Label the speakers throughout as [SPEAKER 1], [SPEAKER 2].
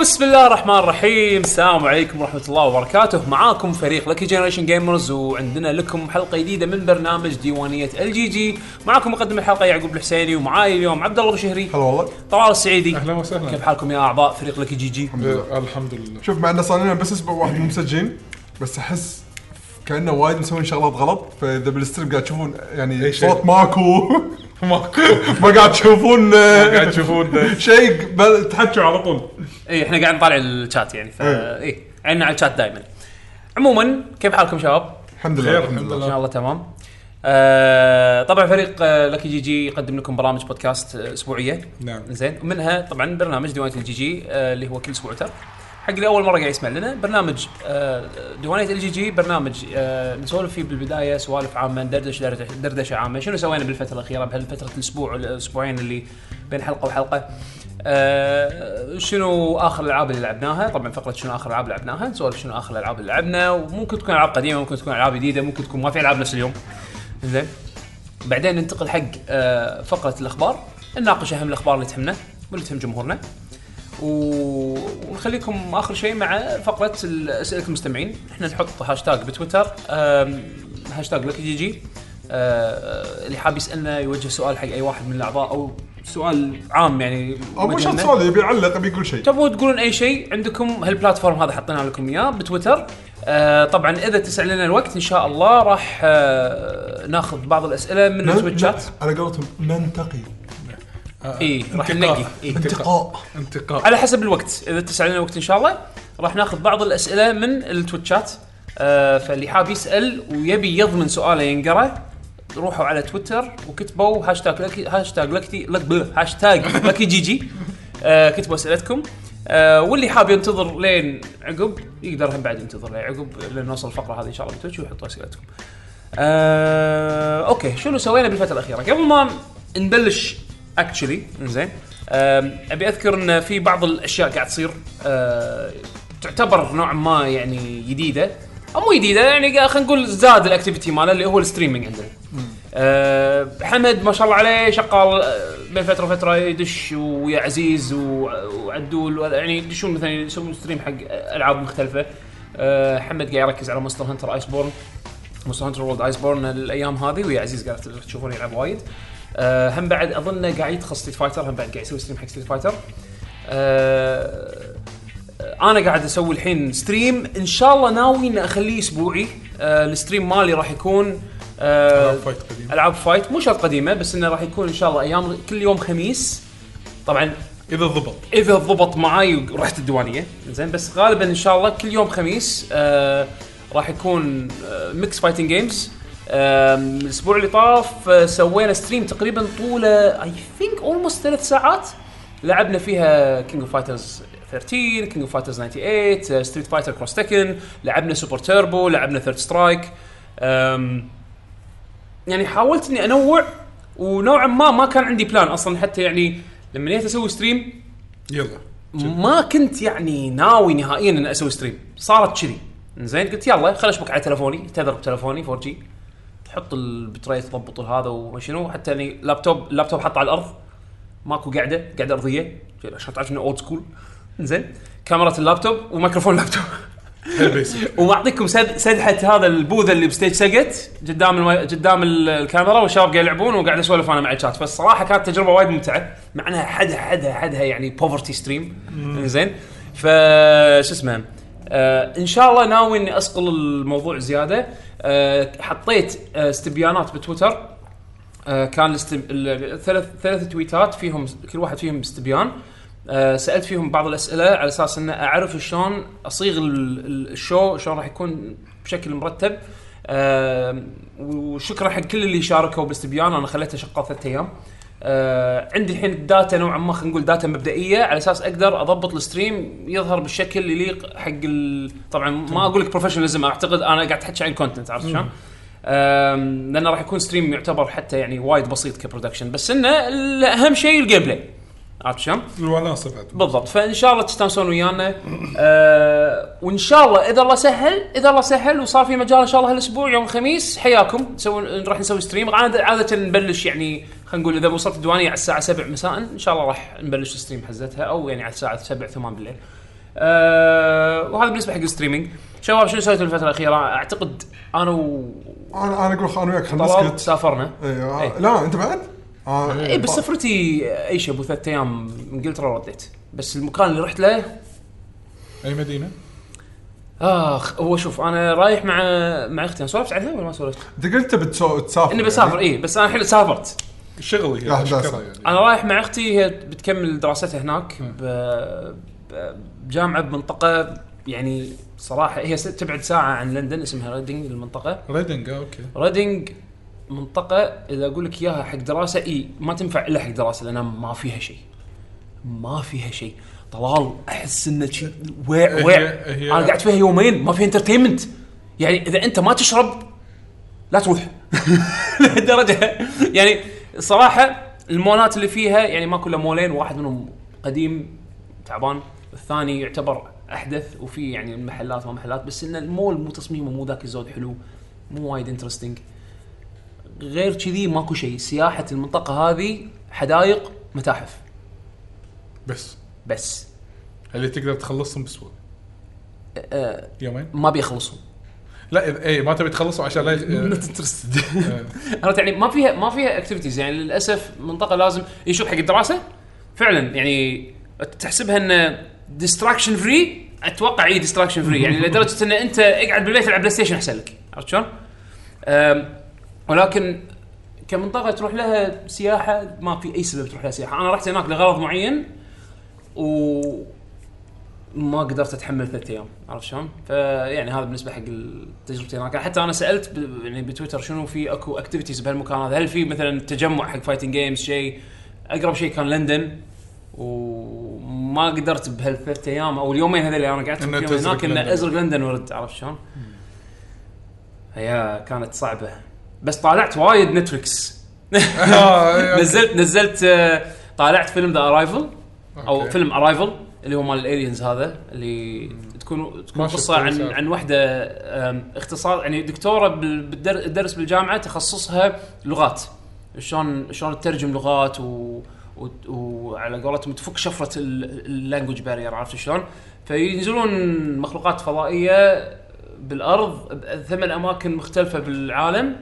[SPEAKER 1] بسم الله الرحمن الرحيم السلام عليكم ورحمة الله وبركاته معاكم فريق لكي جنريشن جيمرز وعندنا لكم حلقة جديدة من برنامج ديوانية الجي جي معاكم مقدم الحلقة يعقوب الحسيني ومعاي اليوم عبد الله الشهري
[SPEAKER 2] هلا والله
[SPEAKER 1] طلال السعيدي
[SPEAKER 3] اهلا وسهلا
[SPEAKER 1] كيف حالكم يا أعضاء فريق لكي جي جي
[SPEAKER 3] آه، الحمد لله
[SPEAKER 2] شوف مع ان صار لنا بس اسبوع واحد مو مسجلين بس احس كانه وايد مسوين شغلات غلط فاذا بالستريم قاعد تشوفون يعني
[SPEAKER 3] أي شيء.
[SPEAKER 2] صوت ماكو
[SPEAKER 3] ماكو
[SPEAKER 2] ما قاعد تشوفون آه،
[SPEAKER 3] قاعد تشوفون
[SPEAKER 2] شيء بل تحكوا على طول
[SPEAKER 1] اي احنا إيه، قاعد نطالع الشات يعني
[SPEAKER 2] إيه.
[SPEAKER 1] فا اي عيننا على الشات دائما عموما كيف حالكم شباب؟
[SPEAKER 2] الحمد لله
[SPEAKER 3] خير،
[SPEAKER 2] الحمد
[SPEAKER 3] الحمد
[SPEAKER 2] لله
[SPEAKER 1] ان شاء الله تمام آه طبعا فريق آه لكي جي جي يقدم لكم برامج بودكاست آه، اسبوعيه
[SPEAKER 3] نعم.
[SPEAKER 1] زين ومنها طبعا برنامج ديوانيه الجي جي آه اللي هو كل اسبوع تر حق اللي اول مره قاعد يسمع لنا برنامج آه ديوانيه الجي جي برنامج آه نسولف فيه بالبدايه سوالف عامه ندردش دردشه دردشه عامه شنو سوينا بالفتره الاخيره بهالفتره الاسبوع والاسبوعين اللي بين حلقه وحلقه آه شنو اخر الالعاب اللي لعبناها طبعا فقره شنو اخر الالعاب اللي لعبناها نسولف شنو اخر الالعاب اللي لعبنا وممكن تكون العاب قديمه ممكن تكون العاب جديده ممكن تكون ما في العاب نفس اليوم زين بعدين ننتقل حق آه، فقره الاخبار نناقش اهم الاخبار اللي تهمنا واللي تهم جمهورنا و- ونخليكم اخر شيء مع فقره ال- اسئله المستمعين احنا نحط هاشتاج بتويتر آم، هاشتاج لك جي جي آه، اللي حاب يسالنا يوجه سؤال حق اي واحد من الاعضاء او سؤال عام يعني
[SPEAKER 2] او مو شرط
[SPEAKER 1] مجنة.
[SPEAKER 2] سؤال يبي يعلق يبي يقول شيء
[SPEAKER 1] تبون تقولون اي شيء عندكم هالبلاتفورم هذا حطينا لكم اياه بتويتر آه طبعا اذا تسع لنا الوقت ان شاء الله راح آه ناخذ بعض الاسئله من
[SPEAKER 2] نن-
[SPEAKER 1] التويتشات
[SPEAKER 2] على قولتهم ننتقي
[SPEAKER 1] اي راح ننقي إيه.
[SPEAKER 2] انتقاء
[SPEAKER 3] آه، انتقاء
[SPEAKER 1] طيب. على حسب الوقت اذا تسع لنا الوقت ان شاء الله راح ناخذ بعض الاسئله من التويتشات آه فاللي حاب يسال ويبي يضمن سؤاله ينقرا روحوا على تويتر وكتبوا هاشتاج لكي هاشتاج لكتي لك بل- هاشتاج لكي جي جي آه كتبوا اسئلتكم آه واللي حاب ينتظر لين عقب يقدر هم بعد ينتظر لين عقب لين نوصل الفقره هذه ان شاء الله بالتويتش ويحطوا اسئلتكم. آه، اوكي شنو سوينا بالفتره الاخيره؟ قبل ما نبلش آه، اكشلي زين ابي اذكر ان في بعض الاشياء قاعد تصير آه، تعتبر نوعا ما يعني جديده او مو جديده يعني قا- خلينا نقول زاد الاكتيفيتي ماله اللي هو الستريمينج عندنا. آه، حمد ما شاء الله عليه شغال آه، بين فتره وفتره يدش ويا عزيز و- وعدول ولا- يعني يدشون مثلا يسوون ستريم حق العاب مختلفه. آه، حمد قاعد يركز على مونستر هانتر ايس بورن مونستر هانتر وولد ايس بورن الايام هذه ويا عزيز قاعد تشوفون يلعب وايد أه هم بعد اظنه قاعد يدخل ستريت فايتر هم بعد قاعد يسوي ستريم حق ستريت فايتر أه انا قاعد اسوي الحين ستريم ان شاء الله ناوي اني اخليه اسبوعي أه الستريم مالي راح يكون أه
[SPEAKER 3] ألعاب فايت قديمة.
[SPEAKER 1] العاب فايت مو شرط قديمه بس انه راح يكون ان شاء الله ايام كل يوم خميس طبعا
[SPEAKER 3] اذا ضبط
[SPEAKER 1] اذا ضبط معاي ورحت الديوانيه زين بس غالبا ان شاء الله كل يوم خميس آه راح يكون آه ميكس فايتنج جيمز آم، الاسبوع اللي طاف آه، سوينا ستريم تقريبا طوله اي ثينك اولموست ثلاث ساعات لعبنا فيها كينج اوف فايترز 13 كينج اوف فايترز 98 ستريت فايتر كروس تكن لعبنا سوبر تيربو لعبنا ثيرد سترايك يعني حاولت اني انوع ونوعا ما ما كان عندي بلان اصلا حتى يعني لما جيت اسوي ستريم
[SPEAKER 3] يلا
[SPEAKER 1] ما كنت يعني ناوي نهائيا ان اسوي ستريم صارت كذي زين قلت يلا خل اشبك على تلفوني اعتذر بتلفوني 4 جي تحط البتريت تضبط هذا وما شنو حتى يعني لابتوب اللابتوب حطه على الارض ماكو قاعده قاعده ارضيه عشان تعرف انه اولد سكول زين كاميرا اللابتوب وميكروفون اللابتوب
[SPEAKER 3] البيسك
[SPEAKER 1] ومعطيكم سد- سدحه هذا البوذا اللي بستيج سقت قدام الم... قدام ال- الكاميرا والشباب قاعد يلعبون وقاعد اسولف انا مع الشات فالصراحه كانت تجربه وايد ممتعه مع انها حدها حدها حدها يعني بوفرتي ستريم زين ف شو اسمه آه ان شاء الله ناوي اني اصقل الموضوع زياده آه حطيت آه استبيانات بتويتر آه، كان الاستب... ال- ثلاث ثلاث تويتات فيهم كل واحد فيهم استبيان آه، سالت فيهم بعض الاسئله على اساس ان اعرف شلون اصيغ ال- ال- الشو شلون راح يكون بشكل مرتب آه، وشكرا حق كل اللي شاركوا بالاستبيان انا خليته شغال ثلاث ايام آه، عندي الحين الداتا نوعا ما خلينا نقول داتا مبدئيه على اساس اقدر اضبط الستريم يظهر بالشكل اللي يليق حق ال... طبعا ما اقول لك بروفيشناليزم اعتقد انا قاعد احكي عن كونتنت عرفت شلون؟ أم، لانه راح يكون ستريم يعتبر حتى يعني وايد بسيط كبرودكشن بس انه ال- اهم شيء الجيم بلاي عرفت شلون؟
[SPEAKER 3] الوناسه بعد
[SPEAKER 1] بالضبط فان شاء الله تستانسون ويانا أه وان شاء الله اذا الله سهل اذا الله سهل وصار في مجال ان شاء الله هالاسبوع يوم الخميس حياكم نسوي راح نسوي ستريم عاده عاده نبلش يعني خلينا نقول اذا وصلت الديوانيه على الساعه 7 مساء ان شاء الله راح نبلش ستريم حزتها او يعني على الساعه 7 8 بالليل أه وهذا بالنسبه حق الستريمينج شباب شنو سويتوا الفتره الاخيره؟ اعتقد انا وطلال
[SPEAKER 2] انا انا اقول خ- انا وياك خلنا نسكت
[SPEAKER 1] سافرنا
[SPEAKER 2] ايوه
[SPEAKER 1] إيه.
[SPEAKER 2] آه، لا انت بعد؟ آه،
[SPEAKER 4] إيه،
[SPEAKER 1] اي بس سفرتي اي شيء ابو ثلاث ايام انجلترا ورديت بس المكان اللي رحت له
[SPEAKER 3] اي مدينه؟
[SPEAKER 1] اخ هو شوف انا رايح مع مع اختي أنا سولفت عنها ولا ما سولفت؟
[SPEAKER 2] انت قلت بتسو- تسافر
[SPEAKER 1] اني
[SPEAKER 2] يعني.
[SPEAKER 1] بسافر اي بس انا الحين سافرت
[SPEAKER 3] شغل هي
[SPEAKER 2] لا، لا،
[SPEAKER 3] أشكرها
[SPEAKER 2] صح.
[SPEAKER 3] يعني
[SPEAKER 1] انا رايح مع اختي هي بتكمل دراستها هناك ب- ب- بجامعه بمنطقه يعني صراحه هي س- تبعد ساعه عن لندن اسمها ريدنج المنطقه
[SPEAKER 3] ريدنج آه، اوكي
[SPEAKER 1] ريدنج منطقة إذا أقول لك إياها حق دراسة إي ما تنفع إلا حق دراسة لأنها ما فيها شيء. ما فيها شيء. طلال أحس إن شيء ويع ويع.
[SPEAKER 3] هي- هي-
[SPEAKER 1] أنا قعدت فيها يومين ما في انترتينمنت. يعني إذا أنت ما تشرب لا تروح. لهالدرجة يعني صراحة المولات اللي فيها يعني ما كلها مولين واحد منهم قديم تعبان الثاني يعتبر احدث وفي يعني محلات وما محلات بس ان المول مو تصميمه مو ذاك الزود حلو مو وايد انترستنج غير كذي ماكو شيء سياحه المنطقه هذه حدائق متاحف
[SPEAKER 3] بس
[SPEAKER 1] بس
[SPEAKER 3] اللي تقدر تخلصهم بسهوله
[SPEAKER 1] أه
[SPEAKER 3] يومين
[SPEAKER 1] ما بيخلصوا
[SPEAKER 3] لا إذ- اي ما تبي تخلصوا عشان لا آه. يغ-
[SPEAKER 1] نوت انترستد عرفت يعني ما فيها ما فيها اكتيفيتيز يعني للاسف منطقه لازم يشوف حق الدراسه فعلا يعني تحسبها ان ديستراكشن فري اتوقع اي ديستراكشن فري يعني لدرجه ان انت اقعد بالبيت العب بلاي ستيشن احسن لك عرفت شلون؟ أم، ولكن كمنطقه تروح لها سياحه ما في اي سبب تروح لها سياحه انا رحت هناك لغرض معين و ما قدرت اتحمل ثلاث ايام عرفت شلون؟ فيعني هذا بالنسبه حق ال- تجربتي هناك حتى انا سالت ب... يعني بتويتر شنو في اكو اكتيفيتيز بهالمكان هذا هل في مثلا تجمع حق فايتنج جيمز شيء اقرب شيء كان لندن وما قدرت بهالثلاث ايام او اليومين هذول اللي انا قعدت
[SPEAKER 3] إنه
[SPEAKER 1] فيهم
[SPEAKER 3] تزرق
[SPEAKER 1] هناك ان
[SPEAKER 3] لندن.
[SPEAKER 1] ازرق لندن وارد عرفت شلون؟ هي كانت صعبه بس طالعت وايد نتفلكس
[SPEAKER 3] آه، إي، أوكي.
[SPEAKER 1] نزلت نزلت آه، طالعت فيلم ذا ارايفل او
[SPEAKER 3] أوكي.
[SPEAKER 1] فيلم ارايفل اللي هو مال الالينز هذا اللي تكون تكون
[SPEAKER 3] ما شفته
[SPEAKER 1] قصه عن
[SPEAKER 3] للأسف.
[SPEAKER 1] عن واحده آم، اختصار يعني دكتوره بالدرس بالجامعه تخصصها لغات شلون شلون تترجم لغات و و- وعلى قولتهم تفك شفره اللانجوج بارير عرفت شلون؟ فينزلون مخلوقات فضائيه بالارض بثمان اماكن مختلفه بالعالم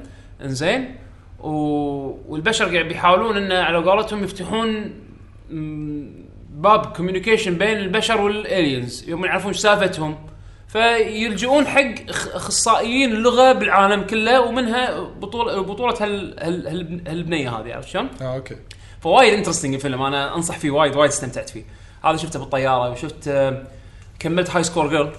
[SPEAKER 1] انزين و... والبشر قاعد بيحاولون انه على قولتهم يفتحون مم، باب كوميونيكيشن بين البشر والالينز يوم يعرفون ايش سالفتهم فيلجؤون حق أخ- اخصائيين اللغه بالعالم كله ومنها بطوله بطوله هال... هال... هال... هالبنيه هذه عرفت شلون؟
[SPEAKER 3] اه اوكي
[SPEAKER 2] آه،
[SPEAKER 1] فوايد انترستنج الفيلم انا انصح فيه وايد وايد استمتعت فيه هذا شفته بالطياره وشفت آه، كملت هاي سكور جيرل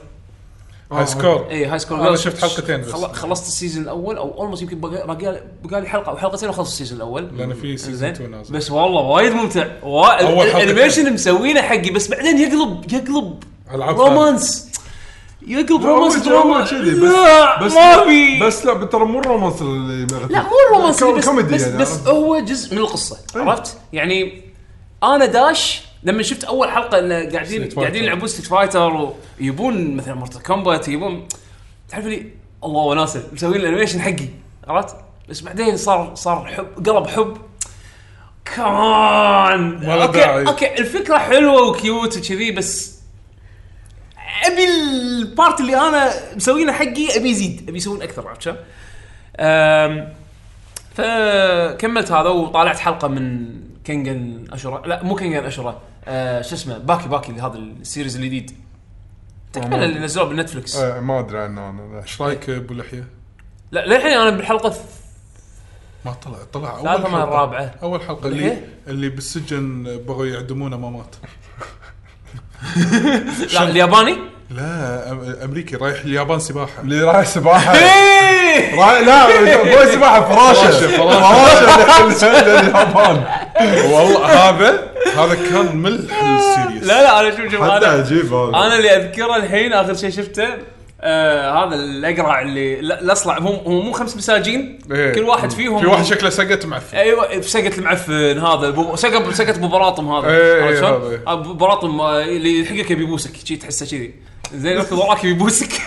[SPEAKER 3] هاي سكور
[SPEAKER 1] اي هاي سكول
[SPEAKER 3] أنا شفت حلقتين بس.
[SPEAKER 1] خل... خلصت السيزون الاول او اولموست يمكن بقى... بقى... بقى لي حلقه او حلقتين وخلصت السيزون الاول
[SPEAKER 3] لأن في season
[SPEAKER 1] إنزين.
[SPEAKER 3] two نازل.
[SPEAKER 1] بس والله وايد ممتع و...
[SPEAKER 3] أول حلقتين.
[SPEAKER 1] الانيميشن مسوينه حقي بس بعدين يقلب يقلب
[SPEAKER 3] العاب
[SPEAKER 1] رومانس يقلب
[SPEAKER 2] لا، هو
[SPEAKER 1] رومانس
[SPEAKER 2] جو-
[SPEAKER 1] دراما
[SPEAKER 2] هو كذي، بس-
[SPEAKER 1] لا
[SPEAKER 2] بس
[SPEAKER 1] ما بي
[SPEAKER 2] بس لا ترى مو الرومانس اللي
[SPEAKER 1] لا مو الرومانسي بس
[SPEAKER 2] كوميدي
[SPEAKER 1] بس,
[SPEAKER 2] يعني،
[SPEAKER 1] بس
[SPEAKER 2] عرفت؟
[SPEAKER 1] هو جزء من القصه عرفت؟ يعني انا داش لما شفت اول حلقه انه قاعدين
[SPEAKER 3] Street Fighter.
[SPEAKER 1] قاعدين يلعبون ستيت فايتر ويبون مثلا مورتال كومبات يبون تعرف لي الله وناسه مسوين الانيميشن حقي عرفت؟ بس بعدين صار صار حب قلب حب كمان
[SPEAKER 3] ولا
[SPEAKER 1] اوكي
[SPEAKER 3] داعي.
[SPEAKER 1] اوكي الفكره حلوه وكيوت وكذي بس ابي البارت اللي انا مسوينه حقي ابي يزيد ابي يسوون اكثر عرفت شلون؟ أم، فكملت هذا وطالعت حلقه من كنجن اشورا لا مو كنجن اشورا آه شو اسمه باكي باكي اللي هذا السيريز الجديد تكمله اللي نزلوه بالنتفلكس
[SPEAKER 2] إيه، ما ادري عنه انا لا.
[SPEAKER 3] ايش رايك ابو لحيه؟
[SPEAKER 1] لا للحين انا بالحلقه
[SPEAKER 3] ما طلع طلع اول
[SPEAKER 1] الثالثه مع
[SPEAKER 3] حلقة.
[SPEAKER 1] الرابعه
[SPEAKER 3] اول حلقه اللي اللي بالسجن بغوا يعدمونه ما مات
[SPEAKER 1] لا الياباني
[SPEAKER 3] لا أم- امريكي رايح اليابان سباحه
[SPEAKER 2] اللي رايح سباحه
[SPEAKER 1] إيه!
[SPEAKER 2] رايح لا مو سباحه فراشه فراشه اللي- اللي اليابان
[SPEAKER 3] والله هذا هذا كان ملح السيريس
[SPEAKER 1] لا لا انا شوف شوف
[SPEAKER 2] حتى
[SPEAKER 1] انا
[SPEAKER 2] عجيب هذا
[SPEAKER 1] انا اللي اذكره الحين اخر شيء شفته آه هذا الاقرع اللي لا- الاصلع هم هم مو خمس مساجين
[SPEAKER 3] إيه.
[SPEAKER 1] كل واحد فيهم
[SPEAKER 3] في واحد شكله سقط معفن
[SPEAKER 1] ايوه سقط المعفن هذا بو... سقط سقط ابو براطم هذا
[SPEAKER 3] إيه،
[SPEAKER 1] عرفت
[SPEAKER 3] إيه،
[SPEAKER 1] شلون؟
[SPEAKER 3] هذا، إيه.
[SPEAKER 1] آه، ابو براطم آه، اللي يلحقك يبي يبوسك شي تحسه كذي زين يركض وراك يبي يبوسك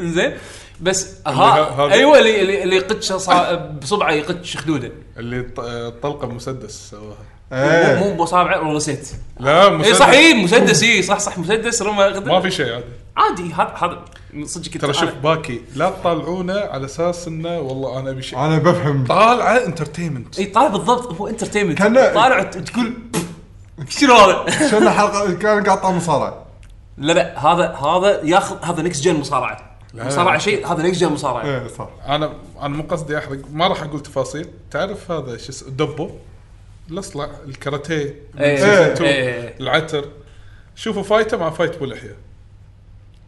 [SPEAKER 1] زين بس
[SPEAKER 3] ه-
[SPEAKER 1] ها
[SPEAKER 3] هذا-
[SPEAKER 1] ايوه اللي اللي اللي يقدش صا- بصبعه يقدش خدوده
[SPEAKER 3] اللي ط- طلقه مسدس سواها
[SPEAKER 4] إيه.
[SPEAKER 1] مو بصابعه والله نسيت
[SPEAKER 3] لا
[SPEAKER 1] اي
[SPEAKER 3] مسدس
[SPEAKER 1] صح اي مسدس اي صح صح مسدس رمى
[SPEAKER 3] ما في شيء عادي
[SPEAKER 1] عادي هذا هذا من صدق كنت
[SPEAKER 3] ترى شوف
[SPEAKER 1] أنا-
[SPEAKER 3] باكي لا تطالعونه على اساس انه والله انا ابي شيء
[SPEAKER 4] انا بفهم
[SPEAKER 3] طالعه انترتينمنت
[SPEAKER 1] اي إيه، طالع بالضبط هو انترتينمنت
[SPEAKER 4] كأنه-
[SPEAKER 1] طالع ت- تقول شنو هذا؟
[SPEAKER 4] شلنا حلقه كان قاطع مصارع
[SPEAKER 1] لا لا هذا هذا ياخذ هذا نكس جن مصارعه مصارعه شيء هذا نكس جن مصارعه
[SPEAKER 4] ايه صح
[SPEAKER 3] انا انا مو قصدي احرق ما راح اقول تفاصيل تعرف هذا شو اسمه دبو الاصلع الكاراتيه من
[SPEAKER 1] إيه.
[SPEAKER 3] season two،
[SPEAKER 1] إيه.
[SPEAKER 3] العتر شوفوا فايته مع فايت بو لحيه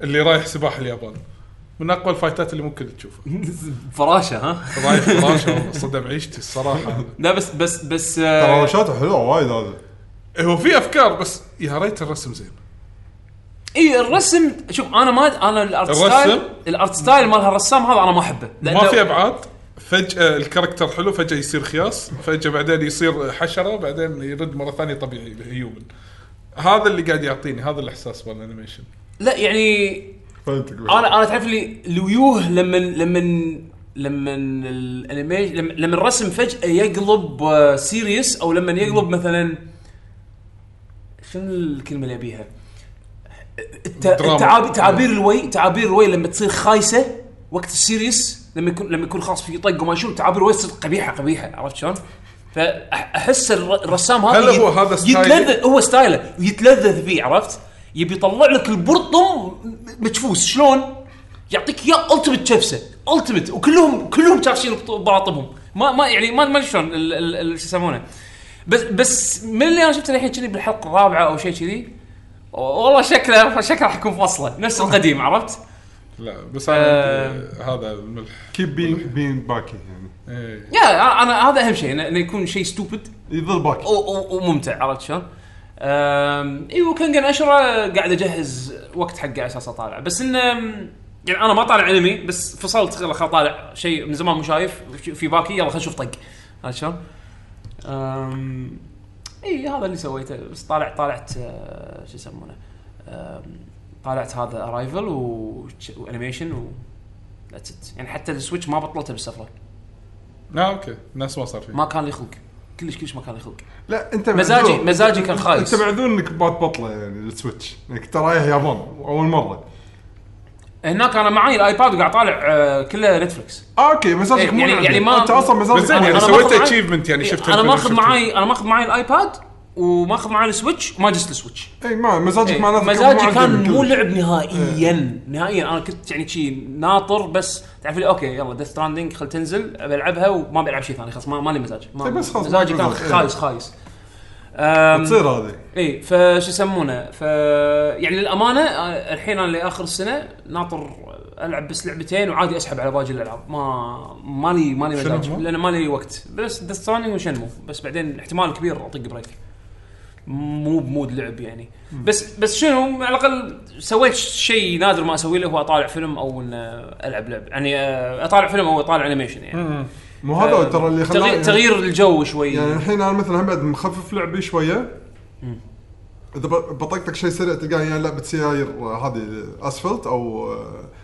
[SPEAKER 3] اللي رايح سباح اليابان من اقوى الفايتات اللي ممكن تشوفها
[SPEAKER 1] فراشه ها
[SPEAKER 3] رايح 11 صدم عيشتي الصراحه
[SPEAKER 1] لا بس بس بس
[SPEAKER 4] ترى
[SPEAKER 1] آه،
[SPEAKER 4] وشاته حلوه وايد هذا
[SPEAKER 3] هو في افكار بس يا ريت الرسم زين
[SPEAKER 1] اي الرسم شوف انا ما انا الارت
[SPEAKER 3] الرسم؟
[SPEAKER 1] ستايل الارت ستايل مال هالرسام هذا انا ما احبه
[SPEAKER 3] ما
[SPEAKER 1] لأنه-
[SPEAKER 3] في ابعاد فجاه الكاركتر حلو فجاه يصير خياس فجاه بعدين يصير حشره بعدين يرد مره ثانيه طبيعي هيومن هذا اللي قاعد يعطيني هذا الاحساس بالانيميشن
[SPEAKER 1] لا يعني
[SPEAKER 4] فهمتك
[SPEAKER 1] انا انا تعرف لي الويوه لما لما لما الانيميشن لما لما الرسم فجاه يقلب آه، سيريس او لما يقلب مثلا شنو الكلمه اللي ابيها؟ الت-
[SPEAKER 3] دراما.
[SPEAKER 1] التعاب- تعابير الوي تعابير الوي لما تصير خايسه وقت السيريس لما يكون لما يكون خاص في طق وما شو تعابير الوي تصير قبيحه قبيحه عرفت شلون؟ فاحس الر- الرسام هذا
[SPEAKER 3] هل هو
[SPEAKER 1] يت-
[SPEAKER 3] هذا ستايل؟
[SPEAKER 1] يتلذذ هو ستايله يتلذذ فيه عرفت؟ يبي يطلع لك البرطم مجفوس شلون؟ يعطيك اياه التمت شفسه التمت وكلهم كلهم شافشين براطبهم ما ما يعني ما ما أدري شلون ال- ال- ال- شو يسمونه بس بس من اللي انا شفته الحين كذي بالحلقه الرابعه او شيء كذي والله شكله شكله راح يكون فصله نفس القديم عرفت؟
[SPEAKER 3] لا بس انا
[SPEAKER 1] آه.
[SPEAKER 3] عندي هذا الملح
[SPEAKER 4] كيب بين بين باكي يعني
[SPEAKER 3] إيه.
[SPEAKER 1] يا انا هذا اهم شيء إنه- انه يكون شيء ستوبد
[SPEAKER 4] يظل باكي
[SPEAKER 1] و- و- وممتع عرفت شلون؟ أم، اي وكنجن اشرة قاعد اجهز وقت حقه على اساس اطالع بس انه يعني انا ما طالع انمي بس فصلت يلا خل طالع شيء من زمان مو شايف في باكي يلا خل نشوف طق عرفت شلون؟ أم، اي هذا اللي سويته بس طالع طالعت آه، شو يسمونه؟ أم، طالعت هذا ارايفل وانيميشن و That's it. يعني حتى السويتش ما بطلته بالسفره
[SPEAKER 3] لا اوكي الناس ما صار فيه
[SPEAKER 1] ما كان لي خلق كلش كلش ما كان لي خلق
[SPEAKER 4] لا انت
[SPEAKER 1] مزاجي-
[SPEAKER 4] معذور.
[SPEAKER 1] مزاجي كان خايس.
[SPEAKER 4] انت معذور انك بات بطله يعني السويتش انك ترى رايح يابان اول مره
[SPEAKER 1] هناك انا معي الايباد وقاعد طالع آه، كله نتفلكس
[SPEAKER 4] آه، اوكي مزاجك
[SPEAKER 1] إيه،
[SPEAKER 4] مو
[SPEAKER 1] يعني-
[SPEAKER 4] عندك.
[SPEAKER 1] يعني ما-
[SPEAKER 4] انت اصلا
[SPEAKER 3] بس
[SPEAKER 4] مزاجك
[SPEAKER 3] زين
[SPEAKER 4] مو
[SPEAKER 3] يعني
[SPEAKER 1] أنا
[SPEAKER 4] عندك.
[SPEAKER 1] ماخذ
[SPEAKER 3] سويت
[SPEAKER 1] معاي-
[SPEAKER 3] اتشيفمنت يعني شفت
[SPEAKER 1] انا
[SPEAKER 3] الفيلم،
[SPEAKER 1] ماخذ
[SPEAKER 3] شفت-
[SPEAKER 1] معي انا ماخذ معي الايباد وماخذ معي السويتش وما جست السويتش
[SPEAKER 4] اي إيه، ما مزاجك معناته
[SPEAKER 1] إيه، مزاجي
[SPEAKER 4] عندك
[SPEAKER 1] كان
[SPEAKER 4] كلش.
[SPEAKER 1] مو لعب
[SPEAKER 4] إيه.
[SPEAKER 1] نهائيا نهائيا انا كنت يعني شي ناطر بس تعرف لي اوكي يلا ديث ستراندنج خل تنزل بلعبها وما بلعب شيء ثاني خلاص ما, ما لي مزاج ما
[SPEAKER 4] طيب بس خلاص،
[SPEAKER 1] مزاجي كان
[SPEAKER 4] مزاج، إيه.
[SPEAKER 1] خايس خايس
[SPEAKER 4] تصير هذه
[SPEAKER 1] اي فشو يسمونه ف يعني للامانه آه، الحين انا لاخر السنه ناطر العب بس لعبتين وعادي اسحب على باقي الالعاب ما مالي مالي
[SPEAKER 3] شنو
[SPEAKER 1] مزاج
[SPEAKER 3] هو؟
[SPEAKER 1] لان مالي وقت بس ديث ستراندنج وشنمو بس بعدين احتمال كبير اطق بريك مو بمود لعب يعني بس بس شنو على الاقل سويت شيء نادر ما اسويه اللي هو اطالع فيلم او ان العب لعب يعني آه، اطالع فيلم او اطالع انيميشن يعني
[SPEAKER 4] مو هذا ترى اللي خلاني
[SPEAKER 1] تغيير, تغيير الجو شوي
[SPEAKER 4] يعني الحين انا مثلا هم بعد مخفف لعبي شويه اذا ب- بطقطق شيء سريع تلقاني يعني لعبه سياير آه، هذه اسفلت او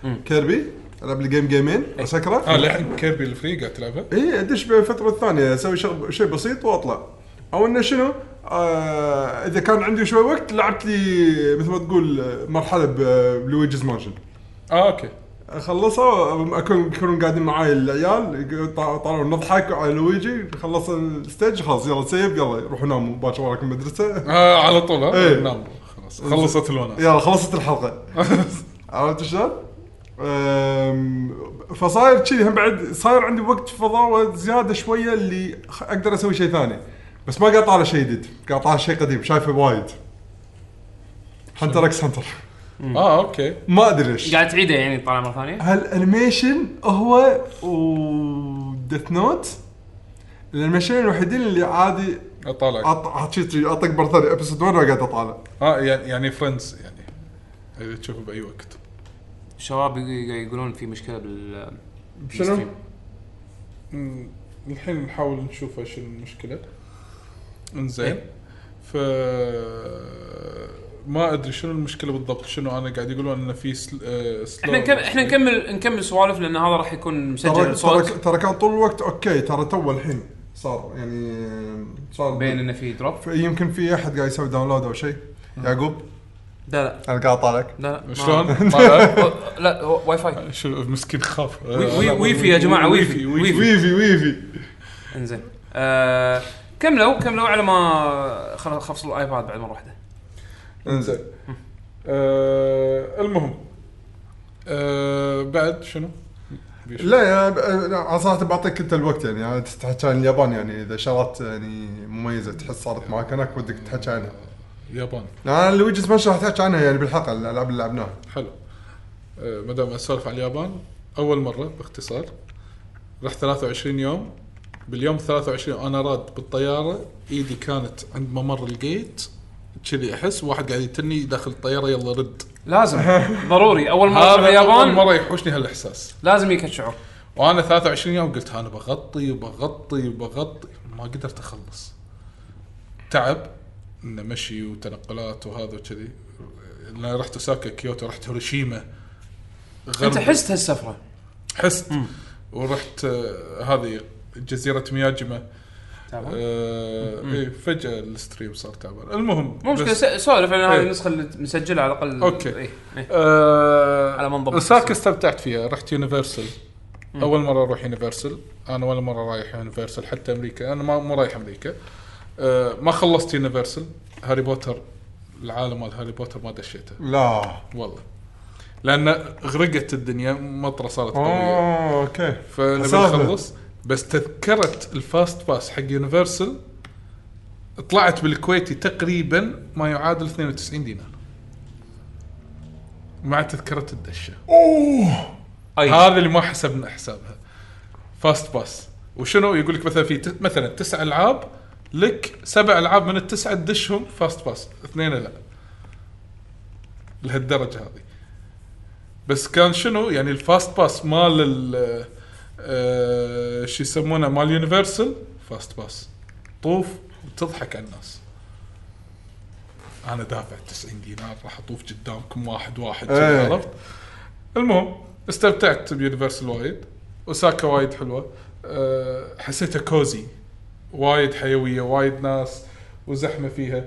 [SPEAKER 4] آه، كيربي العب لي جيم جيمين
[SPEAKER 1] إيه.
[SPEAKER 4] اسكره
[SPEAKER 3] اه لحن كيربي الفري قاعد تلعبها
[SPEAKER 4] اي ادش بالفتره الثانيه اسوي شغ- شيء بسيط واطلع او انه شنو آه اذا كان عندي شوي وقت لعبت لي مثل ما تقول آه، مرحله ب- بلويجز مانشن
[SPEAKER 3] اه اوكي
[SPEAKER 4] اخلصها اكون يكونون قاعدين معاي العيال يق- طا- طالعون نضحك على لويجي خلص الستيج خلاص يلا سيب يلا روحوا ناموا باكر وراكم المدرسه
[SPEAKER 3] آه على طول ها
[SPEAKER 4] إيه.
[SPEAKER 3] نعم خلاص خلصت الوناسه
[SPEAKER 4] يلا خلصت الحلقه عرفت شلون؟ أم، فصاير كذي هم بعد صاير عندي وقت فضاوه زياده شويه اللي خ- اقدر اسوي شيء ثاني بس ما قاعد طالع شيء جديد قاعد طالع شيء قديم شايفه وايد هنتر اكس هنتر
[SPEAKER 3] اه اوكي
[SPEAKER 4] ما ادري ليش
[SPEAKER 1] قاعد تعيده يعني طالع مره ثانيه
[SPEAKER 4] هالانيميشن هو و ديث نوت الانيميشن الوحيدين اللي عادي
[SPEAKER 3] اطالع
[SPEAKER 4] أط- شي- اطق مره ثانيه ابسود 1 وقاعد اطالع
[SPEAKER 3] اه يعني يعني فريندز يعني إذا تشوفه باي وقت
[SPEAKER 1] الشباب يق- يقولون في مشكله بال
[SPEAKER 4] شنو؟
[SPEAKER 3] مم، الحين نحاول نشوف ايش المشكله انزين
[SPEAKER 1] إيه.
[SPEAKER 3] ف ما ادري شنو المشكله بالضبط شنو انا قاعد يقولون انه في سل... آه سلو
[SPEAKER 1] احنا نكمل احنا نكمل نكمل سوالف لان هذا راح يكون
[SPEAKER 4] ترى
[SPEAKER 1] مسجل
[SPEAKER 4] ترى
[SPEAKER 1] صوت
[SPEAKER 4] ترى كان طول الوقت اوكي ترى تو الحين
[SPEAKER 2] صار يعني صار
[SPEAKER 5] بين انه في دروب
[SPEAKER 2] ف- يمكن في احد قاعد يسوي داونلود او شيء يعقوب
[SPEAKER 1] لا لا
[SPEAKER 2] انا قاعد اطالعك
[SPEAKER 1] لا لا ما-
[SPEAKER 3] شلون؟ طالع.
[SPEAKER 1] و- لا هو واي فاي
[SPEAKER 3] شو مسكين خاف
[SPEAKER 1] وي- وي- ويفي يا جماعة، ويفي، ويفي.
[SPEAKER 2] ويفي ويفي
[SPEAKER 1] انزين آه كملوا كملوا على ما خل- خلصوا الايباد بعد مره واحده
[SPEAKER 2] انزين
[SPEAKER 3] آه، المهم آه، بعد شنو؟
[SPEAKER 2] لا يا ب- أنا صراحه بعطيك انت الوقت يعني انا تحكي عن اليابان يعني اذا شغلات يعني مميزه تحس صارت معك هناك ودك تحكي عنها
[SPEAKER 3] يابان
[SPEAKER 2] انا لويجز مانشن راح تحكي عنها يعني بالحلقه الالعاب اللي لعبناها
[SPEAKER 3] حلو آه، ما دام اسولف عن اليابان اول مره باختصار رحت 23 يوم باليوم 23 انا راد بالطياره ايدي كانت عند ممر الجيت كذي احس واحد قاعد يتني داخل الطياره يلا رد
[SPEAKER 1] لازم ضروري اول مره تروح
[SPEAKER 3] هذا أول
[SPEAKER 1] اليابان
[SPEAKER 3] مره يحوشني هالاحساس
[SPEAKER 1] لازم يجيك الشعور
[SPEAKER 3] وانا 23 يوم قلت انا بغطي وبغطي وبغطي ما قدرت اخلص تعب انه مشي وتنقلات وهذا وكذي انا رحت اوساكا كيوتو رحت هيروشيما غرب.
[SPEAKER 1] انت حست هالسفره
[SPEAKER 3] حست ورحت آه، هذه جزيره مياجمه
[SPEAKER 1] تعبان؟
[SPEAKER 3] آه إيه فجاه الستريم صار تعبان المهم
[SPEAKER 1] مو مشكله
[SPEAKER 3] بس-
[SPEAKER 1] س- سولف لان هذه
[SPEAKER 3] إيه.
[SPEAKER 1] النسخه اللي مسجلها على الاقل
[SPEAKER 3] أوكي.
[SPEAKER 1] إيه، إيه.
[SPEAKER 3] آه
[SPEAKER 1] على منضبط
[SPEAKER 3] اوساكا
[SPEAKER 1] السير.
[SPEAKER 3] استمتعت فيها رحت يونيفرسال اول مره اروح يونيفرسال انا ولا مره رايح يونيفرسال حتى امريكا انا ما مو رايح امريكا آه ما خلصت يونيفرسال هاري بوتر العالم مال هاري بوتر ما دشيته
[SPEAKER 2] لا
[SPEAKER 3] والله لان غرقت الدنيا مطره صارت
[SPEAKER 4] آه.
[SPEAKER 3] قويه
[SPEAKER 2] اوه اوكي
[SPEAKER 3] فنبي
[SPEAKER 2] مسافة.
[SPEAKER 3] نخلص بس تذكره الفاست باس حق يونيفرسال طلعت بالكويتي تقريبا ما يعادل 92 دينار مع تذكره الدشه
[SPEAKER 1] أي.
[SPEAKER 3] هذا اللي ما حسبنا حسابها فاست باس وشنو يقول لك مثلا في ت- مثلا تسع العاب لك سبع العاب من التسعه تدشهم فاست باس اثنين لا لهالدرجه هذه بس كان شنو يعني الفاست باس مال ال آه، شو يسمونه مال يونيفرسال فاست باس طوف وتضحك على الناس انا دافع 90 دينار راح اطوف قدامكم واحد واحد
[SPEAKER 2] إيه.
[SPEAKER 3] عرفت المهم استمتعت بيونيفرسال وايد اوساكا وايد حلوه أه حسيتها كوزي وايد حيويه وايد ناس وزحمه فيها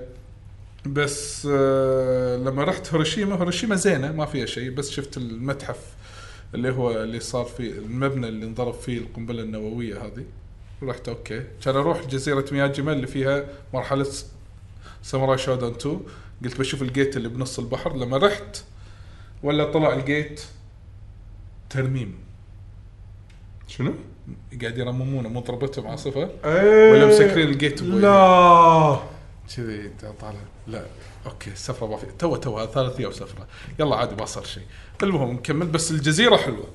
[SPEAKER 3] بس أه لما رحت هيروشيما هيروشيما زينه ما فيها شيء بس شفت المتحف اللي هو اللي صار فيه المبنى اللي انضرب فيه القنبله النوويه هذه رحت اوكي كان اروح جزيره مياجمه اللي فيها مرحله ساموراي شودان 2 قلت بشوف الجيت اللي بنص البحر لما رحت ولا طلع الجيت ترميم
[SPEAKER 2] شنو؟
[SPEAKER 3] قاعد يرممونه مضربته بعاصفه
[SPEAKER 2] ايه
[SPEAKER 3] ولا مسكرين الجيت بوي.
[SPEAKER 2] لا
[SPEAKER 3] كذي طالع لا اوكي السفره ما في تو تو هذا ثالث يوم سفره يلا عادي ما صار شيء المهم نكمل بس الجزيره حلوه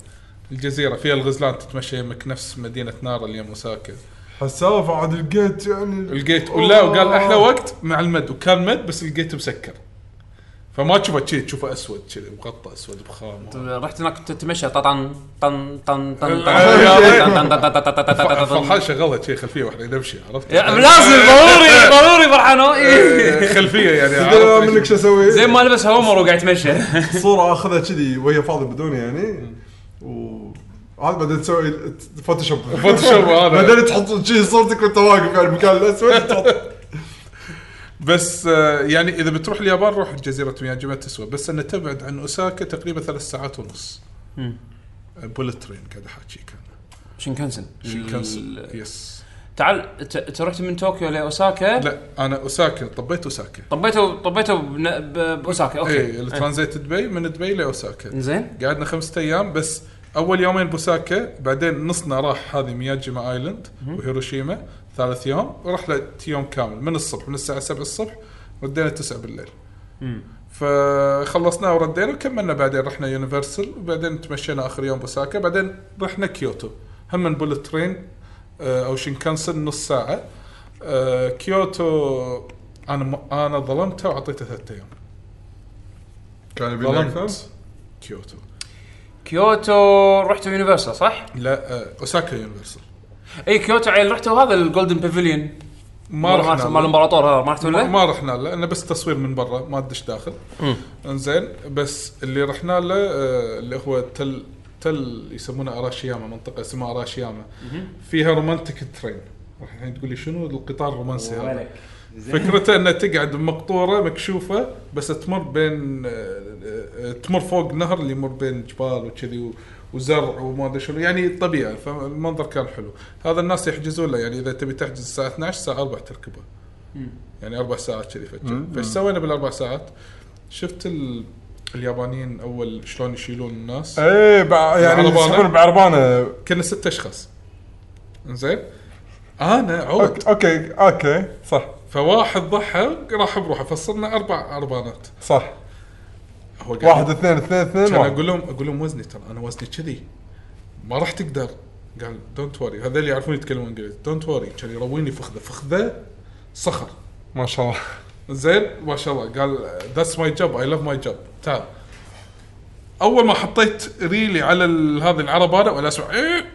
[SPEAKER 3] الجزيره فيها الغزلان تتمشى يمك نفس مدينه نارا اليوم اوساكا
[SPEAKER 2] حسافه عاد الجيت يعني
[SPEAKER 3] الجيت ولا وقال احلى
[SPEAKER 2] أوه.
[SPEAKER 3] وقت مع المد وكان مد بس الجيت مسكر فما تشوفه كذي تشوفه اسود كذي مغطى اسود بخام
[SPEAKER 2] طيب.
[SPEAKER 1] رحت هناك تتمشى طن طن طن طن طن
[SPEAKER 3] أيوة.
[SPEAKER 1] طن- طن- طن- طن- طن- طن-
[SPEAKER 3] ف-
[SPEAKER 1] طن- طن-
[SPEAKER 3] فرحان شغلها شي خلفيه واحده نمشي عرفت؟
[SPEAKER 1] يا- لازم ضروري ضروري فرحان هو، إيه.
[SPEAKER 3] آه، خلفيه يعني
[SPEAKER 2] تدري أنا
[SPEAKER 3] عرفت
[SPEAKER 2] منك
[SPEAKER 3] ليش؟
[SPEAKER 2] شو اسوي؟
[SPEAKER 1] زين ما لبس هومر وقاعد يتمشى
[SPEAKER 2] صوره اخذها كذي وهي فاضي بدون يعني و هذا بعدين تسوي ال- فوتوشوب
[SPEAKER 3] فوتوشوب هذا.
[SPEAKER 2] بعدين تحط شي صورتك وانت واقف على المكان الاسود تحط
[SPEAKER 3] بس آه، يعني اذا بتروح اليابان روح جزيره مياجمه تسوى بس انها تبعد عن اوساكا تقريبا ثلاث ساعات ونص بولت ترين قاعد احاكيك انا
[SPEAKER 1] شينكنسن
[SPEAKER 3] شينكانسن يس
[SPEAKER 1] تعال أنت- انت رحت من طوكيو لاوساكا
[SPEAKER 3] لا انا اوساكا طبيت إيه، اوساكا
[SPEAKER 1] طبيته طبيته بن- ب- باوساكا
[SPEAKER 3] اي
[SPEAKER 1] اوكي
[SPEAKER 3] الترانزيت دبي من دبي لاوساكا
[SPEAKER 1] زين
[SPEAKER 3] قعدنا خمسة ايام بس اول يومين بوساكا بعدين نصنا راح هذه مياجما ايلاند وهيروشيما ثالث يوم رحله يوم كامل من الصبح من الساعه 7 الصبح ردينا 9 بالليل فخلصنا وردينا وكملنا بعدين رحنا يونيفرسال وبعدين تمشينا اخر يوم بوساكا بعدين رحنا كيوتو هم من بولت ترين آه، او شينكانسن نص ساعه آه، كيوتو انا م- انا ظلمته واعطيته ثلاث ايام
[SPEAKER 2] كان يبي لنا أكثر؟
[SPEAKER 3] ظلمت كيوتو
[SPEAKER 1] كيوتو رحتوا يونيفرسال صح؟
[SPEAKER 3] لا آه، اوساكا يونيفرسال
[SPEAKER 1] اي كيوتو عيل رحتوا هذا الجولدن بافيليون
[SPEAKER 3] ما
[SPEAKER 1] مال مال
[SPEAKER 3] رحنا له.
[SPEAKER 1] الامبراطور هذا ما رحتوا
[SPEAKER 3] ما-
[SPEAKER 1] له؟
[SPEAKER 3] ما رحنا له لانه بس تصوير من برا ما تدش داخل
[SPEAKER 1] مم.
[SPEAKER 3] انزين بس اللي رحنا له آه، اللي هو تل تل يسمونه اراشياما منطقه اسمها اراشياما فيها رومانتيك ترين راح الحين تقول لي شنو القطار الرومانسي هذا
[SPEAKER 5] ولك
[SPEAKER 3] فكرته انها تقعد بمقطوره مكشوفه بس تمر بين آه، آه، تمر فوق نهر اللي يمر بين جبال وكذي و- وزرع وما ادري شنو يعني الطبيعه فالمنظر كان حلو هذا الناس يحجزون له يعني اذا تبي تحجز الساعه 12 الساعه 4 تركبه يعني اربع ساعات كذي فجاه فايش سوينا بالاربع ساعات؟ شفت ال... اليابانيين اول شلون يشيلون الناس
[SPEAKER 2] ايه بع... يعني
[SPEAKER 3] بعربانة؟
[SPEAKER 2] يسحبون بعربانه
[SPEAKER 3] كنا ستة اشخاص زين انا عود
[SPEAKER 2] أوك- اوكي اوكي صح
[SPEAKER 3] فواحد ضحى راح بروحه فصرنا اربع اربانات
[SPEAKER 2] صح
[SPEAKER 3] هو قاعد-
[SPEAKER 2] واحد اثنين اثنين اثنين
[SPEAKER 3] كان
[SPEAKER 2] واحد.
[SPEAKER 3] اقول لهم اقول لهم وزني ترى انا وزني كذي ما راح تقدر قال دونت وري هذول يعرفون يتكلمون انجليزي دونت وري كان يرويني فخذه فخذه صخر
[SPEAKER 2] ما شاء الله
[SPEAKER 3] زين ما شاء الله قال ذاتس ماي جوب اي لاف ماي جوب تعال اول ما حطيت ريلي على ال- هذه العربانه ولا اسمع ايه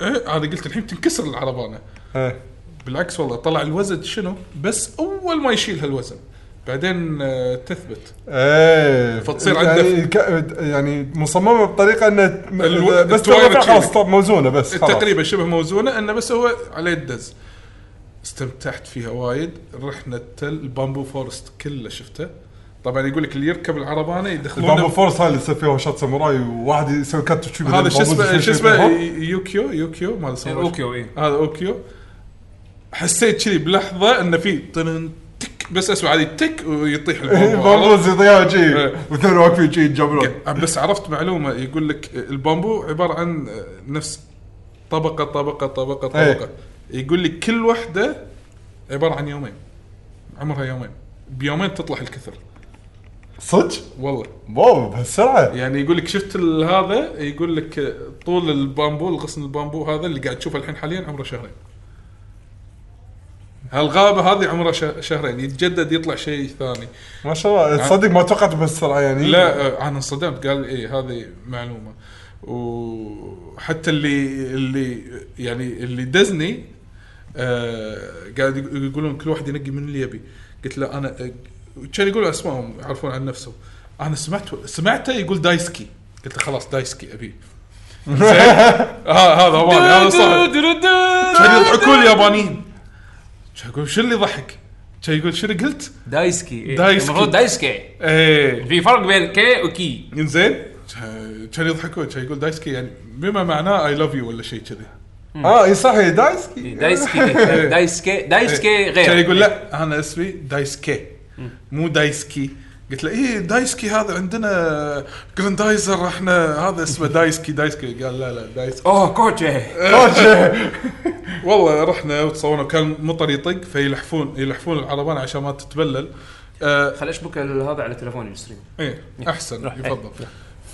[SPEAKER 3] ايه انا قلت الحين تنكسر العربانه
[SPEAKER 2] ايه
[SPEAKER 3] بالعكس والله طلع الوزن شنو بس اول ما يشيل هالوزن بعدين آه، تثبت
[SPEAKER 2] ايه
[SPEAKER 3] فتصير
[SPEAKER 2] يعني
[SPEAKER 3] عنده-
[SPEAKER 2] ك... يعني مصممه بطريقه انه
[SPEAKER 3] الو-
[SPEAKER 2] بس
[SPEAKER 3] التوعية
[SPEAKER 2] ترفع خلاص
[SPEAKER 3] بتشيلك.
[SPEAKER 2] طب موزونه بس خلاص.
[SPEAKER 3] تقريبا شبه موزونه انه بس هو عليه الدز استمتعت فيها وايد رحنا التل البامبو فورست كله شفته طبعا يقول لك اللي يركب العربانه
[SPEAKER 2] البامبو
[SPEAKER 3] يدخلونه
[SPEAKER 2] فورس هاي اللي يصير فيها وشات ساموراي وواحد يسوي كات وشي بدل
[SPEAKER 3] هذا شو
[SPEAKER 2] البامبوز
[SPEAKER 3] اسمه
[SPEAKER 2] يشيل
[SPEAKER 3] شو
[SPEAKER 2] شي
[SPEAKER 3] اسمه
[SPEAKER 2] فوق.
[SPEAKER 3] يوكيو يوكيو ما أدري اسمه.
[SPEAKER 1] اوكيو اي
[SPEAKER 3] هذا اوكيو حسيت كذي بلحظه انه في طنن تك بس اسمع هذه تك ويطيح
[SPEAKER 2] إيه،
[SPEAKER 3] البامبو
[SPEAKER 2] البامبوز يضيعوا شي
[SPEAKER 3] إيه.
[SPEAKER 2] واثنين واقفين شي يتجملون
[SPEAKER 3] بس عرفت معلومه يقول لك البامبو عباره عن نفس طبقه طبقه طبقه
[SPEAKER 2] إيه.
[SPEAKER 3] طبقه يقول لك كل وحده عباره عن يومين عمرها يومين بيومين تطلع الكثر
[SPEAKER 2] صدق؟
[SPEAKER 3] والله
[SPEAKER 2] واو بهالسرعه
[SPEAKER 3] يعني يقول لك شفت ال- هذا يقول لك طول البامبو الغصن البامبو هذا اللي قاعد تشوفه الحين حاليا عمره شهرين هالغابه هذه عمرها شه- شهرين يتجدد يطلع شيء ثاني
[SPEAKER 2] ما شاء الله تصدق ما توقعت بهالسرعه يعني
[SPEAKER 3] لا آه، انا انصدمت قال ايه هذه معلومه وحتى اللي اللي يعني اللي دزني آه قاعد يق- يقولون كل واحد ينقي من اللي يبي قلت له انا آه، كان يقولوا اسمائهم يعرفون عن نفسهم انا سمعت سمعته يقول دايسكي قلت له خلاص دايسكي ابي هذا هو مالي، هذا صح كان يضحكون اليابانيين كان يقول شو اللي ضحك؟ كان يقول شنو قلت؟
[SPEAKER 1] دايسكي إيه.
[SPEAKER 3] دايسكي.
[SPEAKER 1] المفروض دايسكي
[SPEAKER 3] ايه
[SPEAKER 1] في فرق بين كي وكي
[SPEAKER 3] انزين كان يضحكون كان يقول دايسكي يعني بما معناه اي لاف يو ولا شيء كذي
[SPEAKER 2] اه اي صح هي دايسكي
[SPEAKER 1] دايسكي دايسكي دايسكي غير
[SPEAKER 3] إيه، كان يقول لا انا اسمي دايسكي مو دايسكي قلت له ايه دايسكي هذا عندنا جراندايزر احنا هذا اسمه دايسكي دايسكي قال لا لا دايسكي
[SPEAKER 1] اوه كوتشي
[SPEAKER 3] والله رحنا وتصورنا كان مطر يطق فيلحفون يلحفون العربان عشان ما تتبلل آه،
[SPEAKER 1] خل اشبك ال- هذا على تليفوني الستريم
[SPEAKER 3] ايه احسن
[SPEAKER 1] روح.
[SPEAKER 3] يفضل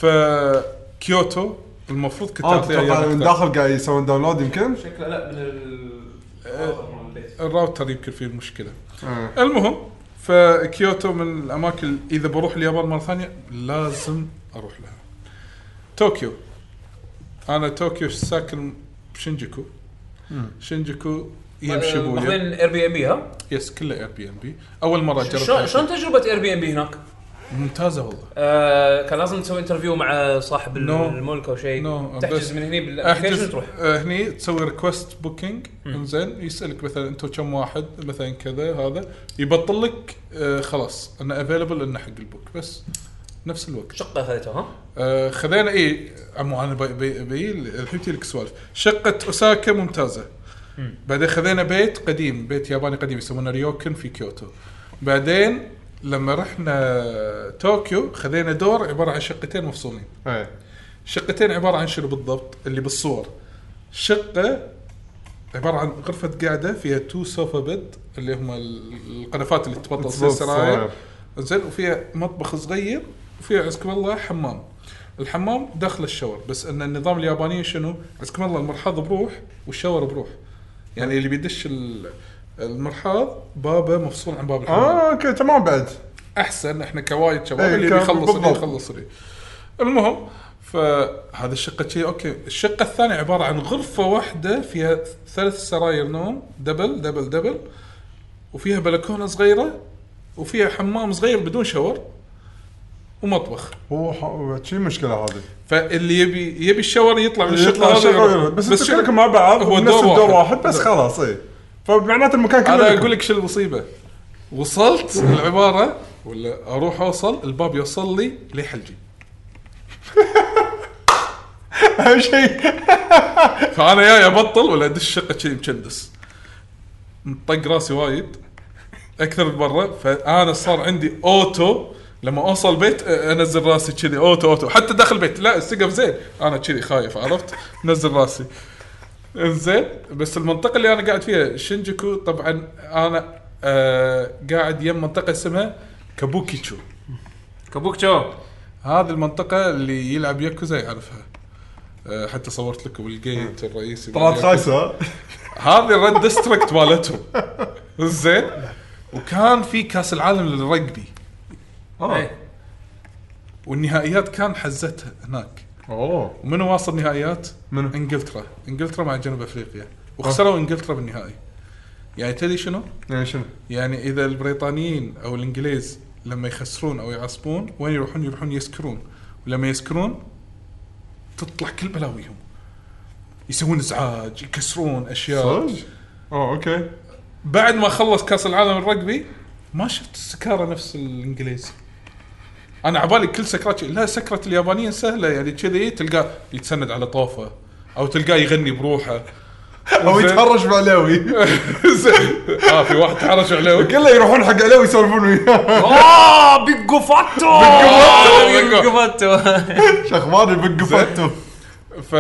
[SPEAKER 3] ف كيوتو المفروض كنت
[SPEAKER 2] اه
[SPEAKER 3] أعطيها
[SPEAKER 2] تتوقع
[SPEAKER 3] أيام
[SPEAKER 2] من
[SPEAKER 3] أكثر.
[SPEAKER 2] داخل قاعد يسوون داونلود يمكن؟
[SPEAKER 1] شكله لا من ال
[SPEAKER 3] الراوتر يمكن فيه المشكله
[SPEAKER 2] آه.
[SPEAKER 3] المهم فكيوتو من الاماكن اذا بروح اليابان مره ثانيه لازم اروح لها طوكيو انا طوكيو ساكن بشنجكو شنجكو يمشي بويا
[SPEAKER 1] ماخذين اير بي ام بي ها
[SPEAKER 3] يس كله اير بي ام بي اول مره
[SPEAKER 1] شلون شلون
[SPEAKER 3] اجربها
[SPEAKER 1] تجربه اير بي ام بي هناك؟
[SPEAKER 3] ممتازه والله
[SPEAKER 1] آه كان لازم تسوي انترفيو مع صاحب ال-
[SPEAKER 3] No.
[SPEAKER 1] الملك او شيء
[SPEAKER 3] No.
[SPEAKER 1] تحجز
[SPEAKER 3] بس-
[SPEAKER 1] من هني بالابلكيشن
[SPEAKER 3] احجز
[SPEAKER 1] تروح
[SPEAKER 3] آه، هني تسوي ريكوست بوكينج انزين يسالك مثلا انتم كم واحد مثلا كذا هذا يبطل لك آه، خلاص انه افيلبل انه حق البوك بس نفس الوقت
[SPEAKER 1] شقه اخذتها ها؟
[SPEAKER 3] آه، خذينا اي عمو انا بي- بي- بي الحين لك سوالف شقه اوساكا ممتازه بعدين خذينا بيت قديم بيت ياباني قديم يسمونه ريوكن في كيوتو بعدين لما رحنا طوكيو خذينا دور عباره عن شقتين مفصولين
[SPEAKER 2] إيه.
[SPEAKER 3] شقتين عباره عن شنو بالضبط اللي بالصور شقه عباره عن غرفه قاعده فيها تو سوفا بيد اللي هم ال- القنفات اللي تبطل
[SPEAKER 2] تبطل
[SPEAKER 3] السراير
[SPEAKER 2] السراير.
[SPEAKER 3] زين وفيها مطبخ صغير وفيها عزكم الله حمام الحمام داخل الشاور بس ان النظام الياباني شنو عزكم الله المرحاض بروح والشاور بروح يعني اللي بيدش ال- المرحاض بابه مفصول عن باب
[SPEAKER 4] آه،
[SPEAKER 3] الحمام
[SPEAKER 2] اه اوكي تمام بعد
[SPEAKER 3] احسن احنا كوايد شباب
[SPEAKER 2] إيه،
[SPEAKER 3] اللي
[SPEAKER 2] كان
[SPEAKER 3] بيخلص اللي
[SPEAKER 2] بالضبط.
[SPEAKER 3] يخلص لي المهم فهذا الشقه شيء اوكي الشقه الثانيه عباره عن غرفه واحده فيها ثلاث سراير نوم دبل دبل دبل وفيها بلكونه صغيره وفيها حمام صغير بدون شاور ومطبخ
[SPEAKER 2] هو ح- شي مشكله هذه
[SPEAKER 3] فاللي يبي يبي الشاور يطلع من
[SPEAKER 2] يطلع
[SPEAKER 3] الشقه هذه
[SPEAKER 2] شغل
[SPEAKER 3] يروح.
[SPEAKER 2] بس انتم
[SPEAKER 3] شنو-
[SPEAKER 2] كلكم مع بعض
[SPEAKER 3] هو
[SPEAKER 2] نفس
[SPEAKER 3] دور
[SPEAKER 2] الدور
[SPEAKER 3] واحد.
[SPEAKER 2] واحد بس خلاص اي فمعناته المكان كله
[SPEAKER 3] انا
[SPEAKER 2] لكم.
[SPEAKER 3] اقول لك شو المصيبه وصلت العماره ولا اروح اوصل الباب يوصل لي لحلجي
[SPEAKER 2] اهم شيء
[SPEAKER 3] فانا يا ابطل ولا ادش الشقه كذي مكندس مطق راسي وايد اكثر من مره فانا صار عندي اوتو لما اوصل بيت أ- انزل راسي كذي اوتو اوتو حتى داخل البيت لا السقف زين انا كذي خايف عرفت نزل راسي انزين بس المنطقه اللي انا قاعد فيها شنجكو طبعا انا آه قاعد يم منطقه اسمها كابوكيتشو
[SPEAKER 1] كابوك شو
[SPEAKER 3] هذه المنطقة اللي يلعب ياكوزا يعرفها. أه، حتى صورت لكم الجيت الرئيسي
[SPEAKER 2] طلعت
[SPEAKER 3] بالياكوزا.
[SPEAKER 2] خايسه ها؟
[SPEAKER 3] هذه الريد ديستريكت مالتهم زين وكان في كاس العالم للرقبي
[SPEAKER 2] آه.
[SPEAKER 1] إيه.
[SPEAKER 3] والنهائيات كان حزتها هناك
[SPEAKER 2] اوه
[SPEAKER 3] ومنو واصل نهائيات؟
[SPEAKER 2] منو؟
[SPEAKER 3] انجلترا انجلترا مع جنوب افريقيا وخسروا انجلترا بالنهائي يعني تدري شنو؟
[SPEAKER 2] يعني شنو؟
[SPEAKER 3] يعني اذا البريطانيين او الانجليز لما يخسرون او يعصبون وين يروحون؟ يروحون يسكرون ولما يسكرون تطلع كل بلاويهم يسوون ازعاج يكسرون اشياء
[SPEAKER 2] صدق؟ اوه اوكي
[SPEAKER 3] بعد ما خلص كاس العالم الرقبي ما شفت السكاره نفس الانجليزي انا عبالي كل سكرات لا سكره اليابانيين سهله يعني كذي تلقاه يتسند على طوفه او تلقاه يغني بروحه
[SPEAKER 2] او يتحرش بعلاوي
[SPEAKER 3] زين اه في واحد تحرش عليه
[SPEAKER 2] كله يروحون حق علاوي يسولفون وياه
[SPEAKER 1] اه بيجو فاتو آه،
[SPEAKER 3] بيجو فاتو.
[SPEAKER 1] بيجو فاتو
[SPEAKER 2] شخباري بقفتو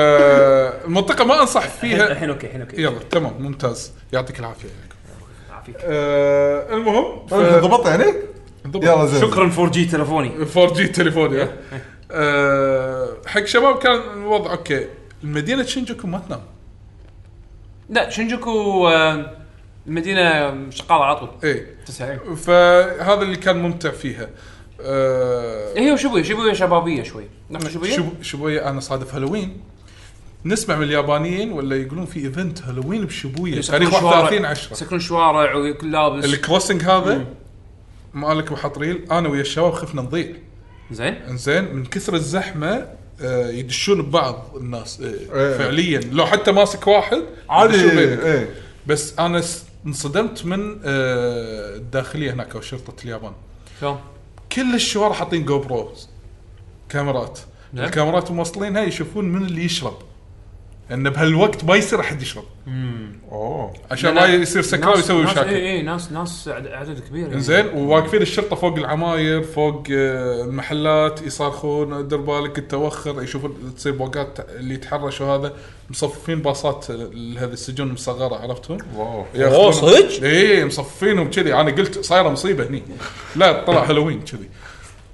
[SPEAKER 3] فالمنطقه ما انصح فيها
[SPEAKER 1] الحين اوكي الحين اوكي
[SPEAKER 3] يلا تمام ممتاز يعطيك العافيه عليكم
[SPEAKER 1] عافيك.
[SPEAKER 3] آه المهم
[SPEAKER 2] ضبط يعني؟ يلا زين
[SPEAKER 1] شكرا 4 جي تلفوني
[SPEAKER 3] 4 جي تليفوني آه حق شباب كان الوضع اوكي المدينه شينجوكو ما تنام
[SPEAKER 1] لا شنجوكو آه، المدينه شغاله على طول
[SPEAKER 3] ايه
[SPEAKER 1] تسعين
[SPEAKER 3] فهذا اللي كان ممتع فيها آه
[SPEAKER 1] هي وشبويه شبويه شبابيه شوي نحن شبويه
[SPEAKER 3] شب- شبويه انا صادف هالوين نسمع من اليابانيين ولا يقولون في ايفنت هالوين بشبويه
[SPEAKER 1] يسكرون
[SPEAKER 3] تاريخ
[SPEAKER 1] شوارع-
[SPEAKER 3] 31 10
[SPEAKER 1] يسكرون شوارع وكل لابس
[SPEAKER 3] الكروسنج هذا مالك وحط ريل انا ويا الشباب خفنا نضيع
[SPEAKER 1] زين
[SPEAKER 3] انزين من كثر الزحمه آه، يدشون ببعض الناس آه،
[SPEAKER 2] إيه.
[SPEAKER 3] فعليا لو حتى ماسك واحد
[SPEAKER 2] عادي
[SPEAKER 3] يدشون بينك.
[SPEAKER 2] ايه
[SPEAKER 3] بس انا س- انصدمت من آه، الداخليه هناك او شرطه اليابان
[SPEAKER 1] شلون؟
[SPEAKER 3] كل الشوارع حاطين جو برو كاميرات
[SPEAKER 1] نعم.
[SPEAKER 3] الكاميرات موصلينها يشوفون من اللي يشرب ان بهالوقت ما يصير احد يشرب
[SPEAKER 2] اوه
[SPEAKER 3] عشان ما يصير سكران ويسوي مشاكل
[SPEAKER 1] اي اي ناس إيه، ناس عد- عدد كبير يعني.
[SPEAKER 3] انزين وواقفين الشرطه فوق العماير فوق آه، المحلات يصرخون دير بالك التوخر يشوفون تصير بوقات اللي يتحرشوا هذا مصففين باصات لهذه السجون المصغره عرفتهم؟
[SPEAKER 2] واو
[SPEAKER 3] ياخذون-
[SPEAKER 1] صدق؟
[SPEAKER 3] اي إيه، مصفينهم كذي انا قلت صايره مصيبه هني لا طلع هالوين كذي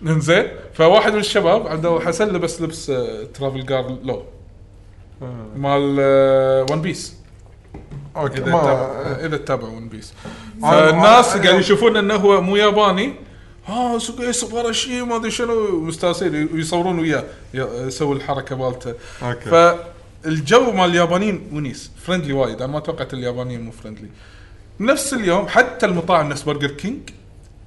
[SPEAKER 3] انزين فواحد من الشباب عبد الله حسن لبس لبس آه، ترافل جار لو
[SPEAKER 2] آه،
[SPEAKER 3] مال آه، ون بيس
[SPEAKER 2] اوكي
[SPEAKER 3] اذا
[SPEAKER 2] ما
[SPEAKER 3] تابع اذا تابع ون بيس
[SPEAKER 2] أنا-
[SPEAKER 3] فالناس
[SPEAKER 2] أنا-
[SPEAKER 3] قاعد يشوفون انه هو مو ياباني ها سوكي سوبر شي ما ادري شنو مستانسين ويصورون وياه ي- يسوي الحركه مالته
[SPEAKER 2] اوكي
[SPEAKER 3] فالجو مال اليابانيين ونيس فرندلي وايد انا ما توقعت اليابانيين مو فرندلي نفس اليوم حتى المطاعم نفس برجر كينج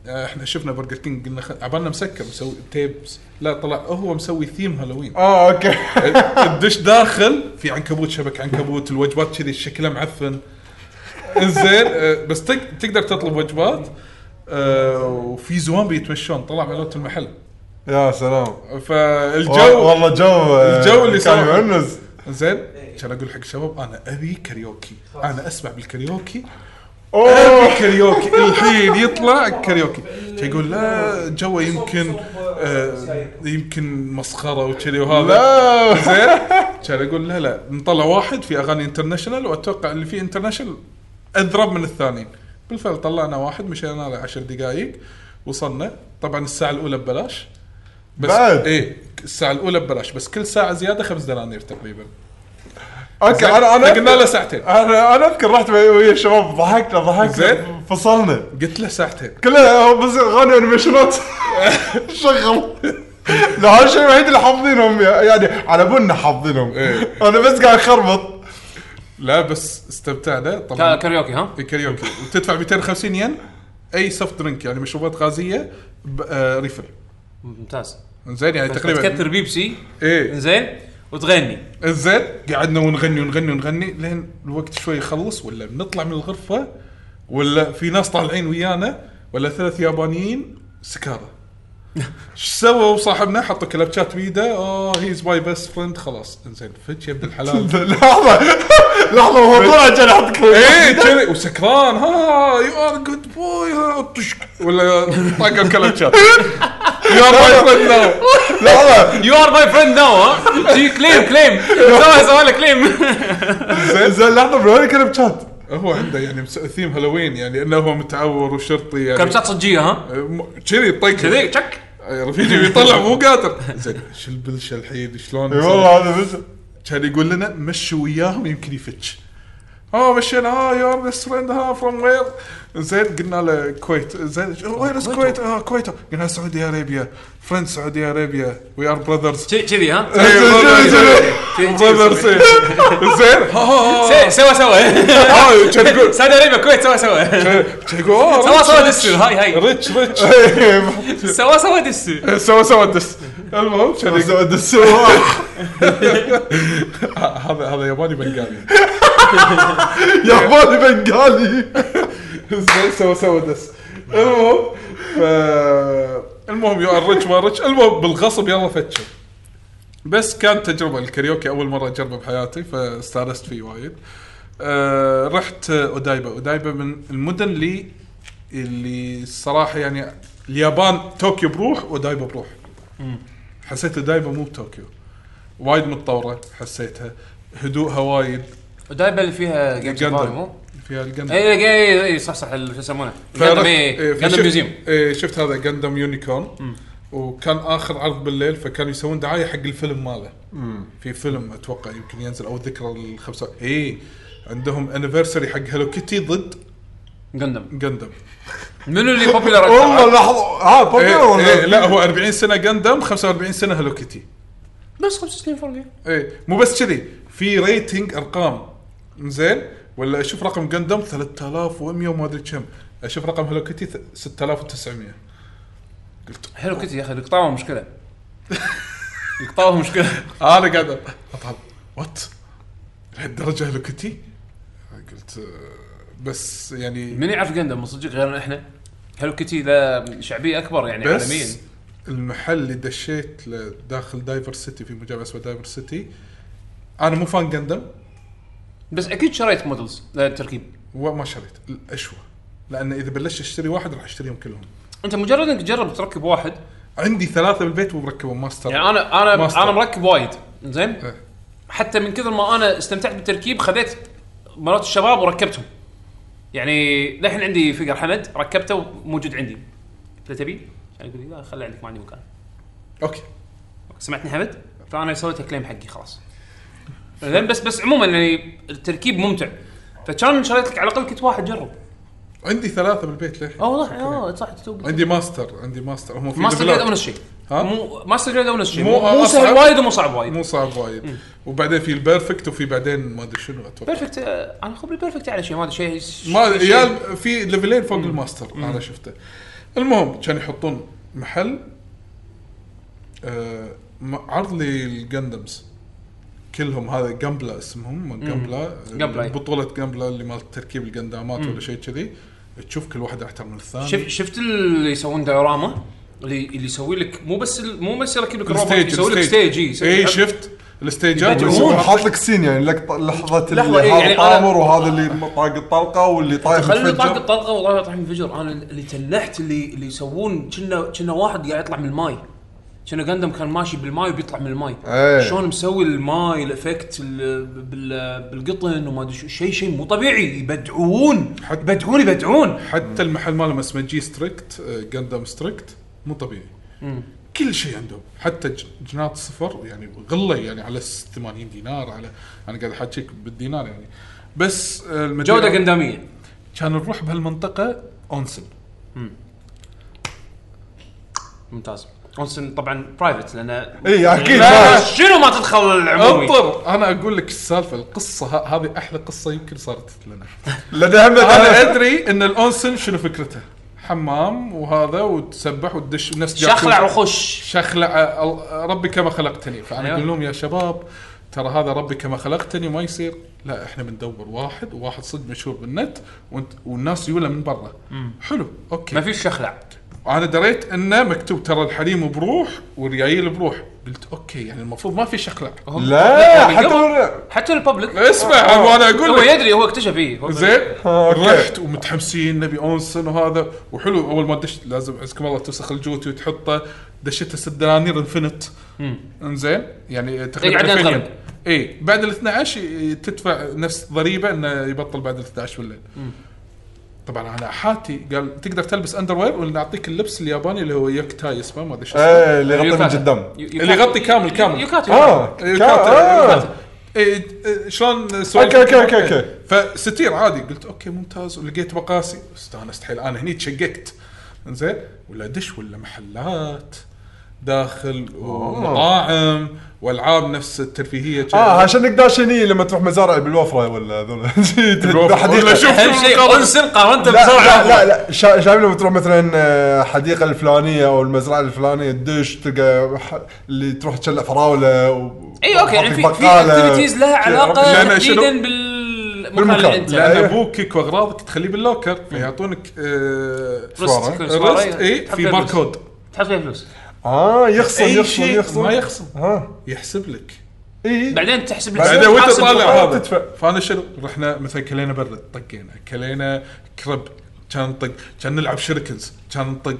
[SPEAKER 3] آه، احنا شفنا برجر كينج قلنا خ- عبالنا مسكر مسوي تيبس لا طلع هو مسوي ثيم هالوين
[SPEAKER 2] اه اوكي
[SPEAKER 3] الدش داخل في عنكبوت شبك عنكبوت الوجبات كذي شكلها معفن زين آه، بس تق- تقدر تطلب وجبات آه، وفي زوامبي يتمشون طلع على لوت المحل
[SPEAKER 2] يا سلام
[SPEAKER 3] فالجو
[SPEAKER 2] والله جو آه،
[SPEAKER 3] الجو اللي
[SPEAKER 2] كان
[SPEAKER 3] صار.
[SPEAKER 2] يونس
[SPEAKER 3] زين عشان اقول حق الشباب انا ابي كاريوكي انا اسمع بالكاريوكي
[SPEAKER 2] اوه
[SPEAKER 3] كاريوكي الحين يطلع كاريوكي كان يقول لا جوا يمكن آه يمكن مسخره وكذي وهذا
[SPEAKER 2] لا
[SPEAKER 3] زين كان اقول لا لا نطلع واحد في اغاني انترناشونال واتوقع اللي فيه انترناشونال اذرب من الثاني بالفعل طلعنا واحد مشينا له 10 دقائق وصلنا طبعا الساعه الاولى ببلاش بس
[SPEAKER 2] بعد؟
[SPEAKER 3] ايه الساعه الاولى ببلاش بس كل ساعه زياده خمس دنانير تقريبا
[SPEAKER 2] اوكي انا انا
[SPEAKER 3] قلنا له ساعتين
[SPEAKER 2] انا انا اذكر رحت ويا الشباب ضحكنا ضحكنا
[SPEAKER 3] زين.
[SPEAKER 2] فصلنا
[SPEAKER 3] قلت له ساعتين
[SPEAKER 2] كلها هو بس اغاني انيميشنات شغل لا هذا الشيء الوحيد اللي حافظينهم يعني على بالنا حافظينهم
[SPEAKER 3] إيه.
[SPEAKER 2] انا بس قاعد اخربط
[SPEAKER 3] لا بس استمتعنا
[SPEAKER 1] كا-
[SPEAKER 3] طبعا
[SPEAKER 1] كاريوكي ها؟
[SPEAKER 3] كاريوكي وتدفع 250 ين اي سوفت درينك يعني مشروبات غازيه ب- آه، ريفل
[SPEAKER 1] ممتاز
[SPEAKER 3] زين يعني
[SPEAKER 1] تقريبا
[SPEAKER 3] تقريبا
[SPEAKER 1] تكثر بيبسي
[SPEAKER 3] ايه
[SPEAKER 1] زين وتغني
[SPEAKER 3] زين قعدنا ونغني ونغني ونغني لين الوقت شوي يخلص ولا بنطلع من الغرفه ولا في ناس طالعين ويانا ولا ثلاث يابانيين سكاره شو سووا صاحبنا حطوا كلابشات بيده آه، اوه هيز ماي بيست فريند خلاص انزين فتش يا ابن الحلال
[SPEAKER 2] لحظه لحظه هو طلع كان يحط
[SPEAKER 3] ايه كذي وسكران ها يو ار جود بوي طشك ولا طاق الكلبشات يو ار ماي فريند ناو
[SPEAKER 2] لحظه
[SPEAKER 1] يو ار ماي فريند ناو ها جي كليم كليم سوى سوى له كليم
[SPEAKER 2] زين لحظه من وين كان بشات؟
[SPEAKER 3] هو عنده يعني مس- ثيم هالوين يعني انه هو متعور وشرطي يعني
[SPEAKER 1] كلبشات صجيه ها
[SPEAKER 3] م- كذي طق
[SPEAKER 1] كذي تشك
[SPEAKER 3] رفيجي بيطلع مو قادر زين شو البلشه الحين شلون
[SPEAKER 2] اي إيه، والله هذا بس
[SPEAKER 3] كان يقول لنا مشوا وياهم يمكن يفتش اه مشينا اه يور بيست فريند ها فروم وير زين قلنا له كويت زين وين از كويت اه كويت قلنا سعودي ارابيا فريند سعودي ارابيا وي ار براذرز
[SPEAKER 1] كذي ها
[SPEAKER 3] براذرز زين ها ها ها
[SPEAKER 1] سي- سوى سوى
[SPEAKER 3] ها كان يقول
[SPEAKER 1] سعودي ارابيا كويت سوى سوى
[SPEAKER 3] كان يقول اه
[SPEAKER 1] سوى
[SPEAKER 3] ريتش،
[SPEAKER 1] سوى دسو هاي هاي
[SPEAKER 3] ريتش ريتش
[SPEAKER 2] إيه،
[SPEAKER 1] سوى سوى دسو
[SPEAKER 3] سوى سوى دس المهم كان يقول-
[SPEAKER 2] زود السواق
[SPEAKER 3] هذا هذا ياباني بنغالي
[SPEAKER 2] ياباني بنغالي
[SPEAKER 3] زين سوى سوى دس المهم ف المهم يو ار ريتش ما ريتش المهم بالغصب يلا فتشوا بس كانت تجربه الكاريوكي اول مره اجربه بحياتي فاستانست فيه وايد أه رحت اودايبا اودايبا من المدن اللي اللي الصراحه يعني اليابان طوكيو بروح اودايبا بروح
[SPEAKER 1] Mm.
[SPEAKER 3] حسيت اودايبا مو بطوكيو وايد متطوره حسيتها هدوءها وايد
[SPEAKER 1] ودايبا اللي فيها جيم
[SPEAKER 3] جندم.
[SPEAKER 1] سفاري مو؟
[SPEAKER 3] فيها الجندم
[SPEAKER 1] اي اي اي صح صح ال- شو يسمونه؟
[SPEAKER 3] فرحت-
[SPEAKER 1] جندم اي
[SPEAKER 3] إيه،
[SPEAKER 1] جندم
[SPEAKER 3] فشفت-
[SPEAKER 1] ميوزيوم
[SPEAKER 3] إيه، شفت هذا جندم يونيكورن وكان اخر عرض بالليل فكانوا يسوون دعايه حق الفيلم ماله في فيلم اتوقع يمكن ينزل او ذكرى الخمسة اي عندهم انيفرساري حق هالو كيتي ضد
[SPEAKER 1] جندم
[SPEAKER 3] جندم
[SPEAKER 1] منو اللي
[SPEAKER 4] Oh,
[SPEAKER 1] بوبيلر
[SPEAKER 2] والله
[SPEAKER 1] اكثر؟
[SPEAKER 2] لحظه ها
[SPEAKER 3] إيه
[SPEAKER 2] بابير
[SPEAKER 3] إيه
[SPEAKER 2] ولا
[SPEAKER 3] لا هو 40 سنه جندم 45 سنه هالو كيتي
[SPEAKER 1] بس خمس سنين فرق
[SPEAKER 3] اي إيه، مو بس كذي في ريتنج ارقام زين ولا اشوف رقم جندم 3100 وما ادري كم اشوف رقم هالو كيتي 6900 قلت
[SPEAKER 1] حلو كتي يا اخي القطاوه مشكله القطاوه مشكله
[SPEAKER 3] انا قاعد اطالع وات لهالدرجه هلو كيتي قلت آه، بس يعني
[SPEAKER 1] من يعرف جندم من صدق غيرنا احنا هلو كيتي ذا شعبيه اكبر يعني عالميا
[SPEAKER 3] بس المحل اللي دشيت له داخل دايفر سيتي في مجال اسمه دايفر سيتي انا مو فان جندم
[SPEAKER 1] بس اكيد شريت مودلز للتركيب
[SPEAKER 3] وما شريت الاشوى لان اذا بلشت اشتري واحد راح اشتريهم كلهم
[SPEAKER 1] انت مجرد انك تجرب تركب واحد
[SPEAKER 3] عندي ثلاثه بالبيت ومركبهم ماستر
[SPEAKER 1] يعني انا انا
[SPEAKER 3] ماستر.
[SPEAKER 1] انا مركب وايد زين
[SPEAKER 3] إيه.
[SPEAKER 1] حتى من كثر ما انا استمتعت بالتركيب خذيت مرات الشباب وركبتهم يعني للحين عندي فقر حمد ركبته وموجود عندي انت تبي؟ يعني يقول لي لا خلي عندك ما عندي مكان
[SPEAKER 3] اوكي
[SPEAKER 1] سمعتني حمد؟ فانا سويت كليم حقي خلاص. زين بس بس عموما يعني التركيب ممتع. فكان شريت لك على الاقل كنت واحد جرب.
[SPEAKER 3] عندي ثلاثه بالبيت للحين
[SPEAKER 1] اه والله اه صح تتوب.
[SPEAKER 3] عندي ماستر عندي ماستر هم في
[SPEAKER 1] ماستر
[SPEAKER 3] ليفلات.
[SPEAKER 1] جريد اونس شيء.
[SPEAKER 3] ها؟
[SPEAKER 1] مو ماستر جريد اونس شيء.
[SPEAKER 3] مو
[SPEAKER 1] مو, مو
[SPEAKER 3] أصعب.
[SPEAKER 1] سهل وايد ومو صعب وايد.
[SPEAKER 3] مو صعب وايد وبعدين في البيرفكت وفي بعدين ما ادري شنو اتوقع
[SPEAKER 1] بيرفكت آه، انا خبري بيرفكت على شيء ما ادري شيء شيء-
[SPEAKER 3] ما
[SPEAKER 1] شيء-
[SPEAKER 3] يا في ليفلين فوق الماستر انا شفته المهم كانوا يحطون محل آه م- عرض لي الجندمز كلهم هذا جمبلا اسمهم جمبلا
[SPEAKER 1] جمبلا،
[SPEAKER 3] آه،
[SPEAKER 1] أي.
[SPEAKER 3] بطولة جمبلا اللي مال تركيب الجندامات ولا شيء كذي تشوف كل واحد احتر من
[SPEAKER 1] شف
[SPEAKER 3] الثاني
[SPEAKER 1] شفت اللي يسوون ديوراما اللي اللي يسوي لك مو بس ال- مو بس يركب لك الروبوت
[SPEAKER 3] الستيج-
[SPEAKER 1] يسوي لك
[SPEAKER 3] الستيج. إيه،
[SPEAKER 1] ستيج إي، يسوي
[SPEAKER 3] اي
[SPEAKER 1] لك-
[SPEAKER 3] شفت الستيجات
[SPEAKER 1] يبدعون.
[SPEAKER 3] ويسوون-
[SPEAKER 2] حاط لك سين يعني لقطة- لحظة
[SPEAKER 1] لحظة،
[SPEAKER 2] اللي
[SPEAKER 1] إيه، يعني
[SPEAKER 2] هذا
[SPEAKER 1] أنا-
[SPEAKER 2] طامر وهذا اللي طاق الطلقة واللي طايح
[SPEAKER 1] خلي طاق
[SPEAKER 2] يتفجر.
[SPEAKER 1] الطلقه والله يطلع منفجر انا اللي تنحت اللي اللي يسوون كنا كنا واحد قاعد يطلع من الماي كنا قندم كان ماشي بالماي وبيطلع من الماي
[SPEAKER 2] إيه.
[SPEAKER 1] شلون مسوي الماي الافكت ال- بال- بالقطن وما ادري شو- شيء شيء مو طبيعي يبدعون
[SPEAKER 3] حتى-
[SPEAKER 1] يبدعون يبدعون
[SPEAKER 3] حتى المحل ماله مسمجي ستريكت جندم ستريكت آه، مو طبيعي كل شيء عندهم حتى ج- جنات صفر يعني غله يعني على س- 80 دينار على انا قاعد احكيك بالدينار يعني بس آه، المدينة-
[SPEAKER 1] جوده قنداميه
[SPEAKER 3] كان نروح بهالمنطقه اونسن
[SPEAKER 1] ممتاز اونسن طبعا برايفت لان
[SPEAKER 2] اي اكيد
[SPEAKER 1] لا،
[SPEAKER 2] إيه، لا.
[SPEAKER 1] شنو ما تدخل العمومي
[SPEAKER 3] انطر انا اقول لك السالفه القصه ه- هذه احلى قصه يمكن صارت لنا
[SPEAKER 2] لان هم
[SPEAKER 3] انا ادري ان الاونسن شنو فكرتها حمام وهذا وتسبح وتدش ونفس
[SPEAKER 1] شخلع وخش
[SPEAKER 3] شخلع أل- ربي كما خلقتني فانا
[SPEAKER 1] أيوة.
[SPEAKER 3] اقول لهم يا شباب ترى هذا ربي كما خلقتني ما يصير لا احنا بندور واحد وواحد صدق مشهور بالنت وانت- والناس يوله من برا حلو اوكي
[SPEAKER 1] ما فيش شخلع
[SPEAKER 3] انا دريت انه مكتوب ترى الحليم بروح والريايل بروح قلت اوكي يعني المفروض ما في شخلع
[SPEAKER 1] هم-
[SPEAKER 2] لا
[SPEAKER 1] من
[SPEAKER 2] حتى
[SPEAKER 1] قبل.
[SPEAKER 2] ولا-
[SPEAKER 1] حتى الببليك
[SPEAKER 3] اسمع وانا
[SPEAKER 1] آه، هو
[SPEAKER 3] اقول لك
[SPEAKER 1] يدري هو اكتشف فيه هو-
[SPEAKER 3] زين
[SPEAKER 2] آه، أوكي.
[SPEAKER 3] رحت ومتحمسين نبي اونسن وهذا وحلو اول ما دشت لازم عزكم الله توسخ الجوتي وتحطه دشته ست دنانير انفنت انزين يعني تقريبا
[SPEAKER 1] يقعد
[SPEAKER 3] ألفين
[SPEAKER 1] ينقلب.
[SPEAKER 3] ين. اي بعد ال 12 ي- تدفع نفس ضريبه انه يبطل بعد ال 12 بالليل طبعا انا حاتي قال تقدر تلبس اندر وير ولا نعطيك اللبس الياباني اللي هو يكتاي اسمه ما ادري شو اسمه
[SPEAKER 2] ايه اللي يغطي من
[SPEAKER 1] يوكاتا.
[SPEAKER 2] قدام
[SPEAKER 1] يو-
[SPEAKER 3] اللي يغطي كامل كامل
[SPEAKER 1] يوكاتا
[SPEAKER 2] اه
[SPEAKER 3] إيه،
[SPEAKER 2] كا-
[SPEAKER 3] كات
[SPEAKER 2] آه.
[SPEAKER 3] إيه إيه، شلون
[SPEAKER 2] أوكي، أوكي، أوكي، أوكي.
[SPEAKER 3] فستير عادي قلت اوكي ممتاز ولقيت مقاسي استانست حيل انا هني تشققت زين ولا دش ولا محلات داخل ومطاعم والعاب نفس الترفيهيه
[SPEAKER 2] اه عشان نقدر شني لما تروح مزارع بالوفره ولا هذول
[SPEAKER 3] بالوفرة. ولا شوف.
[SPEAKER 1] اهم شيء انسر قارنته
[SPEAKER 2] لا لا
[SPEAKER 1] بسرعه
[SPEAKER 2] لا, لا شا- شايف لما تروح مثلا آه، حديقه الفلانيه او المزرعه الفلانيه تدش تلقى ح- اللي تروح تشلع فراوله و...
[SPEAKER 1] اي اوكي يعني في في
[SPEAKER 2] بقالة.
[SPEAKER 1] اكتيفيتيز لها علاقه
[SPEAKER 3] لأن شنو؟
[SPEAKER 1] تحديدا بالمكان
[SPEAKER 2] بالمكان.
[SPEAKER 1] اللي انت
[SPEAKER 2] لا،
[SPEAKER 3] لان
[SPEAKER 2] أيوة.
[SPEAKER 3] بوكك واغراضك تخليه باللوكر فيعطونك آه،
[SPEAKER 1] رست-
[SPEAKER 3] رست اي
[SPEAKER 1] تحط
[SPEAKER 3] في
[SPEAKER 1] فيها فلوس.
[SPEAKER 3] باركود
[SPEAKER 1] إيه، تحط فيها فلوس
[SPEAKER 2] اه يخصم
[SPEAKER 3] اي
[SPEAKER 2] يخصم
[SPEAKER 3] شيء
[SPEAKER 2] يخصم
[SPEAKER 3] ما يخصم
[SPEAKER 2] ها
[SPEAKER 3] يحسب لك
[SPEAKER 2] اي
[SPEAKER 1] بعدين تحسب
[SPEAKER 2] بعدين
[SPEAKER 3] بعدين وانت
[SPEAKER 1] تحاسب
[SPEAKER 3] طالع
[SPEAKER 2] بالقرار
[SPEAKER 3] هذا
[SPEAKER 2] تدفع.
[SPEAKER 3] فانا شنو رحنا مثلا كلينا برد طقينا كلينا كرب كان نطق كان نلعب شركنز كان نطق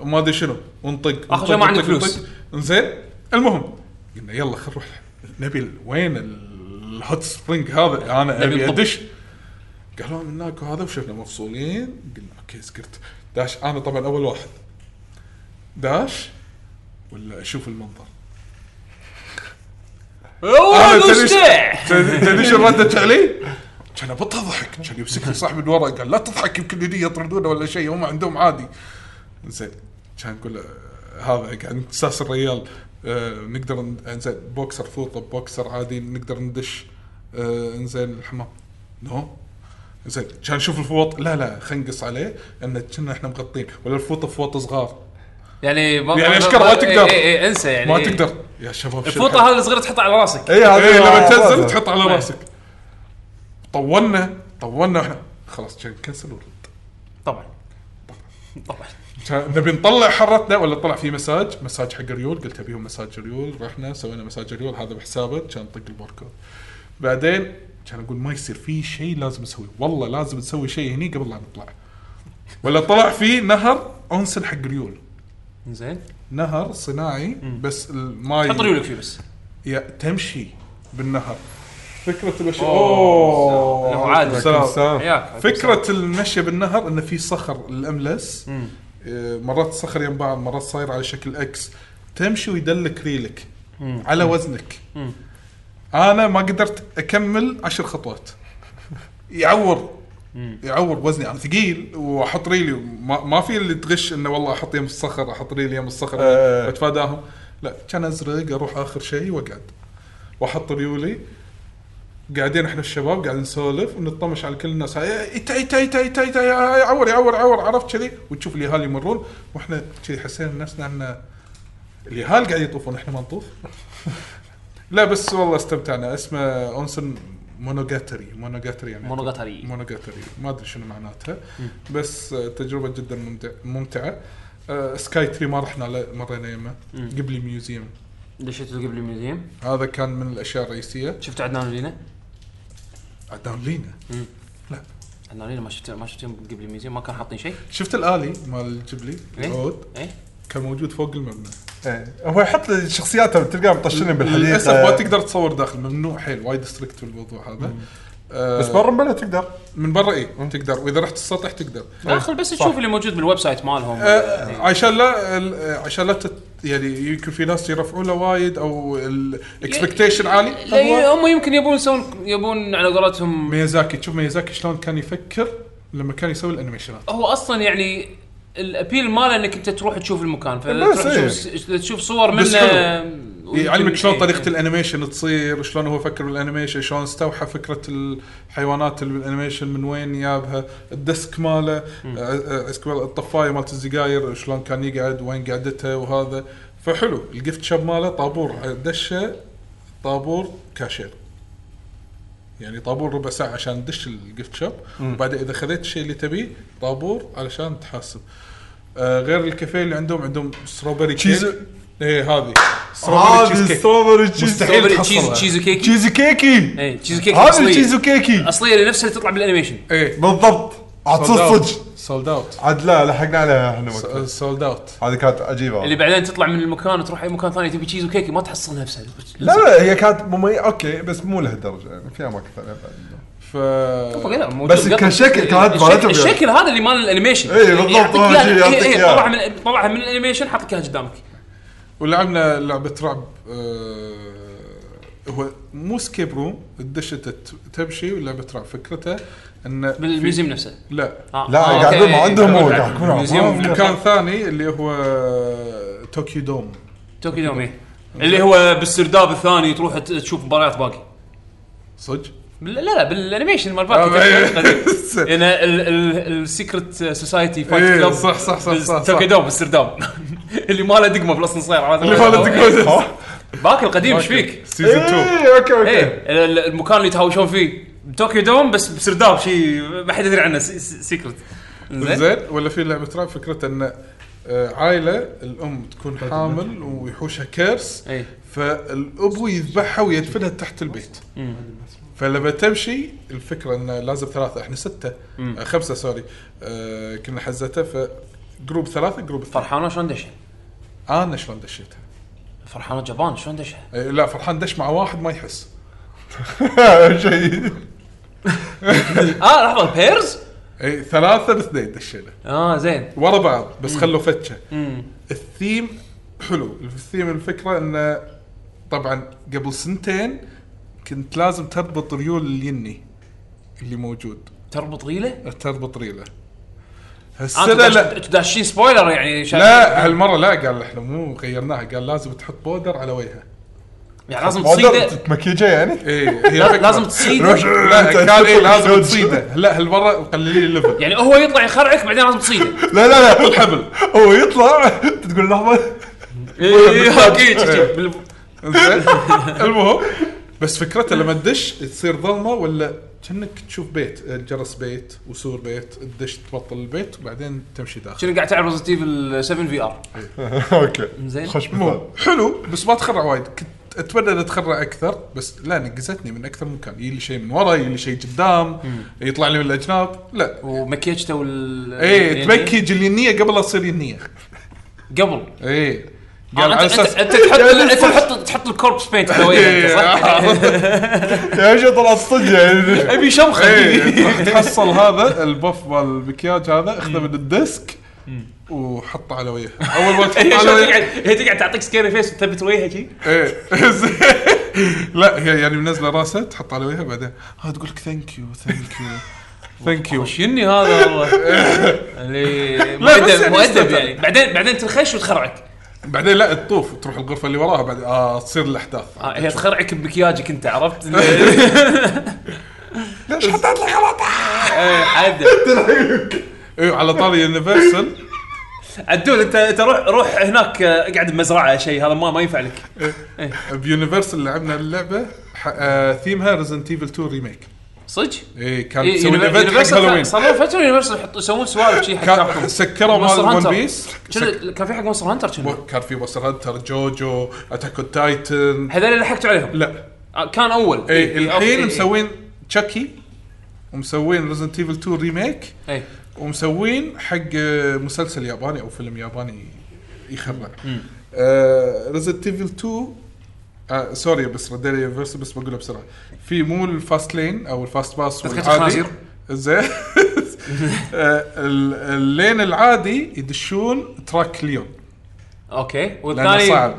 [SPEAKER 3] وما ادري شنو ونطق
[SPEAKER 1] آخر شيء
[SPEAKER 3] ونطق،
[SPEAKER 1] ما عندي
[SPEAKER 3] ونطق،
[SPEAKER 1] فلوس.
[SPEAKER 3] ونطق. انزين المهم قلنا يلا خل نروح نبي ال- وين ال- الهوت سبرينج هذا انا
[SPEAKER 1] نبي
[SPEAKER 3] ابي
[SPEAKER 1] نطب.
[SPEAKER 3] ادش قالوا لنا هناك وهذا وشفنا مفصولين قلنا اوكي سكرت داش انا طبعا اول واحد داش ولا اشوف المنظر
[SPEAKER 1] اوه
[SPEAKER 3] أنا تدري
[SPEAKER 1] دوش
[SPEAKER 3] شو-
[SPEAKER 1] ده.
[SPEAKER 3] تدري تدري شو ردت فعلي؟ كان ابط اضحك كان يمسكني صاحبي من ورا قال لا تضحك يمكن يدي يطردونه ولا شيء هم عندهم عادي زين كان نقول له، هذا قاعد نساس الريال آه، نقدر ن- انزين بوكسر فوطه بوكسر عادي نقدر ندش آه، انزين الحمام نو زين كان نشوف الفوط لا لا خلينا نقص عليه ان كنا احنا مغطين ولا الفوطه فوط صغار
[SPEAKER 1] يعني ما
[SPEAKER 3] يعني أشكال ما تقدر.
[SPEAKER 1] اي اي انسى يعني
[SPEAKER 3] ما تقدر يا شباب شو
[SPEAKER 1] الفوطه هذه الصغيره تحطها على راسك
[SPEAKER 2] اي هذا
[SPEAKER 3] اي إيه، لما
[SPEAKER 2] آه،
[SPEAKER 3] تنزل
[SPEAKER 2] هذا.
[SPEAKER 3] تحط على راسك طولنا طولنا احنا خلاص كان كنسل ورد
[SPEAKER 1] طبعا طبعا
[SPEAKER 3] كان نبي نطلع حرتنا ولا طلع في مساج مساج حق ريول قلت ابيهم مساج ريول رحنا سوينا مساج ريول هذا بحسابه كان طق الباركود بعدين كان اقول ما يصير في شيء لازم نسويه والله لازم نسوي شيء هني قبل لا نطلع ولا طلع في نهر انسن حق ريول
[SPEAKER 1] زين
[SPEAKER 3] نهر صناعي بس
[SPEAKER 2] طيب.
[SPEAKER 3] الماي
[SPEAKER 1] حط ريولك فيه بس
[SPEAKER 3] يا تمشي بالنهر فكرة المشي اوه
[SPEAKER 1] له عادي.
[SPEAKER 3] سلام.
[SPEAKER 2] سلام.
[SPEAKER 1] حياك
[SPEAKER 3] فكرة المشي بالنهر انه في صخر الاملس آه، مرات الصخر يم بعض مرات صاير على شكل اكس تمشي ويدلك ريلك على وزنك انا ما قدرت اكمل عشر خطوات يعور يعور وزني انا ثقيل واحط ريلي ما, ما في اللي تغش انه والله احط يم الصخر احط ريلي يم الصخر
[SPEAKER 2] آه.
[SPEAKER 3] اتفاداهم لا كان ازرق اروح اخر شيء واقعد واحط ريولي قاعدين احنا الشباب قاعدين نسولف ونطمش على كل الناس هاي ايتا ايتا ايتا ايتا ايتا يا- يعور يعور يعور عرفت كذي وتشوف اليهال يمرون واحنا كذي حسينا نفسنا ان اليهال قاعد يطوفون احنا ما نطوف لا بس والله استمتعنا اسمه اونسن مونوجاتري مونوجاتري يعني
[SPEAKER 1] مونوجاتري.
[SPEAKER 3] مونوجاتري ما ادري شنو معناتها بس آه، تجربه جدا ممتع- ممتعه آه، سكاي تري ما رحنا له مرينا يمه قبلي ميوزيوم
[SPEAKER 1] دشيت قبل الميوزيوم
[SPEAKER 3] هذا كان من الاشياء الرئيسيه
[SPEAKER 1] شفت عدنان ولينا
[SPEAKER 3] عدنان لينا
[SPEAKER 1] عدنان ولينا ما شفت ما شفتهم قبل الميوزيوم ما كان حاطين شيء
[SPEAKER 3] شفت الالي مال الجبلي
[SPEAKER 1] إيه؟
[SPEAKER 3] العود
[SPEAKER 1] اي
[SPEAKER 3] كان موجود فوق المبنى
[SPEAKER 2] إيه. هو يحط شخصياته تلقاه مطشرين بالحديقه
[SPEAKER 3] للاسف ما تقدر تصور داخل ممنوع حيل وايد ستريكت في الموضوع هذا آه،
[SPEAKER 2] بس برا بلا تقدر
[SPEAKER 3] من برا اي تقدر واذا رحت السطح تقدر
[SPEAKER 1] داخل بس تشوف اللي موجود بالويب سايت مالهم
[SPEAKER 3] آه، عشان لا ال- آه، عشان لا تت- يعني يمكن في ناس يرفعون له وايد او الاكسبكتيشن عالي
[SPEAKER 1] لأن
[SPEAKER 3] هو
[SPEAKER 1] هم يمكن يبون يسوون يبون على قولتهم
[SPEAKER 3] ميازاكي تشوف ميازاكي شلون كان يفكر لما كان يسوي الانيميشنات
[SPEAKER 1] هو اصلا يعني الابيل ماله انك انت تروح تشوف المكان
[SPEAKER 2] بس
[SPEAKER 1] فتروح
[SPEAKER 2] إيه.
[SPEAKER 1] تشوف تشوف صور
[SPEAKER 3] بس
[SPEAKER 1] منه
[SPEAKER 3] حلو. يعلمك شلون
[SPEAKER 1] إيه.
[SPEAKER 3] طريقه الانيميشن تصير شلون هو فكر بالانيميشن شلون استوحى فكره الحيوانات اللي بالانيميشن من وين جابها الديسك ماله آه، آه، اسكوير- الطفايه مالت الزقاير شلون كان يقعد وين قعدته وهذا فحلو الجفت شاب ماله طابور دشه طابور كاشير يعني طابور ربع ساعه عشان تدش الجفت شوب وبعدين اذا خذيت الشيء اللي تبيه طابور علشان تحاسب آه غير الكافيه اللي عندهم عندهم ستروبري
[SPEAKER 2] تشيز-
[SPEAKER 3] كيك ايه هذه ستروبري
[SPEAKER 2] هذه
[SPEAKER 3] تشيز كيك
[SPEAKER 2] ستروبري تشيز
[SPEAKER 3] مستحيل
[SPEAKER 1] صوبري
[SPEAKER 3] تحصلها.
[SPEAKER 1] تشيز تشيز كيكي
[SPEAKER 2] تشيز كيكي
[SPEAKER 1] اي تشيز كيكي
[SPEAKER 2] هذا التشيز
[SPEAKER 1] اصليه
[SPEAKER 2] كيكي
[SPEAKER 1] اصليه اللي نفسها اللي تطلع بالانيميشن
[SPEAKER 3] ايه
[SPEAKER 2] بالضبط عاد صدق صدق
[SPEAKER 3] سولد اوت
[SPEAKER 2] عاد لا لحقنا عليها احنا وقتها.
[SPEAKER 3] سولد اوت
[SPEAKER 2] هذه كانت عجيبه
[SPEAKER 1] اللي بعدين تطلع من المكان وتروح اي مكان ثاني تبي تشيز وكيكي ما تحصل نفسها
[SPEAKER 2] لا لا هي كانت مميزه اوكي بس مو لهالدرجه يعني في اماكن ثانيه بعد.
[SPEAKER 3] ف
[SPEAKER 1] لا، موجود.
[SPEAKER 2] بس كشكل كانت
[SPEAKER 1] الشك-
[SPEAKER 2] مالتهم يعني.
[SPEAKER 1] إيه، الشكل هذا اللي مال الانيميشن
[SPEAKER 2] إيه، بالضبط،
[SPEAKER 1] يعطيك
[SPEAKER 2] هو
[SPEAKER 1] إياه-
[SPEAKER 2] شي
[SPEAKER 1] إيه،
[SPEAKER 2] يعطيك
[SPEAKER 1] إيه،
[SPEAKER 2] إياه.
[SPEAKER 1] طلعها من طلعها من الانيميشن حاطك اياها قدامك
[SPEAKER 3] ولعبنا لعبه رعب آه هو مو سكيب روم تدش أنت ت- تمشي ولعبه رعب فكرتها ان في-
[SPEAKER 1] بالميوزيوم نفسه
[SPEAKER 3] لا
[SPEAKER 1] آه،
[SPEAKER 2] لا
[SPEAKER 1] آه،
[SPEAKER 2] قاعد
[SPEAKER 1] أوكي.
[SPEAKER 2] يقول ما عندهم هو
[SPEAKER 1] بالعكس.
[SPEAKER 2] قاعد يقول ما
[SPEAKER 1] الميوزيوم
[SPEAKER 2] عندهم.
[SPEAKER 3] مكان ثاني اللي هو طوكيو دوم
[SPEAKER 1] توكي دومي اللي هو بالسرداب الثاني تروح ت- تشوف مباريات باقي
[SPEAKER 3] صدق
[SPEAKER 1] بال- لا لا بالانيميشن مال
[SPEAKER 3] آه،
[SPEAKER 1] باقي
[SPEAKER 3] إيه.
[SPEAKER 1] هنا السيكرت سوسايتي
[SPEAKER 3] إيه، صح، صح، صح، صح، صح.
[SPEAKER 1] توكي دوم بالسرداب اللي ما له دقمه بالاصل صغير
[SPEAKER 3] اللي ما له دقمة.
[SPEAKER 2] ها؟
[SPEAKER 1] باقي القديم ايش فيك؟
[SPEAKER 3] سيزون 2
[SPEAKER 2] إيه، اوكي اوكي
[SPEAKER 1] ايه ال- ال- المكان اللي يتهاوشون فيه بطوكيو دوم بس بسرداب شيء ما حد يدري عنه سي- سي- سيكرت زين
[SPEAKER 3] زين ولا في لعبه رعب فكرتها ان آه، عائله الام تكون حامل ويحوشها كيرس
[SPEAKER 1] اي
[SPEAKER 3] فالابو يذبحها ويدفنها تحت البيت فلما تمشي الفكره ان لازم ثلاثه احنا سته آه، خمسه سوري آه، كنا حزتها فجروب ثلاثه جروب اثنين
[SPEAKER 1] فرحانه شلون دشها؟
[SPEAKER 3] انا شلون دشيتها
[SPEAKER 1] فرحانه جبان شلون دشها؟
[SPEAKER 3] آه، لا فرحان دش مع واحد ما يحس
[SPEAKER 2] شيء
[SPEAKER 1] اه لحظه بيرز؟
[SPEAKER 3] اي ثلاثه إيه، باثنين دشينا
[SPEAKER 1] اه زين
[SPEAKER 3] ورا بعض بس خلوا فتشه الثيم حلو الثيم الفكره انه طبعا قبل سنتين كنت لازم تربط ريول اليني اللي موجود
[SPEAKER 1] تربط ريله؟
[SPEAKER 3] تربط ريله
[SPEAKER 1] آه،
[SPEAKER 3] هالسنه
[SPEAKER 1] انتوا
[SPEAKER 3] لا
[SPEAKER 1] داش- انتوا داشين سبويلر يعني شا-
[SPEAKER 3] لا هالمره لا قال احنا مو غيرناها قال لازم تحط بودر على وجهها
[SPEAKER 1] يعني لازم تصيده
[SPEAKER 2] مودرن مكيجه يعني
[SPEAKER 3] ايه هي
[SPEAKER 1] إيه، لا-
[SPEAKER 3] الفكرة.
[SPEAKER 1] لازم
[SPEAKER 2] روح.
[SPEAKER 1] تصيده
[SPEAKER 3] لا كان ايه لازم
[SPEAKER 2] تحط-
[SPEAKER 3] تصيده لا هالمره مقللين الليفل
[SPEAKER 1] يعني هو يطلع يخرعك بعدين لازم تصيده
[SPEAKER 2] لا لا لا
[SPEAKER 3] الحبل
[SPEAKER 2] هو يطلع تقول لحظه
[SPEAKER 1] إيه، اوكي شي- شي. بال-
[SPEAKER 3] زين المهم بس فكرته لما تدش تصير ظلمه ولا كأنك تشوف بيت جرس بيت وسور بيت تدش تبطل البيت وبعدين تمشي داخل
[SPEAKER 1] شنو قاعد تعرض ريزنت ايفل 7 في ار
[SPEAKER 2] اوكي
[SPEAKER 1] زين.
[SPEAKER 2] خش
[SPEAKER 3] مو
[SPEAKER 2] مثال
[SPEAKER 3] حلو بس ما تخرع وايد كنت اتمنى ان اتخرع اكثر بس لا نقزتني من اكثر من مكان يجي شيء من ورا يجي شيء قدام يطلع لي من الاجناب لا
[SPEAKER 1] ومكيجته وال يعني
[SPEAKER 3] ايه تبكي جلينيه قبل لا تصير ينيه
[SPEAKER 1] قبل
[SPEAKER 3] ايه
[SPEAKER 1] آه،
[SPEAKER 3] قال على إيه، آه.
[SPEAKER 1] انت
[SPEAKER 3] اساس
[SPEAKER 1] انت أنت تحط انت تحط تحط الكوربس بينت على وجهك صح؟
[SPEAKER 2] يا شيخ طلعت صدق يعني
[SPEAKER 1] ابي شمخه
[SPEAKER 3] ايه
[SPEAKER 1] إيه.
[SPEAKER 3] راح تحصل هذا البف مال المكياج هذا اخذه من الديسك وحطه على وجهه اول ما
[SPEAKER 1] هي
[SPEAKER 3] تحطه على
[SPEAKER 1] شلون
[SPEAKER 3] وجهه
[SPEAKER 1] تقعد هي تقعد تعطيك سكيري فيس وتثبت وجهها شي
[SPEAKER 3] ايه زين. لا هي يعني منزله راسها تحط على وجهها بعدين ها تقول لك ثانك يو ثانك يو ثانك يو
[SPEAKER 1] وشني هذا والله اللي
[SPEAKER 3] لا،
[SPEAKER 1] مؤدب
[SPEAKER 3] بس يعني
[SPEAKER 1] مؤدب
[SPEAKER 3] استمتع.
[SPEAKER 1] يعني بعدين بعدين تنخش وتخرعك
[SPEAKER 3] بعدين لا تطوف تروح الغرفه اللي وراها بعد آه تصير الاحداث
[SPEAKER 1] آه، هي تخرعك بمكياجك انت عرفت؟
[SPEAKER 2] ليش حطيت لك
[SPEAKER 1] إيه، عدل
[SPEAKER 3] ايه على طاري يونيفرسال
[SPEAKER 1] عدول انت انت روح روح هناك آه، اقعد بمزرعه شيء هذا ما ما ينفع لك
[SPEAKER 3] بيونيفرسال إيه. لعبنا اللعبه ح- آه ثيمها ريزنت ايفل 2 ريميك
[SPEAKER 1] صدق؟
[SPEAKER 3] ايه كان
[SPEAKER 1] إيه،
[SPEAKER 3] يسوي ايفنت حق
[SPEAKER 1] يونيفرسال
[SPEAKER 3] هالوين
[SPEAKER 1] كان- صار لهم فتره يونيفرسال يحطوا- يسوون سوالف شي حق
[SPEAKER 3] كان
[SPEAKER 1] كابكوم.
[SPEAKER 3] سكروا مال
[SPEAKER 1] مونستر
[SPEAKER 3] ون
[SPEAKER 1] هانتر.
[SPEAKER 3] بيس
[SPEAKER 1] شنو- كان في حق مونستر هانتر كنا
[SPEAKER 3] كان في مونستر هانتر جوجو اتاك اون تايتن
[SPEAKER 1] هذول اللي لحقتوا عليهم
[SPEAKER 3] لا
[SPEAKER 1] آه، كان اول
[SPEAKER 3] اي
[SPEAKER 1] أوكي، إيه،
[SPEAKER 3] الحين مسوين تشاكي ومسوين ريزنت ايفل 2 ريميك
[SPEAKER 1] إيه.
[SPEAKER 3] ومسوين حق آه، مسلسل ياباني او فيلم ياباني يخرع آه ريزنت ايفل 2 آه سوري بس ردينا يونيفرسال بس بقولها بسرعه في مو الفاست لين او الفاست باس
[SPEAKER 1] تذكرة
[SPEAKER 3] والعادي
[SPEAKER 1] الخنازير.
[SPEAKER 3] زين آه، ال- اللين العادي يدشون تراك ليون
[SPEAKER 1] اوكي والثاني
[SPEAKER 3] صعب.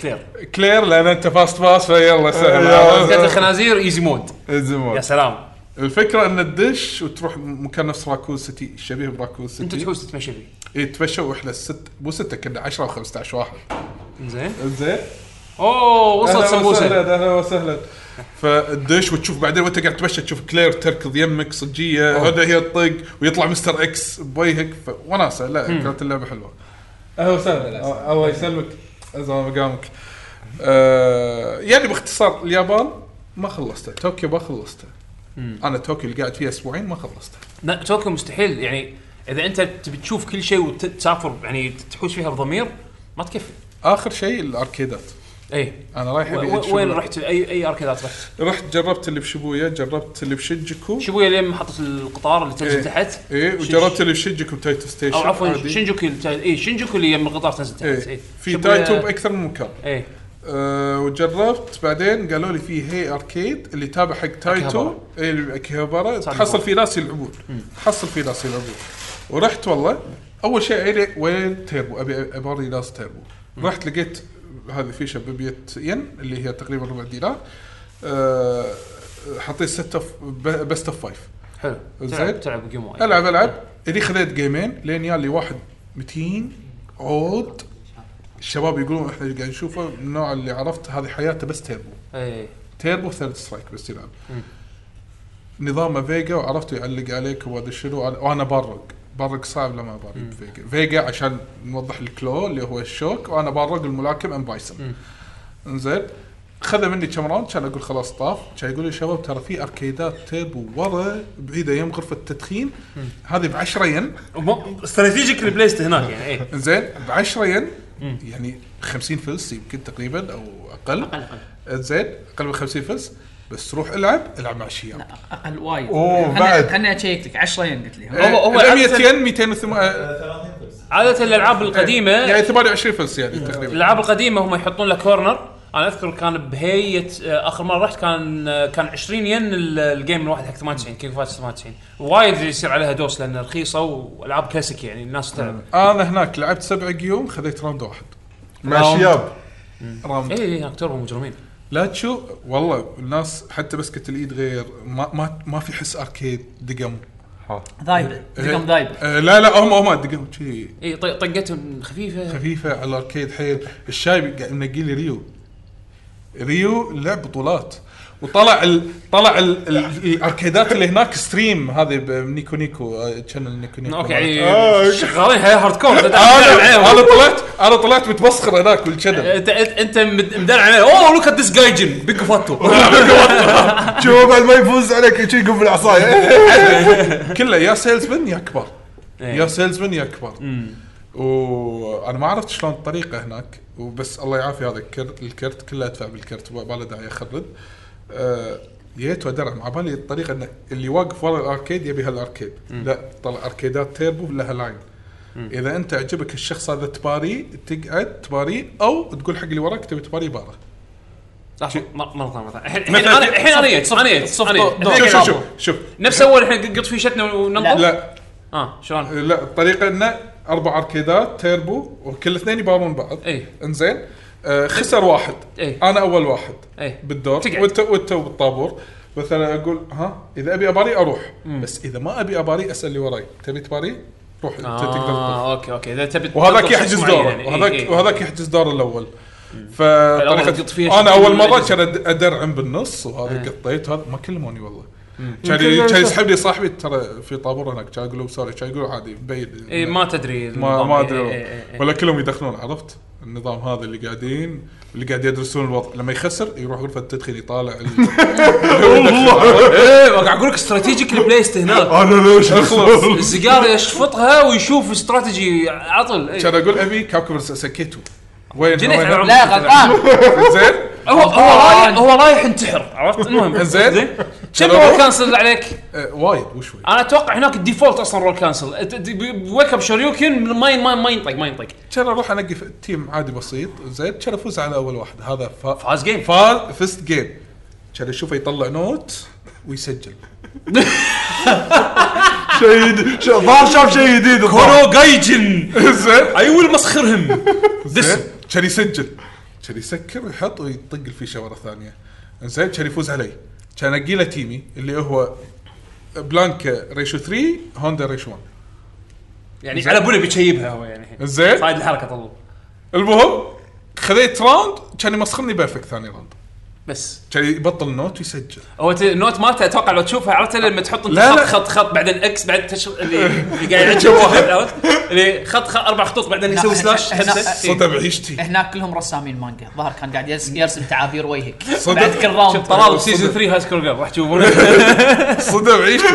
[SPEAKER 1] كلير
[SPEAKER 3] كلير لان انت فاست باس فيلا آه.
[SPEAKER 1] قتل
[SPEAKER 3] سهل
[SPEAKER 1] الخنازير ايزي مود يا
[SPEAKER 2] زمان
[SPEAKER 1] سلام
[SPEAKER 3] الفكره ان تدش وتروح مكان نفس راكون سيتي شبيه براكون
[SPEAKER 1] انت
[SPEAKER 3] سيتي
[SPEAKER 1] تحوس تتمشى فيه
[SPEAKER 3] اي تفشوا احنا ست مو سته كنا 10 و15 واحد
[SPEAKER 1] زين
[SPEAKER 3] زين
[SPEAKER 1] اوه وصلت سمبوسه
[SPEAKER 3] اهلا وسهلا فتدش وتشوف بعدين وانت قاعد تمشى تشوف كلير تركض يمك صجيه هذا هي الطق ويطلع مستر اكس بوجهك وناسه لا كانت اللعبه حلوه اهلا وسهلا الله يسلمك زمان مقامك آه، يعني باختصار اليابان ما خلصته طوكيو ما خلصته انا طوكيو اللي قاعد فيها اسبوعين ما خلصته
[SPEAKER 1] لا طوكيو مستحيل يعني اذا انت تبي تشوف كل شيء وتسافر يعني تحوش فيها بضمير ما تكفي
[SPEAKER 3] اخر شيء الاركيدات
[SPEAKER 1] اي
[SPEAKER 3] انا رايح
[SPEAKER 1] و-
[SPEAKER 3] أبي
[SPEAKER 1] و-
[SPEAKER 3] أشوف-
[SPEAKER 1] وين رحت اي اي اركيدات رحت؟
[SPEAKER 3] رحت جربت اللي بشبويا جربت اللي بشينجكو
[SPEAKER 1] شبويا لين محطه القطار اللي تنزل
[SPEAKER 3] إيه.
[SPEAKER 1] تحت
[SPEAKER 3] ايه
[SPEAKER 1] شينج-
[SPEAKER 3] وجربت اللي بشينجكو تايتو ستيشن
[SPEAKER 1] او عفوا
[SPEAKER 3] عادي.
[SPEAKER 1] شينجوكي اي شينجوكي إيه، اللي يم القطار تنزل تحت إيه.
[SPEAKER 3] ايه
[SPEAKER 1] اي
[SPEAKER 3] في تايتو باكثر من مكان
[SPEAKER 1] اي
[SPEAKER 3] أه وجربت بعدين قالوا لي في هي اركيد اللي تابع حق تايتو
[SPEAKER 1] أكيهابارا.
[SPEAKER 3] اي اللي اكيهابارا
[SPEAKER 1] صار
[SPEAKER 3] تحصل
[SPEAKER 1] يبغى.
[SPEAKER 3] في ناس يلعبون تحصل في ناس يلعبون ورحت والله اول شيء عيني وين تيربو ابي اباري ناس تيربو رحت لقيت هذه فيشه ب 100 ين اللي هي تقريبا ربع دينار أه حطيت ست اوف بست اوف فايف
[SPEAKER 1] حلو
[SPEAKER 3] زين.
[SPEAKER 1] تلعب تلعب جيم وايد.
[SPEAKER 3] العب العب اللي خذيت جيمين لين يالي واحد متين عود الشباب يقولون احنا اللي قاعد نشوفه من النوع اللي عرفت هذه حياته بس تيربو
[SPEAKER 1] اي
[SPEAKER 3] تيربو ثيرد سترايك بس يلعب نظامه فيجا وعرفته يعلق عليك وما ادري شنو وأنا- وانا برق برق صعب لما برق فيجا فيجا عشان نوضح الكلو اللي هو الشوك وانا برق الملاكم ام بايسن انزين خذ مني كم راوند كان اقول خلاص طاف كان يقول لي شباب ترى في اركيدات تيربو ورا بعيده يم غرفه التدخين هذه ب 10 ين
[SPEAKER 1] وم- استراتيجيك البليست هناك يعني اي
[SPEAKER 3] زين ب 10 ين يعني 50 فلس يمكن تقريبا او اقل
[SPEAKER 5] اقل اقل
[SPEAKER 3] زين اقل من 50 فلس بس روح العب العب مع شياب
[SPEAKER 5] اقل وايد
[SPEAKER 3] أوه،
[SPEAKER 5] خلنا-
[SPEAKER 3] بعد.
[SPEAKER 5] خلنا اشيك لك 10 ين قلت لي
[SPEAKER 1] هو- هو
[SPEAKER 3] إيه، إذا
[SPEAKER 1] عادة-
[SPEAKER 3] 100 ين 208
[SPEAKER 1] عاده الالعاب
[SPEAKER 3] يعني
[SPEAKER 1] القديمه
[SPEAKER 3] 28 فلس يعني تقريبا
[SPEAKER 1] الالعاب القديمه هم يحطون لك كورنر انا اذكر كان بهيئه آه، اخر مره رحت كان آه، كان 20 ين ال- الجيم الواحد حق 98 كينج فايترز 98 وايد يصير عليها دوس لان رخيصه والعاب كلاسيك يعني الناس تلعب
[SPEAKER 3] انا هناك لعبت سبع قيوم خذيت راوند واحد
[SPEAKER 2] مع
[SPEAKER 1] راوند.
[SPEAKER 2] شياب
[SPEAKER 3] راوند
[SPEAKER 1] اي هناك تربو مجرمين
[SPEAKER 3] لا تشو والله الناس حتى مسكه الايد غير ما ما, ما في حس اركيد دقم إيه.
[SPEAKER 5] ذايبه دقم ذايبه
[SPEAKER 3] آه، لا لا هم هم دقم شي
[SPEAKER 1] اي إيه، طي- طقتهم خفيفه
[SPEAKER 3] خفيفه على الاركيد حيل الشاي قاعد منقي لي ريو ريو لعب بطولات وطلع ال... طلع ال... ال... الاركيدات اللي هناك ستريم هذه بنيكو نيكو آه، تشانل نيكو نيكو
[SPEAKER 1] اوكي
[SPEAKER 3] مالت-
[SPEAKER 2] آه.
[SPEAKER 1] يعني شغالين حياه هارد كور
[SPEAKER 3] آه، انا انا طلعت انا طلعت متمسخر هناك والشنل
[SPEAKER 1] انت انت انت مد- مدلع عليه اوه لوك ات ذيس جاي جن بيج فاتو
[SPEAKER 2] شوف بعد ما يفوز عليك شي يقوم بالعصايه
[SPEAKER 3] كله يا سيلزمان يا كبار
[SPEAKER 1] إيه.
[SPEAKER 3] يا سيلزمان يا كبار وانا ما عرفت شلون الطريقه هناك وبس الله يعافي هذا الكرت الكرت كله ادفع بالكرت ما ما له داعي اخرب آه، جيت ودرع على بالي الطريقه ان اللي واقف ورا الاركيد يبي هالاركيد لا طلع اركيدات تيربو لها لاين اذا انت عجبك الشخص هذا تباري تقعد تباري او تقول حق اللي وراك تبي تباري باره
[SPEAKER 1] لحظه مر- مره ثانيه مره ثانية. الحين الحين انا الحين انا جيت انا جيت انا جيت.
[SPEAKER 3] شوف
[SPEAKER 1] الحين
[SPEAKER 3] شوف
[SPEAKER 1] قاعد
[SPEAKER 3] شوف
[SPEAKER 1] ألعب.
[SPEAKER 3] شوف
[SPEAKER 1] نفس اول الحين قط فيشتنا وننطر
[SPEAKER 3] لا إيه،
[SPEAKER 1] اه شلون
[SPEAKER 3] لا الطريقه انه اربع اركيدات تيربو وكل اثنين يبارون بعض
[SPEAKER 1] إيه.
[SPEAKER 3] انزين آه خسر واحد
[SPEAKER 1] إيه.
[SPEAKER 3] انا اول واحد
[SPEAKER 1] إيه.
[SPEAKER 3] بالدور
[SPEAKER 1] تقعد.
[SPEAKER 3] وانت وانت بالطابور مثلا اقول ها اذا ابي اباري اروح بس اذا ما ابي اباري اسال اللي وراي تبي تباري روح انت تقدر تروح.
[SPEAKER 1] اه اوكي اوكي اذا تبي
[SPEAKER 3] وهذاك
[SPEAKER 1] تضبط شخص
[SPEAKER 3] يحجز
[SPEAKER 1] معين
[SPEAKER 3] دوره
[SPEAKER 1] يعني. إي،
[SPEAKER 3] وهذاك
[SPEAKER 1] إي.
[SPEAKER 3] وهذاك يحجز دوره الاول
[SPEAKER 1] فالأول
[SPEAKER 3] فطريقه
[SPEAKER 1] تقط فيها
[SPEAKER 3] انا
[SPEAKER 1] شيء
[SPEAKER 3] اول مره
[SPEAKER 1] بالأجهزة.
[SPEAKER 3] كان أد- ادرعم بالنص
[SPEAKER 1] إيه.
[SPEAKER 3] وهذا قطيت هذا ما كلموني والله كان
[SPEAKER 2] يمكن
[SPEAKER 3] كان
[SPEAKER 2] لأن-
[SPEAKER 3] يسحب لي صاحبي ترى في طابور هناك كان اقول له سوري كان يقول عادي مبين
[SPEAKER 1] اي إيه، ما تدري إيه،
[SPEAKER 3] ما
[SPEAKER 1] النظام.
[SPEAKER 3] ما
[SPEAKER 1] إي،
[SPEAKER 3] ادري
[SPEAKER 1] إي،
[SPEAKER 3] والله.
[SPEAKER 1] إي، إي.
[SPEAKER 3] ولا كلهم يدخلون عرفت النظام هذا اللي قاعدين اللي قاعد يدرسون الوضع لما يخسر يروح غرفه التدخين يطالع
[SPEAKER 1] ايه قاعد اقول لك استراتيجيك البليست هناك
[SPEAKER 2] انا ليش
[SPEAKER 1] السيجاره يشفطها ويشوف استراتيجي عطل إي.
[SPEAKER 3] كان اقول ابي كوكب سكيتو وين
[SPEAKER 1] جنيت
[SPEAKER 3] وين؟
[SPEAKER 1] على عمري.
[SPEAKER 5] لا غلطان
[SPEAKER 3] زين
[SPEAKER 1] هو هو رايح هو رايح انتحر عرفت المهم
[SPEAKER 3] زين.
[SPEAKER 1] كم هو كانسل عليك؟
[SPEAKER 3] آه، وايد وشوي
[SPEAKER 1] انا اتوقع هناك الديفولت اصلا رول كانسل ت- ت- ب- بويك اب شوريوكن ما ما ما ينطق ما ينطق
[SPEAKER 3] كان اروح انقي في تيم عادي بسيط زين كان افوز على اول واحد هذا فا
[SPEAKER 1] فاز جيم
[SPEAKER 3] فا فست جيم كان اشوفه يطلع نوت ويسجل
[SPEAKER 2] شيء ظهر شاف شيء جديد الظاهر.
[SPEAKER 1] جايجن
[SPEAKER 3] زين
[SPEAKER 1] اي ويل مسخرهم
[SPEAKER 3] زين كان يسجل كان يسكر ويحط ويطق الفيشه مره ثانيه زين كان يفوز علي كان انقي له تيمي اللي هو بلانكا ريشو 3 هوندا ريشو 1
[SPEAKER 1] يعني على بوله بيشيبها هو يعني الحين.
[SPEAKER 3] زين
[SPEAKER 1] صايد الحركه طلول
[SPEAKER 3] المهم خذيت راوند كان يمسخرني بيرفكت ثاني راوند
[SPEAKER 1] بس
[SPEAKER 3] كان يبطل النوت ويسجل
[SPEAKER 1] هو ت- النوت مالته اتوقع لو تشوفها عرفت لما تحط انت
[SPEAKER 3] لا،
[SPEAKER 1] خط
[SPEAKER 3] لا.
[SPEAKER 1] خط خط بعدين اكس بعدين تش... اللي اللي قاعد يعجب واحد عرفت اللي خط, خط اربع خطوط بعدين يسوي سلاش
[SPEAKER 5] هنا-
[SPEAKER 1] خمسة.
[SPEAKER 3] صدى بعيشتي
[SPEAKER 5] هناك كلهم رسامين مانجا الظاهر كان قاعد يرس- يرسم تعابير وجهك
[SPEAKER 3] صدق.
[SPEAKER 5] بعد كل راوند
[SPEAKER 1] شوف طلال سيزون 3 هاي سكول جيرل راح تشوفونه
[SPEAKER 3] صدى بعيشتي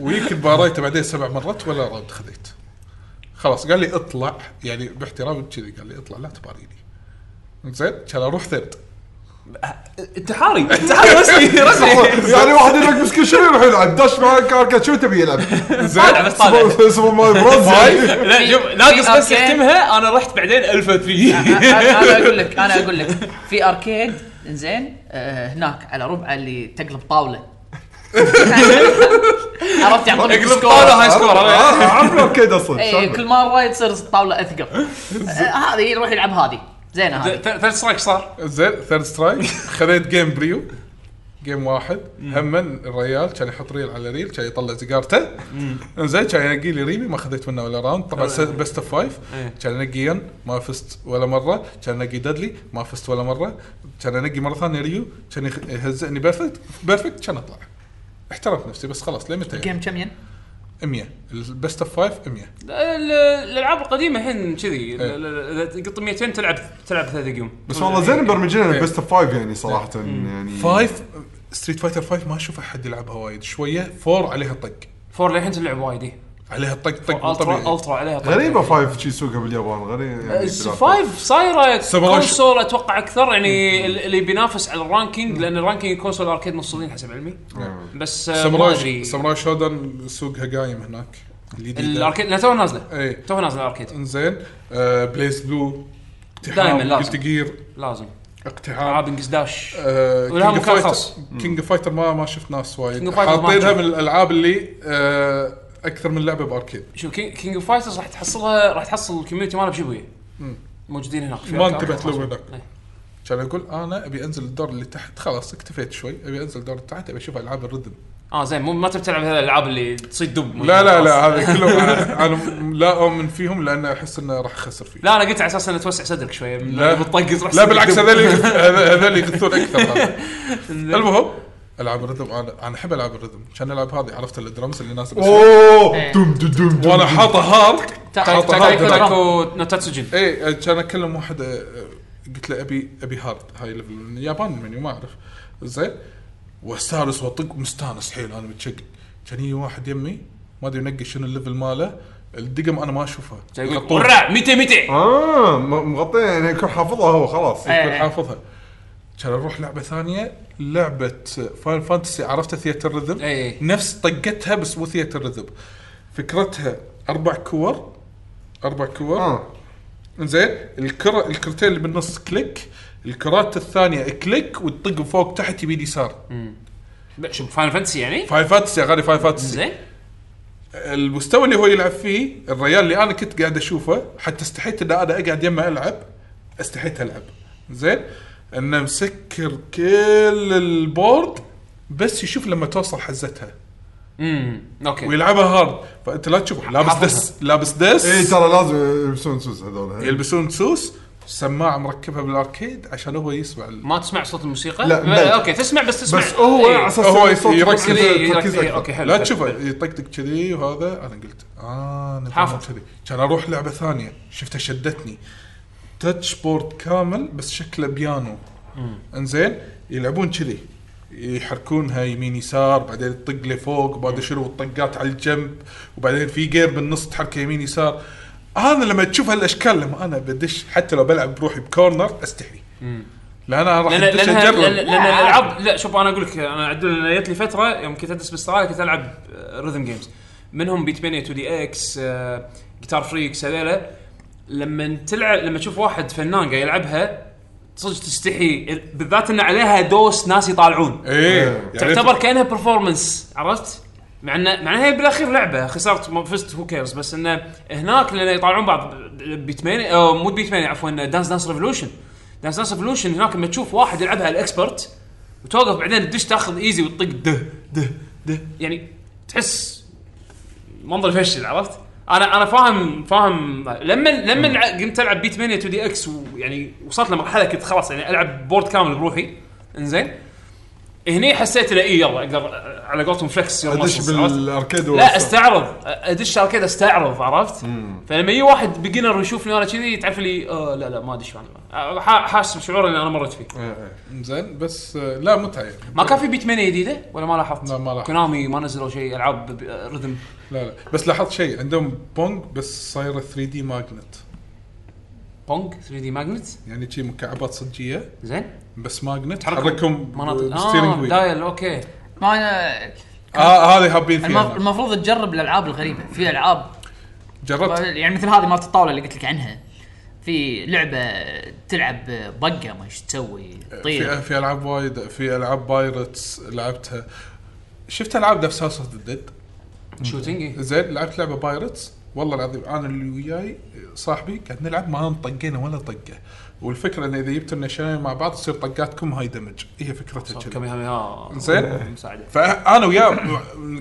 [SPEAKER 3] ويمكن باريته بعدين سبع مرات ولا راوند خذيت خلاص قال لي اطلع يعني باحترام كذي قال لي اطلع لا تباريني زين كان اروح ثيرد
[SPEAKER 1] انتحاري انتحاري رسمي رسمي
[SPEAKER 2] يعني واحد يقول لك مسكين شنو يروح يلعب داش معك كاركات شو تبي يلعب؟
[SPEAKER 1] طالع بس طالع
[SPEAKER 2] سوبر ماري بروز يعني.
[SPEAKER 1] لا شوف ناقص بس يختمها انا رحت بعدين الفا 3
[SPEAKER 5] انا اقول لك انا اقول لك في اركيد انزين آه، هناك على ربعه اللي تقلب طاوله عرفت يعطونك
[SPEAKER 1] اقلب
[SPEAKER 5] سكور.
[SPEAKER 1] طاوله هاي سكور أنا-
[SPEAKER 2] آه، عارف الاركيد اصلا
[SPEAKER 5] اي إيه، كل مره يصير الطاوله اثقل آه، هذه يروح يلعب هذه زينه هذه
[SPEAKER 1] ث- ثلاث سترايك صار
[SPEAKER 3] زين ثيرد سترايك خذيت جيم بريو جيم واحد هم الريال كان يحط ريل على ريل كان يطلع سيجارته زين كان ينقي لي ريبي ما خذيت منه ولا راوند طبعا بيست اوف فايف
[SPEAKER 1] إيه.
[SPEAKER 3] كان انقي ين ما فزت ولا مره كان انقي دادلي ما فزت ولا مره كان انقي مره ثانيه ريو كان يخ- يهزئني بيرفكت بيرفكت كان اطلع احترمت نفسي بس خلاص لين متى
[SPEAKER 5] جيم كم ين؟
[SPEAKER 3] 100 البيست اوف فايف 100
[SPEAKER 1] ال- الالعاب القديمه الحين كذي
[SPEAKER 3] إيه.
[SPEAKER 1] ال- ال- اذا تقط 200 تلعب تلعب ثلاث جيم
[SPEAKER 2] بس والله زين مبرمجين
[SPEAKER 3] إيه.
[SPEAKER 2] البيست اوف فايف يعني صراحه يعني
[SPEAKER 3] فايف ستريت فايتر فايف ما اشوف احد يلعبها وايد شويه فور عليها طق
[SPEAKER 1] فور للحين تلعب وايد إيه.
[SPEAKER 3] عليها طق طق مو طبيعي.
[SPEAKER 1] الترا الترا عليها طيب. طبعاً.
[SPEAKER 2] غريبه فايف شي سوقها باليابان غريبه يعني
[SPEAKER 1] س- فايف صايره
[SPEAKER 3] ساموراي شو-
[SPEAKER 1] كونسول اتوقع اكثر يعني ال- اللي بينافس على الرانكينج لان الرانكينج كونسول اركيد مفصولين حسب علمي
[SPEAKER 2] آه.
[SPEAKER 1] بس آه، ما ادري
[SPEAKER 3] ساموراي ساموراي شودن سوقها قايم هناك الجديده
[SPEAKER 1] الاركيد لا توها نازله
[SPEAKER 3] اي
[SPEAKER 1] توها نازله الاركيد
[SPEAKER 3] انزين إيه. آه بليز بلو
[SPEAKER 1] دايماً لازم.
[SPEAKER 3] قلت جير
[SPEAKER 1] لازم
[SPEAKER 3] اقتحام
[SPEAKER 1] العاب انجز داش
[SPEAKER 3] آه
[SPEAKER 1] ولها
[SPEAKER 3] كينج
[SPEAKER 1] مكان
[SPEAKER 3] فايتر
[SPEAKER 1] خاص.
[SPEAKER 3] كينج فايتر ما ما شفت ناس
[SPEAKER 1] King
[SPEAKER 3] وايد
[SPEAKER 1] of Fighter ما
[SPEAKER 3] حاطينها
[SPEAKER 1] شفت.
[SPEAKER 3] من الالعاب اللي آه اكثر من لعبه باركيد
[SPEAKER 1] شوف كينج اوف فايترز راح تحصلها راح تحصل الكوميونتي ماله بشبويه موجودين هناك في
[SPEAKER 3] ما
[SPEAKER 1] أركيد
[SPEAKER 3] انتبهت
[SPEAKER 1] خاص.
[SPEAKER 3] لو هناك.
[SPEAKER 1] إيه.
[SPEAKER 3] كان اقول انا ابي انزل الدور اللي تحت خلاص اكتفيت شوي ابي انزل الدور اللي تحت ابي اشوف العاب الرذم
[SPEAKER 1] اه زين مو ما تبي تلعب هذه الالعاب اللي تصيد دب
[SPEAKER 3] لا لا لا هذا كلهم انا أنا لا اؤمن فيهم لان احس انه راح اخسر فيه
[SPEAKER 1] لا انا قلت على اساس انه توسع صدرك يعني شويه
[SPEAKER 3] لا.
[SPEAKER 1] بتطقز راح
[SPEAKER 3] لا
[SPEAKER 1] صدرك
[SPEAKER 3] بالعكس
[SPEAKER 1] دب.
[SPEAKER 3] هذول هذول يغثون اكثر هذا. المهم العاب الرذم انا انا احب العاب الرذم عشان العب هذه عرفت الدرمز اللي ناس
[SPEAKER 2] اوه
[SPEAKER 5] إيه.
[SPEAKER 2] دم دم دم دم.
[SPEAKER 3] وانا حاطه هارد
[SPEAKER 5] تاك-
[SPEAKER 3] حاطه
[SPEAKER 5] تاك-
[SPEAKER 3] هارد
[SPEAKER 5] تاك-
[SPEAKER 1] تاكو نوتاتسوجن
[SPEAKER 3] اي كان اكلم واحد آه، آه، قلت له ابي ابي هارد هاي ليفل من اليابان المنيو ما اعرف زين واستانس واطق مستانس حيل انا متشقق كان يجي واحد يمي ما ادري ينقي شنو الليفل ماله الدقم انا ما اشوفها
[SPEAKER 1] يقول
[SPEAKER 3] يغطون.
[SPEAKER 1] ورع 200 200
[SPEAKER 2] اه م- مغطيه يعني يكون حافظها هو خلاص
[SPEAKER 5] إيه.
[SPEAKER 3] يكون حافظها كان اروح لعبه ثانيه لعبه فاين فانتسي عرفتها ثياتر ريذم
[SPEAKER 1] إيه.
[SPEAKER 3] نفس طقتها بس مو ثياتر ريذم فكرتها اربع كور اربع كور
[SPEAKER 4] آه.
[SPEAKER 2] اه
[SPEAKER 3] زين الكرة الكرتين اللي بالنص كليك الكرات الثانيه كليك وتطق فوق تحت يمين يسار
[SPEAKER 1] لا، شوف فاينل فانتسي يعني
[SPEAKER 3] فايف فانتسي يا غالي فايف فانتسي
[SPEAKER 1] زين
[SPEAKER 3] المستوى اللي هو يلعب فيه الريال اللي انا كنت قاعد اشوفه حتى استحيت ان انا اقعد يمه العب استحيت العب زين انه مسكر كل البورد بس يشوف لما توصل حزتها
[SPEAKER 1] امم اوكي
[SPEAKER 3] ويلعبها هارد فانت لا تشوفه لابس
[SPEAKER 1] حافظها.
[SPEAKER 3] دس لابس دس
[SPEAKER 4] إيه،
[SPEAKER 2] اي إيه، ترى لازم يلبسون سوس هذول
[SPEAKER 3] يلبسون سوس سماعه مركبها بالاركيد عشان هو يسمع ال-
[SPEAKER 1] ما تسمع صوت الموسيقى
[SPEAKER 2] لا، بل.
[SPEAKER 1] اوكي تسمع بس تسمع
[SPEAKER 2] بس هو
[SPEAKER 1] إيه.
[SPEAKER 2] على اساس
[SPEAKER 3] هو
[SPEAKER 2] إنه صوت
[SPEAKER 3] يركز-
[SPEAKER 2] تركيز-
[SPEAKER 1] إيه،
[SPEAKER 2] تركيز
[SPEAKER 1] يركز- إيه،
[SPEAKER 2] أكثر.
[SPEAKER 1] اوكي حلو
[SPEAKER 3] لا
[SPEAKER 1] حلو.
[SPEAKER 3] تشوفه يطقطق كذي وهذا انا قلت اه نظام
[SPEAKER 1] حافظ.
[SPEAKER 3] كذي كان اروح لعبه ثانيه شفتها شدتني تاتش بورد كامل بس شكله بيانو انزين يلعبون كذي يحركونها يمين يسار بعدين تطق لفوق وبعدين شنو الطقات على الجنب وبعدين في جير بالنص تحركه يمين يسار انا لما تشوف هالاشكال لما انا بدش حتى لو بلعب بروحي بكورنر استحي لا انا راح
[SPEAKER 1] لأن-
[SPEAKER 3] ادش
[SPEAKER 1] لأنها- لأن
[SPEAKER 3] اجرب
[SPEAKER 1] لأن الالعاب لا شوف انا اقول لك انا عدل أنا جت لي فتره يوم كنت ادرس باستراليا كنت العب ريذم جيمز منهم بيت مانيا 2 دي اكس جيتار فريكس آه، هذيلا لما تلعب لما تشوف واحد فنان قاعد يلعبها صدق تستحي بالذات ان عليها دوس ناس يطالعون
[SPEAKER 3] ايه يعني
[SPEAKER 1] تعتبر كانها برفورمنس عرفت؟ مع ان مع انها هي بالاخير لعبه خسرت ما فزت هو كيرز بس انه هناك لان يطالعون بعض بيتمين أو مو بيتمين عفوا دانس دانس ريفولوشن دانس دانس ريفولوشن هناك لما تشوف واحد يلعبها الاكسبرت وتوقف بعدين تدش تاخذ ايزي وتطق ده ده ده يعني تحس منظر فشل عرفت؟ انا انا فاهم فاهم لما لما نع- قمت العب بيت مانيا 2 دي اكس ويعني يعني وصلت لمرحله كنت خلاص يعني العب بورد كامل بروحي انزين هني حسيت انه اي يلا اقدر أ- على قولتهم فلكس your
[SPEAKER 2] ادش
[SPEAKER 1] muscles، عرفت؟
[SPEAKER 2] بالاركيد
[SPEAKER 1] لا استعرض ادش اركيد استعرض عرفت؟ فلما يجي واحد بيجنر يشوفني انا كذي تعرف لي آه لا لا ما ادري شو انا ح- حاسس بشعور اللي انا مريت فيه
[SPEAKER 2] إيه،
[SPEAKER 3] زين بس آه، لا متعه يعني.
[SPEAKER 1] ما كان في بيت مانيا جديده ولا ما لاحظت؟
[SPEAKER 3] لا، ما لاحظت.
[SPEAKER 1] كونامي ما نزلوا شيء العاب ب- رذم
[SPEAKER 3] لا لا بس لاحظت شيء عندهم بونج بس صايره 3 دي ماجنت
[SPEAKER 1] بونج 3 دي ماجنت
[SPEAKER 3] يعني شي مكعبات صجيه
[SPEAKER 1] زين
[SPEAKER 3] بس ماجنت
[SPEAKER 1] تحركهم
[SPEAKER 3] تحركهم
[SPEAKER 1] مناطق
[SPEAKER 3] بالستيرنج
[SPEAKER 1] اه
[SPEAKER 3] ويل
[SPEAKER 1] دايل اوكي
[SPEAKER 5] ما انا
[SPEAKER 3] آه، هذه هابين
[SPEAKER 5] المف-
[SPEAKER 3] فيها
[SPEAKER 5] المفروض تجرب الالعاب الغريبه في العاب
[SPEAKER 1] طيب.
[SPEAKER 3] جربت
[SPEAKER 5] يعني مثل هذه مالت الطاوله اللي قلت لك عنها في لعبه تلعب بقه ما ايش تسوي
[SPEAKER 3] في,
[SPEAKER 5] طير
[SPEAKER 3] في العاب وايد في العاب بايرتس لعبتها شفت العاب نفس هاوس اوف ذا ديد
[SPEAKER 1] شوتنج
[SPEAKER 3] زين لعبت لعبه بايرتس والله العظيم انا اللي وياي صاحبي قاعد نلعب ما انطقينا ولا طقه والفكره انه اذا جبتوا لنا شيئين مع بعض تصير طقاتكم هاي دمج هي فكرتها كذي.
[SPEAKER 1] كم هم
[SPEAKER 3] زين
[SPEAKER 1] مساعده
[SPEAKER 3] فانا وياه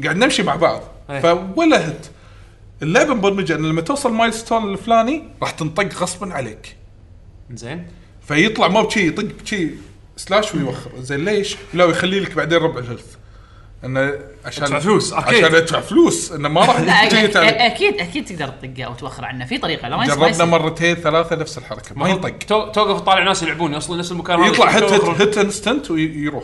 [SPEAKER 3] قاعد نمشي مع بعض
[SPEAKER 1] أي.
[SPEAKER 3] فولا هت اللعبه مبرمجه ان لما توصل مايل ستون الفلاني راح تنطق غصبا عليك
[SPEAKER 1] زين
[SPEAKER 3] فيطلع مو بشي يطق شي سلاش ويوخر زين ليش؟ لا ويخلي لك بعدين ربع الهيلث انه عشان
[SPEAKER 1] ادفع فلوس، أكيد.
[SPEAKER 3] عشان ادفع فلوس انه ما راح
[SPEAKER 5] لا
[SPEAKER 3] يجي
[SPEAKER 5] أك-
[SPEAKER 3] يتعب.
[SPEAKER 5] اكيد اكيد تقدر تطقه او توخر عنه في طريقه لا إيه، ما يس- ما
[SPEAKER 3] جربنا
[SPEAKER 5] يصير.
[SPEAKER 3] مرتين ثلاثه نفس الحركه ما ينطق
[SPEAKER 1] تو- توقف تطالع ناس يلعبون اصلا نفس المكان هذا.
[SPEAKER 3] يطلع هت
[SPEAKER 1] توقف-
[SPEAKER 3] هت هت انستنت ويروح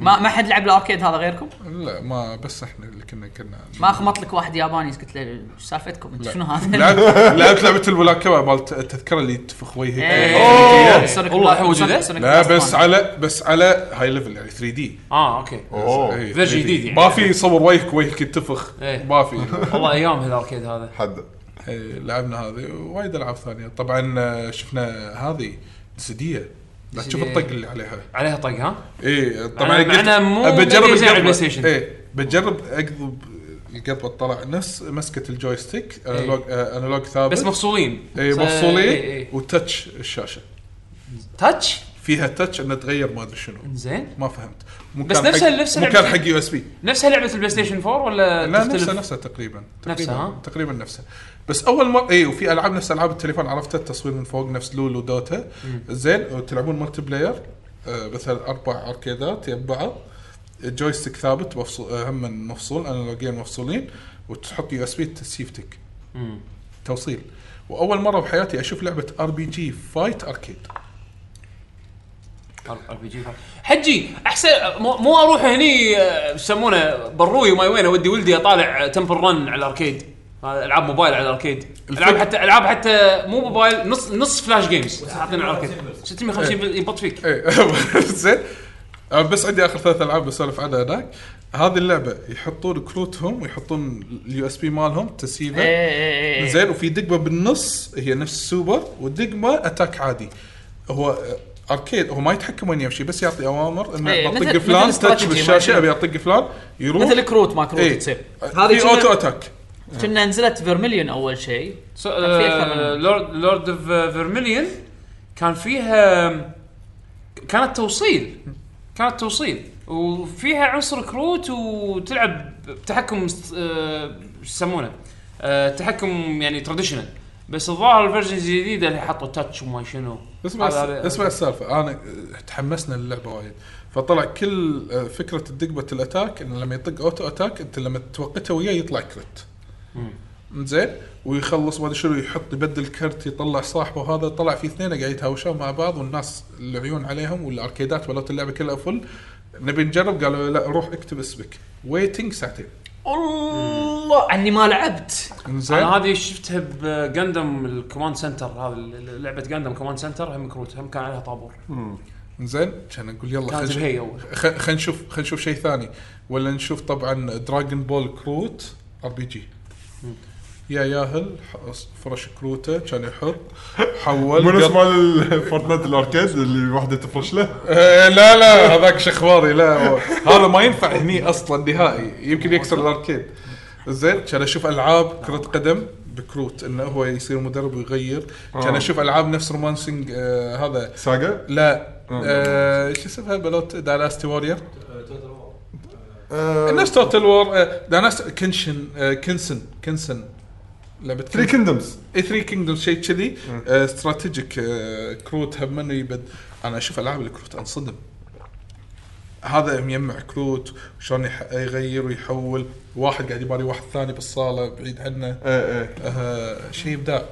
[SPEAKER 5] ما ما حد لعب الاركيد هذا غيركم؟
[SPEAKER 3] لا ما بس احنا اللي كنا كنا
[SPEAKER 5] ما خمط لك واحد ياباني قلت له "وش سالفتكم انتم
[SPEAKER 3] لا.
[SPEAKER 5] شنو هذا؟
[SPEAKER 3] لعبت لعبت لعبه الولاكبه مالت التذكره اللي تفخ وجهك
[SPEAKER 1] إيه.
[SPEAKER 5] سونيك
[SPEAKER 1] والله
[SPEAKER 5] بلا-
[SPEAKER 1] وجده؟
[SPEAKER 5] سونيك- سونيك
[SPEAKER 3] لا
[SPEAKER 5] بلاست
[SPEAKER 3] بس
[SPEAKER 5] وان.
[SPEAKER 3] على بس على هاي ليفل يعني 3 دي
[SPEAKER 1] اه اوكي
[SPEAKER 3] إيه،
[SPEAKER 6] اوه
[SPEAKER 1] فيرجن جديد يعني.
[SPEAKER 3] ما في صور وجهك وجهك يتفخ
[SPEAKER 1] إيه.
[SPEAKER 3] ما في
[SPEAKER 1] والله ايام الاركيد هذا
[SPEAKER 6] حد
[SPEAKER 3] إيه، لعبنا هذه وايد العاب ثانيه طبعا آه، شفنا هذه سديه لا تشوف
[SPEAKER 1] سدية.
[SPEAKER 3] الطق اللي عليها إيه،
[SPEAKER 1] عليها طق ها
[SPEAKER 3] اي طبعا
[SPEAKER 1] مع إنها مو
[SPEAKER 3] بجرب
[SPEAKER 1] مميزة على
[SPEAKER 3] القطوة.
[SPEAKER 1] البلاي ستيشن.
[SPEAKER 3] اي إيه، بجرب اقضب القطوه طلع نفس مسكه الجويستيك انالوج آه، انالوج ثابت
[SPEAKER 1] إيه.
[SPEAKER 3] إيه،
[SPEAKER 1] بس إيه، مفصولين إيه.
[SPEAKER 3] اي
[SPEAKER 1] بس- إي-
[SPEAKER 3] مفصولين
[SPEAKER 1] إي.
[SPEAKER 3] وتتش الشاشه
[SPEAKER 1] تاتش
[SPEAKER 3] فيها تتش انها تغير ما ادري شنو
[SPEAKER 1] زين
[SPEAKER 3] ما فهمت مو
[SPEAKER 1] بس
[SPEAKER 3] كان
[SPEAKER 1] نفس
[SPEAKER 3] حق-
[SPEAKER 1] ال- نفس
[SPEAKER 3] مو
[SPEAKER 1] اللعبة.
[SPEAKER 3] كان حق يو اس بي
[SPEAKER 1] نفسها لعبه البلاي ستيشن 4 ولا
[SPEAKER 3] لا
[SPEAKER 1] تختلف؟
[SPEAKER 3] نفسها نفسها تقريبا
[SPEAKER 1] نفسها،
[SPEAKER 3] تقريباً-
[SPEAKER 1] ها؟
[SPEAKER 3] تقريبا نفسها بس اول مره اي وفي العاب نفس العاب التليفون عرفتها التصوير من فوق نفس لول ودوتا زين وتلعبون مالتي بلاير آه، مثلا اربع اركيدات يم بعض الجويستيك ثابت مفصول آه، هم مفصول انالوجين مفصولين وتحط يو اس بي تسيفتك
[SPEAKER 1] مم.
[SPEAKER 3] توصيل واول مره بحياتي اشوف لعبه ار بي جي فايت اركيد
[SPEAKER 1] ار بي جي حجي احسن مو, مو اروح هني آه، يسمونه بروي وما وين اودي ولدي اطالع تمبل رن على الاركيد هذا العاب موبايل على الاركيد العاب حتى العاب حتى مو موبايل نص نص فلاش جيمز حاطين على الاركيد 650 بال- يبط فيك
[SPEAKER 3] إيه، زين آه، بس عندي اخر ثلاث العاب بسولف عنها هناك هذه اللعبه يحطون كروتهم ويحطون اليو اس بي مالهم
[SPEAKER 5] إيه،
[SPEAKER 3] تسييفه
[SPEAKER 5] إيه، إيه.
[SPEAKER 3] زين وفي دقمه بالنص هي نفس السوبر ودقمه اتاك عادي هو آه، اركيد هو ما يتحكم وين يمشي بس يعطي اوامر
[SPEAKER 5] إيه،
[SPEAKER 3] انه
[SPEAKER 5] مثل-
[SPEAKER 3] بطق
[SPEAKER 5] مثل
[SPEAKER 3] فلان تاتش
[SPEAKER 5] استراتيجي
[SPEAKER 3] بالشاشه
[SPEAKER 5] ما-
[SPEAKER 3] ابي اطق فلان يروح
[SPEAKER 5] مثل كروت ما كروت
[SPEAKER 3] إيه.
[SPEAKER 5] تصير
[SPEAKER 3] في
[SPEAKER 5] كنا-
[SPEAKER 3] اوتو اتاك
[SPEAKER 5] كنا نزلت فيرميليون اول شيء
[SPEAKER 1] سو-
[SPEAKER 5] كان في أكثر من-
[SPEAKER 1] آه، لورد لورد اوف فيرميليون uh, كان فيها um, كانت توصيل كانت توصيل وفيها عنصر كروت وتلعب بتحكم است- آه، شو يسمونه آه، تحكم يعني تراديشنال بس الظاهر الفيرجن الجديده اللي حطوا تاتش وما شنو
[SPEAKER 3] اسمع
[SPEAKER 1] هذا- هذا-
[SPEAKER 3] اسمع السالفه انا آه، تحمسنا للعبه وايد فطلع كل آه، فكره الدقبه الاتاك انه لما يطق اوتو اتاك انت لما توقته وياه يطلع كرت زين ويخلص ما ادري شنو يحط يبدل كرت يطلع صاحبه هذا طلع في اثنين قاعد يتهاوشون مع بعض والناس العيون عليهم والاركيدات ولات اللعبه كلها فل نبي نجرب قالوا لا روح اكتب اسمك ويتنج ساعتين
[SPEAKER 5] الله عني ما لعبت
[SPEAKER 3] زين
[SPEAKER 1] انا هذه شفتها بجندم الكوماند سنتر هذا ال- لعبه جندم كوماند سنتر هم كروت هم كان عليها طابور
[SPEAKER 3] زين كان اقول يلا
[SPEAKER 1] كانت
[SPEAKER 3] خلينا
[SPEAKER 1] بهي اول
[SPEAKER 3] خلينا نشوف خلينا نشوف شيء ثاني ولا نشوف طبعا دراجون بول كروت ار بي جي يا ياهل ح- فرش كروته كان يحط
[SPEAKER 2] مو
[SPEAKER 3] حول
[SPEAKER 2] نفس
[SPEAKER 3] قط-
[SPEAKER 2] مال فورتنايت الاركيد اللي واحده تفرش له
[SPEAKER 3] آه، لا لا هذاك شخواري لا هو- هذا ما ينفع هني اصلا نهائي يمكن يكسر الاركيد زين كان اشوف العاب كره قدم بكروت انه هو يصير مدرب ويغير
[SPEAKER 2] آه.
[SPEAKER 3] كان اشوف العاب نفس رومانسنج آه هذا
[SPEAKER 2] ساقا
[SPEAKER 3] لا آه، شو اسمها بلوت دالاستي وورير uh, نفس توتال وور داناست كنشن آه، كنسن كنسن لعبه
[SPEAKER 2] 3 كيندمز
[SPEAKER 3] اي 3 كينجدوم E شيء كذي آه، استراتيجيك آه، كروت هم منه يبد انا اشوف العاب الكروت انصدم هذا مجمع كروت شلون يح- يغير ويحول واحد قاعد يباري واحد ثاني بالصاله بعيد عنه
[SPEAKER 2] اي اي
[SPEAKER 3] آه، شيء ابداع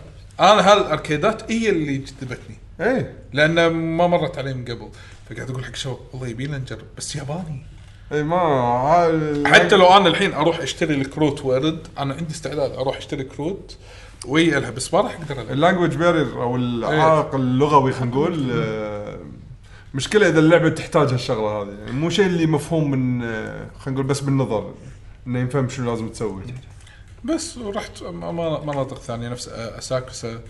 [SPEAKER 3] انا هالاركيدات هي اللي جذبتني
[SPEAKER 2] اي
[SPEAKER 3] لان ما مرت علي من قبل فقاعد اقول حق الشباب والله يبينا نجرب بس ياباني
[SPEAKER 2] اي إيه، ما ها-
[SPEAKER 3] حتى لو انا الحين اروح اشتري الكروت وارد انا عندي استعداد اروح اشتري كروت ويلها بس ما راح اقدر العب
[SPEAKER 2] اللانجوج بارير او العائق اللغوي خلينا نقول آه، مشكله اذا اللعبه تحتاج هالشغله هذه يعني مو شيء اللي مفهوم من آه، خلينا نقول بس بالنظر انه ينفهم شنو لازم تسوي
[SPEAKER 3] بس رحت م- م- مناطق ثانيه نفس اساكوسا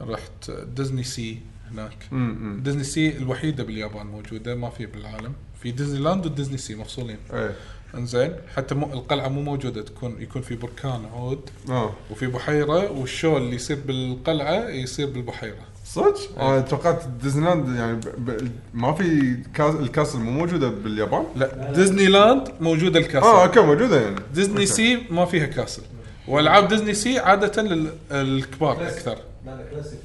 [SPEAKER 3] رحت ديزني سي هناك
[SPEAKER 2] امم
[SPEAKER 3] ديزني سي الوحيده باليابان موجوده ما في بالعالم في ديزني لاند وديزني سي مفصولين
[SPEAKER 2] اي
[SPEAKER 3] انزين حتى مو القلعه مو موجوده تكون يكون في بركان عود
[SPEAKER 2] اه
[SPEAKER 3] وفي بحيره والشو اللي يصير بالقلعه يصير بالبحيره
[SPEAKER 2] صدق؟ انا توقعت ديزنيلاند يعني ب... ب... ما في كاس... الكاسل مو موجوده باليابان؟
[SPEAKER 3] لا ديزني لاند موجوده الكاسل
[SPEAKER 4] آه،
[SPEAKER 2] اه اوكي موجوده يعني
[SPEAKER 3] ديزني سي ما فيها كاسل والعاب ديزني سي عاده للكبار اكثر
[SPEAKER 6] لا uh, كلاسيك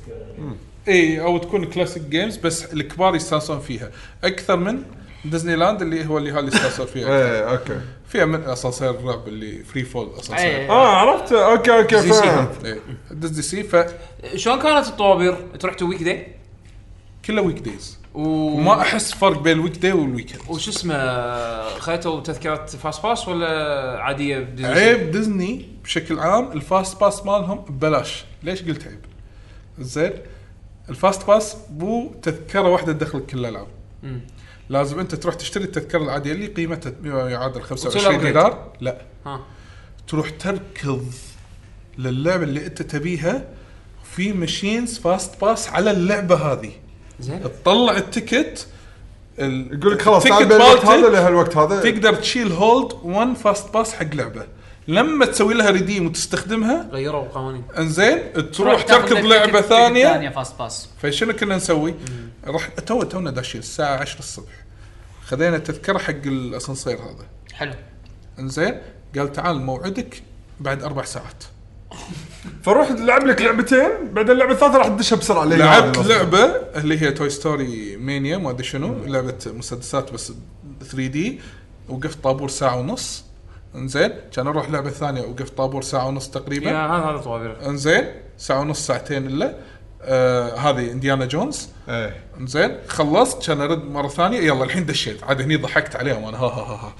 [SPEAKER 3] اي او تكون كلاسيك جيمز بس الكبار يستانسون فيها اكثر من ديزني لاند اللي هو اللي هاللي يستانسون فيها
[SPEAKER 4] إيه.
[SPEAKER 2] ايه اوكي
[SPEAKER 3] فيها من اسانسير الرعب اللي فري فول اسانسير
[SPEAKER 5] إيه.
[SPEAKER 2] اه عرفت اوكي اوكي
[SPEAKER 5] ديزني سي.
[SPEAKER 2] فهمت
[SPEAKER 3] إيه. ديزني سي فكله
[SPEAKER 1] شلون كانت الطوابير؟ تروح تو ويك داي
[SPEAKER 3] ويك دايز
[SPEAKER 1] و...
[SPEAKER 3] وما احس فرق بين الويك داي والويكند
[SPEAKER 1] وش اسمه خذيتوا تذكره فاست باس ولا عاديه بديزني؟
[SPEAKER 3] عيب ديزني بشكل عام الفاست باس مالهم ببلاش ليش قلت عيب زين الفاست باس مو تذكره واحده تدخلك كل الالعاب
[SPEAKER 1] مم.
[SPEAKER 3] لازم انت تروح تشتري التذكره العاديه اللي قيمتها يعادل
[SPEAKER 1] وتصير
[SPEAKER 3] 25
[SPEAKER 1] upgrade.
[SPEAKER 3] دينار لا
[SPEAKER 1] ها
[SPEAKER 3] تروح تركض للعبه اللي انت تبيها في ماشينز فاست باس على اللعبه هذه
[SPEAKER 1] زين
[SPEAKER 3] تطلع التكت ال-
[SPEAKER 2] يقول لك خلاص تعال
[SPEAKER 3] التكت
[SPEAKER 2] بين الوقت
[SPEAKER 3] مالتك
[SPEAKER 2] هذا لهالوقت هذا
[SPEAKER 3] تقدر تشيل هولد 1 فاست باس حق لعبه لما تسوي لها ريديم وتستخدمها
[SPEAKER 1] غيروا القوانين
[SPEAKER 3] انزين تروح تركض لعبه ثانيه
[SPEAKER 5] ثانيه فاست باس
[SPEAKER 3] فشنو كنا نسوي؟ راح تو تونا داشين الساعه 10 الصبح خذينا تذكره حق الاسانسير هذا
[SPEAKER 5] حلو
[SPEAKER 3] انزين قال تعال موعدك بعد اربع ساعات
[SPEAKER 2] فروح لعب لك لعبتين بعدين اللعبه الثالثه راح تدشها بسرعه لأي
[SPEAKER 3] لعبت
[SPEAKER 2] واحد.
[SPEAKER 3] لعبه اللي هي توي ستوري مانيا ما ادري شنو لعبه مسدسات بس 3 دي وقفت طابور ساعه ونص انزين كان اروح لعبه ثانيه وقفت طابور ساعه ونص
[SPEAKER 1] يا
[SPEAKER 3] تقريبا
[SPEAKER 1] هذا هذا طوابير
[SPEAKER 3] انزين ساعه ونص ساعتين الا آه هذه انديانا جونز
[SPEAKER 2] ايه
[SPEAKER 3] انزين خلصت كان ارد مره ثانيه يلا الحين دشيت عاد هني ضحكت عليهم انا ها ها ها, ها.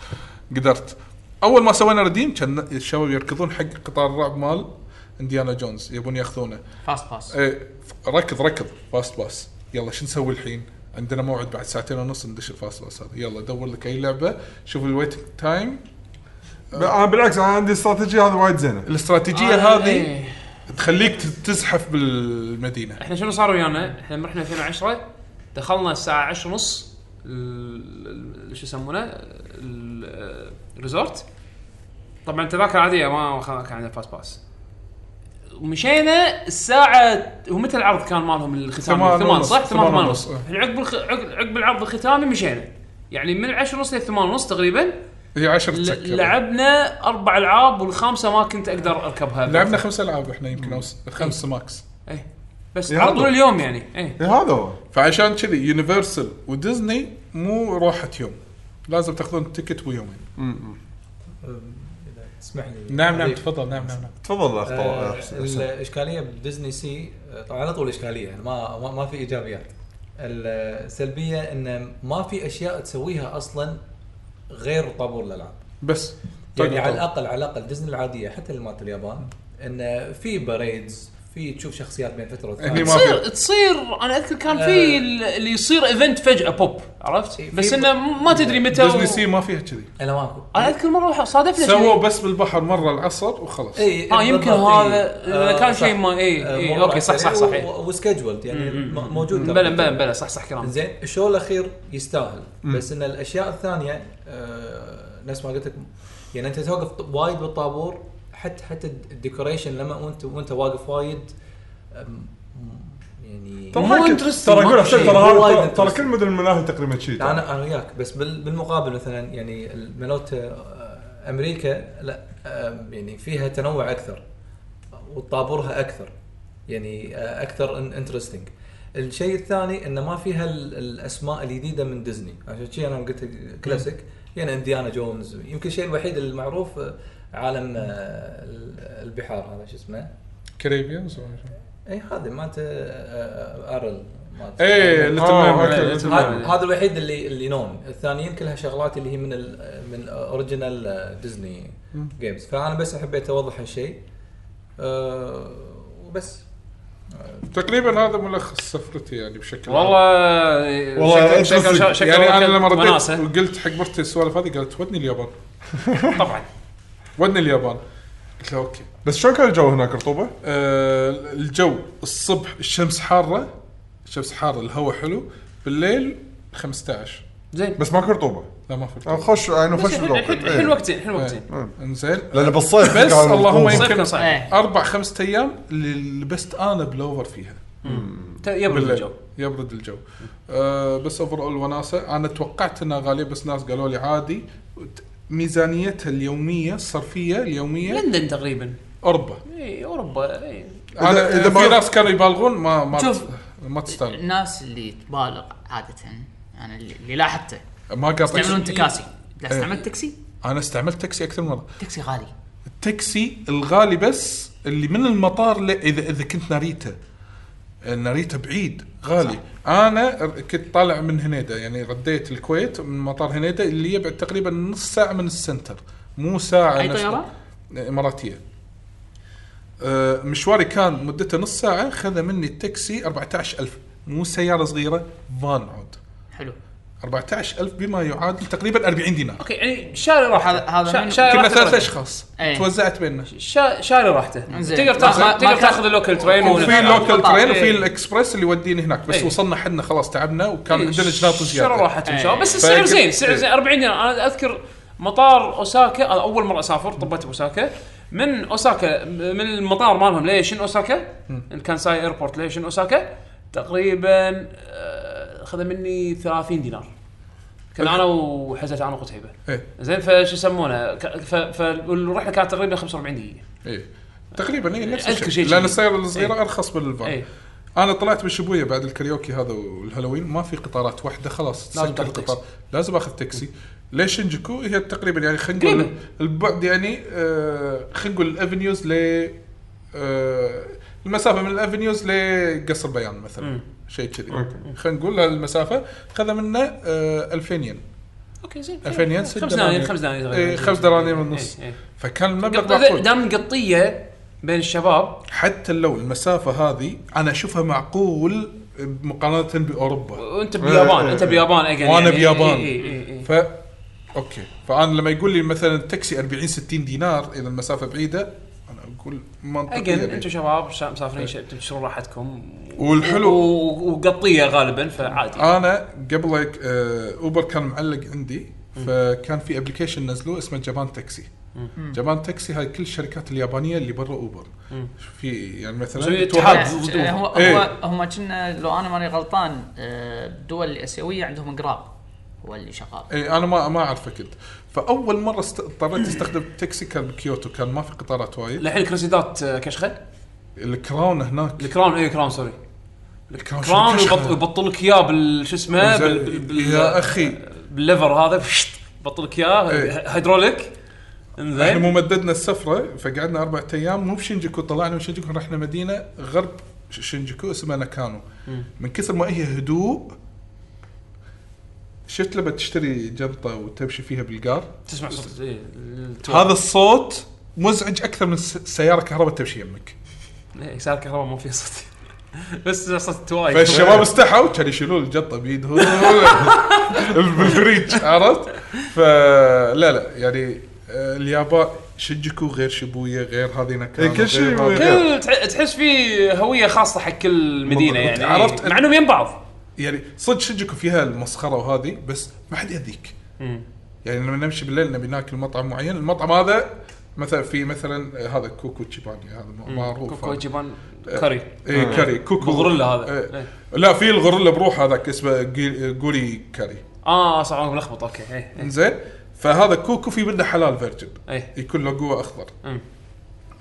[SPEAKER 3] قدرت اول ما سوينا رديم كان الشباب يركضون حق قطار الرعب مال انديانا جونز يبون ياخذونه
[SPEAKER 5] فاست باس
[SPEAKER 3] ايه ركض ركض فاست باس يلا شو نسوي الحين؟ عندنا موعد بعد ساعتين ونص ندش الفاست باس هذا يلا دور لك اي لعبه شوف الويتنج تايم
[SPEAKER 2] ب- انا آه، بالعكس انا عندي استراتيجيه هذه وايد زينه
[SPEAKER 3] الاستراتيجيه
[SPEAKER 1] آه،
[SPEAKER 3] هذه
[SPEAKER 1] إيه.
[SPEAKER 3] تخليك ت- تزحف بالمدينه
[SPEAKER 1] احنا شنو صار ويانا؟ احنا لما رحنا 2010 دخلنا الساعه 10 ونص ال- ال- شو يسمونه؟ ال- الريزورت طبعا تذاكر عاديه ما خ- كان عندنا فاست باس مشينا الساعة ومتى العرض كان مالهم الختامي؟
[SPEAKER 3] ثمان
[SPEAKER 1] ثمان
[SPEAKER 3] ونص،
[SPEAKER 1] صح؟ ثمان
[SPEAKER 3] ثمان
[SPEAKER 1] ثمان
[SPEAKER 3] ونص،
[SPEAKER 1] ونص
[SPEAKER 3] اه.
[SPEAKER 1] احنا عقب الخ- عقب عقب العرض الختامي مشينا يعني من 10 ونص للثمان ونص تقريبا
[SPEAKER 3] هي 10
[SPEAKER 1] ل-
[SPEAKER 3] تسكر
[SPEAKER 1] لعبنا اربع العاب والخامسه ما كنت اقدر اركبها
[SPEAKER 3] لعبنا خمس العاب احنا يمكن او س- خمس ماكس
[SPEAKER 1] ايه بس
[SPEAKER 2] يا
[SPEAKER 1] على
[SPEAKER 2] الله.
[SPEAKER 1] طول اليوم يعني ايه
[SPEAKER 2] إيه، هذا هو
[SPEAKER 3] فعشان كذي يونيفرسال وديزني مو راحه يوم لازم تاخذون تيكت ويومين
[SPEAKER 6] اذا تسمح لي
[SPEAKER 3] نعم نعم
[SPEAKER 6] أضيف.
[SPEAKER 3] تفضل نعم نعم نعم
[SPEAKER 2] تفضل اخ
[SPEAKER 6] آه،
[SPEAKER 2] طلال. أحسن- أحسن.
[SPEAKER 6] الاشكاليه بديزني سي آه، طبعا على طول اشكاليه يعني ما ما- ما في ايجابيات السلبيه انه ما في اشياء تسويها اصلا غير طابور الالعاب
[SPEAKER 3] بس طيب،
[SPEAKER 6] يعني على الاقل على الاقل ديزني العاديه حتى اللي مالت اليابان انه في باريدز في تشوف شخصيات بين فتره
[SPEAKER 3] هني
[SPEAKER 6] والثانيه
[SPEAKER 3] ما
[SPEAKER 1] تصير
[SPEAKER 3] في.
[SPEAKER 1] تصير انا اذكر كان في
[SPEAKER 6] آه.
[SPEAKER 1] ال- اللي يصير ايفنت فجاه بوب عرفت
[SPEAKER 6] إيه، في
[SPEAKER 1] بس
[SPEAKER 6] ب-
[SPEAKER 1] انه ما تدري متى و-
[SPEAKER 3] ديزني سي ما فيها كذي
[SPEAKER 6] انا ماكو
[SPEAKER 1] انا اذكر مره واحد صادفنا
[SPEAKER 3] سووا
[SPEAKER 1] شيء
[SPEAKER 3] بس بالبحر مره العصر وخلاص
[SPEAKER 6] اي
[SPEAKER 1] آه، يمكن
[SPEAKER 6] إيه، بالضبط،
[SPEAKER 1] هذا-
[SPEAKER 6] إي.
[SPEAKER 1] إذا كان
[SPEAKER 6] صح.
[SPEAKER 1] شيء ما- إي،
[SPEAKER 6] آه،
[SPEAKER 1] إي،
[SPEAKER 6] مرة
[SPEAKER 1] أوكي، صح، صح،
[SPEAKER 6] عسلية
[SPEAKER 1] صحيح.
[SPEAKER 6] و- وسكجولد يعني م- موجود ترى.
[SPEAKER 1] بلا بلا بلا صح صح كلام
[SPEAKER 6] زين الشو الاخير يستاهل بس ان الاشياء الثانيه آه، نفس ما قلت لك يعني انت توقف ط- وايد بالطابور حتى حتى الديكوريشن لما وانت وانت واقف وايد أم، يعني
[SPEAKER 2] ترى
[SPEAKER 1] مو
[SPEAKER 2] هاي كنت-
[SPEAKER 1] interesting،
[SPEAKER 2] ترى اقول
[SPEAKER 6] مو
[SPEAKER 2] أحسن،
[SPEAKER 6] شيء،
[SPEAKER 2] ترى
[SPEAKER 6] مو
[SPEAKER 2] هذا-
[SPEAKER 6] وايد
[SPEAKER 2] ترى
[SPEAKER 6] interesting.
[SPEAKER 2] كل مدن الملاهي تقريبا شيء
[SPEAKER 6] لا انا انا وياك بس بال- بالمقابل مثلا يعني الملوت آه، امريكا لا آه، يعني فيها تنوع اكثر وطابورها اكثر يعني آه، اكثر انترستنج الشيء الثاني انه ما فيها ال- الاسماء الجديده من ديزني عشان شي انا قلت كلاسيك يعني انديانا جونز يمكن الشيء الوحيد المعروف آه، عالم آه، ال- البحار هذا شو اسمه
[SPEAKER 3] كاريبيان
[SPEAKER 6] اي هذا مالت آه، آه، ارل مالت-
[SPEAKER 3] اي ليتل
[SPEAKER 1] آه،
[SPEAKER 3] مان
[SPEAKER 1] أوكي.
[SPEAKER 3] ليتل
[SPEAKER 6] هذا
[SPEAKER 3] مان
[SPEAKER 6] هذا الوحيد اللي اللي نون الثانيين كلها شغلات اللي هي من ال من آه، اوريجينال ديزني جيمز فانا بس حبيت اوضح هالشيء أه وبس
[SPEAKER 3] تقريبا هذا ملخص سفرتي يعني بشكل عام.
[SPEAKER 1] والله
[SPEAKER 2] والله
[SPEAKER 1] شكل شكل شكل
[SPEAKER 2] interesting.
[SPEAKER 1] شكل
[SPEAKER 3] يعني انا لما رديت
[SPEAKER 1] وناسة.
[SPEAKER 3] وقلت حق مرتي السوالف هذه قالت ودني اليابان
[SPEAKER 1] طبعا
[SPEAKER 3] ودني اليابان قلت لها اوكي
[SPEAKER 2] بس شلون كان الجو هناك رطوبه؟
[SPEAKER 3] آه، الجو الصبح الشمس حاره الشمس حاره الهواء حلو بالليل 15
[SPEAKER 1] زين
[SPEAKER 2] بس ماكو رطوبه
[SPEAKER 3] لا ما آه، في
[SPEAKER 2] أو خوش يعني خوش
[SPEAKER 1] الحين
[SPEAKER 2] بالوقت
[SPEAKER 1] الحين- الحين
[SPEAKER 2] إيه.
[SPEAKER 1] وقتين الحين وقتين
[SPEAKER 3] انزين
[SPEAKER 2] لان بالصيف
[SPEAKER 3] بس
[SPEAKER 2] كان
[SPEAKER 3] اللهم
[SPEAKER 2] رطوبة.
[SPEAKER 1] الصيف
[SPEAKER 3] يمكن
[SPEAKER 1] كان صعب.
[SPEAKER 5] إيه.
[SPEAKER 3] اربع خمسة ايام اللي لبست انا بلوفر فيها
[SPEAKER 1] يبرد
[SPEAKER 3] بالليل
[SPEAKER 1] الجو
[SPEAKER 3] يبرد الجو أه بس اوفر اول وناسه انا توقعت انها غاليه بس ناس قالوا لي عادي وت- ميزانيتها اليوميه الصرفيه اليوميه
[SPEAKER 1] لندن إيه، تقريبا
[SPEAKER 3] اوروبا
[SPEAKER 1] اي اوروبا اي
[SPEAKER 3] انا
[SPEAKER 2] إذا
[SPEAKER 3] اذا
[SPEAKER 2] ما-
[SPEAKER 3] في ناس كانوا يبالغون ما ما
[SPEAKER 5] شوف.
[SPEAKER 3] ما تستاهل
[SPEAKER 5] الناس اللي تبالغ عاده انا اللي اللي لاحظته
[SPEAKER 3] ما قاطع
[SPEAKER 5] يستعملون تكاسي لا
[SPEAKER 3] إيه.
[SPEAKER 5] استعملت تاكسي
[SPEAKER 3] انا استعملت تاكسي اكثر من مره
[SPEAKER 5] تاكسي غالي
[SPEAKER 3] التاكسي الغالي بس اللي من المطار ل... اذا اذا كنت ناريتا آه، ناريتا بعيد غالي صح. انا ر- كنت طالع من هنيدا يعني رديت الكويت من مطار هنيدا اللي يبعد تقريبا نص ساعه من السنتر مو ساعه
[SPEAKER 5] أي
[SPEAKER 3] نفس-
[SPEAKER 5] طيارة؟
[SPEAKER 3] اماراتيه آه، مشواري كان مدته نص ساعه خذ مني التاكسي 14000 مو سياره صغيره فان عود
[SPEAKER 5] حلو
[SPEAKER 3] 14000 بما يعادل تقريبا 40 دينار
[SPEAKER 1] اوكي يعني شاري راحته
[SPEAKER 5] هذا- هذا
[SPEAKER 1] شا-
[SPEAKER 5] من-
[SPEAKER 1] شاري
[SPEAKER 3] كنا
[SPEAKER 1] راحته
[SPEAKER 3] ثلاث
[SPEAKER 1] برا.
[SPEAKER 3] اشخاص
[SPEAKER 5] إيه.
[SPEAKER 3] توزعت بيننا
[SPEAKER 1] شا- شاري راحته
[SPEAKER 5] إنزين.
[SPEAKER 1] تقدر
[SPEAKER 5] ما-
[SPEAKER 1] تاخذ
[SPEAKER 5] ما- ما
[SPEAKER 1] تقدر
[SPEAKER 5] كان-
[SPEAKER 1] تاخذ اللوكل ترين
[SPEAKER 3] وفي لوكال
[SPEAKER 5] بالقطار.
[SPEAKER 3] ترين وفي
[SPEAKER 5] إيه.
[SPEAKER 3] الاكسبرس اللي يوديني هناك بس
[SPEAKER 1] إيه.
[SPEAKER 3] وصلنا حنا خلاص تعبنا وكان عندنا جناط
[SPEAKER 1] شاري
[SPEAKER 3] زياده
[SPEAKER 1] راحتهم
[SPEAKER 5] إيه.
[SPEAKER 1] شباب بس السعر
[SPEAKER 3] فقل-
[SPEAKER 1] زين سعر
[SPEAKER 3] إيه.
[SPEAKER 1] زين 40 دينار انا اذكر مطار اوساكا انا اول مره اسافر طبت اوساكا من اوساكا من المطار مالهم ليشن اوساكا الكانساي ايربورت ليشن اوساكا تقريبا آه، خذ مني 30 دينار كنا انا وحزت انا وقتيبه
[SPEAKER 3] إيه.
[SPEAKER 1] زين فشو يسمونه ك- ف- فالرحله كانت تقريبا 45 دقيقه
[SPEAKER 3] إيه. تقريبا اي نفس
[SPEAKER 1] أذكر
[SPEAKER 3] الشيء
[SPEAKER 1] شيء
[SPEAKER 3] لان
[SPEAKER 1] شيء.
[SPEAKER 3] السياره الصغيره ارخص من الفان
[SPEAKER 1] إيه.
[SPEAKER 3] انا طلعت من شبويه بعد الكاريوكي هذا والهالوين ما في قطارات واحده خلاص
[SPEAKER 1] لازم
[SPEAKER 3] تسكر
[SPEAKER 1] تاخذ
[SPEAKER 3] القطار لازم اخذ تاكسي ليش شنجكو هي تقريبا يعني خلينا نقول
[SPEAKER 1] قريبة.
[SPEAKER 3] البعد يعني آه خلينا نقول الافنيوز ل آه المسافه من الافنيوز لقصر بيان مثلا شيء كذي خلينا نقول المسافه خذ منا آه 2000 ين
[SPEAKER 1] اوكي زين
[SPEAKER 3] 2000 ين ست
[SPEAKER 1] خمس دنانير خمس دنانير
[SPEAKER 3] إيه، خمس دنانير ونص فكان المبلغ
[SPEAKER 1] قط-
[SPEAKER 3] معقول
[SPEAKER 1] إيه، دام قطيه بين الشباب
[SPEAKER 3] حتى لو المسافه هذه انا اشوفها معقول مقارنه باوروبا
[SPEAKER 1] وانت بيابان
[SPEAKER 2] إيه،
[SPEAKER 1] انت
[SPEAKER 2] إيه.
[SPEAKER 1] بيابان again
[SPEAKER 3] وانا
[SPEAKER 1] يعني.
[SPEAKER 3] بيابان
[SPEAKER 1] إيه، إيه، إيه.
[SPEAKER 3] ف اوكي فانا لما يقول لي مثلا التاكسي 40 60 دينار اذا المسافه بعيده انا اقول منطقيه
[SPEAKER 1] اجن
[SPEAKER 3] بعيد.
[SPEAKER 1] انتم شباب شا- مسافرين ش- تبشرون راحتكم
[SPEAKER 3] والحلو- آه.
[SPEAKER 1] و- و- وقطيه غالبا فعادي
[SPEAKER 3] انا قبل هيك، آه، اوبر كان معلق عندي فكان في ابلكيشن نزلوه اسمه جبان تاكسي جبان تاكسي هاي كل الشركات اليابانيه اللي برا اوبر في يعني
[SPEAKER 1] مسوي
[SPEAKER 3] مثلا
[SPEAKER 1] اتحاد.
[SPEAKER 3] توحد-
[SPEAKER 1] ضد
[SPEAKER 5] آه، هو هو
[SPEAKER 3] إيه.
[SPEAKER 5] هم كنا لو انا ماني غلطان آه، الدول الاسيويه عندهم قراب هو اللي شغال
[SPEAKER 3] اي انا إيه، ما ما اعرفه كنت فاول مره است... اضطريت استخدم تاكسي كان بكيوتو كان ما في قطارات وايد
[SPEAKER 1] الحين كرسيدات آه، كشخه
[SPEAKER 3] الكراون هناك
[SPEAKER 1] الكراون اي كراون إيه، سوري
[SPEAKER 3] الكراون
[SPEAKER 1] كراون
[SPEAKER 3] شنو كشخة؟
[SPEAKER 1] يبط- يبطل لك اياه بال شو اسمه بال- بال- بال-
[SPEAKER 3] يا اخي
[SPEAKER 1] بالليفر هذا فشت، يبطل لك اياه
[SPEAKER 3] إيه.
[SPEAKER 1] هيدروليك
[SPEAKER 3] احنا
[SPEAKER 1] انزين
[SPEAKER 3] مو مددنا السفره فقعدنا اربع ايام مو بشنجكو طلعنا من شنجكو رحنا مدينه غرب ش- شنجكو اسمها ناكانو من كثر ما هي هدوء شفت لما تشتري جنطه وتمشي فيها بالقار
[SPEAKER 1] تسمع صوت إيه، التو-
[SPEAKER 3] هذا الصوت مزعج اكثر من س- سياره كهرباء تمشي يمك
[SPEAKER 1] إيه، سيارة كهرباء ما فيها صوت بس تسمع صوت التوايج
[SPEAKER 3] فالشباب استحوا كانوا يشيلون الجطه بيدهم بالفريج عرفت؟ فلا لا يعني آه، اليابان شنجكو غير شيبويا غير هذه نكهه
[SPEAKER 2] إيه، كل شيء غير.
[SPEAKER 1] كل تح- تحس في هويه خاصه حق كل مدينه يعني
[SPEAKER 3] عرفت؟
[SPEAKER 1] مع انهم يم بعض
[SPEAKER 3] يعني صدق شنجكو فيها المسخره وهذه بس ما حد يأذيك يعني لما نمشي بالليل نبي ناكل مطعم معين المطعم هذا مثلا في مثلا آه، هذا كوكو تشيباني هذا معروف
[SPEAKER 1] كوكو
[SPEAKER 3] هذا.
[SPEAKER 1] جبان كاري
[SPEAKER 3] اي كاري إيه. كوكو
[SPEAKER 1] بغرلة هذا.
[SPEAKER 3] إيه.
[SPEAKER 1] إيه.
[SPEAKER 3] لا في الغوريلا بروحه هذاك اسمه جي- جوري كاري
[SPEAKER 1] اه صح انا ملخبط اوكي ايه إيه.
[SPEAKER 3] انزين فهذا كوكو في منه حلال فيرجن
[SPEAKER 1] إيه.
[SPEAKER 3] يكون له قوه اخضر
[SPEAKER 1] أمم.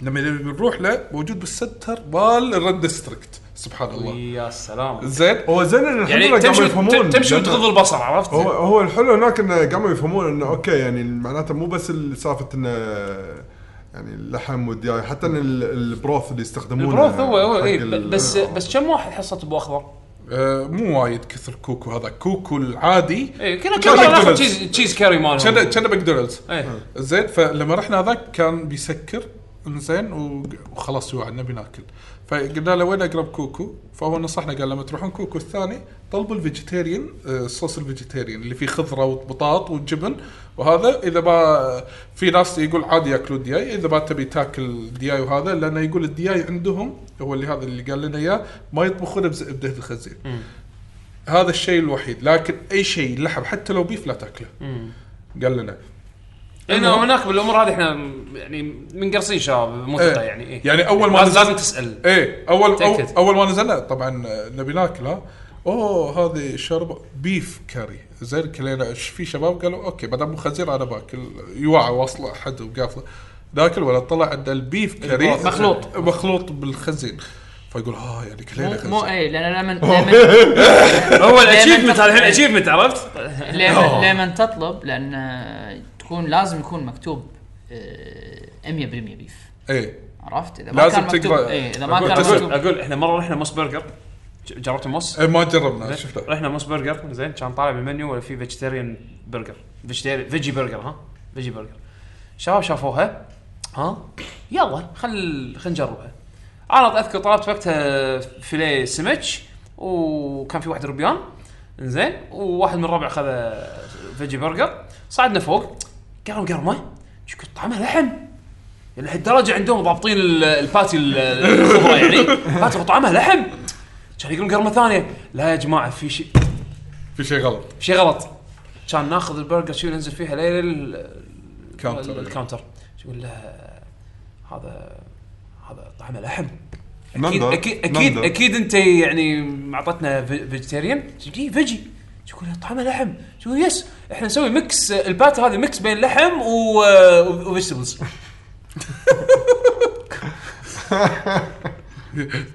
[SPEAKER 3] لما نروح له موجود بالسنتر مال الرد ديستركت سبحان الله
[SPEAKER 1] يا سلام
[SPEAKER 3] زين
[SPEAKER 4] هو زين إن الحمد
[SPEAKER 1] يعني
[SPEAKER 4] لله قاموا
[SPEAKER 1] تمشي
[SPEAKER 4] يفهمون
[SPEAKER 1] تمشي
[SPEAKER 4] لأن-
[SPEAKER 1] وتغض البصر عرفت؟
[SPEAKER 4] هو هو الحلو هناك انه قاموا يفهمون انه اوكي يعني معناته مو بس سالفه انه يعني اللحم والدياي حتى ان ال- البروث اللي يستخدمونه
[SPEAKER 1] البروث هو هو
[SPEAKER 4] حق
[SPEAKER 1] اي
[SPEAKER 4] ال-
[SPEAKER 1] بس بس كم واحد حصه ابو اخضر؟
[SPEAKER 3] آه مو وايد كثر كوكو هذا كوكو العادي
[SPEAKER 1] اي إيه، كنا
[SPEAKER 3] كان
[SPEAKER 1] كنا ناخذ
[SPEAKER 3] ماكدونالدز.
[SPEAKER 1] تشيز تشيز كاري
[SPEAKER 3] كان
[SPEAKER 1] مالهم
[SPEAKER 3] كان ماكدونالدز
[SPEAKER 1] إيه.
[SPEAKER 3] زين فلما رحنا هذاك كان بيسكر زين وق- وخلاص جوع نبي ناكل فقلنا له وين اقرب كوكو؟ فهو نصحنا قال لما تروحون كوكو الثاني طلبوا الفيجيتيريان آه، الصوص الفيجيتيريان اللي فيه خضره وبطاط وجبن وهذا اذا ما في ناس يقول عادي ياكلون دياي اذا ما تبي تاكل دياي وهذا لانه يقول الدياي عندهم هو اللي هذا اللي قال لنا اياه ما يطبخونه بز- بدهن الخنزير. هذا الشيء الوحيد لكن اي شيء لحم حتى لو بيف لا تاكله. قال لنا
[SPEAKER 1] لان هناك بالامور هذه احنا يعني منقرصين شباب منطقه
[SPEAKER 3] إيه.
[SPEAKER 1] يعني إيه.
[SPEAKER 3] يعني أول ما
[SPEAKER 1] لازم,
[SPEAKER 3] نزل-
[SPEAKER 1] لازم تسال
[SPEAKER 3] ايه اول أول,
[SPEAKER 1] تأكد.
[SPEAKER 3] اول ما نزلنا طبعا آه، نبي ناكل ها اوه هذه شرب بيف كاري زين كلينا ش- في شباب قالوا اوكي ما دام مو خنزير انا باكل يوعى واصله حد وقافله ناكل ولا طلع عندنا البيف كاري
[SPEAKER 1] البيف مخلوط.
[SPEAKER 3] مخلوط بالخنزير فيقول ها يعني كلينا
[SPEAKER 7] مو مو
[SPEAKER 3] خنزير
[SPEAKER 5] إيه،
[SPEAKER 7] اي لان لما لما-
[SPEAKER 1] هو
[SPEAKER 3] إيه،
[SPEAKER 7] لأن
[SPEAKER 1] الاتشيفمنت
[SPEAKER 7] أنت-
[SPEAKER 1] هذا الحين اتشيفمنت عرفت؟
[SPEAKER 7] لما لما تطلب لان آه، تكون لازم يكون مكتوب آه، 100% بيف
[SPEAKER 3] ايه
[SPEAKER 7] عرفت اذا ما
[SPEAKER 3] لازم
[SPEAKER 7] كان مكتوب
[SPEAKER 3] تقرأ.
[SPEAKER 5] إيه،
[SPEAKER 7] اي اذا ما
[SPEAKER 3] أقول-
[SPEAKER 7] كان
[SPEAKER 3] تقول-
[SPEAKER 1] اقول
[SPEAKER 7] مكتوب
[SPEAKER 1] اقول احنا مره رحنا موس برجر ج- جربت موس؟
[SPEAKER 3] إيه، ما جربنا شفنا
[SPEAKER 1] رحنا موس برجر زين كان طالع بالمنيو ولا في فيجيتيريان برجر فيجيتيريان فيجي برجر ها فيجي برجر شباب شافوها ها يلا خل خل نجربها انا اذكر طلبت وقتها فيليه سمك وكان في واحد ربيان زين وواحد من الربع اخذ فيجي برجر صعدنا فوق قرم قرمه شو كنت طعمها لحم يعني لهالدرجه عندهم ضابطين ال- الباتي ال- الخضره يعني باتي طعمها لحم كان يقولون قرمه ثانيه لا يا جماعه في شيء
[SPEAKER 3] في شيء غلط
[SPEAKER 1] شيء غلط كان ناخذ البرجر شي وننزل فيها ليل
[SPEAKER 3] كاونتر.
[SPEAKER 1] الكاونتر يقول له هذا هذا طعمه لحم اكيد
[SPEAKER 4] نندر.
[SPEAKER 1] اكيد اكيد,
[SPEAKER 4] نندر.
[SPEAKER 1] أكيد انت يعني اعطتنا في- فيجيتيريان جي فيجي تقول طعمه لحم تقول يس احنا نسوي ميكس البات هذه ميكس بين لحم و وفيجيتابلز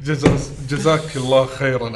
[SPEAKER 3] جزا- جزاك الله خيرا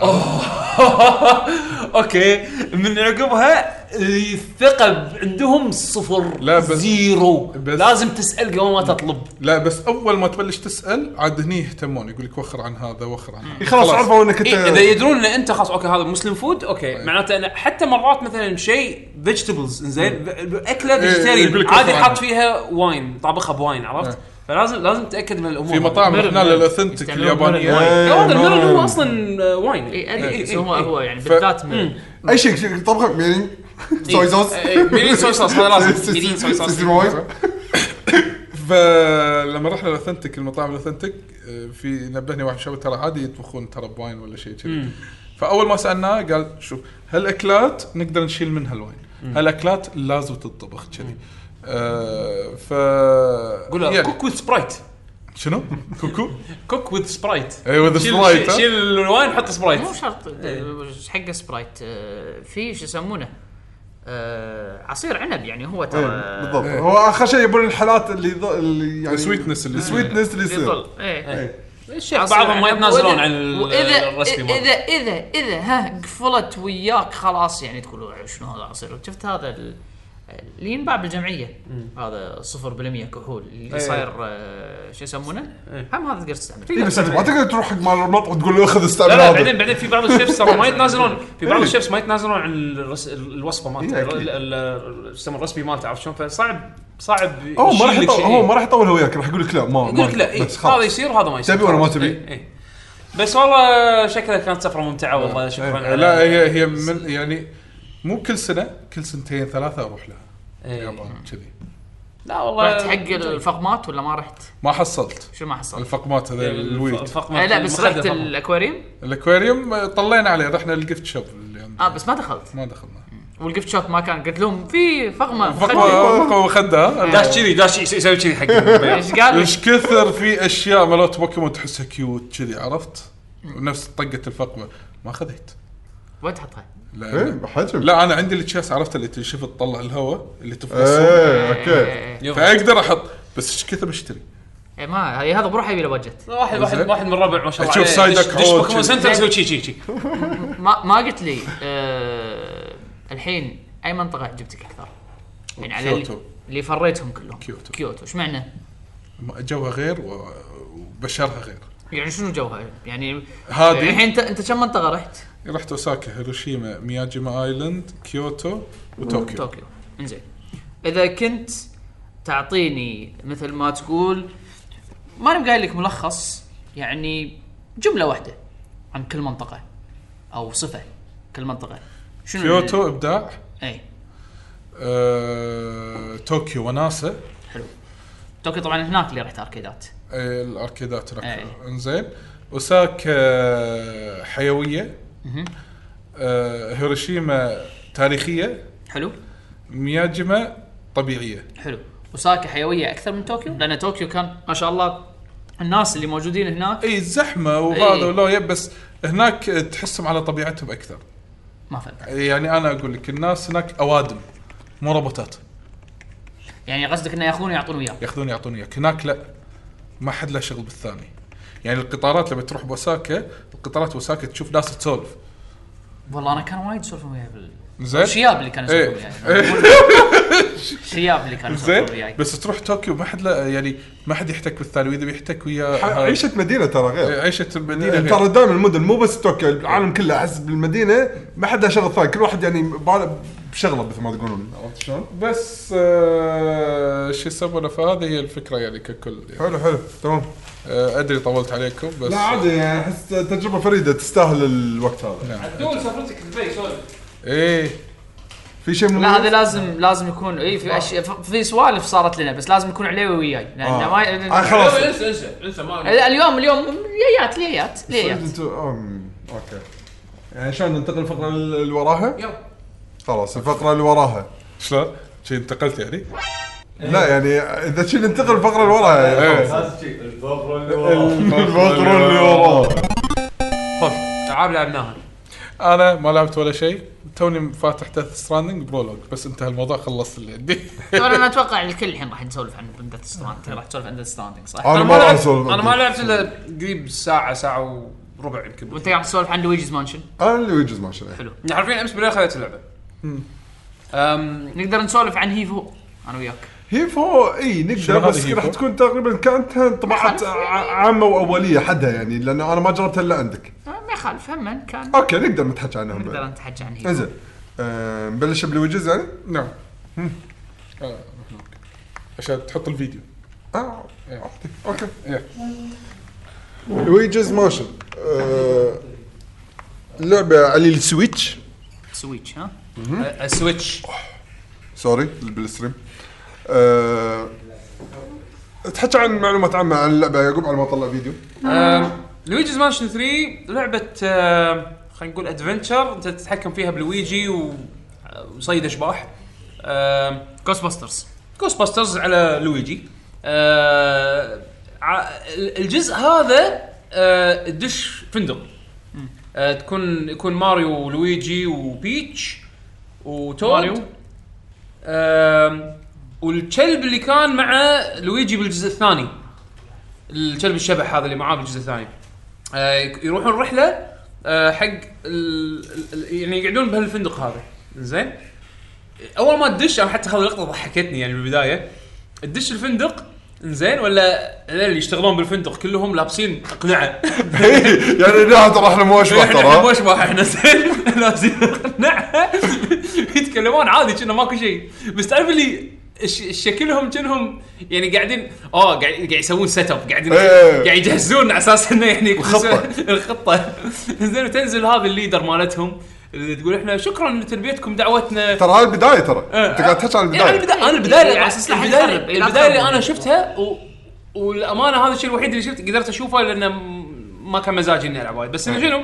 [SPEAKER 1] اوكي من عقبها الثقه عندهم صفر
[SPEAKER 3] لا بس-
[SPEAKER 1] زيرو
[SPEAKER 3] بس-
[SPEAKER 1] لازم تسال قبل ما تطلب
[SPEAKER 3] لا بس اول ما تبلش تسال عاد هني يهتمون يقول لك وخر عن هذا وخر عن هذا
[SPEAKER 4] خلاص عرفوا انك انت
[SPEAKER 1] إيه اذا يدرون ان انت خلاص اوكي هذا مسلم فود اوكي
[SPEAKER 3] طيب.
[SPEAKER 1] معناته أنا حتى مرات مثلا شيء فيجيتبلز زين اكله
[SPEAKER 3] إيه، يقول
[SPEAKER 1] فيجيتيريان
[SPEAKER 3] لك
[SPEAKER 1] عادي
[SPEAKER 3] وفر
[SPEAKER 1] حاط
[SPEAKER 3] عنها.
[SPEAKER 1] فيها واين طابخها بواين عرفت
[SPEAKER 3] إيه.
[SPEAKER 1] فلازم لازم تتاكد من الامور
[SPEAKER 3] في مطاعم إيه،
[SPEAKER 5] مرن
[SPEAKER 3] هنا
[SPEAKER 5] يعني.
[SPEAKER 3] الاوثنتك
[SPEAKER 5] يستعملون
[SPEAKER 3] اليابانيه
[SPEAKER 5] مرن.
[SPEAKER 1] لا هذا الميرن هو
[SPEAKER 4] مرن.
[SPEAKER 1] اصلا آه، واين
[SPEAKER 5] اي
[SPEAKER 3] إيه،
[SPEAKER 1] إي،
[SPEAKER 5] ادري بس
[SPEAKER 1] إي،
[SPEAKER 5] إيه، هو
[SPEAKER 1] إي.
[SPEAKER 5] هو يعني
[SPEAKER 3] ف-
[SPEAKER 5] بالذات من
[SPEAKER 4] اي شيء- شيء طبخه يعني
[SPEAKER 1] إيه،
[SPEAKER 4] صوي صوص
[SPEAKER 1] إي، ميرين صويا صوص هذا لازم ميرين صويا صوص إيه.
[SPEAKER 4] سيستم وايد.
[SPEAKER 3] فلما رحنا الاوثنتك المطاعم الاوثنتك آه، في نبهني واحد شباب ترى عادي يطبخون ترى بواين ولا شيء كذي فاول ما سالناه قال شوف هالاكلات نقدر نشيل منها الواين هالاكلات لازم تطبخ كذي آه ف
[SPEAKER 1] قول له
[SPEAKER 3] يعني-
[SPEAKER 1] كوك وذ سبرايت
[SPEAKER 3] شنو كوكو
[SPEAKER 1] كوك وذ سبرايت
[SPEAKER 4] Eh,
[SPEAKER 3] اي وذ
[SPEAKER 1] شيل-
[SPEAKER 3] سبرايت
[SPEAKER 1] شيل-
[SPEAKER 3] ها؟
[SPEAKER 1] شيل الواين حط سبرايت
[SPEAKER 5] مو شرط
[SPEAKER 1] إيه.
[SPEAKER 5] إيش حق سبرايت آه، في شو يسمونه آه، عصير عنب يعني هو ترى
[SPEAKER 4] إيه، بالضبط هو اخر شيء يبون الحالات اللي يض- اللي يعني
[SPEAKER 3] السويتنس اللي يصير.
[SPEAKER 4] السويتنس اللي يصير
[SPEAKER 1] إيه.
[SPEAKER 5] يظل ايه
[SPEAKER 4] إيه.
[SPEAKER 1] شيل بعضهم ما
[SPEAKER 5] عصير عنب.
[SPEAKER 1] يتنازلون
[SPEAKER 5] وإذا-
[SPEAKER 1] عن ال-
[SPEAKER 5] واذا
[SPEAKER 1] الرسبي
[SPEAKER 5] اذا
[SPEAKER 1] مالهم.
[SPEAKER 5] اذا اذا ها قفلت وياك خلاص يعني تقول شنو هذا عصير شفت هذا ال- اللي ينباع بالجمعيه هذا 0% كحول
[SPEAKER 1] إيه.
[SPEAKER 5] اللي صاير آه، شو يسمونه؟ هم هذا تقدر تستعمله
[SPEAKER 4] إيه، بس انت ما تقدر تروح حق مال المطعم وتقول له اخذ استعمل
[SPEAKER 1] لا لا
[SPEAKER 4] هذا.
[SPEAKER 1] بعدين بعدين في بعض الشيفs ترى ما يتنازلون في بعض
[SPEAKER 4] إيه.
[SPEAKER 1] الشيفs ما يتنازلون عن الرس... الوصفه مالته
[SPEAKER 4] إيه، أكيد.
[SPEAKER 1] ال- ال- ال- السم الرسمي مالته عرفت شلون فصعب صعب
[SPEAKER 4] هو ما راح
[SPEAKER 1] يشيل لك
[SPEAKER 4] يطول
[SPEAKER 1] شيء.
[SPEAKER 4] هو ما راح يطولها وياك راح يقول لك لا ما
[SPEAKER 1] يقول لك لا إيه،
[SPEAKER 4] بس
[SPEAKER 1] هذا
[SPEAKER 4] خلاص
[SPEAKER 1] يصير وهذا ما يصير
[SPEAKER 4] تبي ولا ما تبي؟
[SPEAKER 1] إيه، إيه. بس والله شكلها كانت سفره ممتعه
[SPEAKER 4] إيه.
[SPEAKER 1] والله شكرا على
[SPEAKER 3] لا هي هي من يعني مو كل سنه كل سنتين ثلاثه اروح لها
[SPEAKER 1] إيه.
[SPEAKER 3] اليابان كذي
[SPEAKER 1] لا والله
[SPEAKER 5] رحت حق الفقمات ولا ما رحت؟
[SPEAKER 3] ما حصلت
[SPEAKER 5] شو ما حصل؟
[SPEAKER 3] الفقمات
[SPEAKER 1] إيه،
[SPEAKER 3] هذا الويت
[SPEAKER 1] الفقمة
[SPEAKER 5] آه لا بس
[SPEAKER 1] المخدة
[SPEAKER 5] رحت
[SPEAKER 1] طبعاً.
[SPEAKER 5] الاكواريوم
[SPEAKER 3] الاكواريوم آه، طلينا عليه رحنا الجفت شوب اللي عندنا
[SPEAKER 5] اه بس ما دخلت
[SPEAKER 3] ما دخلنا
[SPEAKER 5] والجفت شوب ما كان قلت لهم في فقمه مخدة.
[SPEAKER 3] فقوه فقوه مخده
[SPEAKER 1] داش كذي داش يس- يسوي كذي حق البيض.
[SPEAKER 5] ايش قال لك؟
[SPEAKER 3] ايش آه. كثر في اشياء مالت بوكيمون تحسها كيوت كذي عرفت؟ ونفس طقه الفقمه ما خذيت
[SPEAKER 5] وين تحطها؟
[SPEAKER 3] لا
[SPEAKER 4] ايه حجم
[SPEAKER 3] لا انا عندي التشيس عرفت اللي تشوف
[SPEAKER 4] إيه،
[SPEAKER 3] تطلع الهواء اللي تفصل
[SPEAKER 4] ايه اوكي
[SPEAKER 5] إيه.
[SPEAKER 1] يلا.
[SPEAKER 3] فاقدر احط بس ايش كثر بشتري
[SPEAKER 5] إيه ما هي هذا بروحه يبي له بادجت
[SPEAKER 1] واحد واحد واحد من الربع ما شاء الله
[SPEAKER 3] تشوف
[SPEAKER 1] عليه.
[SPEAKER 3] سايدك
[SPEAKER 1] دش- دش
[SPEAKER 3] عود.
[SPEAKER 1] بوكيمون سنتر يسوي شي شي شي
[SPEAKER 5] ما ما قلت لي آه الحين اي منطقه عجبتك اكثر؟ يعني على
[SPEAKER 3] كيوتو.
[SPEAKER 5] اللي, اللي فريتهم كلهم
[SPEAKER 3] كيوتو.
[SPEAKER 5] كيوتو ايش معنى؟
[SPEAKER 3] جوها غير و- وبشرها غير
[SPEAKER 5] يعني شنو جوها؟ يعني
[SPEAKER 3] هذه-
[SPEAKER 5] الحين انت انت كم منطقه رحت؟
[SPEAKER 3] رحت اوساكا هيروشيما مياجيما ايلاند كيوتو وطوكيو
[SPEAKER 5] طوكيو انزين اذا كنت تعطيني مثل ما تقول ما انا قايل لك ملخص يعني جمله واحده عن كل منطقه او صفه كل منطقه شنو ال- إيه،
[SPEAKER 3] كيوتو ابداع
[SPEAKER 5] اي
[SPEAKER 3] آه، طوكيو وناسه
[SPEAKER 5] حلو طوكيو طبعا هناك اللي رحت اركيدات
[SPEAKER 3] آه، الاركيدات راح
[SPEAKER 5] أي.
[SPEAKER 3] انزين اوساكا حيويه آه، هيروشيما تاريخيه
[SPEAKER 5] حلو
[SPEAKER 3] مياجيما طبيعيه
[SPEAKER 5] حلو وساكا حيويه اكثر من طوكيو لان طوكيو كان ما شاء الله الناس اللي موجودين هناك
[SPEAKER 3] اي زحمه وهذا
[SPEAKER 5] أي.
[SPEAKER 3] ولو يب بس هناك تحسهم على طبيعتهم اكثر
[SPEAKER 5] ما فهمت
[SPEAKER 3] يعني انا اقول لك الناس هناك اوادم مو روبوتات
[SPEAKER 5] يعني قصدك انه ياخذون ويعطون وياك
[SPEAKER 3] ياخذون يعطون اياك هناك لا ما حد له شغل بالثاني يعني القطارات لما تروح بوساكا القطارات بوساكا تشوف ناس تسولف
[SPEAKER 5] والله انا كان وايد يسولفون وياي بال...
[SPEAKER 3] زين
[SPEAKER 5] الشياب اللي كانوا يسولفون
[SPEAKER 3] ايه
[SPEAKER 5] وياي
[SPEAKER 3] إيه،
[SPEAKER 5] الشياب اللي كانوا يسولفون
[SPEAKER 3] زين
[SPEAKER 5] وياي
[SPEAKER 3] بس تروح طوكيو ما حد لا يعني ما حد يحتك بالثاني واذا بيحتك ويا هاي-
[SPEAKER 4] عيشه مدينه ترى غير
[SPEAKER 3] إيه، عيشه المدينه
[SPEAKER 4] يعني
[SPEAKER 3] غير.
[SPEAKER 4] ترى دائما المدن مو بس طوكيو العالم كله احس بالمدينه ما حد له شغل ثاني كل واحد يعني باله بشغله مثل ما تقولون عرفت شلون؟
[SPEAKER 3] بس آه، شو يسمونه فهذه هي الفكره يعني ككل يعني.
[SPEAKER 4] حلو حلو تمام
[SPEAKER 3] آه، ادري طولت عليكم بس
[SPEAKER 4] لا عادي يعني احس تجربه فريده تستاهل الوقت هذا
[SPEAKER 3] نعم.
[SPEAKER 1] دول سفرتك دبي سولف
[SPEAKER 3] ايه
[SPEAKER 4] في شيء من
[SPEAKER 5] لا هذا لازم لازم يكون اي في اشياء ف- في سوالف صارت لنا بس لازم يكون عليه وياي لان
[SPEAKER 4] آه.
[SPEAKER 5] ما
[SPEAKER 4] آه،
[SPEAKER 5] ي-
[SPEAKER 4] خلاص
[SPEAKER 1] انسى انسى انسى ما
[SPEAKER 5] لا، اليوم اليوم ليات ليات ليات
[SPEAKER 4] انتوا أم، اوكي يعني شلون ننتقل الفقره ال- اللي وراها؟
[SPEAKER 1] يلا.
[SPEAKER 4] خلاص الفقره اللي وراها
[SPEAKER 3] شلون؟ شي انتقلت يعني؟
[SPEAKER 4] لا يعني اذا شي ننتقل الفقره اللي وراها
[SPEAKER 3] إيه.
[SPEAKER 4] يعني خلاص. الفقره اللي وراها
[SPEAKER 1] خذ العاب لعبناها
[SPEAKER 3] انا ما لعبت ولا شيء توني فاتح ديث ستراندنج برولوج بس انتهى الموضوع خلصت اللي عندي
[SPEAKER 5] طبعا انا اتوقع الكل الحين راح نسولف عن ذات ستراند راح تسولف عن ذات ستراندنج صح؟
[SPEAKER 4] انا ما راح اسولف
[SPEAKER 1] انا ما لعبت الا قريب ساعه ساعه وربع يمكن
[SPEAKER 5] وانت قاعد تسولف عن لويجيز مانشن
[SPEAKER 4] انا اللي ويجز ما شاء
[SPEAKER 5] حلو.
[SPEAKER 1] يعني حرفيا امس بالليل خذيت اللعبه أم،
[SPEAKER 5] نقدر نسولف عن هيفو انا وياك
[SPEAKER 4] هيفو اي
[SPEAKER 3] شنو
[SPEAKER 4] نقدر
[SPEAKER 3] هذا
[SPEAKER 4] بس
[SPEAKER 3] هيفو؟
[SPEAKER 4] راح تكون تقريبا كانتها طبعت ع- عامه واوليه حدها يعني لان انا ما جربتها الا عندك
[SPEAKER 5] آه، ما يخالف هم كان
[SPEAKER 4] اوكي نقدر نتحكى عنها
[SPEAKER 5] نقدر
[SPEAKER 4] بعد.
[SPEAKER 5] نتحجى عن هيفو
[SPEAKER 4] انزين آه، نبلش بالويجز يعني؟
[SPEAKER 3] نعم آه، هناك. عشان تحط الفيديو
[SPEAKER 4] اه عرفتك. اوكي
[SPEAKER 3] إيه.
[SPEAKER 4] لويجز ماشن آه، لعبة على السويتش
[SPEAKER 5] سويتش ها
[SPEAKER 1] أ- السويتش
[SPEAKER 4] سوري بالستريم أه... تحكي عن معلومات عامة عن اللعبة يعقوب على ما طلع فيديو
[SPEAKER 1] أم، لويجيز مانشن 3 لعبة أم، خلينا نقول ادفنتشر انت تتحكم فيها بلويجي و- آه، وصيد اشباح
[SPEAKER 5] جوست باسترز
[SPEAKER 1] جوست باسترز على لويجي أه، ع- ال- الجزء هذا أه، تدش فندق أه، تكون يكون ماريو ولويجي وبيتش وتود
[SPEAKER 5] ماريو.
[SPEAKER 1] أم، والكلب اللي كان مع لويجي بالجزء الثاني الكلب الشبح هذا اللي معاه بالجزء الثاني آه، يك- يروحون رحله آه، حق ال- ال- ال- يعني يقعدون بهالفندق هذا زين اول ما تدش انا حتى هذه اللقطه ضحكتني يعني بالبدايه تدش الفندق زين ولا هذول اللي يشتغلون بالفندق كلهم لابسين اقنعه
[SPEAKER 4] يعني لا ترى احنا مو اشباح
[SPEAKER 1] احنا احنا مو
[SPEAKER 4] ترى
[SPEAKER 1] اشباح احنا زين لابسين اقنعه يتكلمون عادي كنا ماكو شيء بس تعرف اللي ش- شكلهم كأنهم يعني قاعدين اه قاعد قاعد يسوون سيت اب قاعدين
[SPEAKER 4] إيه.
[SPEAKER 1] قاعد يجهزون على اساس انه يعني
[SPEAKER 4] الخطة.
[SPEAKER 1] الخطه زين وتنزل هذا الليدر مالتهم اللي تقول احنا شكرا لتلبيتكم دعوتنا
[SPEAKER 4] ترى هاي البداية ترى انت قاعد تحكي عن
[SPEAKER 1] يعني
[SPEAKER 4] البداية
[SPEAKER 1] البدايه انا البدايه
[SPEAKER 5] إيه، على
[SPEAKER 1] على
[SPEAKER 5] أساس
[SPEAKER 1] اساس
[SPEAKER 5] لا حد
[SPEAKER 1] البدايه
[SPEAKER 5] يخرب، لا
[SPEAKER 1] البدايه اللي
[SPEAKER 5] تخرب.
[SPEAKER 1] انا شفتها و... والامانه هذا الشيء الوحيد اللي شفت قدرت اشوفه لانه م- ما كان مزاجي اني العب وايد بس
[SPEAKER 4] إيه.
[SPEAKER 1] انه شنو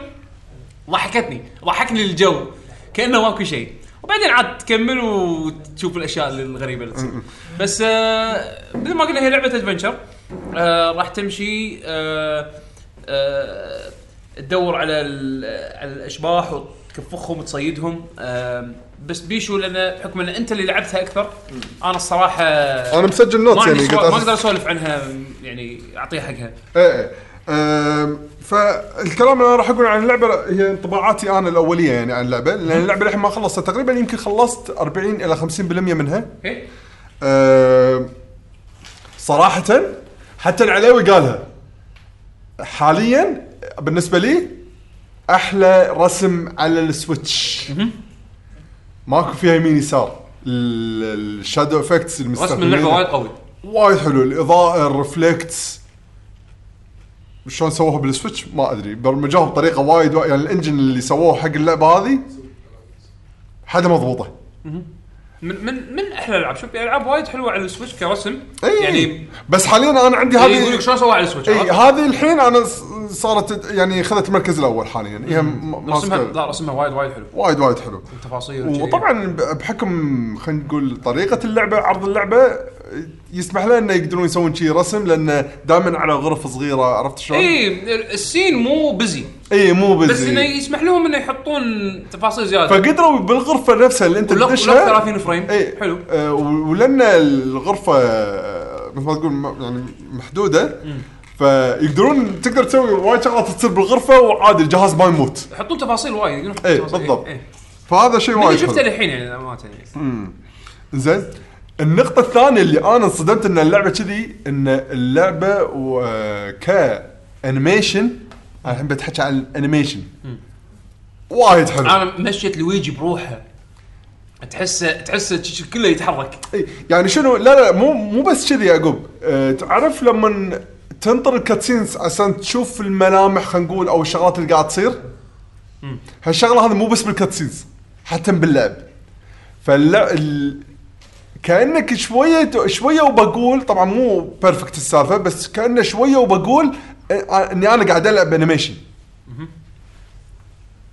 [SPEAKER 1] ضحكتني ضحكني الجو كانه ماكو شيء وبعدين عاد تكمل وتشوف الاشياء الغريبه اللي تصير بس آه مثل ما قلنا هي لعبه ادفنشر آه راح تمشي آه آه تدور على ال- على الاشباح وتكفخهم وتصيدهم آه بس بيشو لان بحكم ان انت اللي لعبتها اكثر انا الصراحه
[SPEAKER 8] انا مسجل
[SPEAKER 1] ما
[SPEAKER 8] نوتس
[SPEAKER 1] عندي
[SPEAKER 8] يعني
[SPEAKER 1] سوا-
[SPEAKER 8] قلت
[SPEAKER 1] ما اقدر
[SPEAKER 8] أسس-
[SPEAKER 1] اسولف عنها يعني اعطيها حقها
[SPEAKER 8] إيه إيه. أم،
[SPEAKER 4] آه، فالكلام اللي انا راح اقول عن اللعبه هي انطباعاتي انا الاوليه يعني عن اللعبه لان اللعبه الحين ما خلصت تقريبا يمكن خلصت 40 الى 50% منها
[SPEAKER 1] إيه؟
[SPEAKER 4] أه، صراحة حتى العلاوي قالها حاليا بالنسبة لي احلى رسم على السويتش ماكو فيها يمين يسار ال- الشادو افكتس
[SPEAKER 1] رسم اللعبه وايد قوي
[SPEAKER 4] وايد حلو الاضاءه الرفلكتس شلون سووها بالسويتش ما ادري برمجوها بطريقه وايد وا- يعني الانجن اللي سووه حق اللعبه هذه حاجه مضبوطه
[SPEAKER 1] من من من احلى الالعاب شوف في العاب وايد حلوه على السويتش كرسم
[SPEAKER 4] اي
[SPEAKER 1] يعني
[SPEAKER 4] يعني بس حاليا انا عندي
[SPEAKER 1] يعني يقول لك
[SPEAKER 4] هذه
[SPEAKER 1] شلون سوى على السويتش
[SPEAKER 4] اي
[SPEAKER 1] عرفت؟
[SPEAKER 4] إيه، هذه الحين انا س- صارت يعني خذت المركز الاول حاليا هي إيه، م-
[SPEAKER 1] رسمها
[SPEAKER 4] ماسكة
[SPEAKER 1] لا رسمها وايد وايد حلو
[SPEAKER 4] وايد وايد حلو
[SPEAKER 1] تفاصيل وشي.
[SPEAKER 4] وطبعا ب- بحكم خلينا نقول طريقه اللعبه عرض اللعبه يسمح لنا انه يقدرون يسوون شي رسم لانه دائما على غرف صغيره عرفت شلون؟
[SPEAKER 1] اي السين مو بزي
[SPEAKER 4] اي مو بزي
[SPEAKER 1] إيه. بس انه يسمح لهم انه يحطون تفاصيل زياده
[SPEAKER 4] فقدروا بالغرفه نفسها اللي انت
[SPEAKER 1] ولو ولو
[SPEAKER 4] تدشها
[SPEAKER 1] 30 فريم
[SPEAKER 4] اي
[SPEAKER 1] حلو
[SPEAKER 4] آه و- ولان الغرفه آه، مثل ما تقول م- يعني محدوده فيقدرون تقدر تسوي وايد شغلات تصير بالغرفه وعادي الجهاز ما يموت
[SPEAKER 1] يحطون تفاصيل وايد يقولون
[SPEAKER 4] إيه،
[SPEAKER 1] تفاصيل.
[SPEAKER 4] بالضبط.
[SPEAKER 1] إيه.
[SPEAKER 4] فهذا شيء
[SPEAKER 1] اللي
[SPEAKER 4] وايد
[SPEAKER 1] شفته
[SPEAKER 4] حلو
[SPEAKER 1] الحين يعني ما يعني
[SPEAKER 4] زين النقطة الثانية اللي انا انصدمت ان اللعبة كذي ان اللعبة و... آه، كانيميشن انا الحين بتحكي عن الانيميشن وايد حلو
[SPEAKER 1] انا مشيت لويجي بروحه تحسه تحسه ش- ش- كله يتحرك
[SPEAKER 4] إيه، يعني شنو لا لا مو مو بس كذي يعقوب أه تعرف لما تنطر الكاتسينز عشان تشوف الملامح خلينا نقول او الشغلات اللي قاعد تصير هالشغله هذه مو بس بالكاتسينز حتى باللعب فاللع ال... كانك شويه شويه وبقول طبعا مو بيرفكت السالفه بس كانه شويه وبقول آه، اني انا قاعد العب انيميشن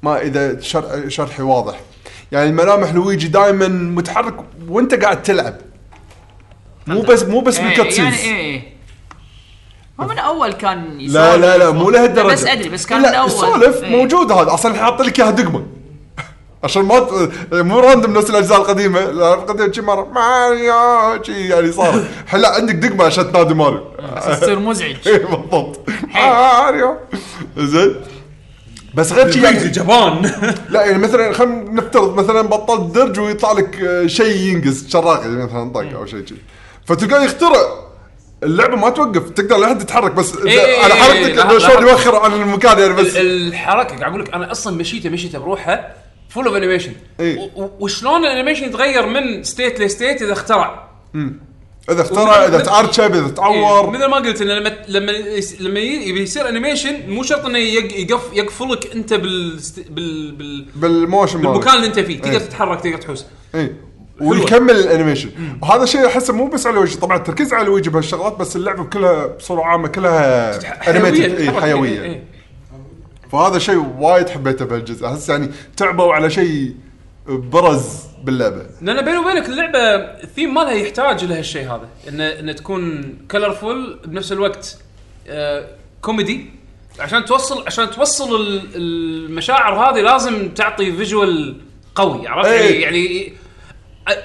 [SPEAKER 4] ما اذا شرح شرحي واضح يعني الملامح لويجي دائما متحرك وانت قاعد تلعب مو بس مو بس
[SPEAKER 5] إيه،
[SPEAKER 4] بالكاتسينز
[SPEAKER 9] يعني ايه هو من اول كان يسولف.
[SPEAKER 4] لا لا لا مو لهالدرجه
[SPEAKER 9] بس ادري بس كان من
[SPEAKER 4] لا
[SPEAKER 9] اول
[SPEAKER 4] السولف
[SPEAKER 9] إيه.
[SPEAKER 4] موجود هذا اصلا حاط لك اياها دقمه عشان ما ت- مو راندم نفس الاجزاء القديمه الألعاب القديمه شي مره ماريو شي يعني صار هلا عندك دقمه عشان تنادي ماريو
[SPEAKER 9] تصير مزعج
[SPEAKER 4] إيه، بالضبط ماريو زين بس غير شي يعني
[SPEAKER 10] جبان
[SPEAKER 4] لا يعني مثلا خلينا نفترض مثلا بطلت درج ويطلع لك آه، شيء يعني ينقز شراغي مثلا طق او شيء كذي فتلقاه يخترع اللعبه ما توقف تقدر لحد تتحرك بس
[SPEAKER 1] إيه،
[SPEAKER 4] على
[SPEAKER 1] إيه،
[SPEAKER 4] حركتك
[SPEAKER 1] لحظة،
[SPEAKER 4] إنه شلون
[SPEAKER 1] لحظة.
[SPEAKER 4] يوخر عن المكان يعني بس
[SPEAKER 1] ال- الحركه قاعد اقول لك انا اصلا مشيته مشيته بروحه فول اوف انيميشن
[SPEAKER 4] إيه.
[SPEAKER 1] وشلون الانيميشن يتغير من ستيت لستيت اذا اخترع
[SPEAKER 4] اذا اخترع اذا
[SPEAKER 1] ومن-
[SPEAKER 4] تعرشب اذا
[SPEAKER 1] إيه،
[SPEAKER 4] تعور
[SPEAKER 1] مثل ما قلت انه لما لما يس- لما ي- يبي يصير انيميشن مو شرط انه يق- يقف يقفلك انت بال بال بال
[SPEAKER 4] بالموشن مالك.
[SPEAKER 1] بالمكان اللي انت فيه تقدر
[SPEAKER 4] إيه.
[SPEAKER 1] تتحرك تقدر تحوس
[SPEAKER 4] اي إيه. ويكمل الانيميشن وهذا الشيء احسه مو بس على الوجه طبعا التركيز على الوجه بهالشغلات بس اللعبه كلها بصوره عامه كلها animated، إيه،
[SPEAKER 1] تتحرك،
[SPEAKER 4] حيويه
[SPEAKER 1] إيه.
[SPEAKER 4] فهذا شيء وايد حبيته بهالجزء احس يعني تعبوا على شيء برز باللعبه
[SPEAKER 1] لان بيني وبينك اللعبه الثيم مالها يحتاج لهالشيء هذا انه انه تكون كلرفول بنفس الوقت آه كوميدي عشان توصل عشان توصل ال- المشاعر هذه لازم تعطي فيجوال قوي عرفت
[SPEAKER 4] إيه.
[SPEAKER 1] يعني, يعني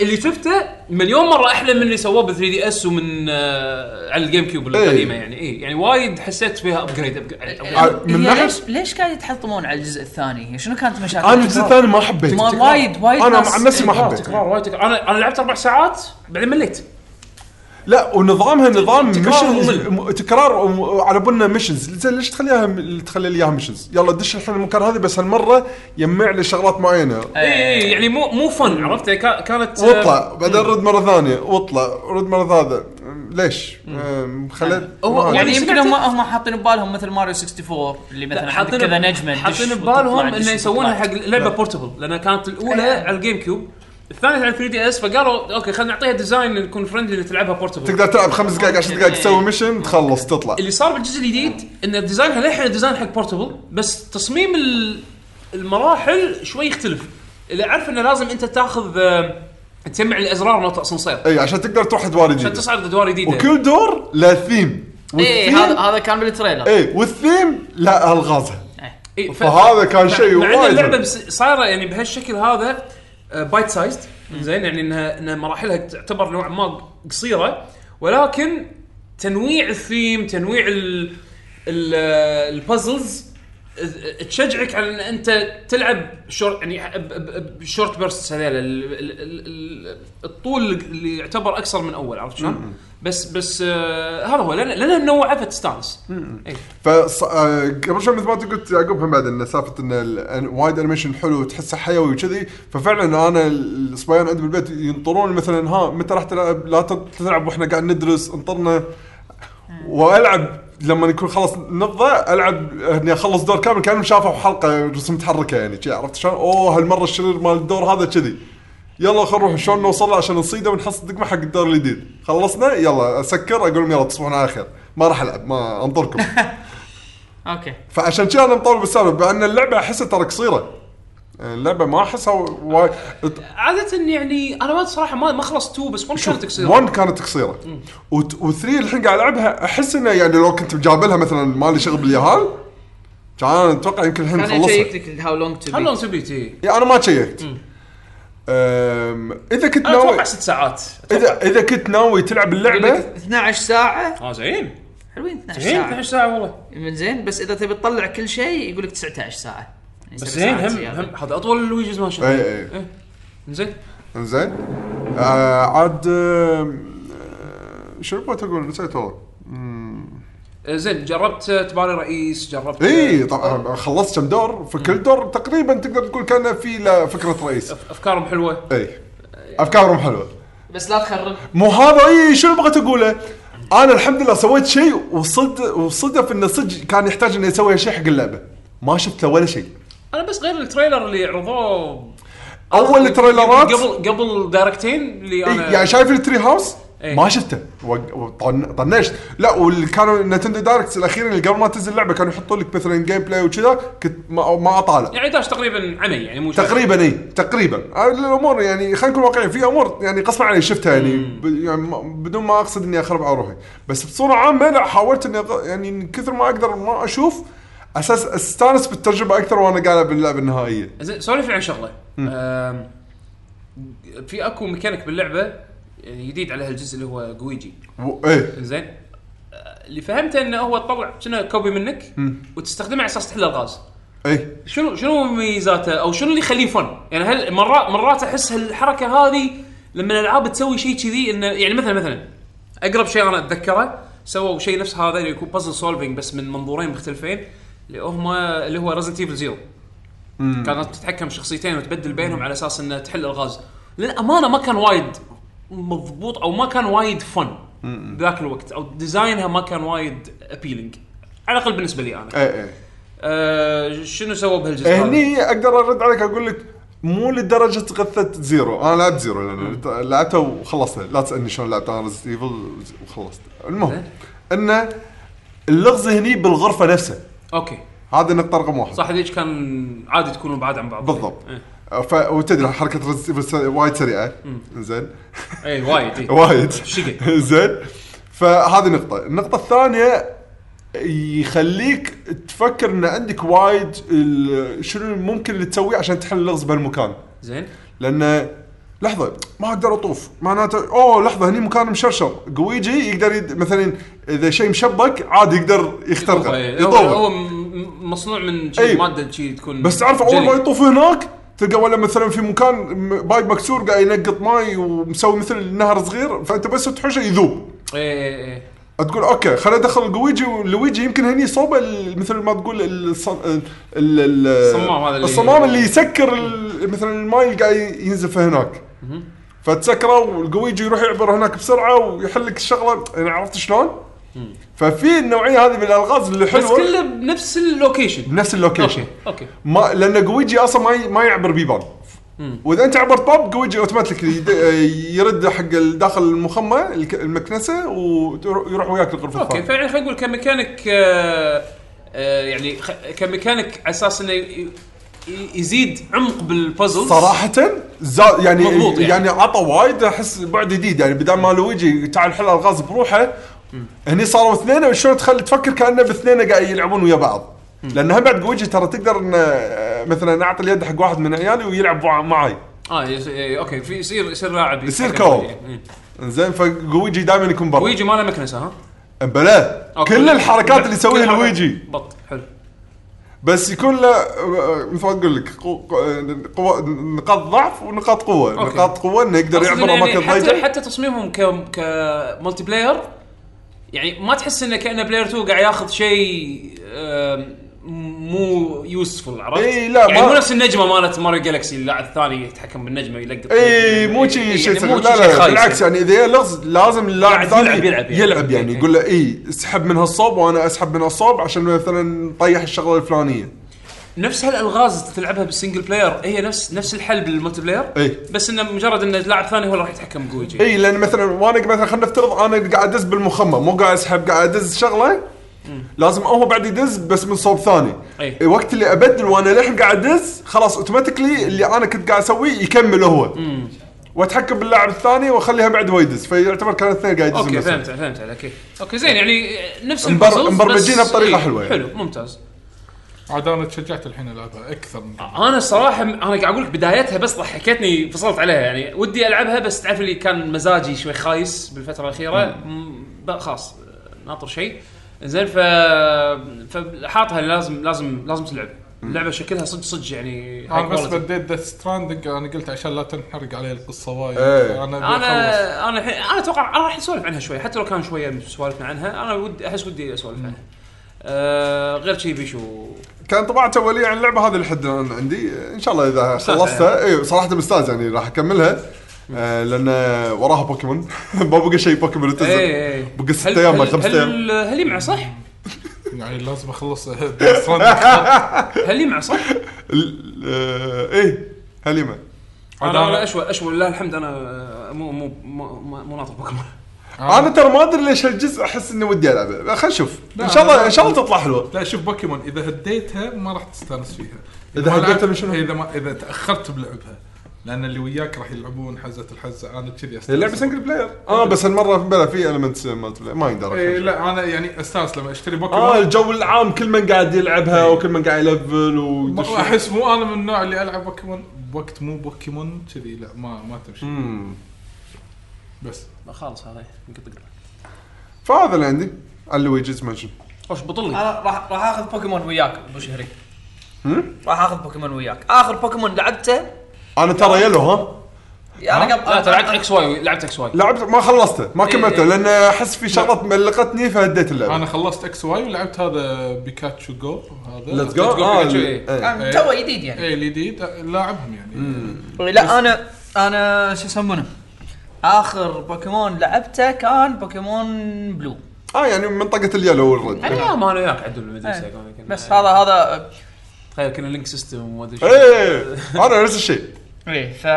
[SPEAKER 1] اللي شفته مليون مره احلى من اللي سووه بال 3 دي اس ومن آه على الجيم كيوب القديمه يعني اي يعني وايد حسيت فيها ابجريد
[SPEAKER 5] إيه.
[SPEAKER 4] آه، من
[SPEAKER 5] هي
[SPEAKER 4] ناحية-
[SPEAKER 5] يعني ليش ليش قاعد يتحطمون على الجزء الثاني؟ شنو كانت مشاكل؟
[SPEAKER 4] انا الجزء الثاني ما حبيته
[SPEAKER 5] ما- وايد- وايد
[SPEAKER 4] انا
[SPEAKER 5] ناس-
[SPEAKER 4] مع نفسي ما حبيته
[SPEAKER 1] تكرار وايد تكرار. انا انا لعبت اربع ساعات بعدين مليت
[SPEAKER 4] لا ونظامها نظام
[SPEAKER 1] تكرار
[SPEAKER 4] ميشنز
[SPEAKER 1] ممل.
[SPEAKER 4] م- تكرار وم- على بالنا ميشنز زين ليش تخليها م- تخلي لي اياها ميشنز يلا دش الحين المكان هذا بس هالمره يجمع لي شغلات معينه
[SPEAKER 1] اي يعني مو مو فن عرفت كا- كانت آه،
[SPEAKER 4] واطلع بعدين رد مره ثانيه واطلع رد مره ثالثه ليش؟ أم، خليت ما
[SPEAKER 5] يعني
[SPEAKER 4] أدري.
[SPEAKER 5] يمكن هم هم حاطين ببالهم مثل ماريو 64 اللي مثلا حاطين كذا نجمه تدش
[SPEAKER 1] حاطين
[SPEAKER 5] وتطلع،
[SPEAKER 1] ببالهم
[SPEAKER 5] تدش
[SPEAKER 1] انه يسوونها
[SPEAKER 5] وتطلع.
[SPEAKER 1] حق لعبه بورتبل لان كانت الاولى
[SPEAKER 4] أيوة.
[SPEAKER 1] على الجيم كيوب الثانيه على 3 دي اس فقالوا اوكي خلينا نعطيها ديزاين يكون فرندلي اللي تلعبها بورتبل
[SPEAKER 4] تقدر تلعب خمس دقائق 10
[SPEAKER 5] إيه،
[SPEAKER 4] دقائق تسوي ميشن تخلص تطلع
[SPEAKER 1] اللي صار بالجزء الجديد ان ديزاينها للحين ديزاين حق بورتبل بس تصميم ال- المراحل شوي يختلف اللي اعرف انه لازم انت تاخذ آه، تجمع الازرار مالت الاسانسير
[SPEAKER 4] اي إيه، عشان تقدر تروح ادوار
[SPEAKER 1] عشان
[SPEAKER 4] جديده
[SPEAKER 1] تصعد ادوار جديده
[SPEAKER 4] أيوة. وكل دور له ثيم
[SPEAKER 5] اي إيه، هذا هذا كان بالتريلر
[SPEAKER 4] اي والثيم إيه، لا الغازها
[SPEAKER 1] إيه، ف-
[SPEAKER 4] فهذا كان شيء
[SPEAKER 1] مع ان
[SPEAKER 4] وايد
[SPEAKER 1] اللعبه
[SPEAKER 4] حلو.
[SPEAKER 1] بس- صايره يعني بهالشكل هذا بايت سايزد زين يعني انها ان مراحلها تعتبر نوعا ما قصيره ولكن تنويع الثيم تنويع ال- ال- البازلز ت- تشجعك على ان انت تلعب شورت يعني ب- ب- بشورت بيرست هذيل ال- ال- ال- الطول اللي يعتبر اقصر من اول عرفت شلون؟ بس بس آه، هذا هو لان لانها منوعه فتستانس إي.
[SPEAKER 4] فص... آه، قبل شوي مثل ما انت قلت يعقوب هم بعد ان سالفه ان ال- أن- وايد انيميشن حلو تحسه حيوي وكذي ففعلا انا ال- الصبيان عندي بالبيت ينطرون مثلا ها متى راح تلعب لا تط- تلعب واحنا قاعد ندرس انطرنا والعب لما يكون خلص نبضه العب اني اخلص دور كامل كانهم شافوا حلقه رسم متحركه يعني شي، عرفت شلون؟ اوه هالمره الشرير مال الدور هذا كذي يلا خلينا نروح شلون نوصل له عشان نصيده ونحص الدقمه حق الدور الجديد خلصنا يلا اسكر اقول لهم يلا تصبحون على خير ما راح العب ما انطركم
[SPEAKER 11] اوكي
[SPEAKER 4] فعشان كذا انا مطول بالسالفه بان اللعبه احسها ترى قصيره اللعبه ما احسها وايد
[SPEAKER 1] عاده يعني انا ما صراحه ما ما خلصت 2 بس 1 كانت قصيره
[SPEAKER 4] 1 كانت قصيره و3 الحين قاعد العبها احس انه يعني لو كنت جابلها مثلا مالي شغل باليهال كان اتوقع يمكن الحين
[SPEAKER 5] انا
[SPEAKER 4] نخلصها
[SPEAKER 5] اشيك لك هاو لونج تو
[SPEAKER 1] هل
[SPEAKER 5] بي
[SPEAKER 1] لون تبي
[SPEAKER 4] يعني انا ما تشيكت أم، اذا كنت
[SPEAKER 1] انا
[SPEAKER 4] ناوي
[SPEAKER 1] اتوقع ست ساعات
[SPEAKER 4] اذا اذا كنت ناوي تلعب اللعبه
[SPEAKER 5] 12 ساعه
[SPEAKER 1] اه زين
[SPEAKER 5] حلوين 12
[SPEAKER 1] زين
[SPEAKER 5] ساعه
[SPEAKER 1] 12 ساعه والله
[SPEAKER 5] من زين بس اذا تبي تطلع كل شيء يقول لك 19 ساعه يعني
[SPEAKER 1] بس
[SPEAKER 5] سبع
[SPEAKER 1] زين
[SPEAKER 5] ساعات
[SPEAKER 1] هم
[SPEAKER 5] زيادة.
[SPEAKER 1] هم هذا اطول لويجيز مانشن
[SPEAKER 4] اي اي
[SPEAKER 1] إيه. زين
[SPEAKER 4] انزين آه، عاد أم، آه، شنو بغيت اقول نسيت والله
[SPEAKER 1] إيه، زين جربت تباري رئيس جربت
[SPEAKER 4] اي طبعا إيه، خلصت كم دور فكل دور تقريبا تقدر تقول كان في له فكره رئيس
[SPEAKER 1] أف- افكارهم حلوه
[SPEAKER 4] اي افكارهم حلوه
[SPEAKER 5] بس لا تخرب
[SPEAKER 4] مو هذا اي شنو بغيت اقوله انا الحمد لله سويت شيء وصد وصدف انه صدق كان يحتاج انه يسوي شيء حق اللعبه ما شفت له ولا شيء
[SPEAKER 1] انا بس غير التريلر اللي عرضوه
[SPEAKER 4] اول التريلرات
[SPEAKER 1] قبل قبل دايركتين اللي
[SPEAKER 4] إي،
[SPEAKER 1] انا
[SPEAKER 4] يعني شايف التري هاوس
[SPEAKER 1] إي.
[SPEAKER 4] ما شفته وق- وطن- طنشت لا واللي كانوا نتندو دايركتس الاخيرين اللي قبل ما تنزل اللعبه كانوا يحطوا لك مثلا جيم بلاي وكذا كنت ما, ما اطالع
[SPEAKER 1] يعني داش تقريبا عمي يعني مو شايف.
[SPEAKER 4] تقريبا اي تقريبا آه، الامور يعني خلينا نكون واقعيين في امور يعني قسم علي شفتها يعني, ب... يعني ما- بدون ما اقصد اني اخرب على روحي بس بصوره عامه لا حاولت اني أغ- يعني إن كثر ما اقدر ما اشوف اساس استانس بالتجربه اكثر وانا قاعد باللعبه النهائيه
[SPEAKER 1] زين سولف لي عن شغله آم، في اكو ميكانيك باللعبه جديد على هالجزء اللي هو جويجي
[SPEAKER 4] و... ايه
[SPEAKER 1] زين آه، اللي فهمته انه هو تطلع شنو كوبي منك وتستخدمه على اساس تحل الغاز
[SPEAKER 4] ايه
[SPEAKER 1] شنو شنو مميزاته او شنو اللي يخليه فن؟ يعني هل مرات مرات احس هالحركه هذه لما الالعاب تسوي شيء كذي انه يعني مثلا مثلا اقرب شيء انا اتذكره سووا شيء نفس هذا اللي يكون بازل سولفينج بس من منظورين مختلفين اللي هم اللي هو ريزنت ايفل زيرو كانت تتحكم بشخصيتين وتبدل بينهم على اساس انها تحل الغاز للامانه ما كان وايد مضبوط او ما كان وايد فن ذاك الوقت او ديزاينها ما كان وايد ابيلينج على الاقل بالنسبه لي انا
[SPEAKER 4] ايه ايه
[SPEAKER 1] آه شنو سووا بهالجزء هذا؟
[SPEAKER 4] إيه، هني اقدر ارد عليك اقول لك مو لدرجه غثت زيرو انا لعبت زيرو لان لعبتها وخلصتها لا تسالني شلون لعبت انا ريزنت ايفل وخلصت المهم انه اللغز هني بالغرفه نفسها
[SPEAKER 1] اوكي
[SPEAKER 4] هذه النقطه رقم واحد
[SPEAKER 1] صح هذيك كان عادي تكونوا بعاد عن بعض
[SPEAKER 4] بالضبط.
[SPEAKER 1] إيه.
[SPEAKER 4] ف... وتدري حركه ريزنت وايد سريعه زين
[SPEAKER 1] اي إيه، وايد إي.
[SPEAKER 4] وايد
[SPEAKER 1] شقق.
[SPEAKER 4] زين فهذه نقطه النقطه الثانيه يخليك تفكر ان عندك وايد ال- شنو الممكن اللي تسويه عشان تحل اللغز بهالمكان
[SPEAKER 1] زين
[SPEAKER 4] لان لحظه ما اقدر اطوف معناته اوه لحظه هني مكان مشرشر قويجي يقدر يد... مثلا اذا شيء مشبك عادي يقدر يخترقه
[SPEAKER 1] إي، هو, هو
[SPEAKER 4] يطوف
[SPEAKER 1] م- م- مصنوع من
[SPEAKER 4] إي.
[SPEAKER 1] شيء ماده شيء تكون
[SPEAKER 4] إيه. بس تعرف اول
[SPEAKER 1] جلي.
[SPEAKER 4] ما يطوف هناك تلقى ولا مثلا في مكان م- بايب مكسور قاعد ينقط ماي ومسوي مثل نهر صغير فانت بس تحوشه يذوب
[SPEAKER 1] اي اي اي
[SPEAKER 4] تقول اوكي خليني ادخل جويجي ولويجي يمكن هني صوبه ال- مثل ما تقول الص... ال... ال...
[SPEAKER 1] الصمام هذا اللي-
[SPEAKER 4] الصمام اللي يسكر ال... مثلا الماي اللي قاعد ينزف هناك فتسكره والجويجي يروح يعبر هناك بسرعه ويحل لك الشغله يعني عرفت شلون؟ ففي النوعيه هذه من الالغاز اللي
[SPEAKER 1] بس
[SPEAKER 4] حلوه
[SPEAKER 1] كله بنفس اللوكيشن
[SPEAKER 4] بنفس اللوكيشن
[SPEAKER 1] اوكي اوكي
[SPEAKER 4] ما لان جويجي اصلا ما ي- ما يعبر بيبان واذا انت عبرت باب جويجي اوتوماتيك يرد حق داخل المخمه الك- المكنسه ويروح وياك الغرفه
[SPEAKER 1] اوكي
[SPEAKER 4] الثانيه
[SPEAKER 1] فيعني خلينا نقول كميكانيك آه آه يعني خ- كميكانيك على اساس انه ي- ي- يزيد عمق بالبازل
[SPEAKER 4] صراحة زا يعني
[SPEAKER 1] مضبوط
[SPEAKER 4] يعني,
[SPEAKER 1] يعني.
[SPEAKER 4] يعني عطى وايد احس بعد جديد يعني بدل ما لويجي تعال حل الغاز بروحه هني صاروا اثنين وشلون تخلي تفكر كانه باثنين قاعد يلعبون ويا بعض لان هم بعد جوجي ترى تقدر ان آه، مثلا اعطي اليد حق واحد من عيالي ويلعب مع- معاي
[SPEAKER 1] اه يس- إيه، اوكي في يصير يصير لاعب
[SPEAKER 4] يصير
[SPEAKER 1] يتحكم
[SPEAKER 4] كوب.
[SPEAKER 1] فيه. مم.
[SPEAKER 4] زين فلويجي دائما يكون برا
[SPEAKER 1] ويجي ما له مكنسه ها
[SPEAKER 4] بلا
[SPEAKER 1] أوكي.
[SPEAKER 4] كل الحركات اللي
[SPEAKER 1] كل
[SPEAKER 4] يسويها
[SPEAKER 1] حركة.
[SPEAKER 4] لويجي
[SPEAKER 1] بط حلو
[SPEAKER 4] بس يكون له آه، مثل ما اقول لك قو- قوة نقاط ضعف ونقاط قوه
[SPEAKER 1] أوكي.
[SPEAKER 4] نقاط قوه انه يقدر
[SPEAKER 1] أقصد
[SPEAKER 4] يعبر
[SPEAKER 1] إنه يعني
[SPEAKER 4] اماكن
[SPEAKER 1] حتى
[SPEAKER 4] ضيقه
[SPEAKER 1] حتى تصميمهم ك كملتي بلاير يعني ما تحس انه كانه بلاير 2 قاعد ياخذ شيء آم، مو يوسفول عرفت؟
[SPEAKER 4] إي إيه، لا،
[SPEAKER 1] يعني
[SPEAKER 4] ما-
[SPEAKER 1] مو نفس النجمه مالت ماريو جالكسي اللاعب الثاني يتحكم بالنجمه يلقط
[SPEAKER 4] اي إيه، مو شيء شيء
[SPEAKER 1] يعني مو
[SPEAKER 4] لا لا
[SPEAKER 1] خايس
[SPEAKER 4] بالعكس يعني اذا هي لغز لازم اللاعب
[SPEAKER 1] قاعد
[SPEAKER 4] الثاني
[SPEAKER 1] يلعب- يلعب يعني.
[SPEAKER 4] يلعب يعني
[SPEAKER 1] أوكي.
[SPEAKER 4] يقول له اي اسحب من هالصوب وانا اسحب من هالصوب عشان مثلا نطيح الشغله الفلانيه
[SPEAKER 1] نفس هالالغاز اللي تلعبها بالسنجل بلاير هي نفس نفس الحل بالملتي بلاير
[SPEAKER 4] إي.
[SPEAKER 1] بس انه مجرد ان لاعب ثاني هو اللي راح يتحكم بويجي
[SPEAKER 4] اي لان مثلا وانا مثلا خلينا نفترض انا قاعد ادز بالمخمه مو قاعد اسحب قاعد ادز شغله لازم هو بعد يدز بس من صوب ثاني
[SPEAKER 1] أي.
[SPEAKER 4] إي وقت اللي ابدل وانا للحين قاعد ادز خلاص اوتوماتيكلي اللي انا كنت قاعد اسويه يكمل هو واتحكم باللاعب الثاني واخليها بعد هو يدز فيعتبر كان الاثنين قاعد يدزون
[SPEAKER 1] اوكي
[SPEAKER 4] نفس
[SPEAKER 1] فهمت فهمت عليك إي. اوكي زين يعني نفس
[SPEAKER 4] مبر-
[SPEAKER 1] البازلز، بس-
[SPEAKER 4] مبرمجينها بطريقة
[SPEAKER 1] إي،
[SPEAKER 4] حلوة يعني.
[SPEAKER 1] حلو ممتاز
[SPEAKER 3] عاد انا تشجعت الحين العبها اكثر من
[SPEAKER 1] انا الصراحه انا قاعد اقول لك بدايتها بس ضحكتني فصلت عليها يعني ودي العبها بس تعرف اللي كان مزاجي شوي خايس بالفتره الاخيره مم، ب- خلاص ناطر شيء زين ف فحاطها لازم لازم لازم تلعب اللعبه شكلها صدق صدق يعني
[SPEAKER 3] انا
[SPEAKER 1] high
[SPEAKER 3] بس
[SPEAKER 1] quality.
[SPEAKER 3] بديت ديث ستراندنج انا قلت عشان لا تنحرق علي القصه وايد
[SPEAKER 4] إيه.
[SPEAKER 3] انا أبي أخلص.
[SPEAKER 1] انا انا الحين انا اتوقع انا راح نسولف عنها شوي حتى لو كان شويه سوالفنا عنها انا ودي احس ودي اسولف عنها آه غير شي بيشو
[SPEAKER 4] كان طباعتي اوليه عن اللعبه هذا الحد انا عندي ان شاء الله اذا
[SPEAKER 1] مستانس
[SPEAKER 4] خلصتها اي صراحه مستانس يعني راح اكملها آه لان وراها بوكيمون ما بقى شيء بوكيمون تنزل
[SPEAKER 1] إيه، إيه.
[SPEAKER 4] بقى ست
[SPEAKER 1] هل-
[SPEAKER 4] ايام ولا
[SPEAKER 1] هل-
[SPEAKER 4] خمس
[SPEAKER 1] هل-
[SPEAKER 4] ايام
[SPEAKER 1] هل يمع صح؟
[SPEAKER 3] يعني لازم اخلص ديث ستراندنج
[SPEAKER 1] هل يمع صح؟
[SPEAKER 4] ال- آه، ايه هليمه
[SPEAKER 3] عاد
[SPEAKER 1] انا
[SPEAKER 3] أنا-
[SPEAKER 1] انا اشوى اشوى لله الحمد انا آه، مو مو مو, مو- مو ناطر بوكيمون
[SPEAKER 4] انا ترى ما ادري ليش هالجزء احس اني ودي العبه خلينا نشوف ان شاء
[SPEAKER 3] لا،
[SPEAKER 4] الله
[SPEAKER 3] لا.
[SPEAKER 4] ان شاء الله تطلع حلوه
[SPEAKER 3] لا شوف بوكيمون اذا هديتها ما راح تستانس فيها
[SPEAKER 4] إذا
[SPEAKER 3] ما
[SPEAKER 4] هديتها
[SPEAKER 3] لعبت-
[SPEAKER 4] بشنو؟
[SPEAKER 3] اذا ما اذا تاخرت بلعبها لان اللي وياك راح يلعبون حزه الحزه انا كذي
[SPEAKER 4] هي لعبه سنجل بلاير اه بس هالمره بلا في المنت مالت بلاير. ما يقدر
[SPEAKER 3] إيه
[SPEAKER 4] أكمل.
[SPEAKER 3] لا انا يعني استانس لما اشتري
[SPEAKER 4] اه
[SPEAKER 3] بوكيمون
[SPEAKER 4] الجو العام كل من قاعد يلعبها وكل من قاعد يلفل
[SPEAKER 3] ما-
[SPEAKER 4] ويدش-
[SPEAKER 3] احس مو انا من النوع اللي العب بوكيمون بوقت مو بوكيمون كذي لا ما ما تمشي
[SPEAKER 4] مم.
[SPEAKER 3] بس
[SPEAKER 1] خالص هذا يمكن تقدر
[SPEAKER 4] فهذا اللي عندي على لويجيز مانشن
[SPEAKER 1] خوش بطلني
[SPEAKER 11] انا راح راح اخذ بوكيمون وياك ابو شهري
[SPEAKER 4] هم؟
[SPEAKER 11] راح اخذ بوكيمون وياك اخر بوكيمون لعبته
[SPEAKER 4] انا ترى يلو ها
[SPEAKER 11] انا قبل
[SPEAKER 1] لا أنت لعبت اكس واي لعبت اكس واي
[SPEAKER 4] لعبت ما خلصته ما كملته لان احس في شغلات ملقتني فهديت اللعبه
[SPEAKER 3] انا خلصت اكس واي ولعبت هذا بيكاتشو جو هذا
[SPEAKER 4] ليتس
[SPEAKER 1] Let's go
[SPEAKER 4] جو
[SPEAKER 1] Pikachu،
[SPEAKER 4] اي
[SPEAKER 11] أنا تو جديد يعني
[SPEAKER 3] اي الجديد لاعبهم يعني
[SPEAKER 4] إيه.
[SPEAKER 11] لا انا انا شو يسمونه اخر بوكيمون لعبته كان بوكيمون بلو
[SPEAKER 4] اه يعني منطقه اليلو والرد
[SPEAKER 1] انا يا ما انا وياك عدل بالمدرسه
[SPEAKER 11] إيه.
[SPEAKER 1] كنا-
[SPEAKER 11] بس هذا هذا
[SPEAKER 1] تخيل كنا لينك سيستم وما ادري شو.
[SPEAKER 4] ايه انا نفس الشيء
[SPEAKER 11] ايه ف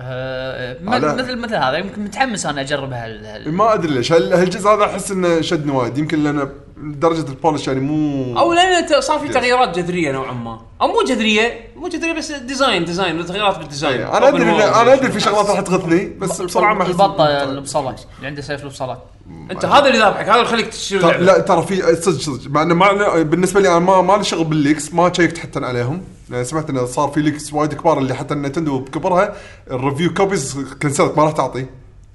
[SPEAKER 11] آه، م-
[SPEAKER 4] على-
[SPEAKER 11] مثل مثل هذا يمكن متحمس انا اجرب هال هال-
[SPEAKER 4] ما ادري ليش هال- هالجزء هذا احس انه شدني وايد يمكن لان درجه البولش يعني مو
[SPEAKER 1] او لان ت- صار في تغييرات جذريه نوعا ما او مو جذريه مو جذريه بس ديزاين ديزاين تغييرات بالديزاين
[SPEAKER 4] إيه، انا ادري
[SPEAKER 1] Open world.
[SPEAKER 4] إنه- انا ادري في شغلات راح تغثني بس بصراحه ما احس
[SPEAKER 11] البطه
[SPEAKER 5] يعني.
[SPEAKER 11] البصلات اللي عنده سيف البصلات
[SPEAKER 1] انت هذا اللي ذابحك هذا اللي خليك تشتري
[SPEAKER 4] ترى-
[SPEAKER 1] اللعبه
[SPEAKER 4] لا ترى في صدق صدق مع انه ما أنا- بالنسبه لي انا ما ما لي شغل بالليكس ما شيكت حتى عليهم لأن سمعت انه صار في ليكس وايد كبار اللي حتى نتندو بكبرها الريفيو كوبيز كنسلت ما راح تعطي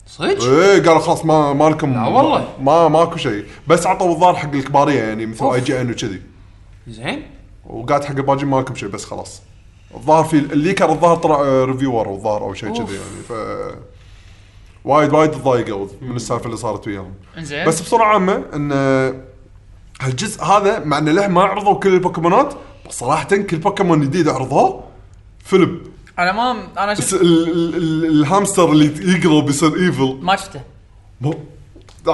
[SPEAKER 1] صدق
[SPEAKER 4] ايه قالوا خلاص ما ما لكم
[SPEAKER 1] لا والله.
[SPEAKER 4] ما ماكو شيء بس عطوا الظاهر حق الكباريه يعني مثل اي جي ان وكذي
[SPEAKER 1] زين
[SPEAKER 4] وقعد حق الباجي ما لكم شيء بس خلاص الظاهر في الليكر الظاهر طلع ريفيور الظاهر او شيء كذي يعني ف وايد وايد تضايقوا من السالفه اللي صارت وياهم
[SPEAKER 5] إيه.
[SPEAKER 11] انزين
[SPEAKER 4] بس بصوره عامه ان هالجزء هذا مع انه له ما عرضوا كل البوكيمونات بس صراحه كل بوكيمون جديد عرضوه فيلم
[SPEAKER 11] انا ما انا
[SPEAKER 4] بس
[SPEAKER 11] شفت
[SPEAKER 4] ال- ال- ال- الهامستر اللي يقرب يصير ايفل
[SPEAKER 11] ما شفته
[SPEAKER 4] مو-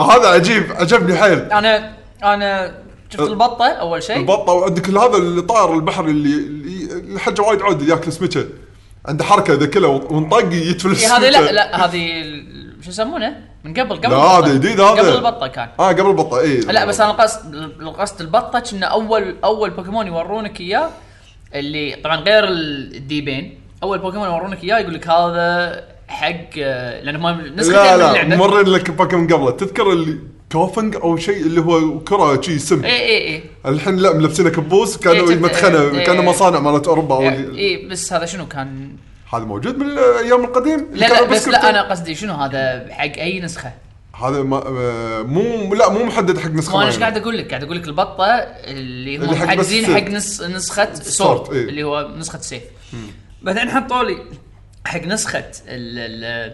[SPEAKER 4] هذا عجيب عجبني حيل
[SPEAKER 11] انا انا شفت
[SPEAKER 4] أه.
[SPEAKER 11] البطه اول شيء
[SPEAKER 4] البطه وعندك كل هذا اللي طاير البحر اللي اللي- الحجه وايد عود اللي ياكل سمكه عنده حركه اذا كله وانطق يتفل
[SPEAKER 11] إيه، هذه لا
[SPEAKER 4] السمكة.
[SPEAKER 11] لا هذه ال- شو يسمونه من قبل قبل
[SPEAKER 4] لا،
[SPEAKER 11] البطة.
[SPEAKER 4] هذا جديد هذا.
[SPEAKER 11] قبل البطه كان
[SPEAKER 4] اه قبل البطه اي
[SPEAKER 11] لا بس انا قصد قصد البطه كنا اول اول بوكيمون يورونك اياه اللي طبعا غير الديبين اول بوكيمون يورونك اياه يقول لك هذا حق آه، لانه ما نسخه
[SPEAKER 4] لا
[SPEAKER 11] من
[SPEAKER 4] لا
[SPEAKER 11] اللعبه
[SPEAKER 4] مورين لك بوكيمون قبله تذكر اللي كوفنج او شيء اللي هو كره شيء سم
[SPEAKER 11] إيه،
[SPEAKER 5] اي اي اي
[SPEAKER 4] الحين لا ملبسينه كبوس كانوا
[SPEAKER 5] إيه، جد-
[SPEAKER 4] مدخنه
[SPEAKER 5] إيه.
[SPEAKER 4] كانوا مصانع مالت اوروبا او
[SPEAKER 11] إيه،
[SPEAKER 5] اي بس هذا شنو كان
[SPEAKER 4] هذا موجود من الايام القديم اللي
[SPEAKER 5] لا لا
[SPEAKER 4] كانوا
[SPEAKER 5] بس
[SPEAKER 4] كرتون.
[SPEAKER 5] لا انا قصدي شنو هذا حق اي نسخه؟
[SPEAKER 4] هذا ما آه، مو لا مو محدد حق نسخه
[SPEAKER 5] ما انا ايش
[SPEAKER 4] معينة.
[SPEAKER 5] قاعد اقول لك؟ قاعد اقول لك البطه اللي هم
[SPEAKER 4] اللي حق بس
[SPEAKER 5] محجزين
[SPEAKER 4] السيف.
[SPEAKER 5] حق نس نسخه
[SPEAKER 4] سورد،
[SPEAKER 5] سورد
[SPEAKER 4] إيه.
[SPEAKER 5] اللي هو نسخه سيف بعدين حطوا لي حق نسخه ال ال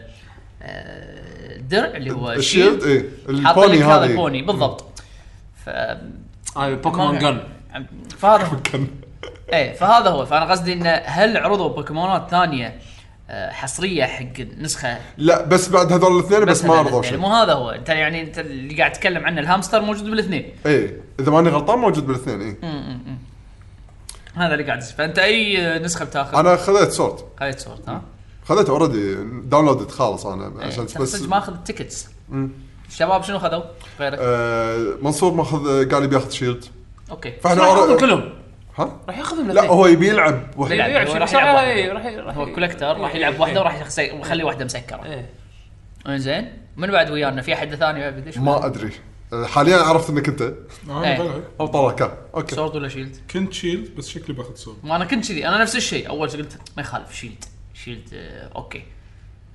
[SPEAKER 5] آه، الدرع اللي هو
[SPEAKER 4] الشيلد
[SPEAKER 5] الشيلد
[SPEAKER 4] اي
[SPEAKER 5] حاط
[SPEAKER 4] البوني
[SPEAKER 5] لك هذا
[SPEAKER 4] هذه
[SPEAKER 5] البوني بالضبط ف
[SPEAKER 1] هاي بوكيمون جن
[SPEAKER 5] فهذا هو ايه فهذا هو فانا قصدي انه هل عرضوا بوكيمونات ثانيه آه، حصريه حق النسخه
[SPEAKER 4] لا بس بعد هذول الاثنين بس, ما
[SPEAKER 5] هذا
[SPEAKER 4] رضوا
[SPEAKER 5] يعني
[SPEAKER 4] شيء
[SPEAKER 5] مو هذا هو انت يعني انت اللي قاعد تتكلم عنه الهامستر موجود بالاثنين
[SPEAKER 4] اي اذا إيه، ماني غلطان موجود بالاثنين إيه. اي
[SPEAKER 5] هذا اللي قاعد يصير. فانت اي آه، نسخه بتاخذ
[SPEAKER 4] انا خذيت سورد
[SPEAKER 5] خليت صورت ها
[SPEAKER 4] خذيت اوريدي داونلودد خالص انا
[SPEAKER 5] إيه،
[SPEAKER 4] عشان
[SPEAKER 5] أنت
[SPEAKER 4] بس
[SPEAKER 5] صدق ماخذ التيكتس الشباب شنو خذوا غيرك
[SPEAKER 4] آه منصور ماخذ قال يبي ياخذ شيلد
[SPEAKER 5] اوكي
[SPEAKER 4] فاحنا
[SPEAKER 1] راح ياخذهم
[SPEAKER 4] أوريدي-
[SPEAKER 1] كلهم
[SPEAKER 4] ها
[SPEAKER 1] راح ياخذهم
[SPEAKER 4] لا هو يبي يلعب وحده
[SPEAKER 5] يلعب، هو راح يلعب واحدة. هو
[SPEAKER 1] إيه، يلعب إيه.
[SPEAKER 5] كولكتر راح يلعب واحده وراح يخسي- يخلي واحده مسكره زين من بعد ويانا في حد ثاني ما بدي
[SPEAKER 4] ما ادري آه، حاليا عرفت انك انت
[SPEAKER 3] انا
[SPEAKER 5] إيه.
[SPEAKER 3] بلعب
[SPEAKER 4] او طلع كان اوكي
[SPEAKER 5] سورد ولا شيلد
[SPEAKER 3] كنت شيلد بس شكلي باخذ سورد
[SPEAKER 5] ما انا كنت كذي انا نفس الشيء اول شي قلت ما يخالف شيلد شيلد آه، اوكي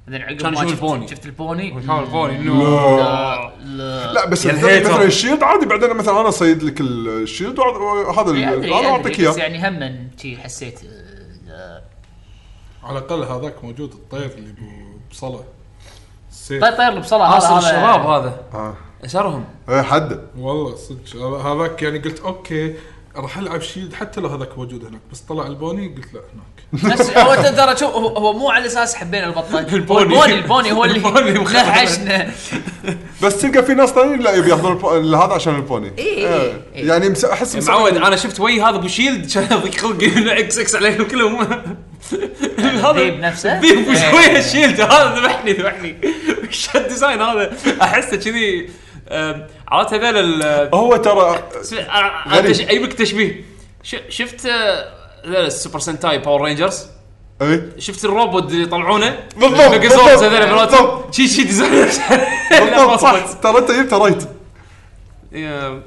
[SPEAKER 5] بعدين عقب
[SPEAKER 1] كان
[SPEAKER 5] ما
[SPEAKER 1] يشوف
[SPEAKER 5] شفت
[SPEAKER 1] البوني.
[SPEAKER 5] شفت البوني
[SPEAKER 1] يحاول
[SPEAKER 5] لا لا
[SPEAKER 4] لا بس
[SPEAKER 1] يا
[SPEAKER 4] مثلا
[SPEAKER 1] الهيتر.
[SPEAKER 4] مثلا الشيلد عادي بعدين مثلا انا اصيد لك الشيلد وأعط- وهذا
[SPEAKER 5] إيه،
[SPEAKER 4] ال-
[SPEAKER 5] أدري،
[SPEAKER 4] هذا
[SPEAKER 5] أدري،
[SPEAKER 4] اعطيك
[SPEAKER 5] بس
[SPEAKER 4] اياه
[SPEAKER 5] يعني هم شي حسيت آه، لا.
[SPEAKER 3] على الاقل هذاك موجود الطير اللي ب- بصله السيف
[SPEAKER 1] طيب.
[SPEAKER 5] طير طير اللي بصله طيب، هذا
[SPEAKER 1] اصل
[SPEAKER 5] هذا-
[SPEAKER 1] آه، الشباب هذا
[SPEAKER 4] آه.
[SPEAKER 1] اسرهم
[SPEAKER 4] إيه، حده
[SPEAKER 3] والله صدق هذا- هذاك يعني قلت اوكي راح العب شيلد حتى لو هذاك موجود هناك بس طلع البوني قلت لا هناك
[SPEAKER 5] نفس هو ت- ترى شوف هو- هو مو على اساس حبينا البطه
[SPEAKER 1] البوني.
[SPEAKER 5] البوني البوني هو
[SPEAKER 1] البوني
[SPEAKER 5] اللي
[SPEAKER 1] مخرب.
[SPEAKER 5] نهشنا
[SPEAKER 4] بس تلقى في ناس ثانيين لا يبي ياخذون البو- هذا عشان البوني
[SPEAKER 5] إيه.
[SPEAKER 4] آه. يعني مس- احس مس-
[SPEAKER 1] معود انا شفت وي هذا ابو شيلد كان يضيق خلقي اكس اكس عليهم كلهم
[SPEAKER 5] الذيب نفسه؟
[SPEAKER 1] الذيب ابو
[SPEAKER 5] إيه.
[SPEAKER 1] شويه الشيلد هذا ذبحني ذبحني وش الديزاين هذا احسه كذي آم، عرفت هذول ال-
[SPEAKER 4] هو ترى
[SPEAKER 1] س- أ- أ-
[SPEAKER 4] غريب.
[SPEAKER 1] تش- اجيب لك تشبيه ش- شفت آه، هذول السوبر سنتاي باور رينجرز
[SPEAKER 4] اي
[SPEAKER 1] شفت الروبوت اللي يطلعونه
[SPEAKER 4] إيه؟ بالضبط،
[SPEAKER 1] ميجازورز
[SPEAKER 4] بالضبط،
[SPEAKER 1] هذول مالتهم
[SPEAKER 4] بالضبط.
[SPEAKER 1] شي شي ديزاين لا،
[SPEAKER 4] بالضبط
[SPEAKER 1] بالضبط.
[SPEAKER 4] صح ترى انت جبت رايت
[SPEAKER 1] يا-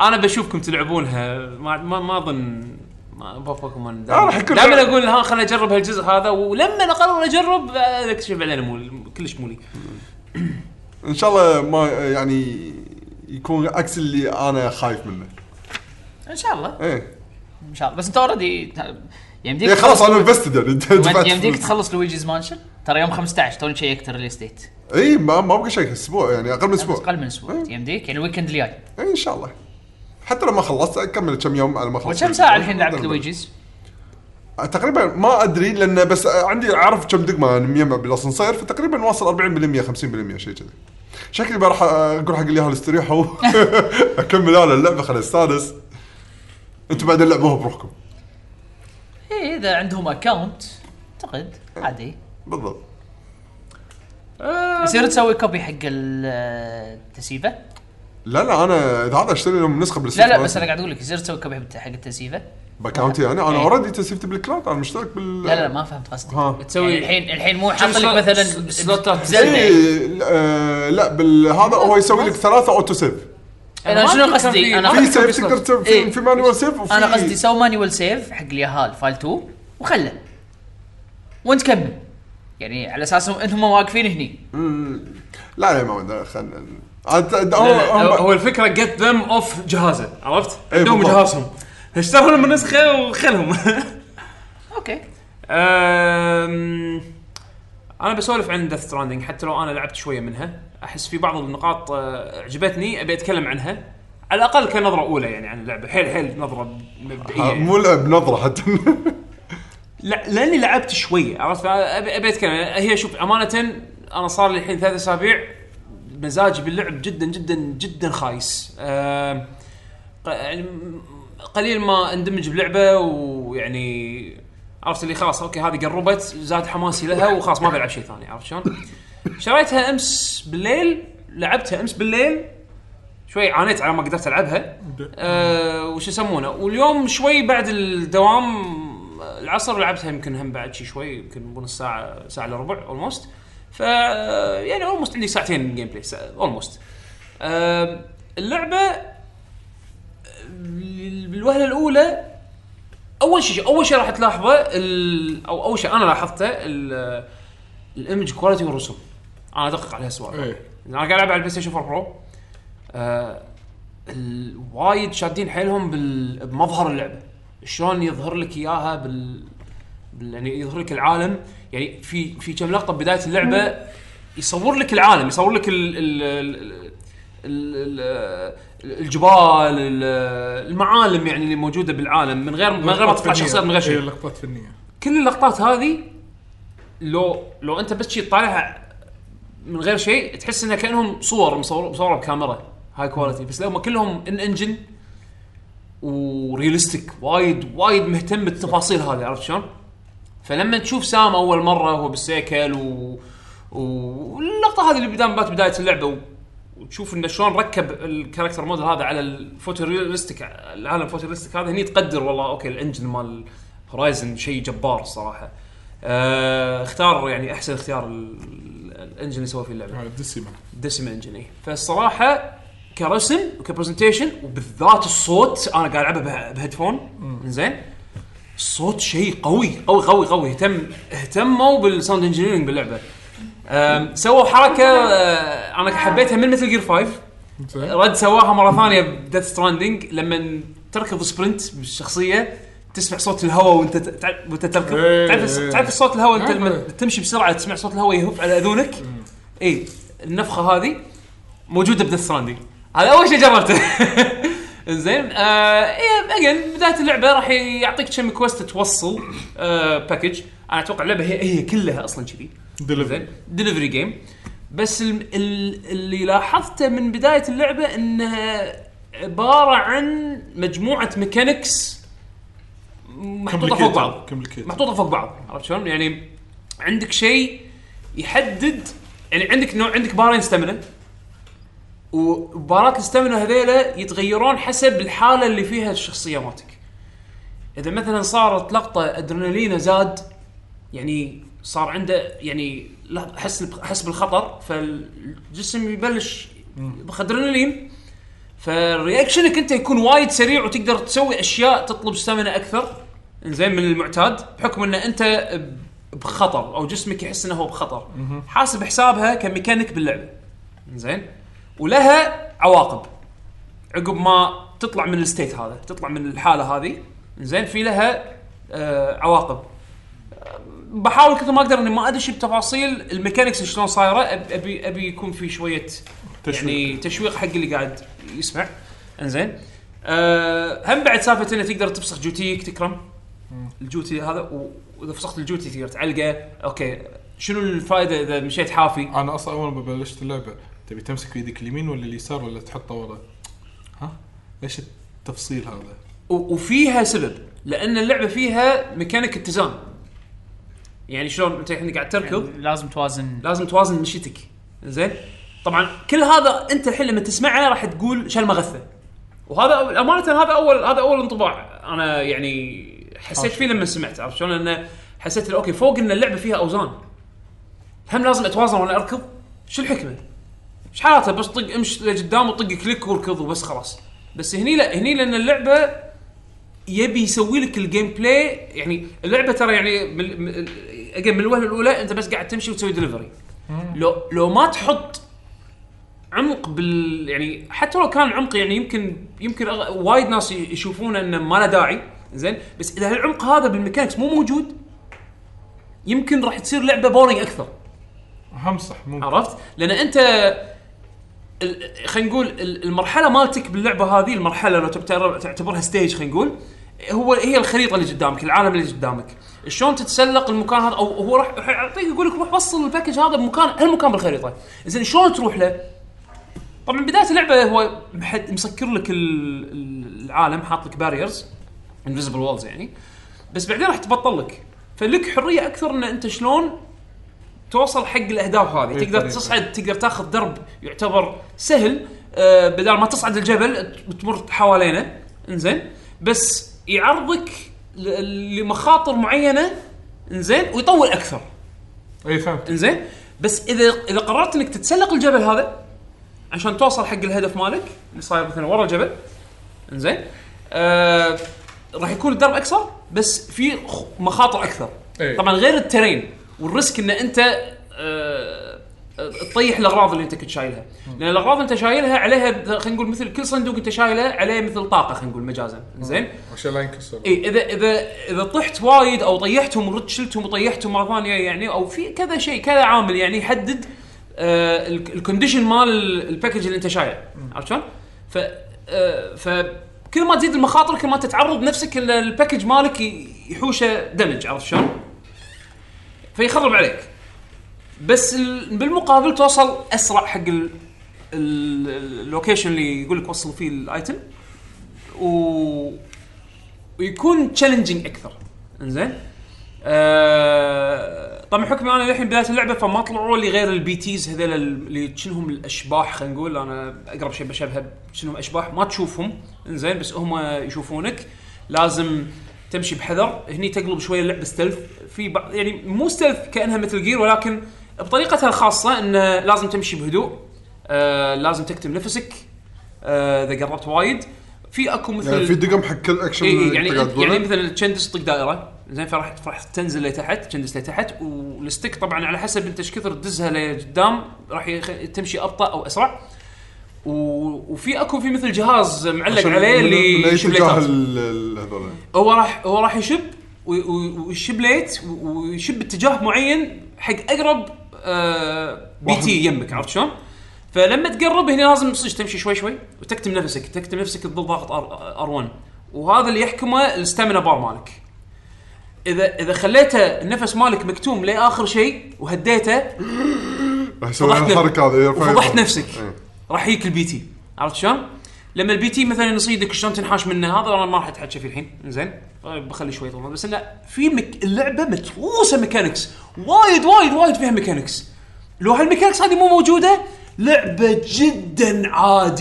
[SPEAKER 1] انا إيه، بشوفكم تلعبونها ما ما, ما اظن ما أبغى بوكيمون
[SPEAKER 4] آه، راح يكون-
[SPEAKER 1] دائما اقول ها خليني اجرب هالجزء هذا ولما اقرر اجرب آه، اكتشف بعدين مو كلش مولي
[SPEAKER 4] ان شاء الله ما يعني يكون عكس اللي انا خايف منه
[SPEAKER 5] ان شاء الله
[SPEAKER 4] ايه
[SPEAKER 5] ان شاء الله بس انت اوريدي يمديك
[SPEAKER 4] إيه، خلاص انا
[SPEAKER 5] تخلص-
[SPEAKER 4] انفستد يعني دفعت
[SPEAKER 5] يمديك
[SPEAKER 4] فلوس.
[SPEAKER 5] تخلص لويجيز مانشن ترى يوم 15 توني شيكت الريليس ديت
[SPEAKER 4] اي إيه، ما ما بقى شيء اسبوع يعني اقل من اسبوع
[SPEAKER 5] اقل من اسبوع
[SPEAKER 1] إيه.
[SPEAKER 5] يمديك يعني الويكند الجاي
[SPEAKER 4] اي ان شاء الله حتى لو ما خلصت اكمل كم يوم على ما اخلص
[SPEAKER 5] وكم ساعه الحين لعبت لويجيز؟
[SPEAKER 4] تقريبا ما ادري لان بس عندي اعرف كم يعني دقمه أنا ميمع بالاسانسير فتقريبا واصل 40% 50% شيء كذي شكلي بروح اقول حق اليهال استريحوا اكمل انا اللعبه خليني استانس انتم بعدين لعبوها بروحكم
[SPEAKER 5] اي اذا إيه، عندهم اكونت اعتقد
[SPEAKER 1] إيه.
[SPEAKER 5] عادي
[SPEAKER 4] بالضبط
[SPEAKER 5] يصير تسوي كوبي حق التسيفه
[SPEAKER 4] لا لا انا اذا هذا اشتري لهم نسخه بالستور
[SPEAKER 5] لا لا بس انا قاعد اقول لك يصير تسوي كوبي حق التسيفه
[SPEAKER 4] باكاونتي انا انا
[SPEAKER 5] إيه.
[SPEAKER 4] اوريدي تسيفتي بالكلاود انا مشترك بال
[SPEAKER 5] لا لا ما فهمت قصدي
[SPEAKER 4] ها
[SPEAKER 1] تسوي-
[SPEAKER 5] تسوي يعني الحين الحين مو حاط لك
[SPEAKER 1] سلوت-
[SPEAKER 5] مثلا
[SPEAKER 1] س- سلوتات.
[SPEAKER 5] زلدة
[SPEAKER 4] إيه، لا، آه، لا بالهذا هو يسوي لك ثلاثه اوتو سيف
[SPEAKER 5] انا
[SPEAKER 1] ما
[SPEAKER 5] شنو
[SPEAKER 1] أدري كان
[SPEAKER 5] قصدي
[SPEAKER 1] في-
[SPEAKER 5] انا
[SPEAKER 4] في
[SPEAKER 1] هذا كان
[SPEAKER 4] سيف
[SPEAKER 1] في
[SPEAKER 4] تقدر
[SPEAKER 1] slot.
[SPEAKER 4] تسوي
[SPEAKER 5] إيه.
[SPEAKER 4] في- في مانوال سيف وفي
[SPEAKER 5] انا قصدي سو مانيوال سيف حق اليهال فايل 2 وخله وانت كمل يعني على اساس انهم واقفين هني
[SPEAKER 4] لا لا ما عندنا، خلنا عاد- عاد-
[SPEAKER 1] لا، لا،
[SPEAKER 4] هم-
[SPEAKER 1] هو هو الفكره جيت ذم اوف جهازه عرفت؟
[SPEAKER 4] إيه،
[SPEAKER 1] عندهم
[SPEAKER 4] بالضبط.
[SPEAKER 1] جهازهم اشتروا لهم النسخه وخلهم
[SPEAKER 5] اوكي
[SPEAKER 1] أم، انا بسولف عن ديث ستراندنج حتى لو انا لعبت شويه منها احس في بعض النقاط آه، عجبتني ابي اتكلم عنها على الاقل كنظره اولى يعني عن اللعبه حيل حيل نظره مبدئيه
[SPEAKER 4] آه،
[SPEAKER 1] يعني.
[SPEAKER 4] مو لعب نظره حتى
[SPEAKER 1] لا لاني لعبت شويه عرفت ابي ابي اتكلم هي شوف امانه انا صار لي الحين ثلاث اسابيع مزاجي باللعب جدا جدا جدا خايس آم، ق- يعني م- قليل ما اندمج بلعبه ويعني عرفت اللي خلاص اوكي هذه قربت زاد حماسي لها وخلاص ما بلعب شيء ثاني عرفت شلون؟ شريتها امس بالليل لعبتها امس بالليل شوي عانيت على ما قدرت العبها أه وش يسمونه واليوم شوي بعد الدوام آه، العصر لعبتها يمكن هم بعد شي شوي يمكن بون الساعه ساعه الا ربع اولموست ف يعني اولموست عندي ساعتين جيم بلاي اولموست أم، اللعبه بالوهله الاولى اول شيء اول شيء راح تلاحظه ال- او اول شيء انا لاحظته ال- الايمج كواليتي والرسوم انا ادقق على هالسوالف
[SPEAKER 3] إيه.
[SPEAKER 1] انا قاعد العب على البلاي ستيشن 4 برو آه، ال- وايد شادين حيلهم بال- بمظهر اللعبه شلون يظهر لك اياها بال بال- يعني يظهر لك العالم يعني في في كم لقطه بدايه اللعبه يصور لك العالم يصور لك ال ال ال ال- ال- الجبال ال- المعالم يعني اللي موجوده بالعالم من غير من غير ما تطلع شخصيات من غير شيء
[SPEAKER 3] إيه، لقطات فنيه
[SPEAKER 1] كل اللقطات هذه لو لو انت بس شي تطالعها من غير شيء تحس انها كانهم صور مصور- مصوره بكاميرا هاي كواليتي بس لا هم كلهم ان انجن وريالستيك وايد وايد مهتم بالتفاصيل هذه عرفت شلون؟ فلما تشوف سام اول مره وهو بالسيكل و... و- واللقطه هذه اللي بدام بات بدايه اللعبه و... وتشوف انه شلون ركب الكاركتر موديل هذا على الفوتوريالستيك العالم الفوتوريالستيك هذا هني تقدر والله اوكي الانجن مال هورايزن شيء جبار الصراحه. آه اختار يعني احسن اختيار ال- ال- الانجن اللي سوى فيه اللعبه.
[SPEAKER 3] هاي الدسمه
[SPEAKER 1] دسم انجن اي فالصراحه كرسم وكبرزنتيشن وبالذات الصوت انا قاعد العبه به- بهيدفون زين الصوت شيء قوي قوي قوي قوي اهتم اهتموا بالساوند انجينيرنج باللعبه أم، سووا حركه أه، انا حبيتها من مثل جير 5
[SPEAKER 3] زين
[SPEAKER 1] رد سواها مره ثانيه بديث ستراندنج لما تركض سبرنت بالشخصيه تسمع صوت الهواء وانت ت- تع- وانت تركض
[SPEAKER 3] إيه.
[SPEAKER 1] تعرف تعرف صوت الهواء انت لما
[SPEAKER 3] إيه.
[SPEAKER 1] تمشي بسرعه تسمع صوت الهواء يهف على اذونك اي النفخه هذه موجوده بديث ستراندنج هذا اول شيء جربته زين آه اجين بدايه اللعبه راح يعطيك كم كويست توصل آه باكج انا اتوقع اللعبه هي هي كلها اصلا كذي زين
[SPEAKER 3] دليفري
[SPEAKER 1] دليفري جيم بس ال- ال- اللي لاحظته من بدايه اللعبه انها عباره عن مجموعه ميكانكس محطوطه فوق بعض
[SPEAKER 3] كومبليكيتد
[SPEAKER 1] محطوطه فوق بعض عرفت شلون؟ يعني عندك شيء يحدد يعني عندك نوع عندك بارين ستامنا وبارات الستامنا هذيلا يتغيرون حسب الحاله اللي فيها الشخصيه مالتك. اذا مثلا صارت لقطه ادرينالينه زاد يعني صار عنده يعني لا- حس حس بالخطر فالجسم يبلش يضخ ادرينالين فرياكشنك انت يكون وايد سريع وتقدر تسوي اشياء تطلب ستامنا اكثر زين من المعتاد بحكم ان انت ب- بخطر او جسمك يحس انه هو بخطر حاسب حسابها كميكانيك باللعبه زين ولها عواقب عقب ما تطلع من الستيت هذا تطلع من الحاله هذه زين في لها آه عواقب آه، بحاول كثر ما اقدر اني ما ادش بتفاصيل الميكانكس شلون صايره أب- ابي ابي يكون في شويه يعني تشويق حق اللي قاعد يسمع انزين أه هم بعد سالفه انه تقدر تفسخ جوتيك تكرم الجوتي هذا و- واذا فسخت الجوتي تقدر تعلقه اوكي شنو الفائده اذا مشيت حافي
[SPEAKER 3] انا اصلا اول ما بلشت اللعبه تبي تمسك بيدك اليمين ولا اليسار ولا تحطه ورا ها ليش التفصيل هذا
[SPEAKER 1] و- وفيها سبب لان اللعبه فيها ميكانيك اتزان يعني شلون انت الحين قاعد تركض
[SPEAKER 5] يعني لازم توازن
[SPEAKER 1] لازم توازن مشيتك زين طبعا كل هذا انت الحين لما تسمعه راح تقول شال مغثه وهذا أول- امانه هذا اول هذا اول انطباع انا يعني حسيت فيه لما سمعت عرفت شلون انه حسيت إنه اوكي فوق ان اللعبه فيها اوزان هم لازم اتوازن وانا اركض شو الحكمه؟ ايش حالته بس طق امش لقدام وطق كليك واركض وبس خلاص بس هني لا هني لان اللعبه يبي يسوي لك الجيم بلاي يعني اللعبه ترى يعني من من- again، من الوهله الاولى انت بس قاعد تمشي وتسوي دليفري لو لو ما تحط عمق بال يعني حتى لو كان عمق يعني يمكن يمكن أغ- وايد ناس ي- يشوفون انه ما له داعي زين بس اذا العمق هذا بالميكانكس مو موجود يمكن راح تصير لعبه بورينج اكثر
[SPEAKER 3] هم صح مو
[SPEAKER 1] عرفت؟ لان انت ال- خلينا نقول ال- المرحله مالتك باللعبه هذه المرحله لو تعتبر- تعتبرها ستيج خلينا نقول هو هي الخريطه اللي قدامك العالم اللي قدامك شلون تتسلق المكان هذا او هو راح راح يعطيك يقول لك روح وصل الباكج هذا بمكان هالمكان بالخريطه زين شلون تروح له طبعا بدايه اللعبه هو محد مسكر لك ال- ال- العالم حاط لك باريرز انفيزبل وولز يعني بس بعدين راح تبطل لك فلك حريه اكثر ان انت شلون توصل حق الاهداف هذه
[SPEAKER 3] إيه،
[SPEAKER 1] تقدر
[SPEAKER 3] طريقة.
[SPEAKER 1] تصعد تقدر تاخذ درب يعتبر سهل آه بدل ما تصعد الجبل ت- تمر حوالينا انزين بس يعرضك ل- لمخاطر معينه انزين ويطول اكثر
[SPEAKER 3] اي إيه، فهمت
[SPEAKER 1] انزين بس اذا اذا قررت انك تتسلق الجبل هذا عشان توصل حق الهدف مالك اللي صاير مثلا ورا الجبل انزين آه راح يكون الدرب اقصر بس في خ- مخاطر اكثر
[SPEAKER 3] إيه.
[SPEAKER 1] طبعا غير الترين والريسك ان انت آه آه، تطيح الاغراض اللي انت كنت شايلها لان الاغراض انت شايلها عليها ب- خلينا نقول مثل كل صندوق انت شايله عليه مثل طاقه خلينا نقول مجازا زين
[SPEAKER 3] عشان لا ينكسر
[SPEAKER 1] اي اذا اذا اذا طحت وايد او طيحتهم ورد شلتهم وطيحتهم مره ثانيه يعني او في كذا شيء كذا عامل يعني يحدد آه ال- الكونديشن مال ال- الباكج اللي انت شايله عرفت شلون؟ ف آه فكل ما تزيد المخاطر كل ما تتعرض نفسك ان الباكج مالك ي- يحوشه دمج عرفت شلون؟ فيخرب عليك بس ال- بالمقابل توصل اسرع حق ال- ال- ال- اللوكيشن اللي يقول لك وصل فيه الايتم و ويكون تشالنجينج اكثر انزين آه طبعا حكم انا للحين بدايه اللعبه فما طلعوا لي غير البي تيز هذول اللي شنهم الاشباح خلينا نقول انا اقرب شيء بشبهه شنهم اشباح ما تشوفهم انزين بس هم يشوفونك لازم تمشي بحذر هني تقلب شويه اللعبه ستلف في بعض يعني مو ستلف كانها مثل جير ولكن بطريقتها الخاصه انه لازم تمشي بهدوء آه لازم تكتم نفسك آه، اذا قربت وايد في اكو مثل
[SPEAKER 4] يعني في دقم حق كل اكشن
[SPEAKER 1] إي إي
[SPEAKER 4] اللي
[SPEAKER 1] يعني
[SPEAKER 4] أنت قاعد
[SPEAKER 1] أنت- يعني
[SPEAKER 4] تقوله.
[SPEAKER 1] مثلا تشندس طق دائره زين فراح راح تنزل لتحت تشندس لتحت والستيك طبعا على حسب انت ايش كثر تدزها لقدام راح يخ... تمشي ابطا او اسرع و... وفي اكو في مثل جهاز معلق
[SPEAKER 4] عشان
[SPEAKER 1] عليه
[SPEAKER 4] من- من
[SPEAKER 1] اللي
[SPEAKER 4] أي
[SPEAKER 1] يشيب
[SPEAKER 4] اتجاه
[SPEAKER 1] ليتات.
[SPEAKER 4] ال- ال- هذول.
[SPEAKER 1] هو راح هو راح يشب وي- وي- ويشب ليت و- ويشب باتجاه معين حق اقرب آه بي تي يمك عرفت شلون؟ فلما تقرب هنا لازم تصير تمشي شوي شوي وتكتم نفسك تكتم نفسك تظل ضاغط ار 1 وهذا اللي يحكمه الستامينا بار مالك اذا اذا خليته النفس مالك مكتوم لاخر شيء وهديته
[SPEAKER 4] راح يسوي
[SPEAKER 1] فضحت
[SPEAKER 4] الحركه هذه يرفع
[SPEAKER 1] وفضحت
[SPEAKER 4] يده.
[SPEAKER 1] نفسك
[SPEAKER 4] إيه.
[SPEAKER 1] راح يجيك البي تي عرفت شلون؟ لما البي تي مثلا يصيدك شلون تنحاش منه هذا انا ما راح اتحكى فيه الحين زين طيب بخلي شوي طول بس انه في مك... اللعبه متروسه ميكانكس وايد وايد وايد فيها ميكانكس لو هالميكانكس هذه مو موجوده لعبه جدا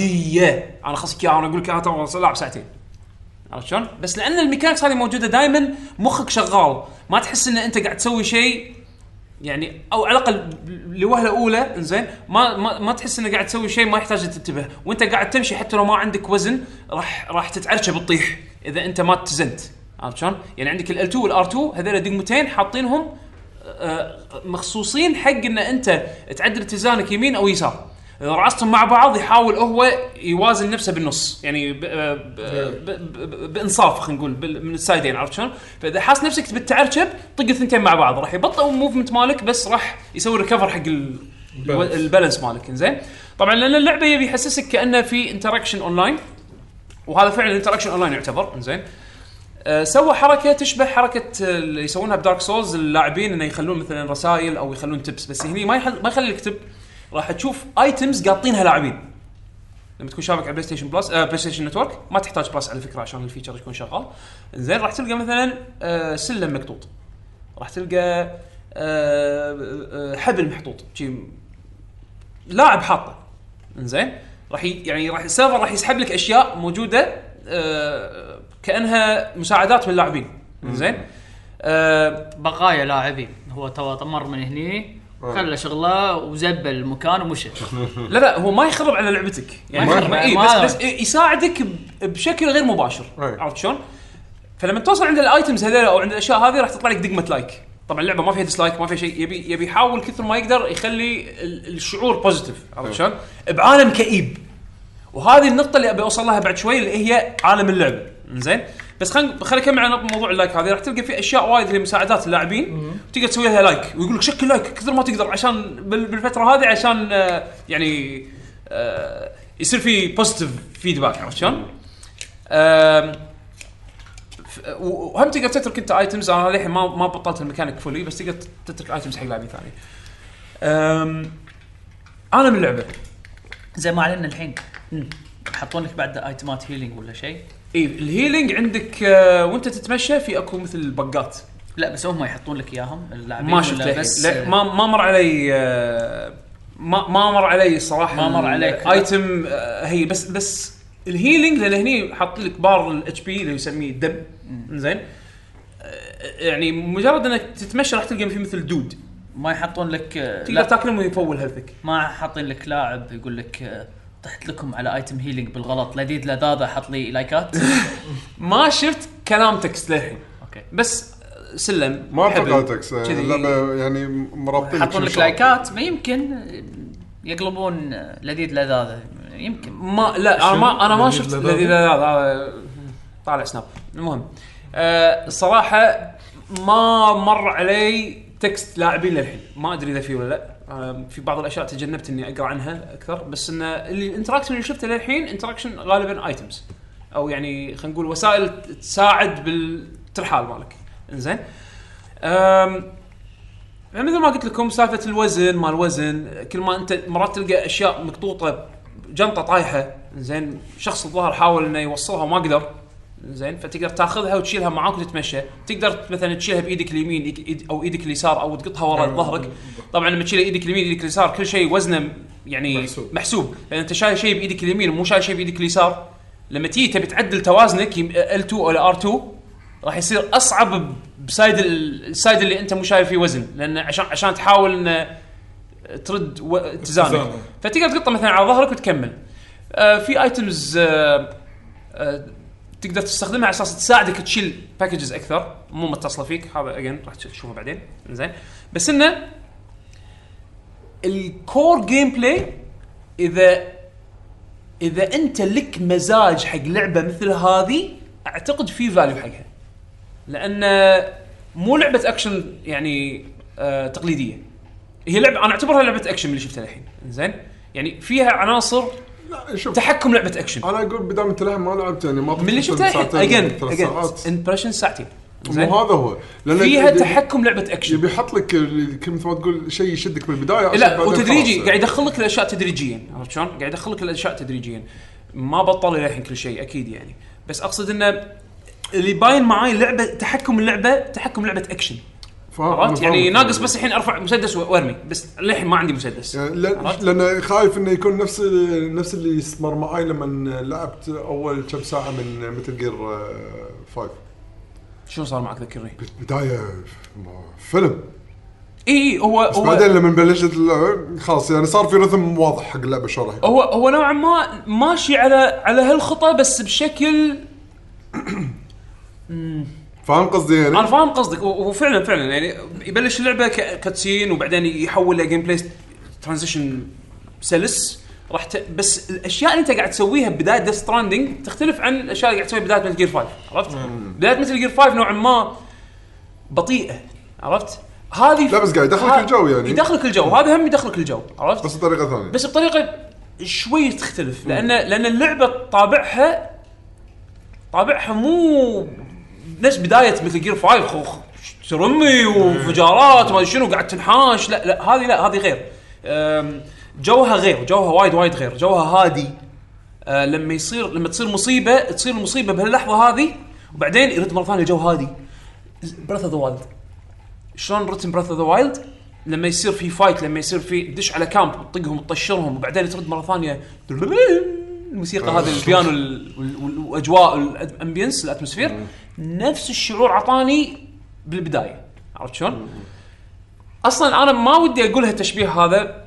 [SPEAKER 1] عاديه انا خصك اياها انا اقول لك انا ترى لاعب ساعتين عرفت شلون؟ بس لان الميكانكس هذه موجوده دائما مخك شغال ما تحس ان انت قاعد تسوي شيء يعني او على الاقل لوهله اولى انزين ما ما, ما تحس انك قاعد تسوي شيء ما يحتاج أن تنتبه وانت قاعد تمشي حتى لو ما عندك وزن راح راح تتعرشه بتطيح اذا انت ما اتزنت عرفت شلون؟ يعني عندك ال2 والار2 هذول دقمتين حاطينهم آه، مخصوصين حق ان انت تعدل اتزانك يمين او يسار إذا رعصتهم مع بعض يحاول هو يوازن نفسه بالنص يعني ب ب ب ب بانصاف خلينا نقول بال- من السايدين عرفت شلون؟ فاذا حاس نفسك بتعرشب طق الثنتين مع بعض راح يبطئ الموفمنت مالك بس راح يسوي ريكفر حق ال- الو-
[SPEAKER 3] Balance.
[SPEAKER 1] البالانس مالك زين طبعا لان اللعبه يبي يحسسك كانه في انتراكشن اونلاين وهذا فعلا انتراكشن اونلاين يعتبر زين آه، سوى حركه تشبه حركه آه، اللي يسوونها بدارك سولز اللاعبين انه يخلون مثلا رسائل او يخلون تبس بس هني ما يحل ما يخلي لك تب راح تشوف ايتمز قاطينها لاعبين لما تكون شابك على بلاي ستيشن بلس آه بلاي ستيشن نتورك ما تحتاج بلس على فكره عشان الفيتشر يكون شغال زين راح تلقى مثلا آه سلم مقطوط راح تلقى آه، آه حبل محطوط شي لاعب حاطه زين راح ي- يعني راح السيرفر راح يسحب لك اشياء موجوده آه كانها مساعدات من اللاعبين زين آه
[SPEAKER 11] بقايا لاعبين هو تو طمر من هني خلى شغله وزبل المكان ومشى
[SPEAKER 1] لا لا هو ما يخرب على لعبتك يعني
[SPEAKER 11] ما
[SPEAKER 1] ما
[SPEAKER 11] يخرب،
[SPEAKER 1] إيه بس,
[SPEAKER 11] ما-
[SPEAKER 1] بس إيه يساعدك ب- بشكل غير مباشر
[SPEAKER 4] أي.
[SPEAKER 1] عرفت شلون؟ فلما توصل عند الايتمز هذول او عند الاشياء هذه راح تطلع لك دقمه لايك طبعا اللعبه ما فيها ديسلايك ما فيها شيء يبي يبي يحاول كثر ما يقدر يخلي ال- الشعور بوزيتيف عرفت شلون؟ بعالم كئيب وهذه النقطة اللي ابي اوصل لها بعد شوي اللي هي عالم اللعبة، زين؟ بس خلينا خلينا اكمل على نقطة موضوع اللايك هذه راح تلقى في اشياء وايد لمساعدات اللاعبين تقدر تسوي لها لايك ويقول لك شكل لايك كثر ما تقدر عشان بال- بالفترة هذه عشان آه، يعني آه، يصير في بوزيتيف فيدباك عرفت شلون؟ آم، ف- و- وهم تقدر تترك انت ايتمز انا للحين ما ما بطلت الميكانيك فولي بس تقدر تترك ايتمز حق لاعبين ثاني. آم، انا من اللعبه
[SPEAKER 11] زي ما اعلنا الحين حطوا لك بعد ايتمات هيلينج ولا شيء
[SPEAKER 1] اي الهيلينج إيه، عندك آه، وانت تتمشى في اكو مثل بقات
[SPEAKER 11] لا بس هم يحطون لك اياهم اللاعبين
[SPEAKER 1] ما
[SPEAKER 11] ولا
[SPEAKER 1] شفته
[SPEAKER 11] بس
[SPEAKER 1] لا ما ما مر علي آه، ما ما مر علي صراحه
[SPEAKER 11] ما مر عليك.
[SPEAKER 1] ايتم هي بس بس الهيلينج لان هني حاط لك بار الاتش بي اللي يسميه الدم زين آه، يعني مجرد انك تتمشى راح تلقى في مثل دود
[SPEAKER 11] ما يحطون لك
[SPEAKER 1] تقدر
[SPEAKER 11] لا
[SPEAKER 5] آه،
[SPEAKER 1] تاكلهم ويفول هيلثك
[SPEAKER 11] ما حاطين لك لاعب يقول لك آه،
[SPEAKER 5] طحت لكم على ايتم هيلينج بالغلط لذيذ لذاذه حط لي لايكات
[SPEAKER 1] ما شفت كلام تكست للحين
[SPEAKER 5] اوكي
[SPEAKER 1] بس آه، سلم
[SPEAKER 4] ما
[SPEAKER 1] حبل.
[SPEAKER 4] اتوقع تكس
[SPEAKER 1] كذي.
[SPEAKER 4] اللعبه يعني مرابطين
[SPEAKER 5] حطوا
[SPEAKER 4] بكل
[SPEAKER 5] لك
[SPEAKER 4] شغلة.
[SPEAKER 5] لايكات ما يمكن آه، يقلبون آه، لذيذ لذاذه يمكن
[SPEAKER 1] ما لا انا ما انا ما شفت
[SPEAKER 3] لذاذة؟
[SPEAKER 1] الذي لا لا طالع سناب المهم آه، الصراحه ما مر علي تكست لاعبين للحين ما ادري اذا في ولا لا أنا في بعض الاشياء تجنبت اني اقرا عنها اكثر بس ان اللي الانتراكشن اللي شفته للحين انتراكشن غالبا ايتمز او يعني خلينا نقول وسائل تساعد بالترحال مالك انزين أم، يعني مثل ما قلت لكم سالفه الوزن ما الوزن كل ما انت مرات تلقى اشياء مقطوطه جنطه طايحه زين شخص الظاهر حاول انه يوصلها وما قدر زين فتقدر تاخذها وتشيلها معاك وتتمشى تقدر مثلا تشيلها بايدك اليمين إيك- إيد- او ايدك اليسار او تقطها وراء ظهرك طبعا لما تشيل ايدك اليمين ايدك اليسار كل شيء وزنه يعني
[SPEAKER 3] محسوب.
[SPEAKER 1] محسوب, محسوب. لان انت شايل شيء بايدك اليمين ومو شايل شيء بايدك اليسار لما تيجي تبي تعدل توازنك L2 ولا R2 راح يصير اصعب ب- بسايد ال- السايد اللي انت مو شايل فيه وزن لان عشان عشان تحاول ان ترد و- اتزانك
[SPEAKER 3] اتزانك.
[SPEAKER 1] فتقدر تقطه مثلا على ظهرك وتكمل آه في ايتمز آه آه تقدر تستخدمها على اساس تساعدك تشيل باكجز اكثر مو متصله فيك هذا اجين راح تشوفه بعدين زين بس انه الكور جيم بلاي اذا اذا انت لك مزاج حق لعبه مثل هذه اعتقد في فاليو حقها لان مو لعبه اكشن يعني آه تقليديه هي لعبه انا اعتبرها لعبه اكشن اللي شفتها الحين زين يعني فيها عناصر
[SPEAKER 4] لا شوف
[SPEAKER 1] تحكم لعبه اكشن
[SPEAKER 4] انا اقول بدام انت للحين ما لعبت يعني ما
[SPEAKER 1] من اللي شفتها الحين اجين
[SPEAKER 4] اجين
[SPEAKER 1] امبرشن ساعتين زين
[SPEAKER 4] مو هذا هو لأن
[SPEAKER 1] فيها
[SPEAKER 4] يبي-
[SPEAKER 1] تحكم لعبه اكشن
[SPEAKER 4] يبي يحط لك ال- كل- مثل ما تقول شيء يشدك من البدايه عشان
[SPEAKER 1] لا
[SPEAKER 4] بعدين
[SPEAKER 1] وتدريجي
[SPEAKER 4] خلاص.
[SPEAKER 1] قاعد يدخل لك الاشياء تدريجيا عرفت شلون؟ قاعد يدخل لك الاشياء تدريجيا ما بطل الحين كل شيء اكيد يعني بس اقصد انه اللي باين معاي لعبه تحكم اللعبه تحكم لعبه اكشن
[SPEAKER 4] فاهم- أنا
[SPEAKER 1] عرفت
[SPEAKER 4] فاهم.
[SPEAKER 1] يعني ناقص بس الحين ارفع مسدس وارمي بس للحين ما عندي مسدس
[SPEAKER 4] يعني لأن-
[SPEAKER 1] عرفت؟
[SPEAKER 4] لان خايف انه يكون نفس ال- نفس اللي صار معاي لما لعبت اول كم ساعه من متل جير 5
[SPEAKER 1] شنو صار معك ذكرني؟
[SPEAKER 4] بدايه ما- فيلم
[SPEAKER 1] اي اي هو
[SPEAKER 4] بس
[SPEAKER 1] هو
[SPEAKER 4] بعدين لما بلشت اللعبه خلاص يعني صار في رتم واضح حق اللعبه شلون راح يكون.
[SPEAKER 1] هو هو نوعا ما ماشي على على هالخطه بس بشكل
[SPEAKER 4] فاهم قصدي يعني؟
[SPEAKER 1] انا فاهم قصدك و- وفعلا فعلا يعني يبلش اللعبه ك- كاتسين وبعدين يحول لجيم بلاي ترانزيشن سلس راح ت... بس الاشياء اللي انت قاعد تسويها ببدايه ديث ستراندنج تختلف عن الاشياء اللي قاعد تسويها بدايه مثل جير 5 عرفت؟ بدايه مثل جير 5 نوعا ما بطيئه عرفت؟ هذه
[SPEAKER 4] لا، بس قاعد يدخلك
[SPEAKER 1] ها-
[SPEAKER 4] الجو يعني.
[SPEAKER 1] يدخلك الجو هذا هم يدخلك الجو عرفت؟
[SPEAKER 4] بس بطريقه ثانيه
[SPEAKER 1] بس بطريقه شوي تختلف لان لان اللعبه طابعها طابعها مو نفس بدايه مثل جير 5 خوخ ترمي وانفجارات وما شنو قاعد تنحاش لا لا هذه لا هذه غير أم، جوها غير جوها وايد وايد غير جوها هادي أه، لما يصير لما تصير مصيبه تصير المصيبه بهاللحظه هذه وبعدين يرد مره ثانيه جو هادي بريث اوف ذا وايلد شلون رتم براث اوف ذا وايلد لما يصير في فايت لما يصير في دش على كامب تطقهم تطشرهم وبعدين ترد مره ثانيه الموسيقى هذه البيانو ال- وال- وال- والاجواء الامبينس الاتموسفير نفس الشعور عطاني بالبدايه عرفت شلون؟ اصلا انا ما ودي اقول هالتشبيه هذا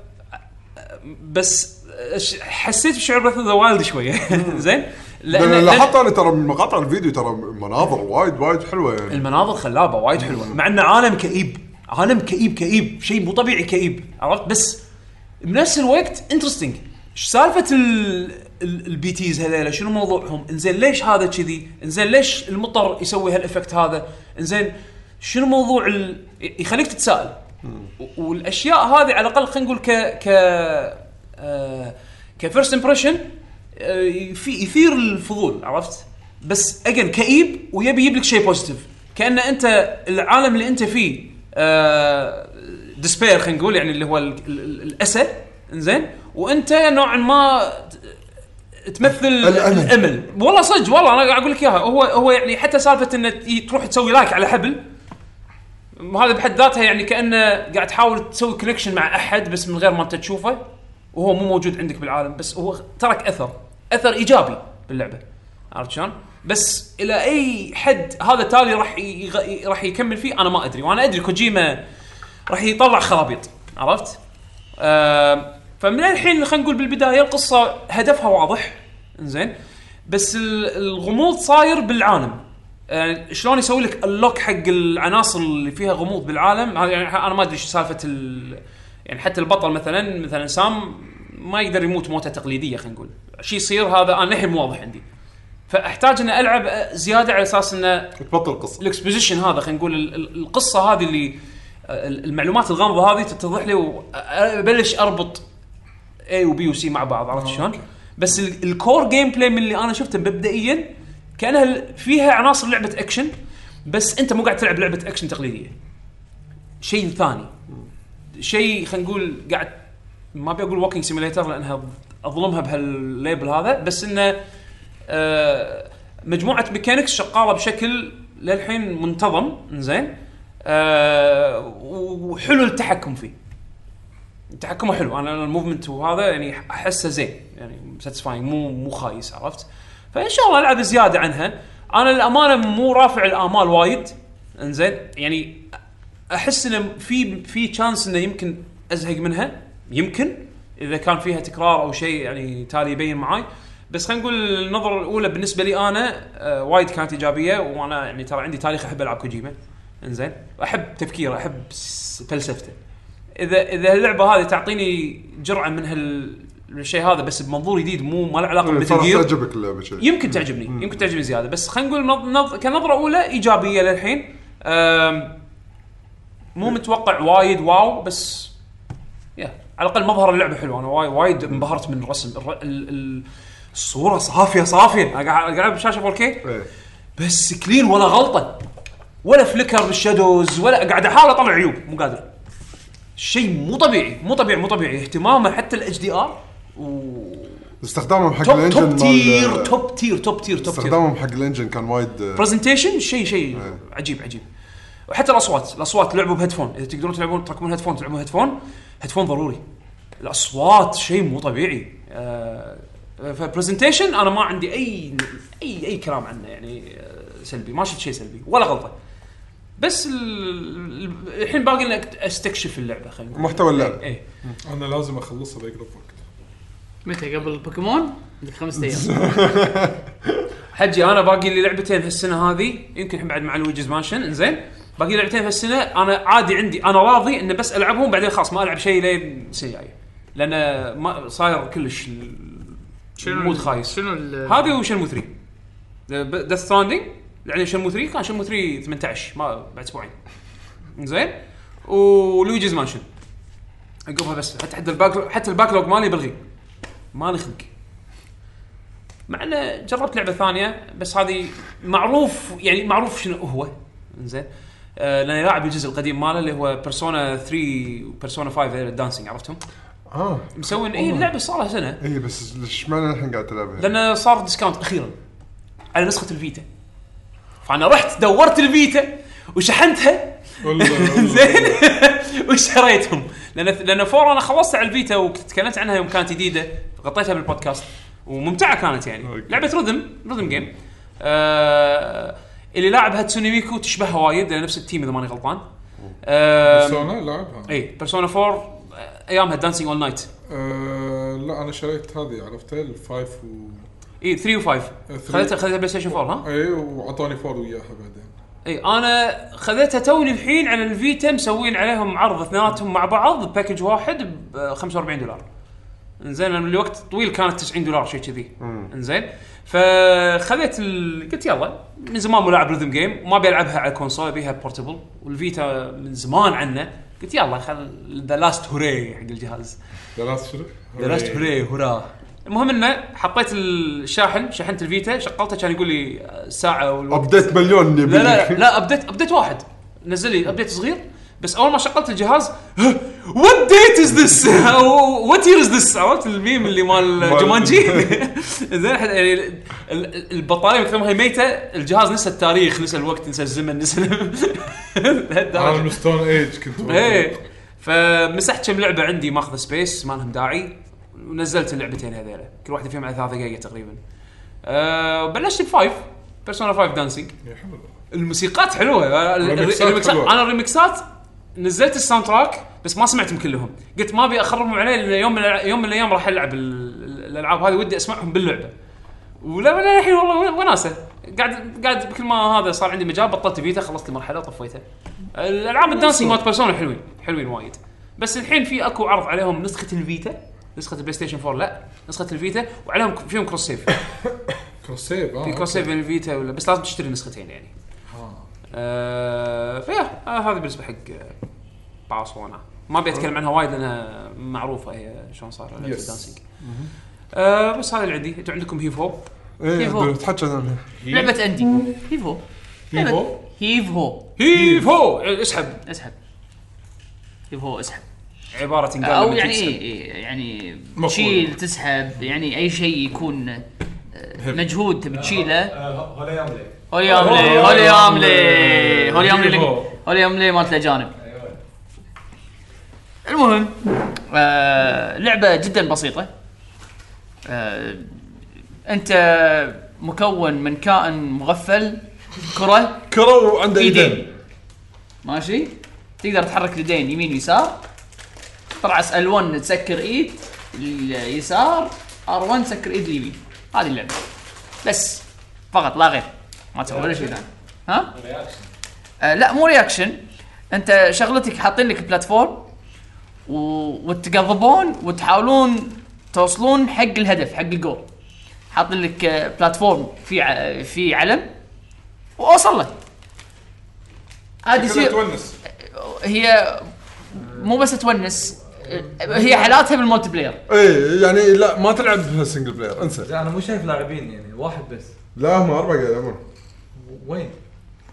[SPEAKER 1] بس أش- حسيت بشعور براث اوف ذا وايلد شويه زين؟ لأن-
[SPEAKER 4] لان
[SPEAKER 1] لأن-
[SPEAKER 4] لاحظت انا ترى من مقاطع الفيديو ترى مناظر وايد وايد حلوه يعني
[SPEAKER 1] المناظر خلابه وايد حلوه مع انه عالم كئيب عالم كئيب كئيب شيء مو طبيعي كئيب عرفت بس بنفس الوقت انترستنج سالفه ال ال- البي تيز هذيلا شنو موضوعهم انزين ليش هذا كذي انزين ليش المطر يسوي هالافكت هذا انزين شنو موضوع ال... يخليك تتساءل و- والاشياء هذه على الاقل خلينا نقول ك ك آه كفيرست امبريشن آه، في يثير الفضول عرفت بس اجن كئيب ويبي يجيب لك شيء بوزيتيف كان انت العالم اللي انت فيه آه ديسبير خلينا نقول يعني اللي هو ال- ال- ال- الاسى انزين وانت نوعا ما ت- تمثل
[SPEAKER 4] الأمل.
[SPEAKER 1] الامل والله صدق والله انا قاعد اقول لك اياها هو هو يعني حتى سالفه انه ي- تروح تسوي لايك على حبل هذا بحد ذاتها يعني كانه قاعد تحاول تسوي كونكشن مع احد بس من غير ما انت تشوفه وهو مو موجود عندك بالعالم بس هو ترك اثر اثر ايجابي باللعبه عرفت شلون؟ بس الى اي حد هذا تالي راح يغ... راح يكمل فيه انا ما ادري وانا ادري كوجيما راح يطلع خرابيط عرفت؟ آم، فمن الحين خلينا نقول بالبدايه القصه هدفها واضح زين بس ال- الغموض صاير بالعالم يعني شلون يسوي لك اللوك حق العناصر اللي فيها غموض بالعالم هذا يعني انا ما ادري ايش سالفه ال... يعني حتى البطل مثلا مثلا سام ما يقدر يموت موته تقليديه خلينا نقول شيء يصير هذا انا للحين مو واضح عندي فاحتاج اني العب أه، زياده على اساس انه
[SPEAKER 4] تبطل القصه
[SPEAKER 1] الاكسبوزيشن هذا خلينا نقول ال- ال- القصه هذه اللي ال- المعلومات الغامضه هذه تتضح لي وابلش اربط اي وبي وسي مع بعض عرفت شلون؟ بس ال- الكور جيم بلاي من اللي انا شفته مبدئيا كانها ال- فيها عناصر لعبه اكشن بس انت مو قاعد تلعب لعبه اكشن تقليديه. شيء ثاني شيء خلينا نقول قاعد ما ابي اقول ووكينج سيميليتر لانها اظلمها بهالليبل هذا بس انه آه، مجموعه ميكانكس شغاله بشكل للحين منتظم زين آه، وحلو التحكم فيه تحكمه حلو انا أنا الموفمنت وهذا يعني احسه زين يعني ساتسفاينج مو مو خايس عرفت فان شاء الله العب زياده عنها انا الامانه مو رافع الامال وايد انزين يعني احس انه في في تشانس انه يمكن ازهق منها يمكن اذا كان فيها تكرار او شيء يعني تالي يبين معاي بس خلينا نقول النظره الاولى بالنسبه لي انا آه وايد كانت ايجابيه وانا يعني ترى عندي تاريخ احب العب كوجيما انزين احب تفكيره احب س- فلسفته اذا اذا اللعبه هذه تعطيني جرعه من هال من الشيء هذا بس بمنظور جديد مو ما له علاقه بمثل
[SPEAKER 4] صراحه
[SPEAKER 1] جير
[SPEAKER 4] تعجبك اللعبه شيء
[SPEAKER 1] يمكن تعجبني يمكن تعجبني زياده بس خلينا نقول نظ... نظ... كنظره اولى ايجابيه للحين أم... مو متوقع وايد واو بس يا على الاقل مظهر اللعبه حلو انا وايد وايد انبهرت من الرسم الر... ال... ال... الصوره صافيه صافيه انا قاعد قاعد بشاشه 4K
[SPEAKER 4] إيه.
[SPEAKER 1] بس كلين ولا غلطه ولا فليكر بالشادوز ولا قاعد احاول اطلع عيوب مو قادر شيء مو طبيعي مو طبيعي مو طبيعي اهتمامه حتى الاتش دي ار
[SPEAKER 4] استخدامهم حق
[SPEAKER 1] توب
[SPEAKER 4] الانجن
[SPEAKER 1] توب
[SPEAKER 4] مال-
[SPEAKER 1] تير توب تير توب تير توب تير
[SPEAKER 4] استخدامهم حق الانجن كان وايد آه،
[SPEAKER 1] برزنتيشن شيء شيء عجيب عجيب وحتى الاصوات الاصوات لعبوا بهيدفون اذا تقدرون تلعبون تركبون هيدفون تلعبون هيدفون هيدفون ضروري الاصوات شيء مو طبيعي آه فبرزنتيشن انا ما عندي اي اي اي كلام عنه يعني آه، سلبي ما شفت شيء سلبي ولا غلطه بس ال- ال- الحين باقي انك استكشف اللعبه خلينا نقول
[SPEAKER 4] محتوى اللعبه
[SPEAKER 1] ايه
[SPEAKER 3] انا لازم اخلصها باقرب وقت
[SPEAKER 11] متى قبل بوكيمون؟ عندك خمس ايام
[SPEAKER 1] حجي انا باقي لي لعبتين هالسنه هذه يمكن الحين بعد مع الويجز مانشن انزين باقي لي لعبتين هالسنه انا عادي عندي انا راضي انه بس العبهم بعدين خلاص ما العب شيء لين السنه الجايه لان ما صاير كلش المود خايس
[SPEAKER 11] شنو ال-
[SPEAKER 1] هذه وشنمو 3 ديث ستراندنج يعني شنمو 3 كان شنمو 3 18 ما بعد اسبوعين زين ولويجيز مانشن عقبها بس حتى حتى الباك حتى الباك لوج مالي بلغي مالي خلق مع انه جربت لعبه ثانيه بس هذه معروف يعني معروف شنو هو زين آه لاني لاعب الجزء القديم ماله اللي هو بيرسونا 3 وبيرسونا 5 دانسينج عرفتهم؟
[SPEAKER 4] اه
[SPEAKER 1] مسوين اي اللعبه صار لها سنه
[SPEAKER 4] اي إيه، بس ليش معنى الحين قاعد تلعبها؟
[SPEAKER 1] لانه صار ديسكاونت اخيرا على نسخه الفيتا فانا رحت دورت الفيتا وشحنتها زين وشريتهم لان لان فور انا خلصت على الفيتا وتكلمت عنها يوم كانت جديده غطيتها بالبودكاست وممتعه كانت يعني لعبه رذم رذم جيم آه اللي لاعب هاتسوني ميكو تشبهها وايد لان نفس التيم اذا ماني غلطان آه
[SPEAKER 3] سونا لعبها
[SPEAKER 1] اي بيرسونا 4 آه، ايامها دانسينج اول نايت
[SPEAKER 3] آه، لا انا شريت هذه عرفتها الفايف و
[SPEAKER 1] اي 3 و5
[SPEAKER 3] three.
[SPEAKER 1] خذيتها خذيتها بلاي ستيشن 4 ها؟
[SPEAKER 3] اي واعطوني فور وياها بعدين
[SPEAKER 1] اي انا خذيتها توني الحين على الفيتا مسوين عليهم عرض اثنيناتهم مع بعض باكج واحد ب 45 دولار انزين لان الوقت طويل كانت 90 دولار شيء كذي انزين فخذيت ال... قلت يلا من زمان ملاعب ريذم جيم ما بيلعبها على الكونسول ابيها بورتبل والفيتا من زمان عنه قلت يلا خل ذا لاست هوري حق الجهاز
[SPEAKER 3] دراسة شنو؟
[SPEAKER 1] درست هوري هورا المهم انه حطيت الشاحن شحنت الفيتا شغلته كان يقول لي آه، الساعه والوقت
[SPEAKER 4] ابديت مليون يبي
[SPEAKER 1] لا لا
[SPEAKER 4] لي.
[SPEAKER 1] لا ابديت ابديت واحد نزل لي ابديت صغير بس اول ما شغلت الجهاز وات ديت از ذس وات يير از ذس عرفت الميم اللي مال
[SPEAKER 4] مال-
[SPEAKER 1] جومانجي زين حد- يعني ال- ال- البطاريه من كثر ما هي ميته الجهاز نسى التاريخ نسى الوقت نسى الزمن نسى
[SPEAKER 3] انا
[SPEAKER 1] لهالدرجه
[SPEAKER 3] من ستون ايج كنت
[SPEAKER 1] ايه فمسحت كم لعبه عندي ماخذه سبيس ما لهم داعي ونزلت اللعبتين هذيلا كل واحده فيهم على ثلاث دقائق تقريبا أه بلشت بفايف بيرسونا 5 دانسينج
[SPEAKER 3] يا حمد.
[SPEAKER 1] الموسيقات حلوة ال- ال-
[SPEAKER 3] الريمكسات
[SPEAKER 1] الريمكسات
[SPEAKER 3] حلوة.
[SPEAKER 1] انا الريمكسات نزلت الساوند تراك بس ما سمعتهم كلهم قلت ما ابي اخربهم عليه لان يوم من الأ- يوم من الايام راح العب ال- ال- الالعاب هذه ودي اسمعهم باللعبه ولا ولا الحين والله وناسه قاعد قاعد بكل ما هذا صار عندي مجال بطلت بيتا خلصت المرحله وطفيتها الالعاب الدانسينج مالت بيرسونا حلوين حلوين وايد بس الحين في اكو عرض عليهم نسخه الفيتا نسخه البلاي ستيشن 4 لا نسخه الفيتا وعليهم فيهم كروس سيف
[SPEAKER 3] كروس سيف
[SPEAKER 1] في
[SPEAKER 3] اه
[SPEAKER 1] كروس سيف الفيتا ولا بس لازم تشتري نسختين يعني آه فيا آه هذا بالنسبه حق باوسونا ما ابي اتكلم عنها وايد لانها معروفه هي شلون صار لعبه
[SPEAKER 3] Yes.
[SPEAKER 1] الدانسينج آه بس هذا اللي عندي انتم عندكم هيفو
[SPEAKER 5] هيفو.
[SPEAKER 4] ايه تحكي عنها
[SPEAKER 5] لعبه اندي هيفو
[SPEAKER 3] هيفو؟
[SPEAKER 5] هيفو
[SPEAKER 1] هيفو اسحب
[SPEAKER 5] اسحب هيفو اسحب
[SPEAKER 1] عباره قال
[SPEAKER 5] او
[SPEAKER 1] لما
[SPEAKER 5] يعني
[SPEAKER 1] تسحب.
[SPEAKER 5] إيه إيه، يعني
[SPEAKER 3] مفهوم.
[SPEAKER 5] تشيل تسحب يعني اي شيء يكون آه، مجهود تبي تشيله
[SPEAKER 6] هلا يا ملي
[SPEAKER 5] هولي املي هولي املي هولي املي
[SPEAKER 3] هيفو.
[SPEAKER 5] هولي املي مالت الاجانب المهم آه لعبه جدا بسيطه آه انت مكون من كائن مغفل كره
[SPEAKER 4] كره وعنده ايدين
[SPEAKER 5] ايدين ماشي تقدر تحرك اليدين يمين ويسار طلع ال1 تسكر ايد اليسار ار1 تسكر ايد اليمين هذه اللعبه بس فقط لا غير ما تسوي ولا شيء ثاني ها؟ آه لا مو رياكشن انت شغلتك حاطين لك بلاتفورم و... وتقضبون وتحاولون توصلون حق الهدف حق الجول حاطين لك آه، بلاتفورم في ع... في علم واوصل له عادي
[SPEAKER 3] كلها
[SPEAKER 5] يصير
[SPEAKER 3] تونس
[SPEAKER 5] هي مو بس تونس هي حالاتها بالمولتي بلاير
[SPEAKER 4] ايه يعني لا ما تلعب سنجل بلاير انسى
[SPEAKER 6] انا مو شايف لاعبين يعني واحد بس
[SPEAKER 4] لا هم اربعه قاعد يلعبون
[SPEAKER 6] وين؟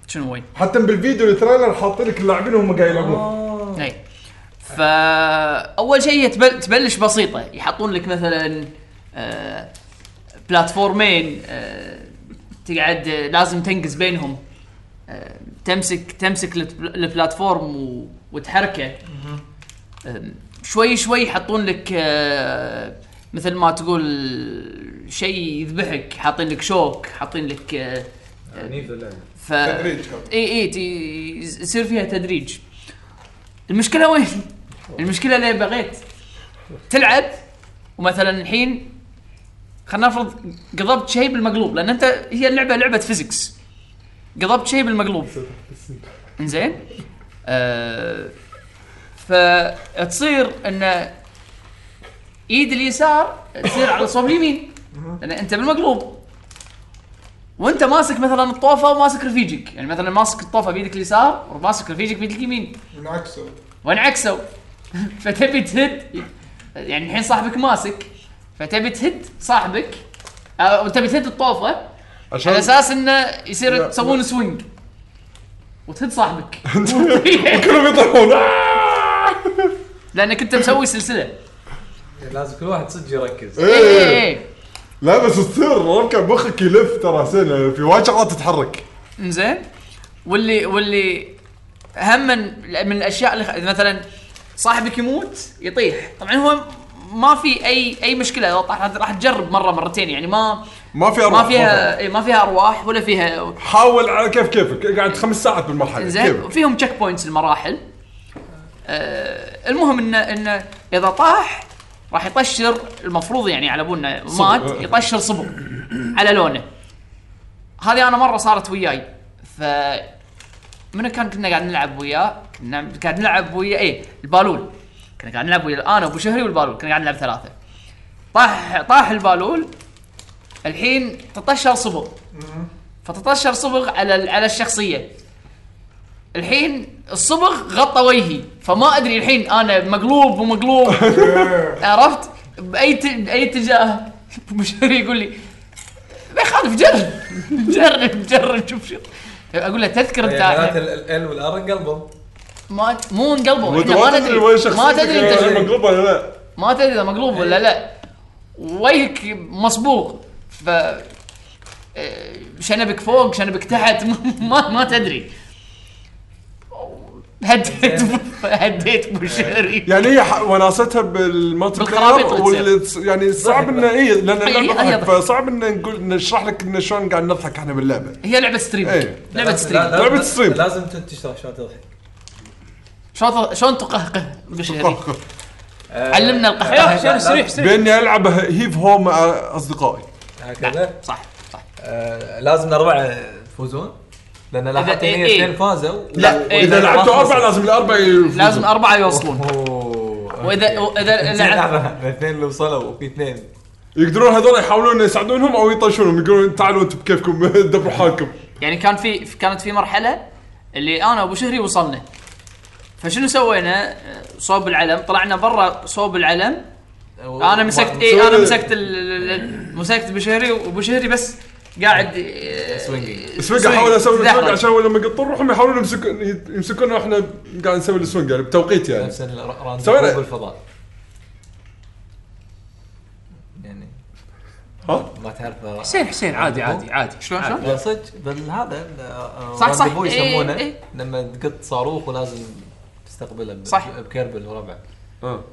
[SPEAKER 5] شنو وين؟
[SPEAKER 4] حتى بالفيديو التريلر حاطين لك اللاعبين وهم قاعد يلعبون
[SPEAKER 5] اي فاول شيء تبل... تبلش بسيطه يحطون لك مثلا آه، بلاتفورمين آه، تقعد آه، لازم تنقز بينهم آه، تمسك تمسك البل- البلاتفورم و... وتحركه آم، شوي شوي يحطون لك آه، مثل ما تقول شيء يذبحك حاطين لك شوك حاطين لك آه،
[SPEAKER 6] عنيف اللعبه
[SPEAKER 5] ف
[SPEAKER 3] تدريج.
[SPEAKER 5] اي اي تي- يصير فيها تدريج المشكله وين؟ المشكله اللي بغيت تلعب ومثلا الحين خلينا نفرض قضبت شيء بالمقلوب لان انت هي اللعبه لعبه فيزكس قضبت شيء بالمقلوب انزين آه فتصير ان ايد اليسار تصير على صوب اليمين لان انت بالمقلوب وانت ماسك مثلا الطوفه وماسك رفيجك يعني مثلا ماسك الطوفه بيدك اليسار وماسك رفيجك بيدك اليمين
[SPEAKER 3] بالعكس
[SPEAKER 5] وانعكسوا فتبي تهد يعني الحين صاحبك ماسك فتبي تهد صاحبك او تبي تهد الطوفه
[SPEAKER 4] عشان
[SPEAKER 5] على اساس انه يصير
[SPEAKER 4] لا،
[SPEAKER 5] تسوون سوينج وتهد صاحبك
[SPEAKER 4] كلهم يطيحون
[SPEAKER 5] لانك انت مسوي سلسله
[SPEAKER 6] لازم كل واحد صدق يركز
[SPEAKER 5] اي اي
[SPEAKER 4] ايه
[SPEAKER 5] اي
[SPEAKER 4] لا بس تصير ركب مخك يلف ترى سنه في وايد شغلات تتحرك
[SPEAKER 5] انزين واللي واللي هم من, من الاشياء اللي خ- مثلا صاحبك يموت يطيح طبعا هو ما في اي اي مشكله لو طاح راح تجرب مره مرتين يعني ما
[SPEAKER 4] ما في أرواح،
[SPEAKER 5] ما فيها إي، ما فيها ارواح ولا فيها
[SPEAKER 4] حاول على كيف كيفك قاعد خمس ساعات بالمرحله
[SPEAKER 5] زين
[SPEAKER 4] كيف
[SPEAKER 5] وفيهم تشيك بوينتس المراحل آه المهم انه انه اذا طاح راح يطشر المفروض يعني على ابونا مات يطشر صبغ على لونه هذه انا مره صارت وياي ف من كان كنا قاعد نلعب وياه كنا قاعد نلعب ويا ايه البالول كنا قاعد نلعب ويا انا وابو شهري والبالول كنا قاعد نلعب ثلاثه طاح طاح البالول الحين تطشر صبغ فتطشر صبغ على ال- على الشخصيه الحين الصبغ غطى وجهي فما ادري الحين انا مقلوب ومقلوب عرفت باي ت... باي اتجاه مشاري يقول لي ما يخالف جرب جرب جرب شوف شو اقول له تذكر
[SPEAKER 6] يعني معناته
[SPEAKER 5] انت
[SPEAKER 6] ال والار انقلبوا
[SPEAKER 5] ما مو انقلبه
[SPEAKER 4] وانت
[SPEAKER 5] إحنا ما تدري
[SPEAKER 4] وين
[SPEAKER 5] ما
[SPEAKER 4] شخصيتك
[SPEAKER 5] تدري انت
[SPEAKER 4] هي
[SPEAKER 5] شو-
[SPEAKER 4] مقلوبه ولا لا
[SPEAKER 5] ما تدري اذا مقلوب ولا لا وجهك مصبوغ ف آه، شنبك فوق شنبك تحت ما ما تدري هديت هديت ابو شهري
[SPEAKER 4] يعني هي ح- وناستها بالمالتي
[SPEAKER 5] بالخرابيط
[SPEAKER 4] بلاير
[SPEAKER 5] اللي تصير.
[SPEAKER 4] واللي- يعني صعب انه اي لان
[SPEAKER 5] هي-
[SPEAKER 4] اللعبه
[SPEAKER 5] هي
[SPEAKER 4] ضحك،
[SPEAKER 5] ضحك.
[SPEAKER 4] فصعب انه نقول نشرح لك انه شلون قاعد نضحك احنا باللعبه
[SPEAKER 5] هي لعبه ستريم
[SPEAKER 4] إيه.
[SPEAKER 5] لعبه
[SPEAKER 6] لازم- لا-
[SPEAKER 5] ستريم
[SPEAKER 6] لازم-
[SPEAKER 4] لعبة ستريم.
[SPEAKER 6] لازم تنتشر عشان تضحك
[SPEAKER 5] شلون شلون تقهقه البشري علمنا القهقه
[SPEAKER 1] يا أخي، استريح استريح
[SPEAKER 4] باني العب هيف هوم آه، مع اصدقائي
[SPEAKER 6] هكذا
[SPEAKER 5] صح صح
[SPEAKER 6] آه، لازم الاربعه يفوزون لان لاحظت ان
[SPEAKER 5] إيه،
[SPEAKER 6] هي
[SPEAKER 5] إيه.
[SPEAKER 6] اثنين فازوا
[SPEAKER 5] لا إيه،
[SPEAKER 4] اذا
[SPEAKER 6] لا،
[SPEAKER 4] لعبتوا
[SPEAKER 6] ما
[SPEAKER 4] اربعه لازم الاربعه يفوزون.
[SPEAKER 5] لازم اربعه يوصلون
[SPEAKER 6] أوه،
[SPEAKER 5] واذا
[SPEAKER 6] أوكي.
[SPEAKER 5] واذا
[SPEAKER 6] زين،
[SPEAKER 5] لعب
[SPEAKER 6] لحظة، الاثنين اللي وصلوا وفي اثنين
[SPEAKER 4] يقدرون هذول يحاولون يساعدونهم او يطشونهم يقولون تعالوا انتم بكيفكم دبروا حالكم
[SPEAKER 5] يعني كان في كانت في مرحله اللي انا وابو شهري وصلنا فشنو سوينا؟ آه، صوب العلم طلعنا برا صوب العلم انا مسكت إيه؟ اي انا مسكت ال- ال- ال- مسكت بشهري وابو شهري بس قاعد إيه، آه،
[SPEAKER 6] سوينجينج.
[SPEAKER 4] سوينج احاول اسوي
[SPEAKER 5] تدحرج.
[SPEAKER 4] السوينج عشان لما يقطون روحهم يحاولون يمسكون يمسكون واحنا قاعد نسوي السوينج يعني بتوقيت يعني
[SPEAKER 6] نفس الراند
[SPEAKER 4] سوينا-
[SPEAKER 6] بالفضاء يعني
[SPEAKER 4] ها؟
[SPEAKER 6] ما تعرف
[SPEAKER 1] حسين حسين عادي عادي عادي
[SPEAKER 5] شلون شلون؟
[SPEAKER 6] لا صدق بل هذا ال- آه،
[SPEAKER 5] صح، صح.
[SPEAKER 6] الرانديفو
[SPEAKER 5] إيه،
[SPEAKER 6] يسمونه
[SPEAKER 5] إيه.
[SPEAKER 6] لما تقط صاروخ ولازم تستقبله ب-
[SPEAKER 5] صح.
[SPEAKER 6] بكرب الربع
[SPEAKER 4] آه.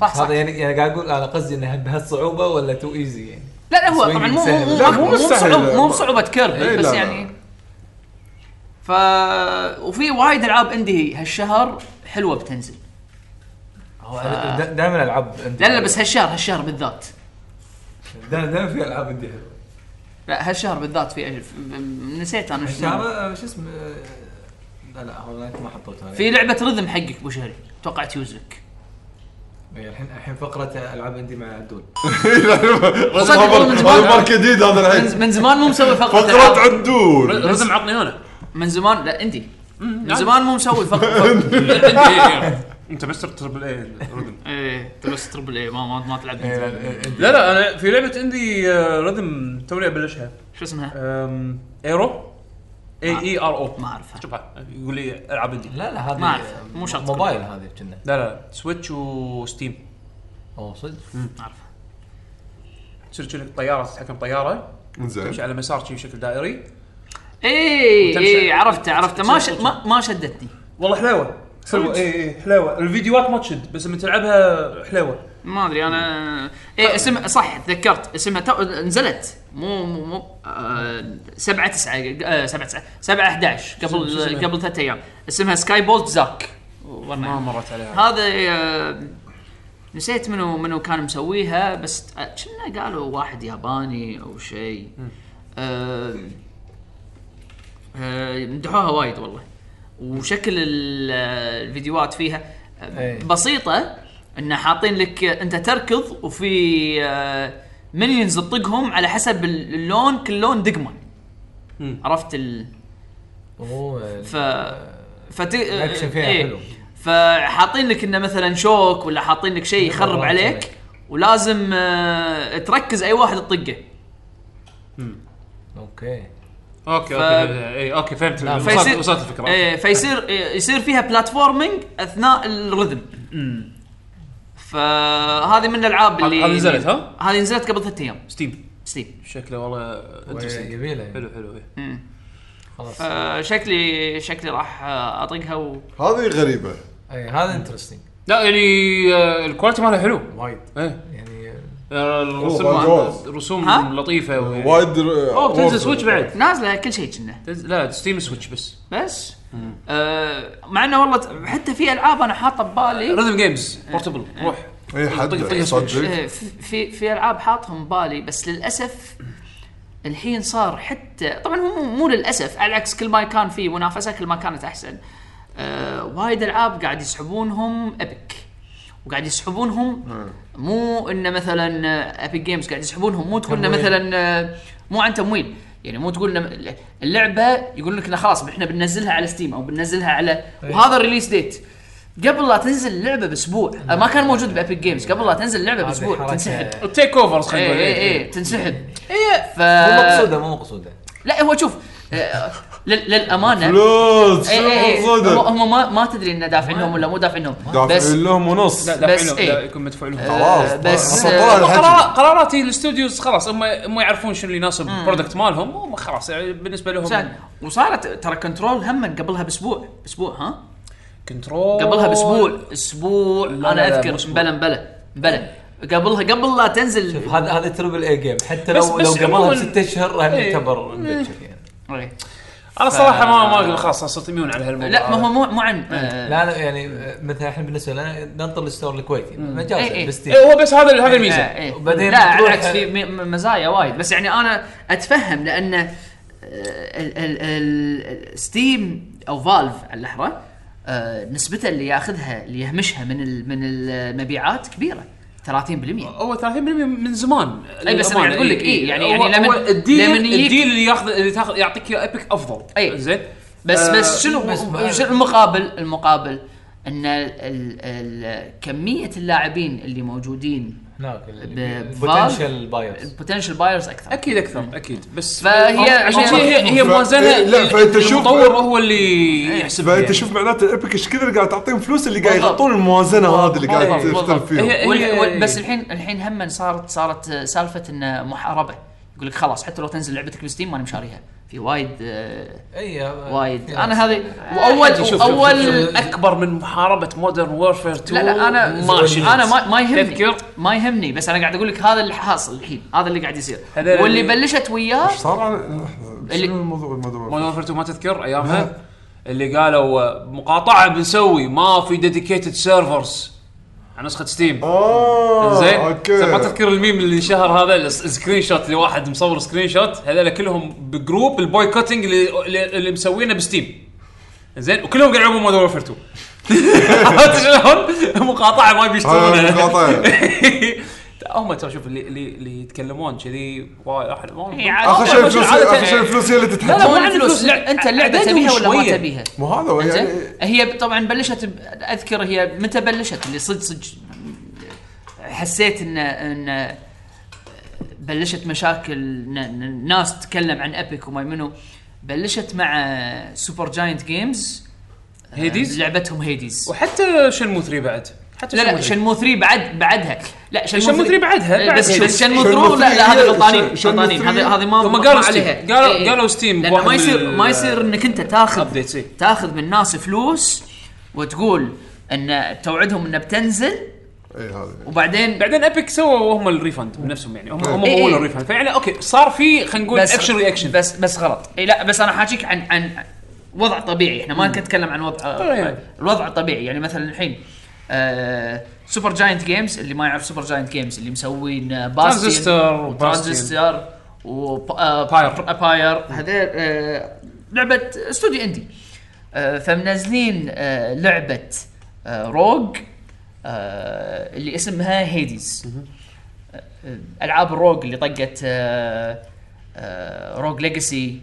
[SPEAKER 5] صح صح
[SPEAKER 6] هذا يعني يعني قاعد اقول انا قصدي انها بهالصعوبه ولا تو ايزي يعني
[SPEAKER 5] لا لا هو
[SPEAKER 6] سوينجينج
[SPEAKER 5] طبعا مو مو مو
[SPEAKER 6] سهل.
[SPEAKER 4] لا، مو
[SPEAKER 5] مو
[SPEAKER 4] مستحيل.
[SPEAKER 5] بصعوبة- مو بصعوبه كيربي
[SPEAKER 4] إيه،
[SPEAKER 5] بس
[SPEAKER 4] لا، لا.
[SPEAKER 5] يعني ف وفي وايد العاب عندي هالشهر حلوه بتنزل
[SPEAKER 6] هو دائما العاب عندي
[SPEAKER 5] لا لا بس هالشهر هالشهر بالذات
[SPEAKER 6] دائما في العاب عندي حلوه
[SPEAKER 5] لا هالشهر بالذات في في- نسيت انا شو اسمه.
[SPEAKER 6] شعره شو اسمه آه، لا لا هو ما حطيتها
[SPEAKER 5] في لعبه رذم حقك ابو شهري اتوقع تيوزك
[SPEAKER 6] إيه، الحين الحين فقره العاب عندي مع عدول
[SPEAKER 4] إيه،
[SPEAKER 5] صدق والله من زمان.
[SPEAKER 4] هذا مارك جديد هذا
[SPEAKER 1] طيب.
[SPEAKER 5] من
[SPEAKER 4] الحين
[SPEAKER 5] ز- من زمان مو مسوي فقره
[SPEAKER 4] فقرات
[SPEAKER 5] ألعاب.
[SPEAKER 4] عدول
[SPEAKER 1] رزم عطني انا
[SPEAKER 5] من زمان لا انت
[SPEAKER 1] نعم.
[SPEAKER 5] من زمان مو مسوي فقره فقرة-
[SPEAKER 1] انت بس تربل اي رذم
[SPEAKER 5] إيه،
[SPEAKER 11] ايه انت بس تربل ايه ما ما, ما تلعب
[SPEAKER 1] إيه، لا لا انا في لعبه عندي آه، رذم توني ابلشها
[SPEAKER 5] شو اسمها؟
[SPEAKER 1] أم، ايرو اي اي ار او
[SPEAKER 5] ما اعرفها
[SPEAKER 1] شوف هاي، يقول لي العب عندي
[SPEAKER 6] لا لا هذه
[SPEAKER 5] ما أعرف، مو شرط
[SPEAKER 6] موبايل هذه كنا
[SPEAKER 1] لا لا سويتش وستيم
[SPEAKER 6] اوه صدق
[SPEAKER 1] تصير كأنك طياره تتحكم طياره
[SPEAKER 4] زين
[SPEAKER 1] تمشي على مسار شي بشكل دائري
[SPEAKER 5] اي
[SPEAKER 1] وتمشي-
[SPEAKER 5] اي إيه، عرفته عرفته ما ش...
[SPEAKER 1] وتمشي-
[SPEAKER 5] ما, ما شدتني
[SPEAKER 1] والله حلوه حلوه اي اي حلوه إيه، الفيديوهات ما تشد بس لما تلعبها حلوه
[SPEAKER 5] ما ادري انا اي اسم صح تذكرت اسمها تو... نزلت مو مو آه، مو 7 9 7 9 7 11
[SPEAKER 1] شو اسمها؟
[SPEAKER 5] قبل قبل ثلاث ايام اسمها سكاي بولت زاك
[SPEAKER 1] ما
[SPEAKER 5] ورنا
[SPEAKER 1] مرت عليها
[SPEAKER 5] هذا آه، نسيت منو منو كان مسويها بس آه، كنا قالوا واحد ياباني او شيء آه، آه، مدحوها وايد والله وشكل ال- آه، الفيديوهات فيها آه،
[SPEAKER 6] إيه.
[SPEAKER 5] بسيطه ان حاطين لك آه، انت تركض وفي مليونز تطقهم على حسب ال- اللون كل لون دقمه
[SPEAKER 1] مم.
[SPEAKER 5] عرفت ال
[SPEAKER 6] اوه
[SPEAKER 5] ف فت...
[SPEAKER 6] الاكشن فيها
[SPEAKER 5] إيه.
[SPEAKER 6] حلو
[SPEAKER 5] فحاطين لك انه مثلا شوك ولا حاطين لك شيء يخرب
[SPEAKER 6] مرات
[SPEAKER 5] عليك
[SPEAKER 6] عليك.
[SPEAKER 5] ولازم آه، تركز اي واحد تطقه
[SPEAKER 6] اوكي
[SPEAKER 1] اوكي
[SPEAKER 5] ف-
[SPEAKER 1] اوكي اي اوكي إيه، فهمت آه، وصلت
[SPEAKER 5] فيصير
[SPEAKER 1] وصلت الفكره
[SPEAKER 5] إيه فيصير إيه، يصير فيها بلاتفورمينج اثناء الرذم فهذه من الالعاب اللي
[SPEAKER 1] هذه نزلت، ها؟
[SPEAKER 5] هذه نزلت قبل ثلاث ايام
[SPEAKER 1] ستيم
[SPEAKER 5] ستيم
[SPEAKER 1] شكله والله انترستنج
[SPEAKER 6] جميله
[SPEAKER 1] حلو حلو إيه. إي.
[SPEAKER 6] خلاص
[SPEAKER 5] آه، شكلي شكلي راح آه، اطقها و...
[SPEAKER 4] هذه غريبه
[SPEAKER 6] اي إيه، هذا انترستنج
[SPEAKER 1] لا يعني آه، الكواليتي مالها حلو
[SPEAKER 6] وايد
[SPEAKER 1] ايه
[SPEAKER 6] يعني آه،
[SPEAKER 1] آه، الرسوم
[SPEAKER 4] وايد وايد.
[SPEAKER 1] رسوم
[SPEAKER 5] ها؟
[SPEAKER 1] لطيفه و-
[SPEAKER 4] وايد
[SPEAKER 1] اوه بتنزل سويتش بعد
[SPEAKER 5] نازله كل شيء كنا
[SPEAKER 1] تنزل- لا ستيم سويتش بس
[SPEAKER 5] بس آه مع انه والله ت- حتى في العاب انا حاطه ببالي
[SPEAKER 1] ريزم جيمز بورتبل روح
[SPEAKER 4] اي إيه، حد
[SPEAKER 1] طق- إيه. طق
[SPEAKER 4] صدق
[SPEAKER 5] آه، في- في في العاب حاطهم ببالي بس للاسف الحين صار حتى طبعا هو مو, مو للاسف على العكس كل ما كان في منافسه كل ما كانت احسن آه وايد العاب قاعد يسحبونهم ابك وقاعد يسحبونهم مو انه مثلا ابيك جيمز قاعد يسحبونهم مو تقول انه مثلا آه، مو عن تمويل يعني مو تقول إن اللعبه يقول لك إنه خلاص احنا بننزلها على ستيم او بننزلها على
[SPEAKER 1] طيب.
[SPEAKER 5] وهذا الريليس ديت قبل لا تنزل اللعبه باسبوع آه، ما كان موجود بابيك جيمز قبل لا تنزل اللعبه
[SPEAKER 6] هذه
[SPEAKER 5] باسبوع
[SPEAKER 6] حركة-
[SPEAKER 5] تنسحب
[SPEAKER 1] التيك اوفرز خلينا
[SPEAKER 5] اي
[SPEAKER 1] نقول
[SPEAKER 5] اي
[SPEAKER 1] إيه.
[SPEAKER 5] اي تنسحب إيه، ف
[SPEAKER 6] مو مقصوده مو مقصوده
[SPEAKER 5] لا هو شوف آه، لل- للامانه
[SPEAKER 4] فلوس
[SPEAKER 5] إي، إي، إي،
[SPEAKER 4] شوف صدق
[SPEAKER 5] هم هم ما ما تدري انه دافعين لهم ولا مو دافعين لهم بس
[SPEAKER 4] دافعين لهم ونص
[SPEAKER 1] لا دافعين
[SPEAKER 5] بس
[SPEAKER 1] لهم-
[SPEAKER 5] إيه.
[SPEAKER 1] لا، يكون مدفوع لهم
[SPEAKER 4] خلاص
[SPEAKER 5] آه، بس،
[SPEAKER 4] أصلاً
[SPEAKER 5] آه،
[SPEAKER 4] طلع الحجم.
[SPEAKER 1] قرار- قرارات الاستوديوز خلاص هم هم يعرفون شنو اللي يناسب البرودكت مالهم هم خلاص يعني بالنسبه
[SPEAKER 5] زين.
[SPEAKER 1] لهم
[SPEAKER 5] وصارت ترى كنترول هم قبلها باسبوع اسبوع ها
[SPEAKER 1] كنترول
[SPEAKER 5] قبلها باسبوع اسبوع
[SPEAKER 1] لا،
[SPEAKER 5] انا
[SPEAKER 1] لا، لا، مو
[SPEAKER 5] اذكر
[SPEAKER 1] أسبوع.
[SPEAKER 5] مبلا مبلا مبلا قبلها قبل لا تنزل
[SPEAKER 6] شوف هذا هذا تربل اي جيم حتى
[SPEAKER 1] بس-
[SPEAKER 6] لو
[SPEAKER 1] بس
[SPEAKER 6] لو قبلها
[SPEAKER 1] عموماً-
[SPEAKER 6] بست اشهر
[SPEAKER 1] إيه.
[SPEAKER 6] هل يعتبر مبكر يعني
[SPEAKER 5] إيه.
[SPEAKER 1] انا صراحه ما ما اقول خلاص أنا صرت ميون على هالموضوع
[SPEAKER 5] لا ما هو مو مو عن آه،
[SPEAKER 6] لا لا يعني آه، مثلا الحين بالنسبه لنا ننطر الستور الكويتي
[SPEAKER 5] إي إي.
[SPEAKER 6] مجازا بستيم
[SPEAKER 1] إيه هو بس هذا هذا الميزه
[SPEAKER 5] آه، إيه.
[SPEAKER 6] وبعدين
[SPEAKER 5] لا على
[SPEAKER 6] تروح-
[SPEAKER 5] العكس في م- م- مزايا وايد بس يعني انا اتفهم لان آه، ال- ال- ال- ستيم او فالف على اللحظه آه، نسبته اللي ياخذها اللي يهمشها من ال- من المبيعات كبيره 30%
[SPEAKER 1] هو 30% من زمان
[SPEAKER 5] أي بس أنا
[SPEAKER 1] للأمانة.
[SPEAKER 5] قاعد أقول لك إيه، يعني- يعني
[SPEAKER 1] هو-
[SPEAKER 5] لمن-
[SPEAKER 1] هو الديل
[SPEAKER 5] لمن يجيك-
[SPEAKER 1] الديل اللي ياخذ اللي تاخذ يعطيك اياه ايبك افضل
[SPEAKER 5] أي.
[SPEAKER 1] زين
[SPEAKER 5] بس
[SPEAKER 1] آه،
[SPEAKER 5] بس شنو
[SPEAKER 6] بس-
[SPEAKER 5] شنو المقابل المقابل ان ال- ال- ال- كميه اللاعبين اللي موجودين
[SPEAKER 6] هناك
[SPEAKER 5] ب-
[SPEAKER 6] بوتنشل بايرز
[SPEAKER 5] البوتنشل بايرز اكثر
[SPEAKER 1] اكيد اكثر اكيد بس
[SPEAKER 5] فهي-
[SPEAKER 1] عشان
[SPEAKER 5] هي-
[SPEAKER 1] شي هي هي
[SPEAKER 4] ف-
[SPEAKER 1] موازنه
[SPEAKER 4] إيه، لا، فأنت شوف-
[SPEAKER 1] المطور هو اللي يحسبها
[SPEAKER 4] فانت
[SPEAKER 1] يعني.
[SPEAKER 4] شوف معناته ايبك ايش كثر قاعد تعطيهم فلوس اللي قاعد
[SPEAKER 5] بالضبط.
[SPEAKER 4] يغطون الموازنه هذه اللي قاعد
[SPEAKER 5] بالضبط،
[SPEAKER 4] تختلف
[SPEAKER 1] إيه،
[SPEAKER 5] بالضبط.
[SPEAKER 4] فيهم
[SPEAKER 1] هي-
[SPEAKER 5] وال...
[SPEAKER 1] هي-
[SPEAKER 5] وال... بس الحين الحين هم صارت صارت سالفه انه محاربه يقول لك خلاص حتى لو تنزل لعبتك بستيم ما انا مشاريها في وايد آه،
[SPEAKER 6] اي
[SPEAKER 5] وايد
[SPEAKER 6] إيه، في ناس.
[SPEAKER 5] انا هذه واول
[SPEAKER 1] شوف- شوف-
[SPEAKER 5] اول
[SPEAKER 1] شوف- اكبر من محاربه مودرن وورفير 2
[SPEAKER 5] لا لا انا
[SPEAKER 1] ماشي
[SPEAKER 5] انا ما, ما يهمني
[SPEAKER 1] تذكر؟
[SPEAKER 5] ما يهمني بس انا قاعد اقول لك هذا اللي حاصل الحين هذا اللي قاعد يصير
[SPEAKER 1] هذا
[SPEAKER 5] واللي
[SPEAKER 1] اللي-
[SPEAKER 5] بلشت وياه
[SPEAKER 4] ايش صار على لحظة،
[SPEAKER 5] اللي-
[SPEAKER 4] آه، شنو الموضوع الموضوع
[SPEAKER 1] مودرن وورفير 2 ما تذكر ايامها اللي قالوا آه، مقاطعه بنسوي ما في ديديكيتد سيرفرز على نسخه ستيم
[SPEAKER 4] اه
[SPEAKER 1] زين
[SPEAKER 4] اوكي
[SPEAKER 1] زين، ما تذكر الميم اللي شهر هذا الس- السكرين شوت اللي واحد مصور سكرين شوت هذول كلهم بجروب البوي كوتنج اللي, اللي- اللي مسوينه بستيم زين وكلهم قاعد يلعبون مودرن وورفير 2 عرفت شلون؟ مقاطعه ما
[SPEAKER 4] هاي
[SPEAKER 1] بيشتغلونها
[SPEAKER 4] مقاطعة.
[SPEAKER 1] هم ترى شوف اللي اللي اللي يتكلمون كذي وايد احد
[SPEAKER 5] إيه،
[SPEAKER 1] ما
[SPEAKER 5] عاد-
[SPEAKER 4] اخر شيء
[SPEAKER 1] أوكي،
[SPEAKER 4] الفلوس
[SPEAKER 1] عادة- يعني.
[SPEAKER 4] اخر شيء الفلوس هي اللي
[SPEAKER 1] لا،
[SPEAKER 4] تتحكم
[SPEAKER 1] ما
[SPEAKER 5] مو
[SPEAKER 1] عندي
[SPEAKER 5] الفلوس
[SPEAKER 1] فلوس، لا،
[SPEAKER 5] انت اللعبه
[SPEAKER 1] عددهم
[SPEAKER 5] تبيها ولا ما
[SPEAKER 1] شوية.
[SPEAKER 5] تبيها
[SPEAKER 4] مو هذا هو يعني
[SPEAKER 5] زين هي طبعا بلشت ب- اذكر هي متى بلشت اللي صدق صدق حسيت ان ان بلشت مشاكل ن- ن- ناس تتكلم عن ابيك وما منو بلشت مع سوبر جاينت جيمز
[SPEAKER 1] هيديز؟
[SPEAKER 5] لعبتهم هيديز
[SPEAKER 1] وحتى شنمو 3 بعد حتى
[SPEAKER 5] لا لا
[SPEAKER 1] شنمو
[SPEAKER 5] شنمو 3 بعد بعدها لا
[SPEAKER 1] شنمو 3 بعدها، بعد
[SPEAKER 5] بس
[SPEAKER 1] هيديز.
[SPEAKER 5] بس شنمو
[SPEAKER 4] شنمو
[SPEAKER 5] 3 لا
[SPEAKER 4] ثري
[SPEAKER 5] لا
[SPEAKER 4] هي-
[SPEAKER 5] هذا غلطانين
[SPEAKER 4] شن- شنمو
[SPEAKER 5] غلطانين
[SPEAKER 4] ثري-
[SPEAKER 5] هذا هذا ما
[SPEAKER 1] ثم
[SPEAKER 5] ما
[SPEAKER 1] قالوا
[SPEAKER 5] عليها.
[SPEAKER 1] ستيم. قالوا-
[SPEAKER 5] إيه، إيه.
[SPEAKER 1] قالوا ستيم
[SPEAKER 5] لأن
[SPEAKER 1] بواحد
[SPEAKER 5] ما
[SPEAKER 1] من
[SPEAKER 5] يصير
[SPEAKER 1] ال-
[SPEAKER 5] ما يصير انك انت تاخذ
[SPEAKER 1] Updates، إيه.
[SPEAKER 5] تاخذ من الناس فلوس وتقول ان توعدهم انه بتنزل
[SPEAKER 4] اي إيه، هذا
[SPEAKER 5] وبعدين
[SPEAKER 1] بعدين ابيك سووا هم الريفند من نفسهم يعني هم هم
[SPEAKER 5] إيه.
[SPEAKER 1] مولوا الريفند فيعني اوكي صار في خلينا نقول
[SPEAKER 5] بس-
[SPEAKER 1] اكشن رياكشن
[SPEAKER 5] بس بس غلط اي لا بس انا حاجيك عن عن وضع طبيعي احنا ما نتكلم عن وضع
[SPEAKER 1] طبيعي.
[SPEAKER 5] الوضع الطبيعي يعني مثلا الحين آه سوبر جاينت جيمز اللي ما يعرف سوبر جاينت جيمز اللي مسوين آه، باستيون
[SPEAKER 1] ترانزستور وباستيون.
[SPEAKER 5] وترانزستور
[SPEAKER 1] باير.
[SPEAKER 5] وباير باير هذول آه لعبه استوديو اندي آه فمنزلين آه لعبه آه روج آه اللي اسمها هيديز العاب إيه. الروج اللي طقت آه، آه، روج ليجاسي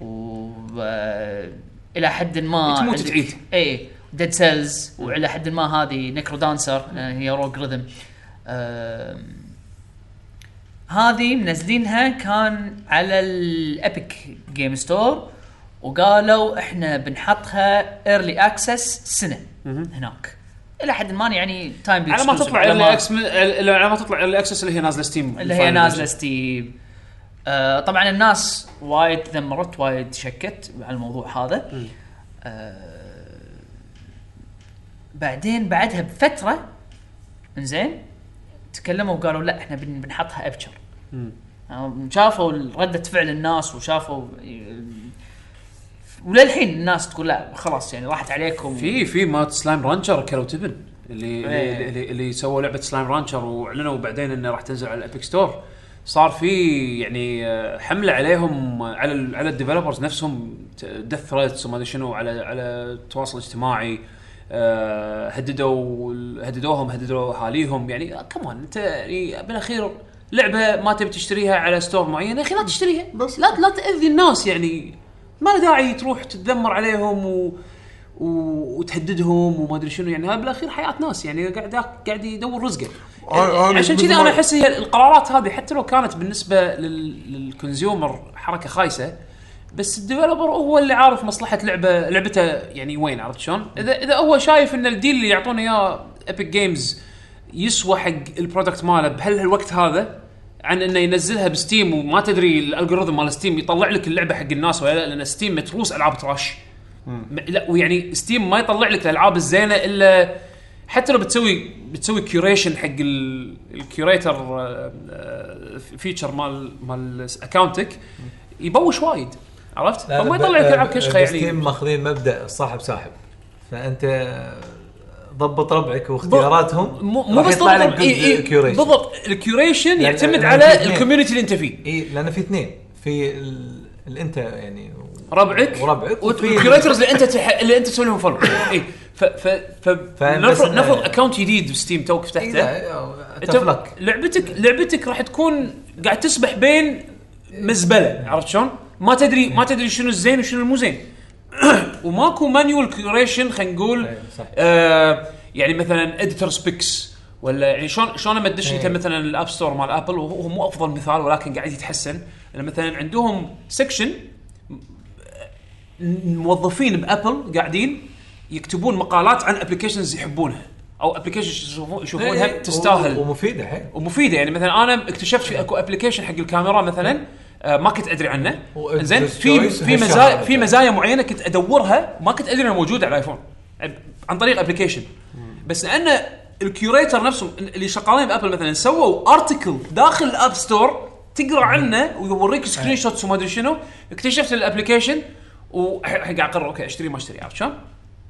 [SPEAKER 5] و آه، الى حد ما إيه،
[SPEAKER 1] تموت
[SPEAKER 5] عندك-
[SPEAKER 1] تعيد.
[SPEAKER 5] اي ديد سيلز والى حد ما هذه نكرو دانسر هي روج ريذم هذه منزلينها كان على الابيك جيم ستور وقالوا احنا بنحطها ايرلي اكسس سنه هناك الى حد ما يعني تايم
[SPEAKER 1] على ما تطلع الاكس على ما تطلع الاكسس اللي هي نازله ستيم
[SPEAKER 5] اللي هي نازله ستيم آه طبعا الناس وايد تذمرت وايد شكت على الموضوع هذا آه بعدين بعدها بفتره انزين تكلموا وقالوا لا احنا بن- بنحطها ابشر آم، شافوا رده فعل الناس وشافوا آه، وللحين الناس تقول لا خلاص يعني راحت عليكم
[SPEAKER 1] في في مات سلايم رانشر كلو تبن اللي
[SPEAKER 5] إيه.
[SPEAKER 1] اللي, اللي, اللي سووا لعبه سلايم رانشر واعلنوا بعدين انه راح تنزل على الابيك ستور صار في يعني آه، حمله عليهم آه، على ال- على الديفلوبرز نفسهم ديث ثريتس وما ادري شنو على على التواصل الاجتماعي آه، هددوا هددوهم هددوا اهاليهم يعني آه، كمان انت يعني بالاخير لعبه ما تبي تشتريها على ستور معين يا اخي لا تشتريها بس
[SPEAKER 4] بس.
[SPEAKER 1] لا لا تاذي الناس يعني ما له داعي تروح تتذمر عليهم و و- وتهددهم وما ادري شنو يعني هذا بالاخير حياه ناس يعني قاعد ياك- قاعد يدور رزقه يعني
[SPEAKER 4] أنا- أنا
[SPEAKER 1] عشان
[SPEAKER 4] آه، يعني مثل
[SPEAKER 1] كذا
[SPEAKER 4] ما-
[SPEAKER 1] انا احس هي القرارات هذه حتى لو كانت بالنسبه لل- للكونسيومر حركه خايسه بس الديفلوبر هو اللي عارف مصلحه لعبه لعبته يعني وين عرفت شلون؟ اذا اذا هو شايف ان الديل اللي يعطونه اياه ايبك جيمز يسوى حق البرودكت ماله بهالوقت هذا عن انه ينزلها بستيم وما تدري الالجوريثم مال ستيم يطلع لك اللعبه حق الناس ولا لا لان ستيم متروس العاب تراش م- لا ويعني ستيم ما يطلع لك الالعاب الزينه الا حتى لو بتسوي بتسوي كيوريشن حق ال- الكيوريتر آه، آه، فيتشر مال مال اكونتك يبوش وايد عرفت؟
[SPEAKER 6] لا،
[SPEAKER 1] هم
[SPEAKER 6] لا،
[SPEAKER 1] يطلع لك
[SPEAKER 6] ب- آه،
[SPEAKER 1] العاب كشخه
[SPEAKER 6] بستيم
[SPEAKER 1] يعني
[SPEAKER 6] ماخذين مبدا صاحب ساحب فانت ضبط ربعك واختياراتهم
[SPEAKER 1] مو مو
[SPEAKER 6] راح
[SPEAKER 1] بس
[SPEAKER 6] يطلع لك
[SPEAKER 1] طلع- إي- إي،
[SPEAKER 6] good curation. يعني
[SPEAKER 1] بالضبط الكيوريشن يعتمد
[SPEAKER 6] لأن-
[SPEAKER 1] على
[SPEAKER 6] لأن-
[SPEAKER 1] الكوميونتي اللي انت فيه
[SPEAKER 6] اي لان في اثنين في ال- اللي انت يعني
[SPEAKER 1] ربعك
[SPEAKER 6] وربعك وفي-
[SPEAKER 1] والكيوريترز اللي انت تح... اللي انت تسوي لهم فولو اي ف ف ف
[SPEAKER 6] بس إيه،
[SPEAKER 1] نفرض
[SPEAKER 6] إنه-
[SPEAKER 1] نفرض اكونت جديد بستيم توك
[SPEAKER 6] إي
[SPEAKER 1] فتحته
[SPEAKER 6] لا،
[SPEAKER 1] انت
[SPEAKER 6] تفلك
[SPEAKER 1] لعبتك لعبتك راح تكون قاعد تسبح بين مزبله عرفت شلون؟ ما تدري ما تدري شنو الزين وشنو المو زين وماكو مانيوال كيوريشن خلينا نقول
[SPEAKER 6] إيه، صح.
[SPEAKER 1] آه يعني مثلا اديتور سبيكس ولا يعني شلون شلون لما تدش انت مثلا الاب ستور مال ابل وهو مو افضل مثال ولكن قاعد يتحسن لان مثلا عندهم سكشن موظفين بابل قاعدين يكتبون مقالات عن ابلكيشنز يحبونها او ابلكيشنز يشوفونها
[SPEAKER 6] إي،
[SPEAKER 1] تستاهل
[SPEAKER 6] و- ومفيده حيل
[SPEAKER 1] ومفيده يعني مثلا انا اكتشفت في اكو ابلكيشن حق الكاميرا مثلا آه، ما كنت ادري عنه
[SPEAKER 6] و-
[SPEAKER 1] زين
[SPEAKER 6] Android
[SPEAKER 1] في
[SPEAKER 6] Choice
[SPEAKER 1] في
[SPEAKER 6] هالشهر
[SPEAKER 1] مزايا
[SPEAKER 6] هذا.
[SPEAKER 1] في مزايا معينه كنت ادورها ما كنت ادري انها موجوده على الايفون عن- عن طريق ابلكيشن بس لان الكيوريتر نفسه اللي شغالين بابل مثلا سووا ارتكل داخل الاب ستور تقرا عنه ويوريك سكرين شوتس وما ادري شنو اكتشفت الابلكيشن وقاعد اقرر اوكي اشتري ما اشتري عرفت شلون؟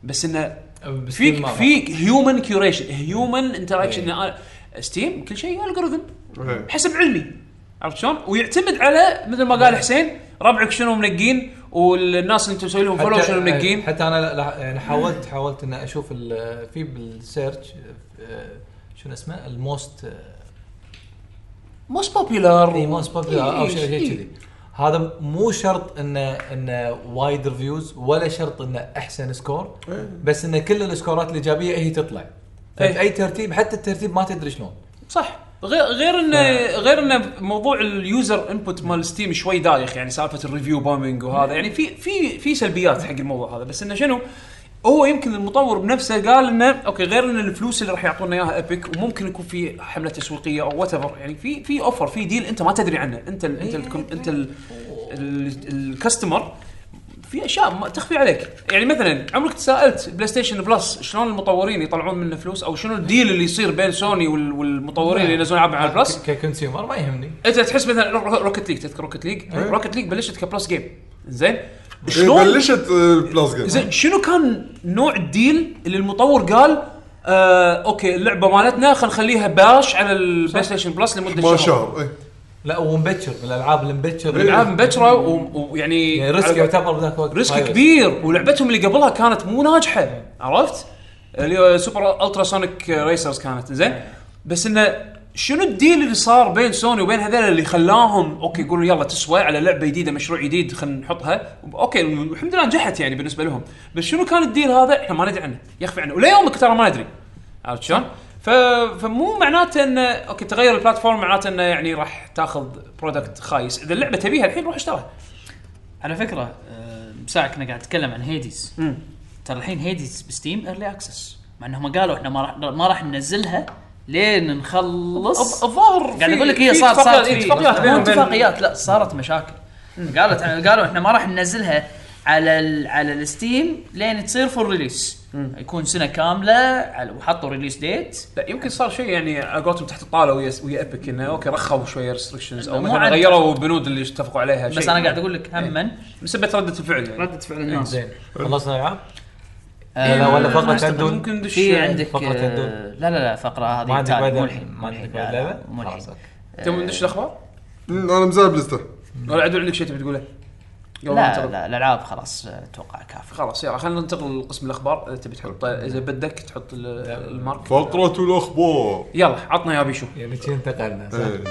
[SPEAKER 1] بس انه فيك فيك هيومن كيوريشن هيومن انتراكشن ستيم يعني كل شيء الجوريثم
[SPEAKER 4] إيه.
[SPEAKER 1] حسب علمي عرفت شلون؟ ويعتمد على مثل ما قال حسين ربعك شنو منقين والناس اللي انت مسوي لهم فولو شنو منقين
[SPEAKER 6] حتى انا لا- لا- يعني حاولت حاولت ان اشوف ال- في بالسيرش آه، شنو اسمه الموست آه،
[SPEAKER 1] موست بوبيلر
[SPEAKER 6] اي ماس بوبيلر او شيء
[SPEAKER 1] إي.
[SPEAKER 6] شيء كذي هذا مو شرط انه انه وايد ريفيوز ولا شرط انه احسن سكور بس انه كل السكورات الايجابيه هي تطلع
[SPEAKER 1] إيه.
[SPEAKER 6] اي ترتيب حتى الترتيب ما تدري شلون
[SPEAKER 1] صح غير غير انه غير انه موضوع اليوزر انبوت مال ستيم شوي دايخ يعني سالفه الريفيو بامينج وهذا يعني في في في سلبيات حق الموضوع هذا بس انه شنو هو يمكن المطور بنفسه قال انه اوكي غير ان الفلوس اللي راح يعطونا اياها ايبك وممكن يكون في حمله تسويقيه او وات يعني في في اوفر في ديل انت ما تدري عنه انت ال انت ال انت ال الكاستمر في اشياء ما تخفي عليك يعني مثلا عمرك تساءلت بلاي ستيشن بلس شلون المطورين يطلعون منه فلوس او شنو الديل اللي يصير بين سوني وال- والمطورين اللي ينزلون العاب على البلس
[SPEAKER 6] ك- ككونسيومر ما يهمني
[SPEAKER 1] انت تحس مثلا رو- روكت ليج تذكر روكت ليج روكت ليج بلشت كبلس جيم زين شلون
[SPEAKER 4] إيه. بلشت آه، بلاس جيم
[SPEAKER 1] زين شنو كان نوع الديل اللي المطور قال آه اوكي اللعبه مالتنا خل نخليها باش على البلاي ستيشن بلس لمده
[SPEAKER 4] ما
[SPEAKER 1] شهر
[SPEAKER 4] شهر إيه.
[SPEAKER 6] لا ومبكر من الالعاب اللي مبكر
[SPEAKER 1] العاب مبكره و- ويعني
[SPEAKER 6] يعني ريسك
[SPEAKER 1] إيه. على-
[SPEAKER 6] يعتبر بذاك الوقت
[SPEAKER 1] ريسك
[SPEAKER 6] هاي
[SPEAKER 1] كبير ولعبتهم اللي قبلها كانت مو ناجحه عرفت؟ اللي هو سوبر الترا سونيك ريسرز كانت زين بس انه شنو الديل اللي صار بين سوني وبين هذول اللي خلاهم اوكي يقولوا يلا تسوى على لعبه جديده مشروع جديد خلينا نحطها اوكي الحمد لله نجحت يعني بالنسبه لهم بس شنو كان الديل هذا احنا ما ندري عنه يخفي عنه وليومك ترى ما ندري عرفت شلون؟ ف... فمو معناته انه اوكي تغير البلاتفورم معناته انه يعني راح تاخذ برودكت خايس اذا اللعبه تبيها الحين روح اشتريها
[SPEAKER 11] على فكره آه، ساعه كنا قاعد نتكلم عن هيديز ترى الحين هيديز بستيم ايرلي اكسس مع انهم قالوا احنا ما راح ما راح ننزلها لين نخلص
[SPEAKER 1] الظاهر
[SPEAKER 11] قاعد
[SPEAKER 1] في-
[SPEAKER 11] اقول لك
[SPEAKER 1] في
[SPEAKER 11] هي صار
[SPEAKER 1] اتفاقيات-
[SPEAKER 11] صارت
[SPEAKER 1] إيه،
[SPEAKER 11] في-
[SPEAKER 1] اتفاقيات
[SPEAKER 11] مو
[SPEAKER 1] بينهم وبين-
[SPEAKER 11] اتفاقيات لا صارت مشاكل قالت قالوا احنا ما راح ننزلها على ال على الستيم لين تصير فور ريليس يكون سنه كامله على- وحطوا ريليس ديت
[SPEAKER 1] لا يمكن صار شيء يعني على قولتهم تحت الطاوله ويا ويا ابيك انه اوكي رخوا شويه ريستركشنز او
[SPEAKER 11] مو
[SPEAKER 1] مثلا
[SPEAKER 11] عن-
[SPEAKER 1] غيروا البنود اللي اتفقوا عليها
[SPEAKER 11] بس انا قاعد اقول لك هما
[SPEAKER 1] بسبب رده الفعل يعني
[SPEAKER 11] رده فعل الناس
[SPEAKER 6] زين خلصنا العاب
[SPEAKER 11] آه،
[SPEAKER 6] إيه، لا، ولا
[SPEAKER 11] ما
[SPEAKER 6] فقرة
[SPEAKER 11] أعتقد
[SPEAKER 6] تندون.
[SPEAKER 1] ممكن ندش
[SPEAKER 11] في عندك
[SPEAKER 6] فقرة
[SPEAKER 11] آه،
[SPEAKER 6] تندون.
[SPEAKER 11] لا لا لا فقره هذه
[SPEAKER 6] ما عندك
[SPEAKER 11] تالي،
[SPEAKER 6] بعد
[SPEAKER 11] مو
[SPEAKER 6] لعبة؟
[SPEAKER 11] الحين
[SPEAKER 6] ما عندك
[SPEAKER 11] لا،
[SPEAKER 6] بعد
[SPEAKER 11] لا،
[SPEAKER 6] لعبه
[SPEAKER 11] مو الحين.
[SPEAKER 6] خلاص، أوكي.
[SPEAKER 1] تبون ندش الاخبار؟
[SPEAKER 4] مم، انا مزايا بلسته
[SPEAKER 1] ولا عدو عندك شيء تبي تقوله؟ قبل ما
[SPEAKER 11] لا
[SPEAKER 1] ننتقل؟
[SPEAKER 11] لا الالعاب خلاص آه، اتوقع كافي
[SPEAKER 1] خلاص يلا خلينا ننتقل لقسم الاخبار اذا تبي تحط
[SPEAKER 11] طيب.
[SPEAKER 1] اذا بدك تحط ال- المارك
[SPEAKER 4] فقرة الاخبار
[SPEAKER 1] يلا عطنا يا بيشو
[SPEAKER 6] يعني شي انتقلنا صح؟
[SPEAKER 4] إيه.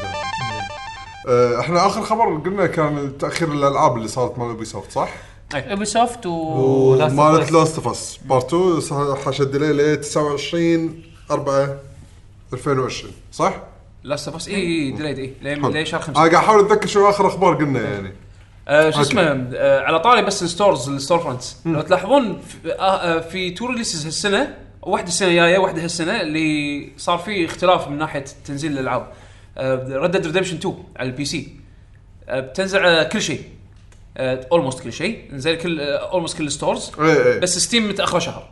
[SPEAKER 4] آه، احنا اخر خبر قلنا كان تاخير الالعاب اللي صارت مال اوبي سوفت صح؟
[SPEAKER 11] اوبي سوفت و
[SPEAKER 6] Last of
[SPEAKER 4] ومالت
[SPEAKER 6] Us.
[SPEAKER 4] لاست اوف اس بارت 2 حشد ليه ل 29 4 2020 صح؟
[SPEAKER 1] لاست اوف اس اي اي ديليد اي لين
[SPEAKER 4] حلو.
[SPEAKER 1] لين شهر خمسه
[SPEAKER 4] انا قاعد احاول اتذكر شو اخر اخبار قلنا يعني
[SPEAKER 1] آه، شو
[SPEAKER 4] أوكي.
[SPEAKER 1] اسمه آه، على طاري بس الستورز الستور فرونتس لو تلاحظون في, آه، آه، في تو ريليسز هالسنه واحده السنه الجايه واحده هالسنه اللي صار في اختلاف من ناحيه تنزيل آه، الالعاب ريد ديد ريدمشن 2 على البي سي آه، بتنزل على كل شيء اولموست كل شيء زين كل اولموست كل ستورز
[SPEAKER 4] اي اي
[SPEAKER 1] بس ستيم متاخره شهر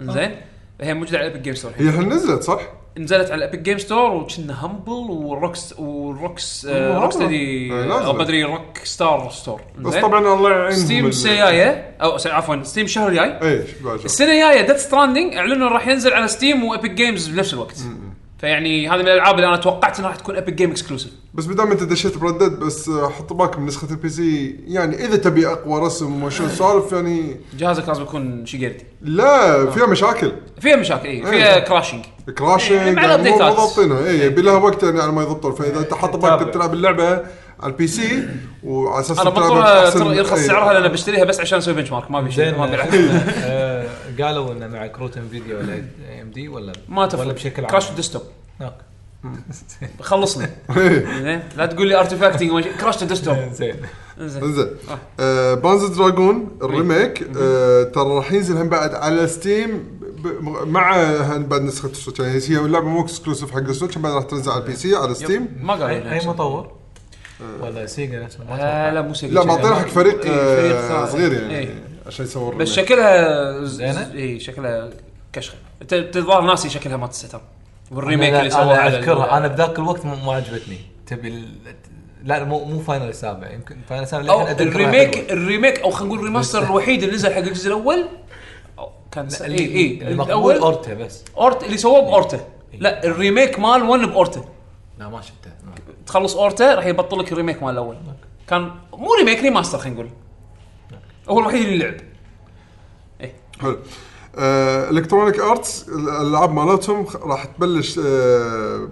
[SPEAKER 1] زين هي موجوده على ايبك جيم ستور
[SPEAKER 4] آه. هي الحين نزلت صح؟
[SPEAKER 1] نزلت على الابيك جيم ستور وكنا همبل وروكس وروكس
[SPEAKER 4] والله.
[SPEAKER 1] روك ستدي
[SPEAKER 4] إيه، لازم.
[SPEAKER 1] او بدري روك ستار ستور
[SPEAKER 4] بس
[SPEAKER 1] إنزين.
[SPEAKER 4] طبعا الله يعينهم
[SPEAKER 1] ستيم
[SPEAKER 4] بال-
[SPEAKER 1] السنه جايه او س- عفوا ستيم الشهر الجاي
[SPEAKER 4] اي شو بعد شو.
[SPEAKER 1] السنه الجايه ديث ستراندنج اعلنوا راح ينزل على ستيم وابيك جيمز بنفس الوقت فيعني هذه من الالعاب اللي انا توقعت انها راح تكون ابيك جيم اكسكلوسيف
[SPEAKER 4] بس بدام انت دشيت بردد بس آه، حط بالك من نسخه البي سي يعني اذا تبي اقوى رسم وشو سالف يعني
[SPEAKER 1] جهازك لازم يكون شي قردي
[SPEAKER 4] لا فيها مشاكل
[SPEAKER 1] فيها مشاكل اي فيها
[SPEAKER 4] إيه.
[SPEAKER 1] كراشنج يعني
[SPEAKER 4] كراشنج
[SPEAKER 1] مع
[SPEAKER 4] يعني مو مو
[SPEAKER 1] الأبديتات.
[SPEAKER 4] ضابطينها اي يبي لها وقت يعني على ما يضبطون
[SPEAKER 1] إيه،
[SPEAKER 4] فاذا انت حاط بالك
[SPEAKER 2] تابع.
[SPEAKER 4] تبي تلعب اللعبه على البي سي وعلى اساس
[SPEAKER 1] انا
[SPEAKER 4] تلعبها
[SPEAKER 1] بضطر
[SPEAKER 4] بأحسن-
[SPEAKER 1] ترى يرخص
[SPEAKER 4] إيه.
[SPEAKER 1] سعرها لان بشتريها بس عشان اسوي بنش مارك ما ابي شيء
[SPEAKER 6] زين
[SPEAKER 1] ما ابي
[SPEAKER 6] آه،
[SPEAKER 1] ألعب.
[SPEAKER 6] آه، قالوا انه مع كروت انفيديا ولا اي ام دي ولا
[SPEAKER 1] ما
[SPEAKER 6] ولا
[SPEAKER 1] تفرق
[SPEAKER 6] بشكل عام
[SPEAKER 1] كراش ديسكتوب
[SPEAKER 6] أوكي.
[SPEAKER 1] خلصني زين لا تقول لي ارتفاكتنج كراش ديسكتوب
[SPEAKER 4] إيه.
[SPEAKER 6] زين
[SPEAKER 1] زين
[SPEAKER 4] انزين آه بانز دراجون
[SPEAKER 1] إيه.
[SPEAKER 4] الريميك آه ترى راح ينزل هم بعد على ستيم ب- ب- مع هم بعد نسخه السويتش يعني هي اللعبه مو اكسكلوسيف حق السويتش هم بعد راح تنزل على البي سي على ستيم
[SPEAKER 1] ما قالوا
[SPEAKER 6] اي
[SPEAKER 1] لنا.
[SPEAKER 6] أي مطور آه. ولا سيجا نفسه ما
[SPEAKER 1] آه،
[SPEAKER 6] أتوقع.
[SPEAKER 1] لا مو سيجا
[SPEAKER 4] لا معطينا حق فريق
[SPEAKER 1] إيه،
[SPEAKER 4] آه
[SPEAKER 1] ثاني.
[SPEAKER 4] صغير يعني
[SPEAKER 1] إيه.
[SPEAKER 4] عشان يسوون
[SPEAKER 1] بس
[SPEAKER 4] الريميك.
[SPEAKER 1] شكلها ز-
[SPEAKER 6] زينة؟
[SPEAKER 1] اي شكلها كشخه انت تظهر ناسي شكلها مالت الستر والريميك
[SPEAKER 6] أنا-
[SPEAKER 1] اللي سواه
[SPEAKER 6] انا
[SPEAKER 1] على
[SPEAKER 6] اذكرها انا بذاك الوقت مو- ما عجبتني تبي ال- لا مو مو فاينل السابع يمكن فاينل السابع
[SPEAKER 1] او
[SPEAKER 6] للحين أتذكرها حلوة.
[SPEAKER 1] الريميك الريميك او خلينا نقول الريماستر الوحيد اللي نزل حق الجزء الاول أو كان إيه، س- اي
[SPEAKER 6] اللي-
[SPEAKER 1] اي
[SPEAKER 6] اللي مقبول إيه. اورتا بس
[SPEAKER 1] اورت اللي سووه باورتا لا الريميك مال 1 باورتا
[SPEAKER 6] لا ما شفته ما-
[SPEAKER 1] تخلص اورتا راح يبطل لك الريميك مال الاول كان مو ريميك ريماستر خلينا نقول هو الوحيد اللي لعب
[SPEAKER 4] حلو آه، الكترونيك ارتس الالعاب مالتهم خ- راح تبلش آه،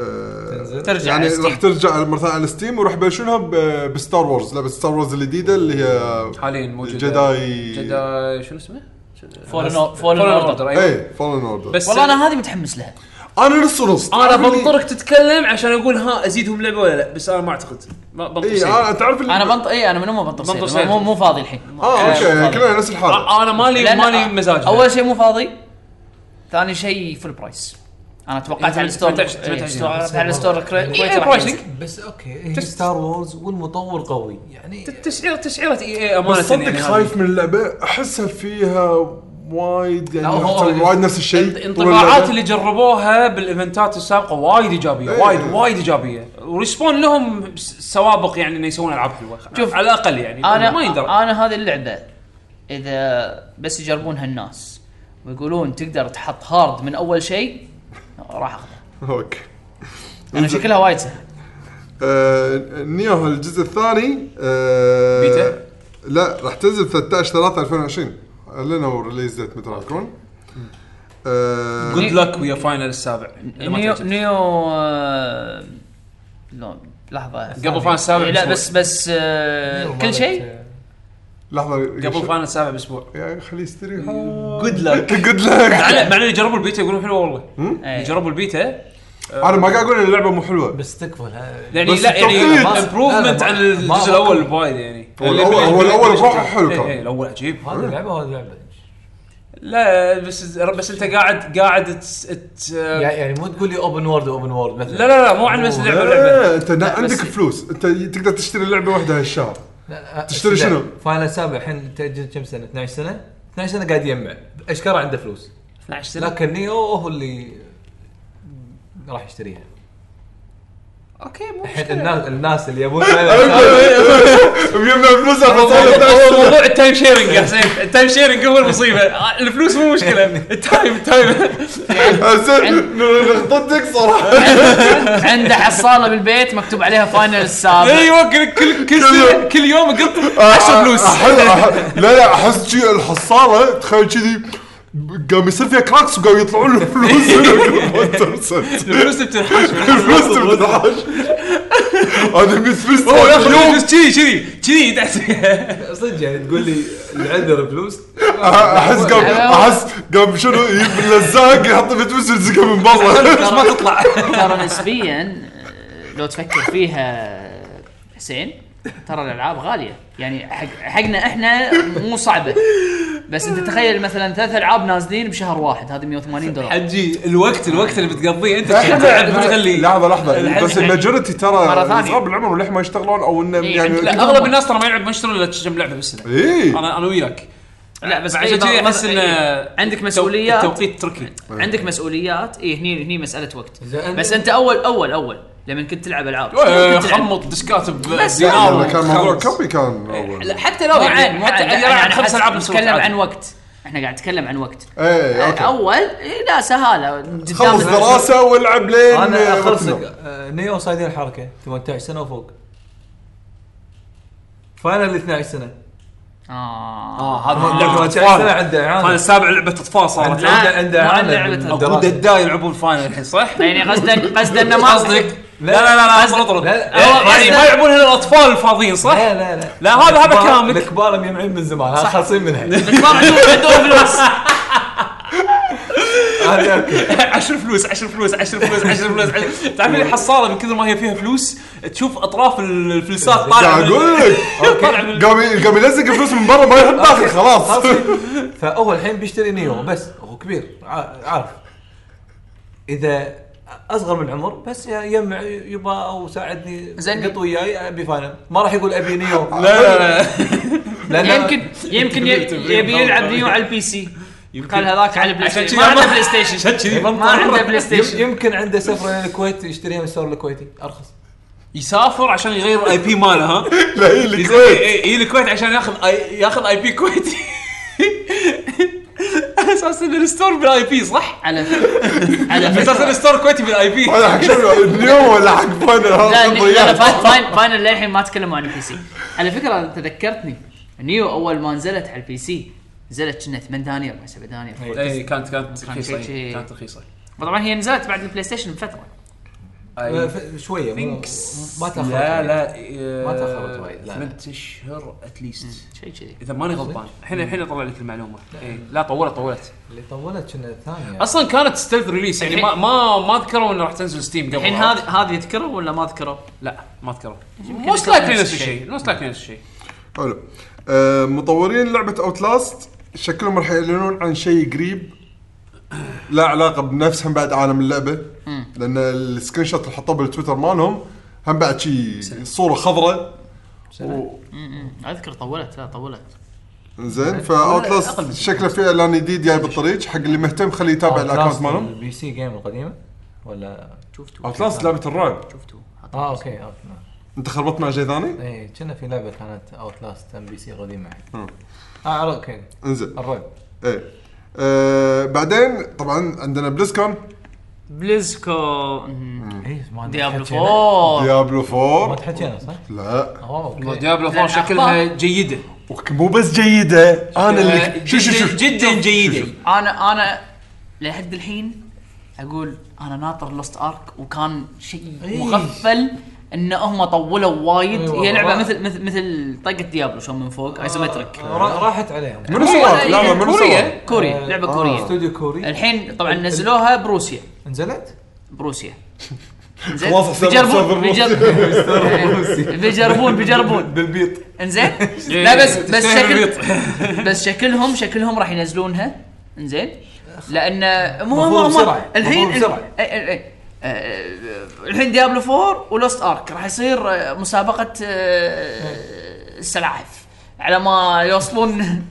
[SPEAKER 4] آه،
[SPEAKER 6] تنزل.
[SPEAKER 5] ترجع
[SPEAKER 4] يعني
[SPEAKER 5] على Steam.
[SPEAKER 4] راح ترجع على- مره ثانيه على ستيم وراح يبلشونها ب- بستار وورز لعبه ستار وورز الجديده اللي هي
[SPEAKER 1] حاليا موجود
[SPEAKER 4] جداي
[SPEAKER 1] جداي شنو اسمه؟
[SPEAKER 5] فولن فولن
[SPEAKER 1] فولن
[SPEAKER 5] اوردر
[SPEAKER 1] اوردر ايوه
[SPEAKER 4] اي فولن اوردر
[SPEAKER 1] بس
[SPEAKER 5] والله انا هذه متحمس لها
[SPEAKER 4] انا نص ونص
[SPEAKER 1] انا
[SPEAKER 4] تعرف اللي-
[SPEAKER 1] بنطرك تتكلم عشان اقول ها ازيدهم لعبه ولا لا بس انا ما اعتقد ما بنطر
[SPEAKER 4] اي
[SPEAKER 1] شيء
[SPEAKER 4] انا تعرف اللي
[SPEAKER 5] انا بنط اي انا من يوم ما بنطر
[SPEAKER 1] بنطر
[SPEAKER 5] سيل.
[SPEAKER 1] سيل.
[SPEAKER 5] مو مو فاضي الحين
[SPEAKER 4] اه اوكي كلنا نفس الحاله
[SPEAKER 1] أ- انا مالي
[SPEAKER 5] لأن-
[SPEAKER 1] مالي مزاج
[SPEAKER 5] اول شيء مو فاضي ثاني شيء فل برايس انا توقعت على الستور
[SPEAKER 1] 18
[SPEAKER 5] إيه،
[SPEAKER 1] 18
[SPEAKER 5] توقعت على الستور كري-
[SPEAKER 1] إيه،
[SPEAKER 5] كويتي راح
[SPEAKER 1] برايسنج.
[SPEAKER 5] ينزل.
[SPEAKER 6] بس اوكي هي ستار وورز والمطور قوي يعني
[SPEAKER 1] تسعيره تسعيره اي اي امانه
[SPEAKER 4] بس صدق
[SPEAKER 1] يعني هذه.
[SPEAKER 4] خايف من اللعبه احسها فيها وايد يعني
[SPEAKER 6] لا، هو-
[SPEAKER 4] راح تسوي وايد نفس الشيء طول
[SPEAKER 1] الانطباعات
[SPEAKER 4] اللعبة.
[SPEAKER 1] اللي جربوها بالايفنتات السابقه وايد ايجابيه
[SPEAKER 4] إيه.
[SPEAKER 1] وايد وايد ايجابيه وريسبون لهم س- سوابق يعني انه يسوون العاب حلوه شوف على الاقل يعني
[SPEAKER 5] انا
[SPEAKER 1] ما يندرى
[SPEAKER 5] انا هذه اللعبه اذا بس يجربونها الناس ويقولون تقدر تحط هارد من اول شيء راح اخذها
[SPEAKER 4] اوكي
[SPEAKER 5] انا شكلها وايد سهل
[SPEAKER 4] آه، نيو الجزء الثاني آه،
[SPEAKER 1] بيتا؟
[SPEAKER 4] لا راح تنزل 13 3 2020 اعلنوا الريليز ديت متى راح تكون آه،
[SPEAKER 1] جود لك ويا فاينل السابع إذا ما
[SPEAKER 5] نيو
[SPEAKER 1] تعجبك.
[SPEAKER 5] نيو آه، لا لحظه
[SPEAKER 1] قبل فاينل السابع
[SPEAKER 5] لا
[SPEAKER 1] بأسبوع.
[SPEAKER 5] بس بس آه، كل شيء
[SPEAKER 4] لحظه
[SPEAKER 1] قبل فاينل السابع باسبوع
[SPEAKER 4] يعني خليه يستريح
[SPEAKER 1] جود لك
[SPEAKER 4] جود لك
[SPEAKER 1] مع مع اللي جربوا البيتا يقولون حلوه والله اللي
[SPEAKER 5] إيه.
[SPEAKER 1] جربوا البيتا
[SPEAKER 4] انا ما قاعد اقول إن اللعبه مو حلوه
[SPEAKER 6] بس تكفل ها-
[SPEAKER 1] يعني
[SPEAKER 4] بس
[SPEAKER 1] لا يعني
[SPEAKER 4] التوقيت.
[SPEAKER 6] لا،
[SPEAKER 1] امبروفمنت
[SPEAKER 6] لا،
[SPEAKER 1] عن
[SPEAKER 6] ما- ما-
[SPEAKER 1] الجزء
[SPEAKER 6] ما-
[SPEAKER 1] الاول بوايد يعني
[SPEAKER 4] هو الأول- هو الأول بروحه حلو
[SPEAKER 1] إيه،
[SPEAKER 4] كان.
[SPEAKER 1] إيه، الاول عجيب
[SPEAKER 6] هذه لعبه وهذه لعبه
[SPEAKER 1] لا بس بس انت قاعد قاعد تس- ت-
[SPEAKER 6] يعني يعني مو تقول لي اوبن وورد اوبن وورد مثلا
[SPEAKER 1] لا لا لا مو عن بس لعبه لعبه
[SPEAKER 4] آه، انت نا- عندك
[SPEAKER 1] بس-
[SPEAKER 4] فلوس انت تقدر تشتري لعبه واحده هالشهر
[SPEAKER 6] لا،
[SPEAKER 4] تشتري
[SPEAKER 6] لا،
[SPEAKER 4] شنو؟
[SPEAKER 6] فاينل سابع الحين تاجل كم سنه 12 سنه 12 سنه قاعد يجمع اشكره عنده فلوس
[SPEAKER 1] 12 سنه
[SPEAKER 6] لكن نيو هو اللي راح يشتريها
[SPEAKER 1] اوكي مو
[SPEAKER 6] الحين
[SPEAKER 1] مشكلة.
[SPEAKER 6] الناس الناس اللي يبون فاينل
[SPEAKER 4] بيمنع فلوسها فصار
[SPEAKER 1] موضوع- موضوع التايم شيرنج يا حسين التايم شيرنج هو المصيبه آه، الفلوس مو مشكله التايم التايم
[SPEAKER 4] نخططك صراحه
[SPEAKER 5] عنده حصاله بالبيت مكتوب عليها فاينل السابع
[SPEAKER 1] ايوه كل كل كل سنة- كل يوم قط 10 فلوس
[SPEAKER 4] أحس- آه، لا لا احس شي الحصاله تخيل كذي قام يصير فيها كراكس وقام يطلعون له فلوس
[SPEAKER 1] الفلوس اللي بتنحاش
[SPEAKER 4] الفلوس تنحاش هذا بس بس
[SPEAKER 1] هو ياخذ الفلوس كذي كذي كذي تحت
[SPEAKER 6] صدق يعني تقول لي العذر فلوس
[SPEAKER 4] احس قام احس قام شنو يجيب اللزاق يحط في فلوس يلزقها من برا
[SPEAKER 1] بس ما تطلع
[SPEAKER 5] ترى نسبيا آه، لو تفكر فيها حسين ترى الالعاب غاليه يعني حق حقنا احنا مو صعبه بس انت تخيل مثلا ثلاث العاب نازلين بشهر واحد هذه 180 دولار
[SPEAKER 1] حجي الوقت الوقت اللي بتقضيه انت تلعب وتغلي
[SPEAKER 4] لحظه لحظه بس الماجورتي ترى
[SPEAKER 5] مرة ثانية.
[SPEAKER 4] صغار بالعمر وللحين ما إيه. يشتغلون او انه
[SPEAKER 5] إيه،
[SPEAKER 4] يعني
[SPEAKER 5] عندك-
[SPEAKER 1] لا اغلب الناس ترى ما يلعب ما يشترون الا كم لعبه بالسنه
[SPEAKER 4] اي
[SPEAKER 1] انا انا وياك
[SPEAKER 5] لا بس
[SPEAKER 1] عشان
[SPEAKER 5] أي
[SPEAKER 1] كذي
[SPEAKER 5] بعض-
[SPEAKER 1] احس ان
[SPEAKER 5] إيه. عندك مسؤوليات
[SPEAKER 1] التوقيت تركي
[SPEAKER 5] عندك مسؤوليات اي هني هني مساله وقت
[SPEAKER 6] زين.
[SPEAKER 5] بس انت اول اول اول لما كنت تلعب العاب شلون
[SPEAKER 1] إيه،
[SPEAKER 5] كنت تلعب؟
[SPEAKER 1] خمط ديسكات
[SPEAKER 5] بس
[SPEAKER 1] بدينار
[SPEAKER 4] يعني كان موضوع
[SPEAKER 1] وخمس.
[SPEAKER 4] كبي كان
[SPEAKER 5] إيه، لا
[SPEAKER 4] اول
[SPEAKER 5] حتى لو
[SPEAKER 1] مو
[SPEAKER 5] يعني
[SPEAKER 1] عيب، مو
[SPEAKER 5] حتى
[SPEAKER 1] عيب. يعني
[SPEAKER 5] يعني
[SPEAKER 1] أنا
[SPEAKER 5] يعني
[SPEAKER 1] خمس
[SPEAKER 5] حتى
[SPEAKER 1] ألعاب بصوت
[SPEAKER 5] نتكلم
[SPEAKER 1] عادي.
[SPEAKER 5] عن وقت احنا قاعد نتكلم عن وقت
[SPEAKER 4] اي اوكي
[SPEAKER 5] اول إيه، لا سهاله قدام
[SPEAKER 4] إيه، خلص
[SPEAKER 5] الناس.
[SPEAKER 4] دراسه والعب لين
[SPEAKER 6] انا اخلصك
[SPEAKER 4] وقت
[SPEAKER 6] آه، نيو صايدين الحركه 18 سنه وفوق فاينل 12 سنه
[SPEAKER 5] اه
[SPEAKER 1] اه هذا
[SPEAKER 6] لعبة
[SPEAKER 1] لعبه
[SPEAKER 6] 18 سنه
[SPEAKER 1] اطفال
[SPEAKER 6] عنده
[SPEAKER 1] هذا
[SPEAKER 6] اعانه
[SPEAKER 1] السابع لعبه اطفال صارت
[SPEAKER 6] عنده عنده
[SPEAKER 5] ما
[SPEAKER 6] اعانه
[SPEAKER 5] لعبت
[SPEAKER 6] من
[SPEAKER 5] أبو
[SPEAKER 1] ابو
[SPEAKER 6] الدراسة.
[SPEAKER 1] ددا يلعبون فاينل الحين صح؟
[SPEAKER 5] يعني قصدا قصدا انه ما
[SPEAKER 1] قصدك لا لا لا لا اطلع اطلع
[SPEAKER 6] لا، لا.
[SPEAKER 1] يعني ما يلعبون الا الاطفال الفاضيين صح؟
[SPEAKER 6] لا لا لا
[SPEAKER 1] لا، هذا- هذا
[SPEAKER 6] الكبار-
[SPEAKER 1] كلامك.
[SPEAKER 6] الكبار مجمعين من زمان هذا خالصين منها
[SPEAKER 5] الكبار عندهم عندهم فلوس
[SPEAKER 6] هذا اوكي
[SPEAKER 1] عشر فلوس عشر فلوس عشر فلوس عشر فلوس عشر- تعرفين الحصاله من كثر ما هي فيها فلوس تشوف اطراف الفلوسات طالعه
[SPEAKER 4] قاعد
[SPEAKER 1] من-
[SPEAKER 4] اقول لك
[SPEAKER 1] طالع من-
[SPEAKER 4] قام ي- قام يلزق الفلوس من برا ما يحط داخل خلاص
[SPEAKER 6] خالصين. فهو الحين بيشتري نيو بس هو كبير ع- عارف اذا اصغر من العمر بس يا- يجمع يبا او ساعدني
[SPEAKER 5] زين.
[SPEAKER 6] قط وياي ابي فاينل ما راح يقول ابي نيو
[SPEAKER 1] لا لا لا
[SPEAKER 6] لأن
[SPEAKER 5] يمكن يمكن ي- يبي يلعب نيو على البي سي قال هذاك على البلاي
[SPEAKER 1] عشان
[SPEAKER 5] ستيشن
[SPEAKER 1] كذي
[SPEAKER 5] ما عنده
[SPEAKER 1] ما-
[SPEAKER 5] بلاي ستيشن
[SPEAKER 1] عشان كذي
[SPEAKER 5] ما عنده بلاي
[SPEAKER 6] يم-
[SPEAKER 5] ستيشن
[SPEAKER 6] يمكن عنده سفره للكويت يشتريها من السوق الكويتي ارخص
[SPEAKER 1] يسافر عشان يغير اي بي ماله ها
[SPEAKER 4] لا هي
[SPEAKER 6] إيه،
[SPEAKER 1] الكويت
[SPEAKER 4] الكويت
[SPEAKER 1] اي إيه، الكويت عشان ياخذ اي ياخذ اي بي كويتي على اساس ان الستور بالاي بي صح؟
[SPEAKER 5] على فكرة- على
[SPEAKER 1] على اساس ان
[SPEAKER 5] فكرة-
[SPEAKER 1] الستور كويتي بالاي بي
[SPEAKER 4] هذا حق شنو اليوم ولا حق فاينل
[SPEAKER 5] لا
[SPEAKER 4] هذا
[SPEAKER 5] لا لا،
[SPEAKER 4] ضيعت.
[SPEAKER 5] فاين- فاين فاينل للحين ما تكلموا عن البي سي على فكره تذكرتني نيو اول ما نزلت على البي سي نزلت كنا 8 دنانير ما 7 دنانير
[SPEAKER 1] اي إيه، كانت كانت
[SPEAKER 5] رخيصة، إي، كانت
[SPEAKER 1] رخيصه
[SPEAKER 5] طبعا هي نزلت بعد البلاي ستيشن بفتره طيب.
[SPEAKER 6] أه، ف- شويه مو- ما تاخرت
[SPEAKER 1] آه، لا
[SPEAKER 6] وايد.
[SPEAKER 1] لا آه،
[SPEAKER 6] ما تأخرت وايد، لا، لا.
[SPEAKER 1] ثمان اشهر اتليست
[SPEAKER 5] شيء كذي
[SPEAKER 1] اذا ماني غلطان الحين الحين اطلع لك المعلومه إي، لا طولت طولت
[SPEAKER 6] اللي طولت كنا الثانيه
[SPEAKER 1] اصلا كانت ستيلث ريليس يعني ما ما ما ذكروا انه راح تنزل ستيم قبل
[SPEAKER 5] الحين
[SPEAKER 1] عرفت؟
[SPEAKER 5] هذه هذه تذكره ولا ما تذكره؟
[SPEAKER 1] لا ما ذكروا موست لايكلي نفس الشيء موست لايكلي نفس الشيء
[SPEAKER 4] حلو آه، مطورين لعبه اوتلاست شكلهم راح يعلنون عن شيء قريب لا علاقه بنفسهم بعد عالم اللعبه لان السكرين شوت اللي حطوه بالتويتر مالهم هم بعد شيء صوره خضراء
[SPEAKER 5] اذكر طولت لا طولت يعني
[SPEAKER 4] زين فاوتلاست شكله في اعلان جديد جاي بالطريق حق اللي مهتم خليه
[SPEAKER 6] آه،
[SPEAKER 4] يتابع الاكونت مالهم
[SPEAKER 6] البي سي جيم القديمه ولا
[SPEAKER 5] شفتوا
[SPEAKER 2] اوتلاست لعبه الرعب
[SPEAKER 5] شفتوا
[SPEAKER 6] اه اوكي اوكي
[SPEAKER 4] انت خربطت مع شيء ثاني؟
[SPEAKER 6] اي إيه، كنا في لعبه كانت اوت لاست ام بي سي قديمه اه عرفت اوكي
[SPEAKER 4] انزين
[SPEAKER 6] الرعب
[SPEAKER 4] ايه آه بعدين طبعا عندنا بليزكون
[SPEAKER 5] بليزكو
[SPEAKER 6] اي إيه، ما
[SPEAKER 5] ديابلو
[SPEAKER 6] تحكينا.
[SPEAKER 5] 4
[SPEAKER 4] ديابلو
[SPEAKER 6] ما
[SPEAKER 4] 4
[SPEAKER 6] تحكينا صح؟
[SPEAKER 4] لا
[SPEAKER 6] اه اوكي
[SPEAKER 1] ديابلو 4 شكلها جيده
[SPEAKER 4] مو بس جيده انا
[SPEAKER 12] آه،
[SPEAKER 4] اللي شو شو
[SPEAKER 1] جداً-
[SPEAKER 4] شو
[SPEAKER 1] جدا جيده
[SPEAKER 5] انا انا لحد الحين اقول انا ناطر لوست ارك وكان شيء
[SPEAKER 6] إيه.
[SPEAKER 5] مغفل ان هم طولوا وايد
[SPEAKER 6] أيوة،
[SPEAKER 5] هي لعبه
[SPEAKER 6] والله. آه.
[SPEAKER 5] مثل مثل مثل طاقه ديابلو شلون من فوق إيه، ايسومتريك
[SPEAKER 6] را- راحت عليهم
[SPEAKER 4] منو سوى؟ لا لا منو سوى؟
[SPEAKER 5] كوريا كوريا
[SPEAKER 6] آه،
[SPEAKER 5] لعبه
[SPEAKER 6] آه.
[SPEAKER 5] كوريه
[SPEAKER 6] استوديو كوري
[SPEAKER 5] الحين طبعا نزلوها بروسيا
[SPEAKER 6] نزلت؟
[SPEAKER 5] بروسيا
[SPEAKER 4] خلاص حساب حساب
[SPEAKER 5] بيجربون
[SPEAKER 4] الروسي.
[SPEAKER 6] آه،
[SPEAKER 5] بيجربون بيجربون بيجربون
[SPEAKER 6] بالبيط
[SPEAKER 5] انزين لا بس بس
[SPEAKER 1] تستاهل
[SPEAKER 5] شكل
[SPEAKER 1] البيض.
[SPEAKER 5] بس شكلهم شكلهم راح ينزلونها انزين لان مو
[SPEAKER 6] مفروض
[SPEAKER 5] مو مو
[SPEAKER 6] بسرعة.
[SPEAKER 5] الحين
[SPEAKER 6] مفروض بسرعة.
[SPEAKER 5] إي- إي- إي. آه، الحين ديابلو 4 ولوست ارك راح يصير آه، مسابقه آه، السلاحف على ما يوصلون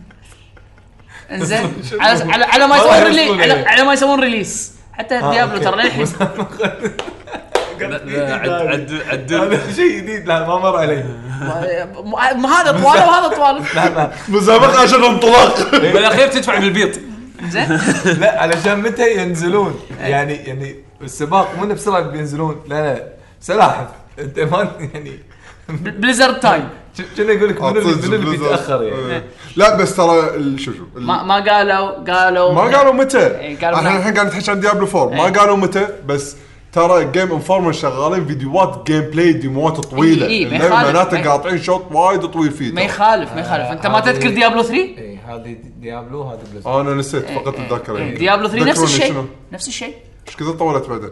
[SPEAKER 5] انزين على على- على ما
[SPEAKER 6] والله
[SPEAKER 5] يسوون ريلي-
[SPEAKER 6] يوصلون إيه.
[SPEAKER 5] على-
[SPEAKER 6] إليه.
[SPEAKER 5] على ما يسوون ريليس حتى ديابلو
[SPEAKER 6] آه، أوكي.
[SPEAKER 5] ترى للحين
[SPEAKER 12] إيه، آه،
[SPEAKER 1] عدل
[SPEAKER 6] هذا شيء جديد لا ما مر علي
[SPEAKER 5] ما- ما هذا طواله وهذا طواله
[SPEAKER 6] لا ما
[SPEAKER 4] مسابقه عشان انطلاق
[SPEAKER 1] بالاخير تدفع بالبيط
[SPEAKER 5] طيب، زين
[SPEAKER 6] لا علشان متى ينزلون
[SPEAKER 5] إيه.
[SPEAKER 6] يعني يعني السباق مو إنه بسرعه بينزلون لا لا سلاحف انت ما يعني
[SPEAKER 5] بليزرد تايم
[SPEAKER 6] كنا يقول لك منو اللي- منو اللي بيتاخر
[SPEAKER 4] إيه.
[SPEAKER 6] يعني
[SPEAKER 4] آه. لا بس ترى ال- شو شو ال-
[SPEAKER 5] ما ما قالوا قالوا
[SPEAKER 4] ما قالوا متى
[SPEAKER 5] إيه، قالوا
[SPEAKER 4] احنا
[SPEAKER 5] نعم. إيه.
[SPEAKER 4] الحين قاعد نحكي عن ديابلو 4 ما قالوا متى بس ترى جيم انفورمر شغالين فيديوهات جيم بلاي ديموات طويله
[SPEAKER 5] إي، إي، إيه، ما
[SPEAKER 4] اللعبة
[SPEAKER 5] يخالف. ما
[SPEAKER 4] معناته
[SPEAKER 5] يخالف.
[SPEAKER 4] قاطعين شوط وايد طويل فيه
[SPEAKER 5] ما
[SPEAKER 4] ترى.
[SPEAKER 5] يخالف ما يخالف انت ما
[SPEAKER 6] هذه-
[SPEAKER 5] تذكر ديابلو 3
[SPEAKER 6] اي إيه، هذه ديابلو هذه بليزرد
[SPEAKER 4] انا نسيت
[SPEAKER 5] إيه،
[SPEAKER 4] فقط الذاكره
[SPEAKER 5] ديابلو 3 نفس
[SPEAKER 4] ذكروني شنو.
[SPEAKER 5] الشيء نفس الشيء
[SPEAKER 4] ايش كذا طولت بعدين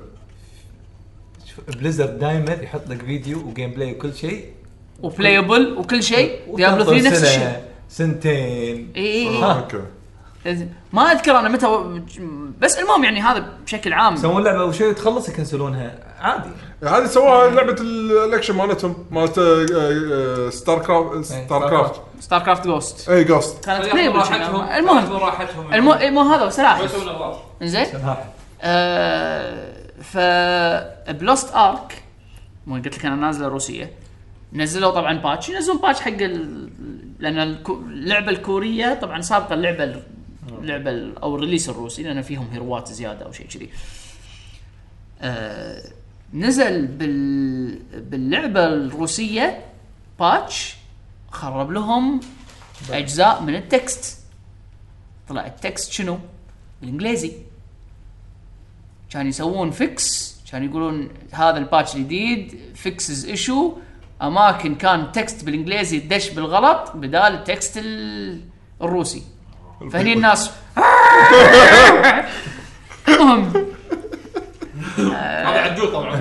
[SPEAKER 6] شوف، بليزرد دائما يحط لك فيديو وجيم بلاي وكل شيء
[SPEAKER 5] وبلايبل وكل شيء ديابلو
[SPEAKER 6] وتنطر
[SPEAKER 5] 3 نفس
[SPEAKER 6] سنة،
[SPEAKER 5] الشيء
[SPEAKER 6] سنتين
[SPEAKER 5] اي إي
[SPEAKER 4] آه، اوكي
[SPEAKER 5] اي ما اذكر انا متى بس المهم يعني هذا بشكل عام
[SPEAKER 6] يسوون لعبه وشيء تخلص يكنسلونها عادي
[SPEAKER 4] يعني
[SPEAKER 2] هذه سواها لعبه ال- الاكشن مالتهم مالت آه، آه، ستار كرافت ستار
[SPEAKER 6] ستار
[SPEAKER 2] كرافت
[SPEAKER 5] ستار كرافت جوست
[SPEAKER 4] إيه،
[SPEAKER 2] اي جوست
[SPEAKER 5] كانت
[SPEAKER 12] ياخذوا
[SPEAKER 5] بلايبل
[SPEAKER 12] راحتهم
[SPEAKER 5] شكلها. المهم
[SPEAKER 12] ياخذوا راحتهم
[SPEAKER 5] المو مو هذا
[SPEAKER 12] ما
[SPEAKER 5] سلاحف
[SPEAKER 12] يسوون اغلاط
[SPEAKER 5] زين آه ف بلوست ارك مو قلت لك انا نازله روسيه نزلوا طبعا باتش ينزلون باتش حق ال... لان الكو- اللعبه الكوريه طبعا سابقه اللعبه ال- اللعبه ال... او الريليس الروسي لان فيهم هيروات زياده او شيء كذي آه نزل بال... باللعبه الروسيه باتش خرب لهم اجزاء من التكست طلع التكست شنو؟ بالانجليزي كان يسوون فيكس كان يقولون هذا الباتش الجديد فيكسز ايشو اماكن كان تكست بالانجليزي دش بالغلط بدال التكست ال- الروسي فهني الناس المهم
[SPEAKER 12] هذا عدول طبعا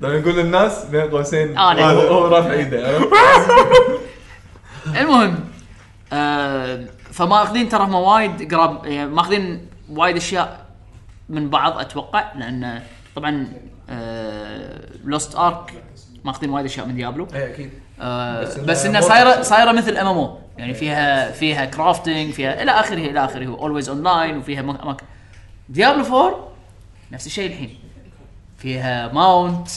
[SPEAKER 6] لما نقول للناس بين قوسين
[SPEAKER 5] أنا.
[SPEAKER 6] هو- هو رافع ايده
[SPEAKER 5] المهم آه فماخذين ترى هم وايد قراب يعني ماخذين وايد اشياء من بعض اتوقع لان طبعا آه لوست ارك ماخذين وايد اشياء من ديابلو
[SPEAKER 6] اي اكيد
[SPEAKER 5] آه،
[SPEAKER 6] بس إنها
[SPEAKER 5] بس انها
[SPEAKER 6] مو
[SPEAKER 5] صايره
[SPEAKER 6] رقصة.
[SPEAKER 5] صايره مثل ام ام او يعني فيها فيها كرافتنج فيها الى اخره الى اخره اولويز اون لاين وفيها مك- اماكن ديابلو 4 نفس الشيء الحين فيها ماونت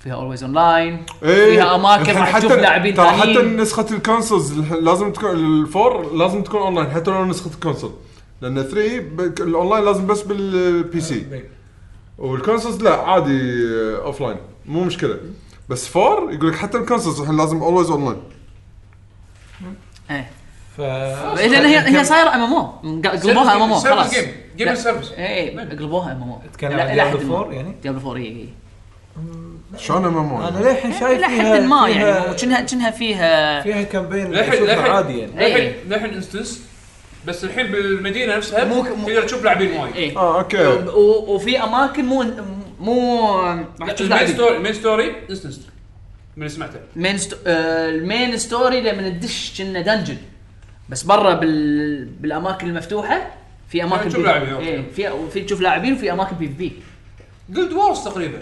[SPEAKER 5] فيها اولويز اون لاين فيها اماكن راح تشوف لاعبين
[SPEAKER 2] ترى إيه. حتى
[SPEAKER 5] ثانيين
[SPEAKER 2] نسخه الكونسولز الح- لازم تكون الفور لازم تكون اونلاين حتى لو نسخه الكونسول لان 3 ب- الاونلاين لازم بس بالبي
[SPEAKER 3] آه،
[SPEAKER 2] سي والكونسولز لا عادي اوف لاين مو مشكله بس فور يقول لك حتى الكونسولز الحين لازم اولويز اونلاين
[SPEAKER 5] إيه.
[SPEAKER 6] ف
[SPEAKER 5] لان هي هي صايره ام ام او قلبوها ام ام او خلاص
[SPEAKER 12] جيم جيم
[SPEAKER 5] لا.
[SPEAKER 12] سيرفيس
[SPEAKER 5] اي قلبوها ام ام او
[SPEAKER 6] تتكلم عن ديابلو 4 يعني
[SPEAKER 5] ديابلو 4 اي
[SPEAKER 2] شلون
[SPEAKER 6] انا
[SPEAKER 2] ام
[SPEAKER 6] للحين شايف
[SPEAKER 5] الى
[SPEAKER 6] فيها-
[SPEAKER 5] حد ما
[SPEAKER 6] فيها-
[SPEAKER 5] يعني كأنها كأنها فيها
[SPEAKER 6] فيها كامبين
[SPEAKER 12] للحين-
[SPEAKER 6] بشكل
[SPEAKER 12] للحين.
[SPEAKER 6] عادي يعني
[SPEAKER 5] إيه.
[SPEAKER 12] للحين للحين انستنس بس الحين بالمدينه نفسها
[SPEAKER 5] مو- مو-
[SPEAKER 12] تقدر تشوف لاعبين وايد
[SPEAKER 5] اي
[SPEAKER 6] آه،
[SPEAKER 2] اه اوكي
[SPEAKER 5] إيه. و- وفي اماكن مو مو راح تشوف
[SPEAKER 12] المين
[SPEAKER 5] لاعبين.
[SPEAKER 12] ستوري المين ستوري انستنس من اللي سمعته
[SPEAKER 5] مين ستو... آه، المين ستوري لما ندش كنا دنجن بس برا بال... بالاماكن المفتوحه في اماكن
[SPEAKER 12] تشوف
[SPEAKER 5] بي-
[SPEAKER 12] لاعبين، أوكي.
[SPEAKER 5] إيه، في وفي تشوف لاعبين وفي اماكن بي في بي
[SPEAKER 12] جولد وورز تقريبا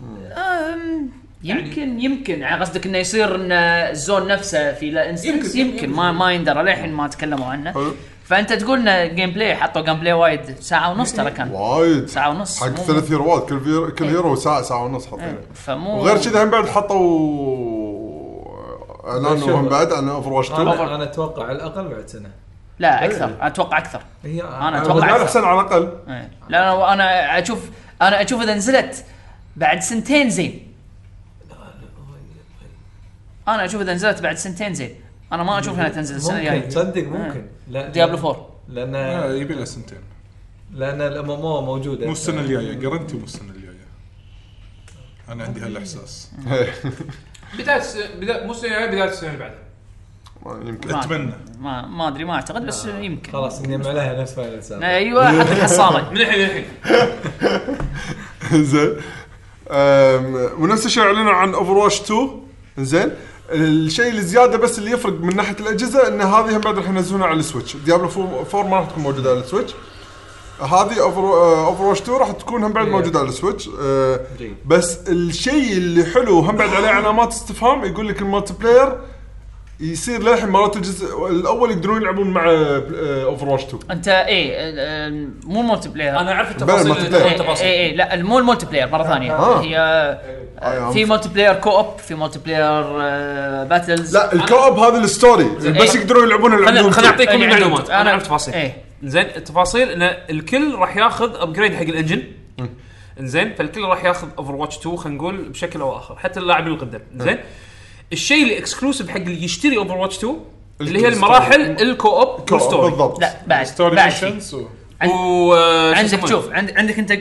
[SPEAKER 5] أم، يمكن يمكن يعني قصدك انه يصير ان الزون نفسه في لا انستنس
[SPEAKER 12] يمكن-
[SPEAKER 5] يمكن,
[SPEAKER 12] يمكن.
[SPEAKER 5] ما ما يندرى للحين ما تكلموا عنه
[SPEAKER 2] حلو.
[SPEAKER 5] فانت تقول انه جيم بلاي حطوا جيم بلاي وايد ساعه ونص ترى كان
[SPEAKER 2] وايد
[SPEAKER 5] ساعه ونص إيه.
[SPEAKER 2] حق
[SPEAKER 5] مو-
[SPEAKER 2] ثلاث هيروات كل فير- كل هيرو ساعه ساعه ونص
[SPEAKER 4] يعني.
[SPEAKER 2] حاطينه
[SPEAKER 5] فمو
[SPEAKER 2] وغير كذا هم
[SPEAKER 5] إيه.
[SPEAKER 2] بعد حطوا اعلانوا
[SPEAKER 6] شغل.
[SPEAKER 2] هم بعد عن اوفر واتش
[SPEAKER 5] آه،
[SPEAKER 2] 2
[SPEAKER 6] انا انا اتوقع على الاقل بعد سنه
[SPEAKER 5] لا اكثر اتوقع اكثر
[SPEAKER 6] هي
[SPEAKER 5] أنا أتوقع
[SPEAKER 2] على
[SPEAKER 5] أكثر.
[SPEAKER 2] احسن على الاقل
[SPEAKER 5] إيه. لا انا انا اشوف انا اشوف اذا نزلت بعد سنتين زين انا اشوف اذا نزلت بعد سنتين زين انا ما اشوف انها تنزل السنه
[SPEAKER 6] ممكن
[SPEAKER 5] الجايه
[SPEAKER 6] تصدق ممكن لا
[SPEAKER 5] إيه. ديابلو 4
[SPEAKER 6] لان
[SPEAKER 3] آه، يبي له سنتين
[SPEAKER 6] لان الام ام او موجوده
[SPEAKER 3] مو السنه الجايه جرنتي مو السنه الجايه انا عندي هالاحساس
[SPEAKER 12] بدايه الس- بدا- مو السنه الجاية، بدايه السنه اللي بعدها
[SPEAKER 2] يمكن
[SPEAKER 5] ما-
[SPEAKER 3] اتمنى
[SPEAKER 5] ما ما ادري ما اعتقد بس يمكن
[SPEAKER 6] خلاص نجمع لها نفس فاينل سابع
[SPEAKER 5] ايوه حط الحصاله
[SPEAKER 12] من الحين للحين
[SPEAKER 2] زين أم، ونفس الشيء اعلنوا عن اوفر واتش 2 زين الشيء اللي زياده بس اللي يفرق من ناحيه الاجهزه ان هذه هم بعد راح ينزلونها على السويتش ديابلو 4 ما راح تكون موجوده على السويتش هذه اوفر اوفر واتش 2 راح تكون هم بعد موجوده على السويتش أه،
[SPEAKER 6] جيد.
[SPEAKER 2] بس الشيء اللي حلو هم بعد عليه علامات استفهام يقول لك المالتي بلاير يصير للحين مرات الجزء الاول يقدرون يلعبون مع آه، اوفر واتش 2
[SPEAKER 5] انت اي آه، آه، مو المولتي بلاير
[SPEAKER 12] انا اعرف
[SPEAKER 2] بلا،
[SPEAKER 12] التفاصيل
[SPEAKER 2] ما تتابع.
[SPEAKER 12] اللي- التفاصيل
[SPEAKER 5] اي اي إيه، لا مو المولتي بلاير مره ثانيه
[SPEAKER 2] آه.
[SPEAKER 5] هي آه،
[SPEAKER 2] آه،
[SPEAKER 5] في مولتي بلاير كو اوب في مولتي بلاير آه، باتلز
[SPEAKER 2] لا الكوب هذا الستوري بس
[SPEAKER 5] إيه.
[SPEAKER 2] يقدرون يلعبون
[SPEAKER 1] خليني
[SPEAKER 2] لوحدهم.
[SPEAKER 1] خليني اعطيكم
[SPEAKER 5] يعني عندهم-
[SPEAKER 1] المعلومات انا اعرف تفاصيل
[SPEAKER 5] ايه
[SPEAKER 1] زين التفاصيل ان الكل راح ياخذ ابجريد حق الانجن زين فالكل راح ياخذ اوفر واتش 2 خلينا نقول بشكل او اخر حتى اللاعبين القدام زين الشيء اللي اكسكلوسيف حق اللي يشتري اوفر واتش 2 اللي هي المراحل الكو اوب
[SPEAKER 2] كوب،
[SPEAKER 1] والستوري
[SPEAKER 2] بالضبط
[SPEAKER 5] لا بعد
[SPEAKER 3] ستوري
[SPEAKER 5] بعد شيء.
[SPEAKER 3] ميشنز و-
[SPEAKER 1] و
[SPEAKER 5] عندك شوف عند- عندك انت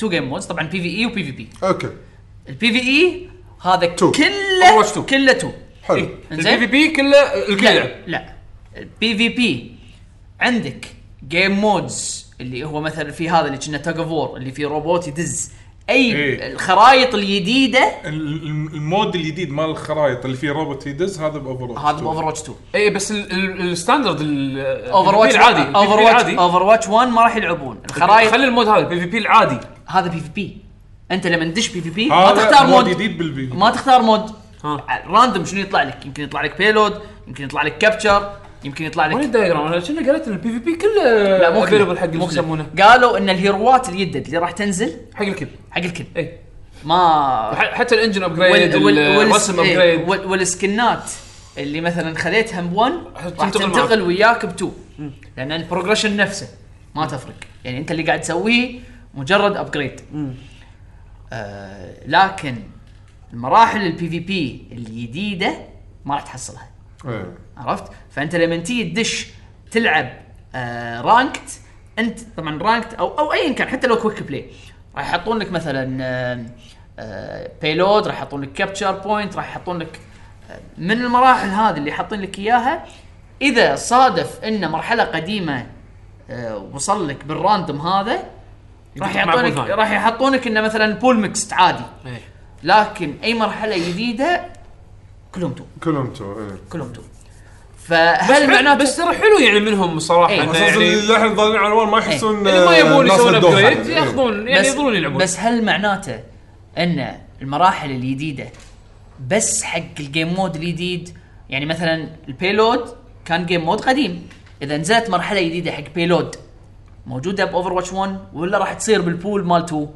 [SPEAKER 5] تو جيم مودز طبعا بي في اي وبي في بي
[SPEAKER 2] اوكي
[SPEAKER 5] البي في اي E هذا
[SPEAKER 2] Two.
[SPEAKER 5] كله
[SPEAKER 1] Overwatch two.
[SPEAKER 5] كله تو
[SPEAKER 2] حلو
[SPEAKER 1] البي في بي إيه، كله الكل يلعب
[SPEAKER 5] لا, لا. البي في بي عندك جيم مودز اللي هو مثلا في هذا اللي كنا تاج اللي فيه روبوت يدز اي
[SPEAKER 3] إيه.
[SPEAKER 5] الخرائط الجديده
[SPEAKER 3] ال- ال- المود الجديد مال الخرائط اللي فيه روبوت يدز هذا باوفر
[SPEAKER 5] هذا باوفر واتش 2
[SPEAKER 1] اي إيه، بس ال- ال- الستاندرد
[SPEAKER 5] اوفر
[SPEAKER 1] اوفر
[SPEAKER 5] واتش
[SPEAKER 1] العادي
[SPEAKER 5] اوفر واتش
[SPEAKER 1] العادي
[SPEAKER 5] اوفر واتش 1 ما راح يلعبون الخرائط
[SPEAKER 1] خلي المود هذا البي في بي العادي
[SPEAKER 5] هذا بي في بي انت لما تدش بي في بي ما
[SPEAKER 3] هذا
[SPEAKER 5] تختار
[SPEAKER 3] مود
[SPEAKER 5] مود
[SPEAKER 3] جديد بالبي
[SPEAKER 5] ما تختار مود
[SPEAKER 1] ها.
[SPEAKER 5] راندوم شنو يطلع لك يمكن يطلع لك بيلود يمكن يطلع لك كابتشر يمكن يطلع
[SPEAKER 1] وين
[SPEAKER 5] لك
[SPEAKER 1] الدايجرام انا كنا قريت البي في بي كله
[SPEAKER 5] لا مو
[SPEAKER 1] available
[SPEAKER 5] كله
[SPEAKER 1] حق اللي
[SPEAKER 5] مو كله.
[SPEAKER 1] يسمونه
[SPEAKER 5] قالوا ان الهيروات اليدد اللي راح تنزل
[SPEAKER 1] حق الكل إيه.
[SPEAKER 5] حق الكل
[SPEAKER 1] اي
[SPEAKER 5] ما
[SPEAKER 1] ح- حتى الانجن ابجريد
[SPEAKER 5] وال- وال- وال-
[SPEAKER 1] الرسم
[SPEAKER 5] إيه،
[SPEAKER 1] ابجريد
[SPEAKER 5] وال- والسكنات اللي مثلا خذيتها ب 1 راح
[SPEAKER 1] تنتقل معك.
[SPEAKER 5] تنتقل وياك ب 2 لان البروجريشن نفسه ما تفرق يعني انت اللي قاعد تسويه مجرد ابجريد آه لكن المراحل البي في بي الجديده ما راح تحصلها
[SPEAKER 4] إيه.
[SPEAKER 5] عرفت فانت لما تيجي تدش تلعب آه رانكت انت طبعا رانكت او او ايا كان حتى لو كويك بلاي راح يحطون لك مثلا آه آه بيلود راح يحطون لك كابتشر بوينت راح يحطون لك آه، من المراحل هذه اللي حاطين لك اياها اذا صادف ان مرحله قديمه آه وصل لك بالراندوم هذا راح
[SPEAKER 1] يدخل مع بول
[SPEAKER 5] يحطونك
[SPEAKER 1] ثاني.
[SPEAKER 5] راح يحطونك انه مثلا بول ميكست عادي
[SPEAKER 1] إيه.
[SPEAKER 5] لكن اي مرحله جديده كلهم تو
[SPEAKER 4] كلهم تو إيه.
[SPEAKER 5] كلهم تو فهل
[SPEAKER 1] معناته
[SPEAKER 5] معناته
[SPEAKER 1] بس ترى حلو يعني منهم صراحه
[SPEAKER 5] إيه.
[SPEAKER 1] إنه
[SPEAKER 4] بس
[SPEAKER 1] يعني
[SPEAKER 4] قصدي الحين ضالين على الوان ما يحسون
[SPEAKER 1] اللي ما
[SPEAKER 4] آه،
[SPEAKER 1] يبون
[SPEAKER 4] ناس
[SPEAKER 1] يسوون
[SPEAKER 4] الدوخة.
[SPEAKER 1] ابجريد
[SPEAKER 4] إيه.
[SPEAKER 1] ياخذون يعني
[SPEAKER 5] بس-
[SPEAKER 1] يظلون يلعبون
[SPEAKER 5] بس هل معناته ان المراحل الجديده بس حق الجيم مود الجديد يعني مثلا البيلود كان جيم مود قديم اذا نزلت مرحله جديده حق بيلود موجوده باوفر واتش 1 ولا راح تصير بالبول مال 2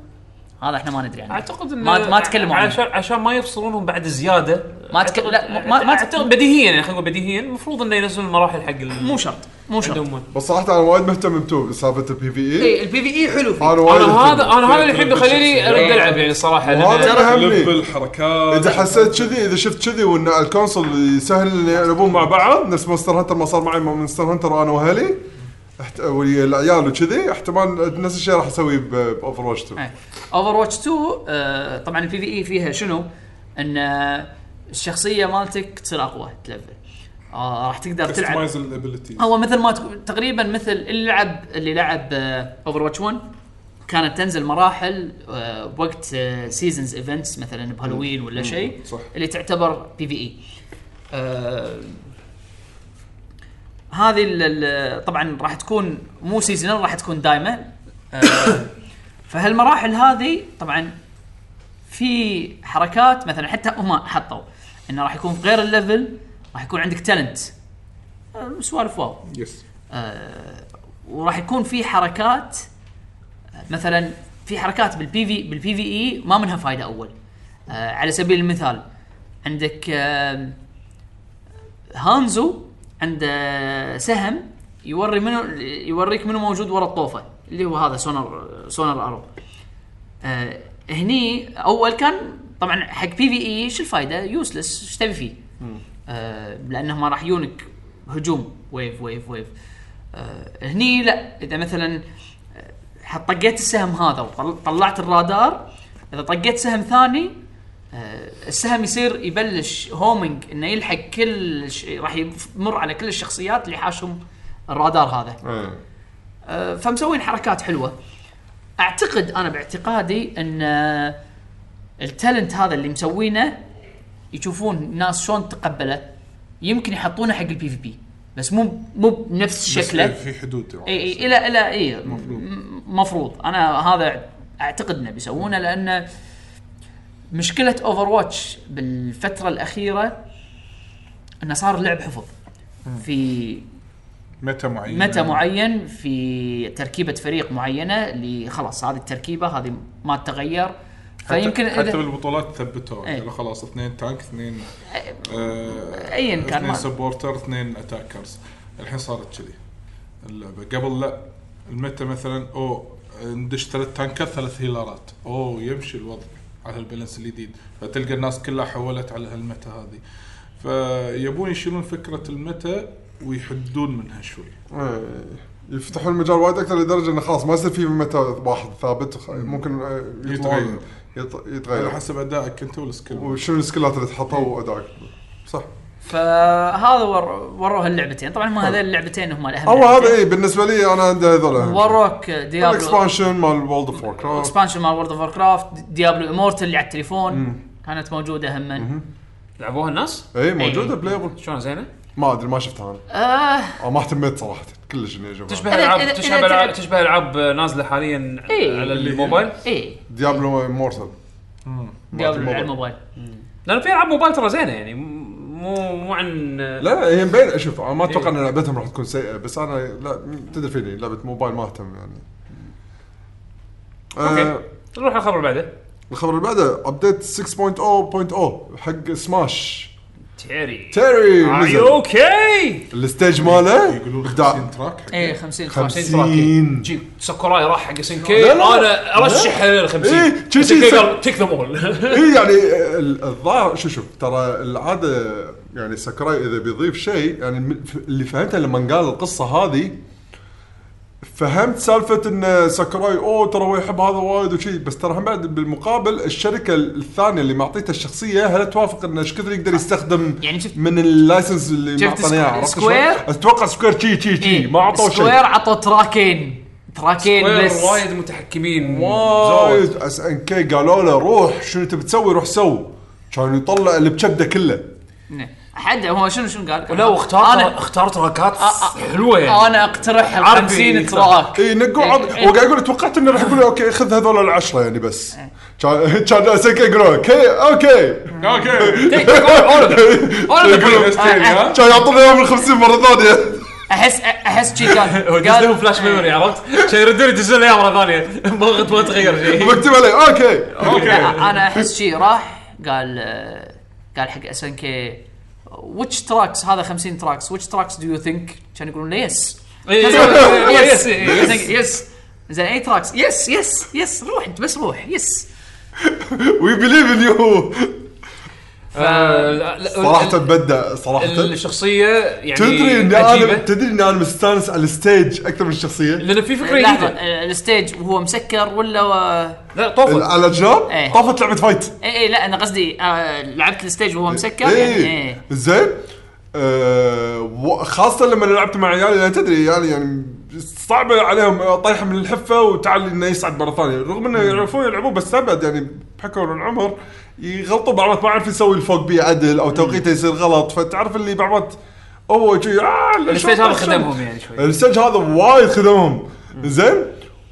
[SPEAKER 5] هذا احنا ما ندري عنه
[SPEAKER 1] اعتقد انه
[SPEAKER 5] ما ما تكلموا عنه
[SPEAKER 1] عشان عشان ما يفصلونهم بعد زياده
[SPEAKER 5] ما تك- لا، ما- ما- ما تك-
[SPEAKER 1] اعتقد بديهيا يعني خلينا نقول بديهيا المفروض انه ينزلون المراحل حق ال-
[SPEAKER 5] مو شرط مو شرط
[SPEAKER 1] عندهم
[SPEAKER 4] بس صراحه انا وايد مهتم بتو بسالفه البي
[SPEAKER 2] E.
[SPEAKER 4] في اي
[SPEAKER 5] إيه، البي في
[SPEAKER 1] E
[SPEAKER 5] اي حلو فيه
[SPEAKER 4] انا وايد
[SPEAKER 1] انا هذا
[SPEAKER 4] أهتم.
[SPEAKER 1] انا هذا اللي الحين بيخليني ارد العب يعني صراحه لأن-
[SPEAKER 4] وهذا
[SPEAKER 3] لف
[SPEAKER 4] اهمني
[SPEAKER 3] الحركات
[SPEAKER 4] اذا حسيت كذي اذا شفت كذي وان على الكونسول سهل إن يلعبون مع بعض نفس مونستر هانتر ما صار معي مع مونستر هانتر انا واهلي احت... والعيال وكذي احتمال نفس الشيء راح اسويه باوفر واتش
[SPEAKER 5] إيه.
[SPEAKER 4] 2
[SPEAKER 5] اوفر واتش 2 آه، طبعا البي في اي فيها شنو؟ ان آه، الشخصيه مالتك تصير اقوى تلفل آه راح تقدر تلعب
[SPEAKER 3] كستمايز الابيلتي
[SPEAKER 5] هو مثل ما تقول- تقريبا مثل اللي لعب اللي لعب اوفر واتش 1 كانت تنزل مراحل آه، بوقت سيزونز ايفنتس مثلا بهالوين ولا شيء
[SPEAKER 4] صح.
[SPEAKER 5] اللي تعتبر بي في اي آه، هذه ال- ال- طبعا راح تكون مو سيزونال راح تكون دايمه آه، فهالمراحل هذه طبعا في حركات مثلا حتى هم حطوا انه راح يكون في غير الليفل راح يكون عندك تالنت آه، سوالف واو
[SPEAKER 3] يس
[SPEAKER 5] آه، وراح يكون في حركات آه، مثلا في حركات بالبي في بالبي في اي E ما منها فائده اول آه، على سبيل المثال عندك آه، هانزو عنده سهم يوري منو يوريك منو موجود ورا الطوفه اللي هو هذا سونار سونار ارو آه، هني اول كان طبعا حق بي في اي شو الفائده يوسلس ايش تبي فيه آه، لانه ما راح يونك هجوم ويف ويف ويف آه، هني لا اذا مثلا آه، طقيت السهم هذا وطلعت الرادار اذا طقيت سهم ثاني آه، السهم يصير يبلش هومنج انه يلحق كل ش... راح يمر على كل الشخصيات اللي حاشهم الرادار هذا آه، فمسوين حركات حلوه اعتقد انا باعتقادي ان آه، التالنت هذا اللي مسوينه يشوفون الناس شلون تقبله يمكن يحطونه حق البي في بي بس مو مو بنفس شكله إيه،
[SPEAKER 3] في حدود
[SPEAKER 5] اي اي الى الى اي م- مفروض انا هذا اعتقد انه بيسوونه لان مشكله اوفر واتش بالفتره الاخيره انه صار لعب حفظ في
[SPEAKER 3] متى معين
[SPEAKER 5] متى معين في تركيبه فريق معينه اللي خلاص هذه التركيبه هذه ما تتغير فيمكن
[SPEAKER 3] حتى, حتى
[SPEAKER 5] اذا
[SPEAKER 3] بالبطولات ثبتوها
[SPEAKER 5] إيه.
[SPEAKER 3] قالوا خلاص اثنين تانك اثنين آه،
[SPEAKER 5] أياً كان
[SPEAKER 3] اثنين
[SPEAKER 5] ما-
[SPEAKER 3] سبورتر اثنين اتاكرز الحين صارت كذي اللعبه قبل لا المتى مثلا او ندش ثلاث تانكات ثلاث هيلارات او يمشي الوضع على البالانس الجديد فتلقى الناس كلها حولت على هالمتى هذه فيبون يشيلون فكره المتى ويحدون منها شوي
[SPEAKER 4] إيه. يفتحون المجال وايد اكثر لدرجه انه خلاص ما يصير في متى واحد ثابت خ- ممكن آه، يطلعون-
[SPEAKER 3] يتغير. إيه،
[SPEAKER 4] يط-
[SPEAKER 3] على
[SPEAKER 4] يتغير
[SPEAKER 3] حسب ادائك انت والسكيل
[SPEAKER 4] وشنو السكيلات اللي تحطها وادائك صح
[SPEAKER 5] فهذا ور... وروه اللعبتين طبعا
[SPEAKER 3] طيب.
[SPEAKER 5] هم هذول اللعبتين هم الاهم
[SPEAKER 4] هو
[SPEAKER 5] لعبتين.
[SPEAKER 4] هذا اي بالنسبه لي انا عندي هذول
[SPEAKER 3] إيه؟
[SPEAKER 4] أهم.
[SPEAKER 5] وروك
[SPEAKER 3] طيب.
[SPEAKER 5] ديابلو
[SPEAKER 4] الاكسبانشن مال وولد اوف ووركرافت
[SPEAKER 5] اكسبانشن مال وورد اوف وور كرافت ديابلو امورتل اللي على التليفون كانت موجوده هم
[SPEAKER 1] لعبوها الناس؟
[SPEAKER 4] اي موجوده
[SPEAKER 5] إي.
[SPEAKER 4] بلايبل
[SPEAKER 1] شلون زينه؟
[SPEAKER 4] إيه. ما ادري ما شفتها انا
[SPEAKER 5] آه
[SPEAKER 4] أو ما اهتميت صراحه كلش اني اشوفها
[SPEAKER 1] تشبه
[SPEAKER 5] إذا-
[SPEAKER 1] العاب
[SPEAKER 5] إذا-
[SPEAKER 1] تشبه
[SPEAKER 5] إذا
[SPEAKER 1] العاب
[SPEAKER 5] تلعب-
[SPEAKER 1] تشبه العاب نازله حاليا
[SPEAKER 5] إيه.
[SPEAKER 1] على الموبايل
[SPEAKER 5] اي
[SPEAKER 4] ديابلو مورتال
[SPEAKER 5] ديابلو على الموبايل
[SPEAKER 1] لانه في العاب موبايل ترى زينه يعني مو مو عن
[SPEAKER 4] لا هي مبين اشوف أنا ما
[SPEAKER 1] إيه.
[SPEAKER 4] اتوقع ان لعبتهم راح تكون سيئه بس انا لا م- تدري فيني لعبه موبايل ما اهتم يعني آه
[SPEAKER 1] أوكي. نروح الخبر اللي بعده
[SPEAKER 4] الخبر اللي بعده ابديت 6.0.0 حق سماش
[SPEAKER 1] تيري
[SPEAKER 4] تيري
[SPEAKER 1] اي
[SPEAKER 4] نزل.
[SPEAKER 1] اوكي
[SPEAKER 4] الستيج ماله
[SPEAKER 3] يقولون
[SPEAKER 4] إبداع.
[SPEAKER 3] 50 تراك حق
[SPEAKER 5] اي 50
[SPEAKER 4] 50
[SPEAKER 1] 50 جيب ساكوراي راح حق سنكي
[SPEAKER 4] لا، لا.
[SPEAKER 1] انا ارشح ال 50
[SPEAKER 4] إيه، شي- شي-
[SPEAKER 1] SNK
[SPEAKER 4] شي-
[SPEAKER 1] قال تيك ذم اول
[SPEAKER 4] اي يعني ال- الظاهر شو شوف ترى العاده يعني ساكوراي اذا بيضيف شيء يعني م- ف- اللي فهمته لما قال القصه هذه فهمت سالفه ان ساكوراي اوه ترى هو يحب هذا وايد وشي بس ترى هم بعد بالمقابل الشركه الثانيه اللي معطيته الشخصيه هل توافق انه ايش كثر يقدر يستخدم
[SPEAKER 5] يعني شفت-
[SPEAKER 4] من اللايسنس اللي
[SPEAKER 5] شفت
[SPEAKER 4] معطينا اياه
[SPEAKER 5] سكو-
[SPEAKER 4] عرفت
[SPEAKER 5] سكوير؟
[SPEAKER 4] شلون؟ اتوقع سكوير شي شي شي
[SPEAKER 5] إيه.
[SPEAKER 4] ما عطوه شيء
[SPEAKER 5] سكوير عطوا تراكين تراكين بس
[SPEAKER 1] وايد متحكمين زود.
[SPEAKER 4] وايد اس ان كي قالوا له روح شنو تبي تسوي روح سو كان يطلع اللي بكبده كله
[SPEAKER 5] نعم. حد هو شنو شنو قال؟
[SPEAKER 1] لا واختار
[SPEAKER 5] انا
[SPEAKER 1] اختار تراكات
[SPEAKER 5] آه، آه.
[SPEAKER 1] حلوه يعني
[SPEAKER 5] انا اقترح ال
[SPEAKER 1] عربي
[SPEAKER 5] 50
[SPEAKER 1] يكتب.
[SPEAKER 5] تراك
[SPEAKER 4] اي نقوا عض...
[SPEAKER 5] إيه.
[SPEAKER 4] هو قاعد يقول توقعت انه راح يقول اوكي خذ هذول العشره يعني بس
[SPEAKER 5] إيه.
[SPEAKER 4] كان كان اس ان كي يقولوا اوكي اوكي
[SPEAKER 3] اوكي
[SPEAKER 5] أنا-
[SPEAKER 3] Yes, Terry، ها؟
[SPEAKER 4] كان يعطونا اياهم ال 50 مره ثانيه
[SPEAKER 5] احس احس شي كان
[SPEAKER 1] هو يدزلهم
[SPEAKER 5] قال
[SPEAKER 1] فلاش ميموري عرفت؟ عشان يردون يدزون لي مره ثانيه مغط ما تغير
[SPEAKER 5] إيه.
[SPEAKER 1] شيء
[SPEAKER 4] مكتوب عليه اوكي
[SPEAKER 5] لا، انا احس شي راح قال آه، قال حق اس ان كي ويتش تراكس هذا 50 تراكس ويتش تراكس دو يو ثينك كان يقولون له يس
[SPEAKER 1] إيه.
[SPEAKER 5] يس يس زين اي تراكس يس يس يس روح انت بس روح يس
[SPEAKER 4] وي بليف ان يو
[SPEAKER 1] آه،
[SPEAKER 4] صراحه بدع صراحه
[SPEAKER 1] الشخصيه يعني
[SPEAKER 4] تدري ان انا
[SPEAKER 1] عجيبه
[SPEAKER 4] تدري ان انا مستانس على الستيج اكثر من الشخصيه
[SPEAKER 1] لان في فكره
[SPEAKER 5] لحظه
[SPEAKER 1] جديده
[SPEAKER 5] آه، الستيج وهو مسكر ولا و-
[SPEAKER 1] لا طوفت
[SPEAKER 4] على الجناب
[SPEAKER 5] إيه.
[SPEAKER 4] طافت لعبه فايت
[SPEAKER 5] اي اي لا انا قصدي آه لعبت الستيج وهو مسكر يعني
[SPEAKER 4] ايه
[SPEAKER 1] إيه.
[SPEAKER 5] ايه
[SPEAKER 4] زين آه، و- خاصة لما لعبت مع عيالي لان تدري عيالي يعني صعبة عليهم طايحة من الحفة وتعال انه يصعد مرة ثانية، رغم انه يعرفون يلعبون بس ابد يعني بحكم العمر يغلطوا بعض ما يعرف يسوي الفوق بيه عدل او توقيته يصير غلط فتعرف اللي بعض هو شي آه لا،
[SPEAKER 1] الستيج
[SPEAKER 4] شلون-
[SPEAKER 1] هذا
[SPEAKER 4] شلون؟
[SPEAKER 1] خدمهم يعني شوي
[SPEAKER 4] الستيج هذا وايد خدمهم زين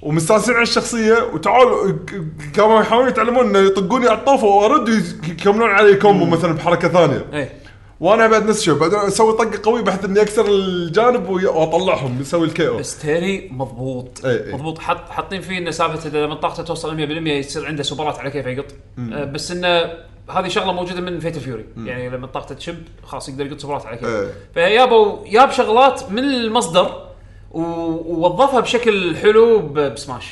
[SPEAKER 4] ومستانسين على الشخصيه وتعالوا ك- كانوا يحاولون يتعلمون انه يطقوني على الطوفه وارد ويز- يكملون علي كومبو مثلا بحركه ثانيه
[SPEAKER 1] ايه
[SPEAKER 4] وانا بعد نفس الشيء بعدين اسوي طقه قويه بحيث اني اكسر الجانب وي- واطلعهم يسوي الكي او
[SPEAKER 1] بس تيري مضبوط
[SPEAKER 4] أيوه. إيه، إيه.
[SPEAKER 1] مضبوط حط حاطين فيه انه سالفه اذا لما طاقته توصل 100% يصير عنده سوبرات على كيفه يقط آه، بس انه هذه شغله موجوده من فيت فيوري يعني لما طاقته تشب خلاص يقدر يقط سوبرات على كيفه
[SPEAKER 4] إيه.
[SPEAKER 1] فيابوا ياب شغلات من المصدر و- ووظفها بشكل حلو ب- بسماش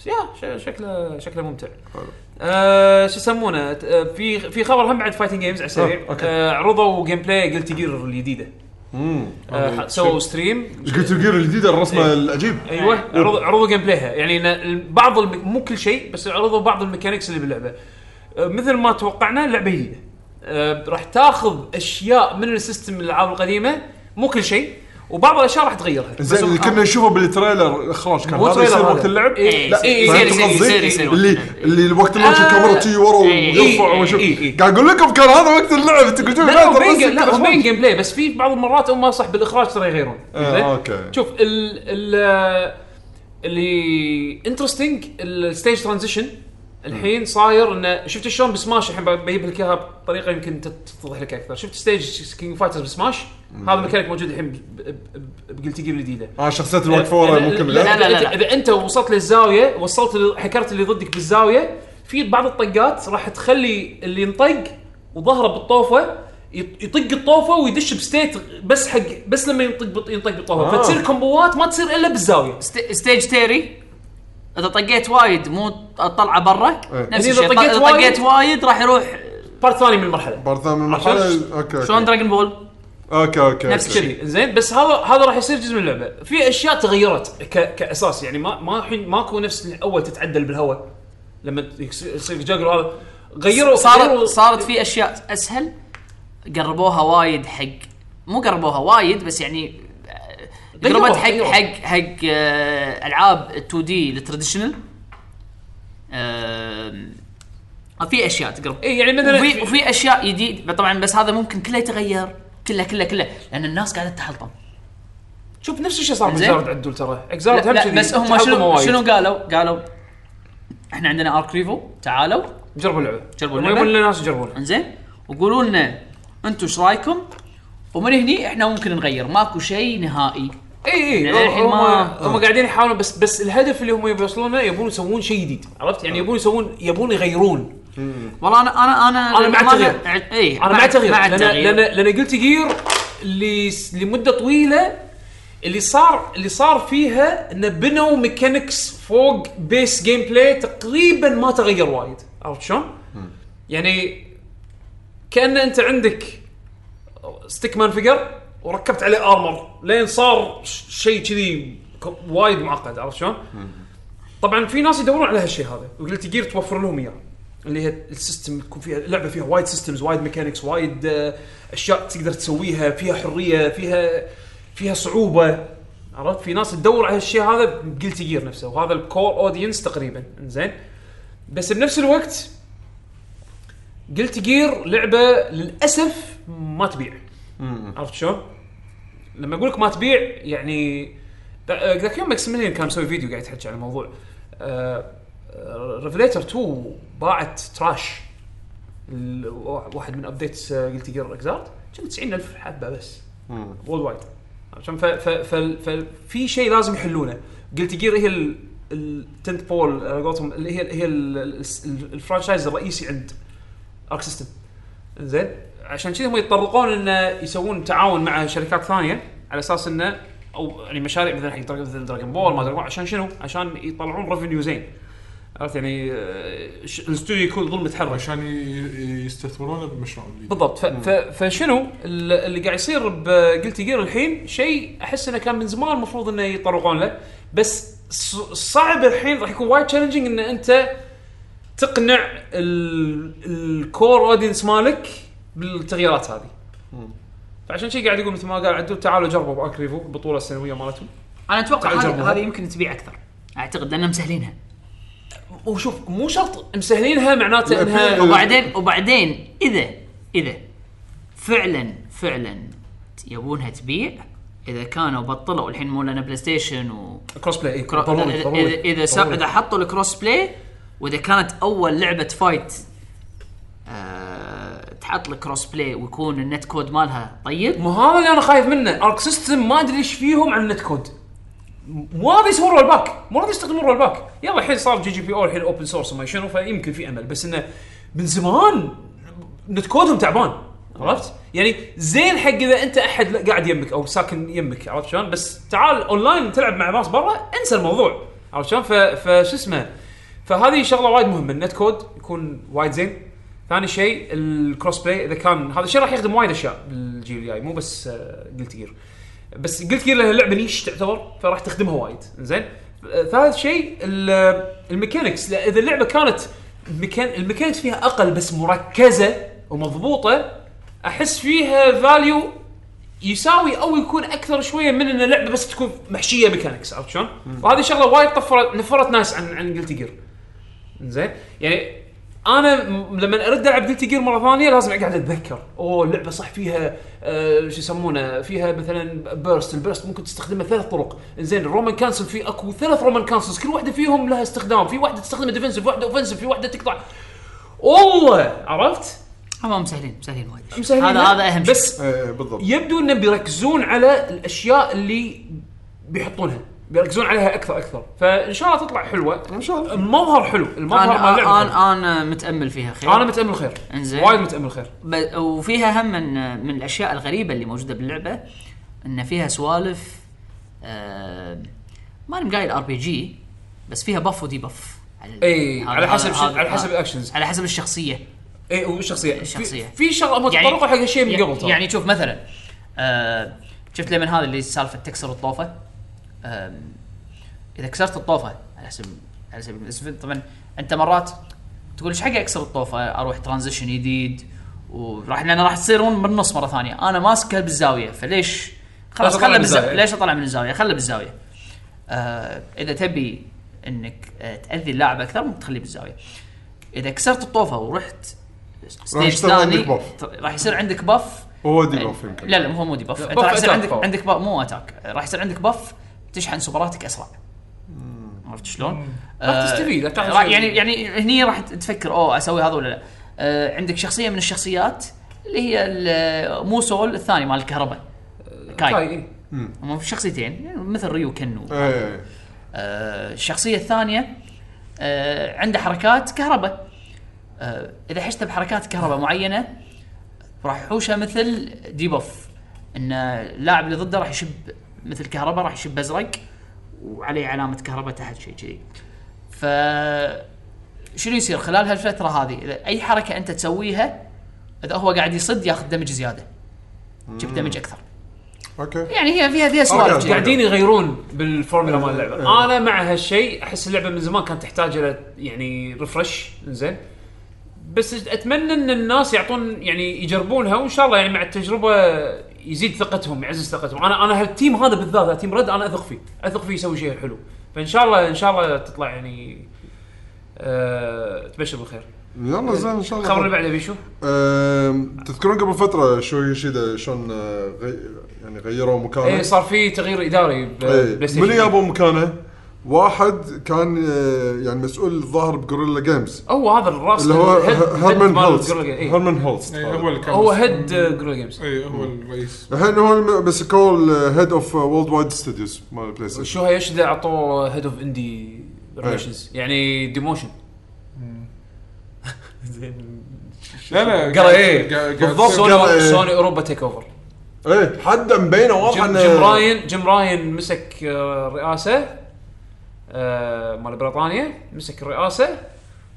[SPEAKER 1] بس يا ش- شكله شكله ممتع آه شو يسمونه ت- آه، في في خبر هم بعد فايتنج جيمز على السريع
[SPEAKER 4] آه، أوكي.
[SPEAKER 1] آه عرضوا جيم بلاي جلتي جير الجديده آه سووا ستريم
[SPEAKER 4] قلت جير الجديده الرسمه العجيب
[SPEAKER 1] ايوه عرضوا عرضوا جيم بلايها يعني إن ال- بعض الم... مو كل شيء بس عرضوا بعض الميكانكس اللي باللعبه آه، مثل ما توقعنا لعبه جديده آه، راح تاخذ اشياء من السيستم الالعاب القديمه مو كل شيء وبعض الاشياء راح تغيرها بس
[SPEAKER 4] زين اللي
[SPEAKER 1] هو-
[SPEAKER 4] كنا نشوفه بالتريلر الاخراج كان
[SPEAKER 1] مو
[SPEAKER 4] هذا يصير
[SPEAKER 1] تريلر
[SPEAKER 4] وقت
[SPEAKER 1] هذا.
[SPEAKER 4] اللعب
[SPEAKER 1] إيه،
[SPEAKER 4] لا
[SPEAKER 1] إيه،
[SPEAKER 4] فهمت
[SPEAKER 1] يصير- يصير-
[SPEAKER 4] قصدي؟
[SPEAKER 1] يصير- يصير وقت
[SPEAKER 4] اللي
[SPEAKER 5] اللعب.
[SPEAKER 4] اللي وقت اللونش الكاميرا تجي ورا
[SPEAKER 5] إيه،
[SPEAKER 4] ويرفع
[SPEAKER 1] إيه،
[SPEAKER 4] وشوف
[SPEAKER 1] إيه، إيه.
[SPEAKER 4] قاعد اقول لكم كان هذا وقت اللعب تقول شوف
[SPEAKER 1] لا هو
[SPEAKER 4] ترى
[SPEAKER 1] بين
[SPEAKER 4] بس
[SPEAKER 1] لا هو
[SPEAKER 4] الإخراج.
[SPEAKER 1] بين جيم بلاي بس في بعض المرات هم صح بالاخراج ترى يغيرون
[SPEAKER 4] آه،
[SPEAKER 1] زين؟
[SPEAKER 4] أوكي.
[SPEAKER 1] شوف ال ال اللي انترستنج الستيج ترانزيشن الحين صاير انه شفت شلون بسماش الحين بجيب لك اياها بطريقه يمكن تت- تتضح لك اكثر شفت ستيج كينج فايترز بسماش هذا الميكانيك موجود الحين بقلت جير الجديده
[SPEAKER 4] اه شخصيات الواقفه ورا ممكن
[SPEAKER 1] يعني لا لا, لا,
[SPEAKER 5] لا، لا.
[SPEAKER 1] اذا انت وصلت للزاويه وصلت ل- حكرت اللي ضدك بالزاويه في بعض الطقات راح تخلي اللي ينطق وظهره بالطوفه يط- يطق الطوفه ويدش بستيت بس حق بس لما ينطق بط- ينطق بالطوفه
[SPEAKER 4] آه.
[SPEAKER 1] فتصير كومبوات ما تصير الا بالزاويه
[SPEAKER 5] ست- ستيج تيري اذا طقيت وايد مو طلعه برا
[SPEAKER 4] إيه.
[SPEAKER 5] نفس
[SPEAKER 1] يعني إذا
[SPEAKER 5] الشيء ط-
[SPEAKER 1] طقيت
[SPEAKER 5] اذا
[SPEAKER 1] وايد-
[SPEAKER 5] طقيت وايد راح يروح
[SPEAKER 1] بارت ثاني من المرحله
[SPEAKER 4] برضه من المرحله اوكي
[SPEAKER 5] شلون
[SPEAKER 4] اوكي
[SPEAKER 5] دراجون بول
[SPEAKER 4] اوكي اوكي
[SPEAKER 5] نفس
[SPEAKER 4] أوكي.
[SPEAKER 5] الشيء.
[SPEAKER 1] كذي زين بس هذا هذا راح يصير جزء من اللعبه في اشياء تغيرت ك... كاساس يعني ما ما الحين ماكو نفس الاول تتعدل بالهواء لما يصير جاجر هذا غيروا
[SPEAKER 5] صارت
[SPEAKER 1] غيروا-
[SPEAKER 5] صارت في اشياء اسهل قربوها وايد حق مو قربوها وايد بس يعني آه، قربت حق
[SPEAKER 1] غيروها.
[SPEAKER 5] حق حق آه، العاب 2 دي التراديشنال آه، في اشياء تقرب
[SPEAKER 1] إيه، يعني مثلا
[SPEAKER 5] وفي وفي اشياء جديد طبعا بس هذا ممكن كله يتغير كله كله كله لان الناس قاعده تحلطم
[SPEAKER 1] شوف نفس الشيء صار
[SPEAKER 5] زين.
[SPEAKER 1] بزارد عدول ترى
[SPEAKER 5] لا,
[SPEAKER 1] اكزارد هم
[SPEAKER 5] لا
[SPEAKER 1] كذي
[SPEAKER 5] بس هم
[SPEAKER 1] تحطموا
[SPEAKER 5] شنو
[SPEAKER 1] وايد.
[SPEAKER 5] شنو قالوا؟ قالوا احنا عندنا ارك ريفو تعالوا
[SPEAKER 1] جربوا اللعبه
[SPEAKER 5] جربوا
[SPEAKER 1] هم
[SPEAKER 5] اللعبة. يعني
[SPEAKER 1] يبون الناس يجربونها
[SPEAKER 5] انزين وقولوا لنا انتم ايش رايكم؟ ومن هني احنا ممكن نغير ماكو شيء نهائي
[SPEAKER 1] اي
[SPEAKER 5] يعني
[SPEAKER 1] اي
[SPEAKER 5] الحين
[SPEAKER 1] هم
[SPEAKER 5] ما-
[SPEAKER 1] هم قاعدين يحاولون بس بس الهدف اللي هم يوصلونه يبون يسوون شيء جديد عرفت
[SPEAKER 5] آه.
[SPEAKER 1] يعني يبون يسوون يبون يغيرون
[SPEAKER 5] والله انا انا انا
[SPEAKER 1] أنا مع التغيير.
[SPEAKER 5] اي
[SPEAKER 1] انا مع التغيير
[SPEAKER 5] إيه، مع
[SPEAKER 1] لان
[SPEAKER 5] التغيير
[SPEAKER 1] لان لان قلت جير اللي س- لمده طويله اللي صار اللي صار فيها انه بنوا ميكانكس فوق بيس جيم بلاي تقريبا ما تغير وايد عرفت شلون؟ يعني كان انت عندك ستيك مان فيجر وركبت عليه ارمر لين صار ش- شيء كذي ك- وايد معقد عرفت شلون؟ طبعا في ناس يدورون على هالشيء هذا وقلت جير توفر لهم اياه اللي هي السيستم يكون فيها لعبه فيها وايد سيستمز وايد ميكانكس وايد آه، اشياء تقدر تسويها فيها حريه فيها فيها صعوبه عرفت في ناس تدور على هالشيء هذا بقلت جير نفسه وهذا الكور اودينس تقريبا زين بس بنفس الوقت قلت جير لعبه للاسف ما تبيع عرفت شلون؟ لما اقول لك ما تبيع يعني ذا- ذاك يوم ماكسيميليان كان مسوي فيديو قاعد يتحكي عن الموضوع ريفليتر 2 باعت تراش ال- واحد من آه، ابديتس قلت جير اكزارد كان 90000 حبه بس وولد وايد عشان ف- ف- ف- ففي شيء لازم يحلونه قلت جير هي ال- التنت بول على قولتهم اللي هي هي ال- ال- الفرانشايز الرئيسي عند ارك سيستم زين عشان كذا هم يتطرقون انه يسوون تعاون مع شركات ثانيه على اساس انه او يعني مشاريع مثلا حق دراج- مثل دراجون بول ما دراجون عشان شنو؟ عشان يطلعون ريفينيو زين عرفت يعني آه، ش- الاستوديو يكون ظل متحرك
[SPEAKER 3] عشان ي- يستثمرونه بمشروع جديد
[SPEAKER 1] بالضبط ف... ف... فشنو ال- اللي قاعد يصير بقلتي جير الحين شيء احس انه كان من زمان المفروض انه يطرقون له بس ص- صعب الحين راح يكون وايد تشالنجينج ان انت تقنع ال... الكور اودينس مالك بالتغييرات هذه فعشان شي قاعد يقول مثل ما قال عدول تعالوا جربوا بارك ريفو البطوله السنويه مالتهم
[SPEAKER 5] انا اتوقع هذه
[SPEAKER 1] تعجبوها.
[SPEAKER 5] هذه يمكن تبيع اكثر اعتقد لانهم مسهلينها
[SPEAKER 1] وشوف مو شرط مسهلينها معناته
[SPEAKER 4] لا، في-
[SPEAKER 1] انها
[SPEAKER 5] وبعدين وبعدين اذا اذا فعلا فعلا يبونها تبيع اذا كانوا بطلوا الحين مو لنا بلاي ستيشن و
[SPEAKER 1] كروس بلاي إيه،
[SPEAKER 5] كرو...
[SPEAKER 1] ضروري
[SPEAKER 5] اذا
[SPEAKER 1] ضروري.
[SPEAKER 5] اذا اذا, سا...
[SPEAKER 1] ضروري.
[SPEAKER 5] إذا حطوا الكروس بلاي واذا كانت اول لعبه فايت أه... تحط الكروس بلاي ويكون النت كود مالها طيب
[SPEAKER 1] ما هذا اللي انا خايف منه ارك سيستم ما ادري ايش فيهم عن النت كود مو راضي يسوون رول باك مو راضي يستخدمون رول باك يلا الحين صار جي جي بي او الحين اوبن سورس وما شنو فيمكن في امل بس انه من زمان نت كودهم تعبان عرفت؟ يعني زين حق اذا انت احد قاعد يمك او ساكن يمك عرفت شلون؟ بس تعال اونلاين تلعب مع ناس برا انسى الموضوع عرفت شلون؟ ف- فشو اسمه فهذه شغله وايد مهمه النت كود يكون وايد زين ثاني شيء الكروس بلاي اذا كان هذا الشيء راح يخدم وايد اشياء بالجيل الجاي مو بس قلت جير بس قلت جير لها لعبه نيش تعتبر فراح تخدمها وايد زين آه، ثالث شيء ال- آه، الميكانكس لا، اذا اللعبه كانت الميكان الميكانكس فيها اقل بس مركزه ومضبوطه احس فيها فاليو يساوي او يكون اكثر شويه من ان اللعبه بس تكون محشيه ميكانكس عرفت شلون؟ وهذه شغله وايد طفرت نفرت ناس عن عن قلت جير زين يعني انا م- لما ارد العب قلت جير مره ثانيه لازم اقعد اتذكر اوه اللعبه صح فيها آه شو يسمونه فيها مثلا بيرست البيرست ممكن تستخدمه ثلاث طرق زين الرومان كانسل في اكو ثلاث رومان كانسلز كل واحده فيهم لها استخدام في واحده تستخدمه ديفنسيف واحده اوفنسيف في واحده تقطع والله عرفت
[SPEAKER 5] هم مسهلين مسهلين وايد
[SPEAKER 1] مسهلين
[SPEAKER 5] هذا
[SPEAKER 1] لا.
[SPEAKER 5] هذا اهم شيء
[SPEAKER 1] بس
[SPEAKER 4] ايه بالضبط
[SPEAKER 1] يبدو انهم بيركزون على الاشياء اللي بيحطونها بيركزون عليها اكثر اكثر فان شاء الله تطلع حلوه
[SPEAKER 4] ان شاء الله
[SPEAKER 1] المظهر حلو المظهر مال
[SPEAKER 5] انا
[SPEAKER 1] اللعبة حلو.
[SPEAKER 5] انا انا متامل فيها خير
[SPEAKER 1] انا متامل خير
[SPEAKER 5] انزين
[SPEAKER 1] وايد متامل خير
[SPEAKER 5] ب- وفيها هم من من الاشياء الغريبه اللي موجوده باللعبه ان فيها سوالف آه ما انا قايل ار بي جي بس فيها بف ودي بف على ال-
[SPEAKER 1] اي
[SPEAKER 5] هذا-
[SPEAKER 1] على
[SPEAKER 5] هذا-
[SPEAKER 1] حسب ش...
[SPEAKER 5] هذا-
[SPEAKER 1] على حسب
[SPEAKER 5] هذا-
[SPEAKER 1] الاكشنز
[SPEAKER 5] على حسب الشخصيه
[SPEAKER 1] اي والشخصيه
[SPEAKER 5] الشخصية.
[SPEAKER 1] إيه، في, في شغله هم تطرقوا حق هالشيء من قبل ترى.
[SPEAKER 5] يعني شوف مثلا آه شفت لمن هذا اللي سالفه تكسر الطوفه آه اذا كسرت الطوفه على حسب على سبيل المثال طبعا انت مرات تقول ايش حق اكسر الطوفه اروح ترانزيشن جديد وراح لان راح تصيرون بالنص مره ثانيه انا ماسكه بالزاويه فليش
[SPEAKER 1] ليش
[SPEAKER 5] خلاص
[SPEAKER 1] أطلع
[SPEAKER 5] خله
[SPEAKER 1] من
[SPEAKER 5] بالزاويه
[SPEAKER 1] الزاوية؟
[SPEAKER 5] ليش اطلع من الزاويه خله بالزاويه آه اذا تبي انك آه تاذي اللاعب اكثر ممكن تخليه بالزاويه اذا كسرت الطوفه ورحت ستيج
[SPEAKER 4] يصير
[SPEAKER 5] ثاني
[SPEAKER 4] عندك buff.
[SPEAKER 5] راح يصير عندك بف
[SPEAKER 4] هو ديباف يمكن
[SPEAKER 5] لا لا مو مو ديباف انت
[SPEAKER 1] buff
[SPEAKER 5] راح يصير
[SPEAKER 1] attack
[SPEAKER 5] عندك
[SPEAKER 1] power.
[SPEAKER 5] عندك buff- مو اتاك راح يصير عندك بف تشحن سوبراتك اسرع عرفت شلون؟
[SPEAKER 1] راح
[SPEAKER 5] آه،
[SPEAKER 1] تستفيد، راح تاخذ
[SPEAKER 5] راح-
[SPEAKER 1] شيء.
[SPEAKER 5] يعني يعني هني راح تفكر اوه اسوي هذا ولا لا آه، عندك شخصيه من الشخصيات اللي هي ال- مو سول الثاني مال الكهرباء كاي
[SPEAKER 1] آه، كاي إيه.
[SPEAKER 5] هم في شخصيتين يعني مثل ريو كنو
[SPEAKER 4] اي اي
[SPEAKER 5] آه، الشخصيه الثانيه آه، عنده حركات كهرباء آه، اذا حشته بحركات كهرباء معينه راح يحوشه مثل ديبوف ان اللاعب اللي ضده راح يشب مثل كهرباء راح يشب ازرق وعليه علامه كهرباء تحت شيء كذي ف شنو يصير خلال هالفتره هذه اذا اي حركه انت تسويها اذا هو قاعد يصد ياخذ دمج زياده جيب دمج اكثر
[SPEAKER 4] اوكي
[SPEAKER 5] يعني هي فيها فيها سوالف كذي.
[SPEAKER 1] قاعدين يغيرون بالفورمولا مال اللعبه انا مع هالشيء احس اللعبه من زمان كانت تحتاج الى يعني ريفرش زين بس اتمنى ان الناس يعطون يعني يجربونها وان شاء الله يعني مع التجربه يزيد ثقتهم يعزز ثقتهم انا انا هالتيم هذا بالذات تيم رد انا اثق فيه اثق فيه يسوي شيء حلو فان شاء الله ان شاء الله تطلع يعني أه تبشر بالخير
[SPEAKER 4] يلا زين ان شاء الله
[SPEAKER 1] الخبر اللي بعده بيشو
[SPEAKER 4] أم، تذكرون قبل فتره شو يشيدا شلون آه، غي... يعني غيروا مكانه
[SPEAKER 1] اي إيه، صار في تغيير اداري
[SPEAKER 4] إيه.
[SPEAKER 1] بلاي
[SPEAKER 4] من
[SPEAKER 1] ستيشن
[SPEAKER 4] يابوا مكانه واحد كان آه، يعني مسؤول الظاهر بغوريلا جيمز
[SPEAKER 1] هو هذا الراس
[SPEAKER 4] اللي هو
[SPEAKER 1] الهيد-
[SPEAKER 4] ه- هيرمان
[SPEAKER 1] مال
[SPEAKER 4] هولست
[SPEAKER 1] Guerrilla Game. إيه.
[SPEAKER 4] هيرمان هولست
[SPEAKER 3] إيه، هو اللي كان
[SPEAKER 1] هو آه،
[SPEAKER 3] مس-
[SPEAKER 1] هيد جوريلا جيمز
[SPEAKER 3] اي هو الرئيس
[SPEAKER 4] الحين هو الم- آه، مسكوه الهيد اوف وولد وايد ستوديوز مال بلاي ستيشن
[SPEAKER 1] شو هيشدا اعطوه هيد اوف اندي
[SPEAKER 4] إيه.
[SPEAKER 1] ريليشنز يعني ديموشن
[SPEAKER 3] لا لا
[SPEAKER 1] قرا إيه.
[SPEAKER 3] بالضبط
[SPEAKER 4] بالضبط.
[SPEAKER 1] سوني
[SPEAKER 4] قال-
[SPEAKER 1] سوني اوروبا تيك اوفر
[SPEAKER 4] ايه حد مبينه واضح
[SPEAKER 1] جيم,
[SPEAKER 4] انه
[SPEAKER 1] جيم راين جيم راين مسك آه، الرئاسه آه، مال بريطانيا مسك الرئاسه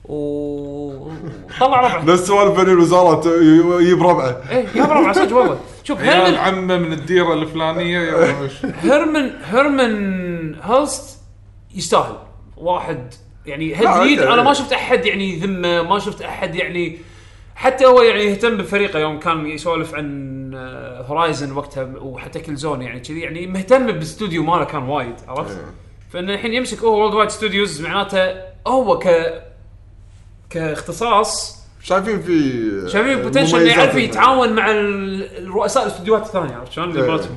[SPEAKER 1] وطلع ربعه
[SPEAKER 4] نفس سوالف بين الوزاره ت- ي- يجيب ربعه
[SPEAKER 1] ايه يا ربعه صدق والله شوف
[SPEAKER 3] عيال
[SPEAKER 1] هيرمن
[SPEAKER 3] عمه من الديره الفلانيه يلا وش.
[SPEAKER 1] هيرمن هيرمن هلست يستاهل واحد يعني هيد
[SPEAKER 4] لا،
[SPEAKER 1] ليد
[SPEAKER 4] آه، أوكي.
[SPEAKER 1] انا ما شفت احد يعني ذمه ما شفت احد يعني حتى هو يعني يهتم بفريقه يوم كان يسولف عن هورايزن وقتها وحتى كل زون يعني كذي يعني مهتم بالاستوديو ماله كان وايد عرفت؟
[SPEAKER 4] إيه.
[SPEAKER 1] فان الحين يمسك هو وولد وايد ستوديوز معناته هو ك كاختصاص
[SPEAKER 4] شايفين في آه،
[SPEAKER 1] شايفين بوتنشل انه
[SPEAKER 4] مميزات
[SPEAKER 1] يعرف
[SPEAKER 4] يعني.
[SPEAKER 1] يتعاون مع ال- الرؤساء الاستديوهات الثانيه عرفت شلون؟ اللي
[SPEAKER 4] إيه.
[SPEAKER 1] مراتهم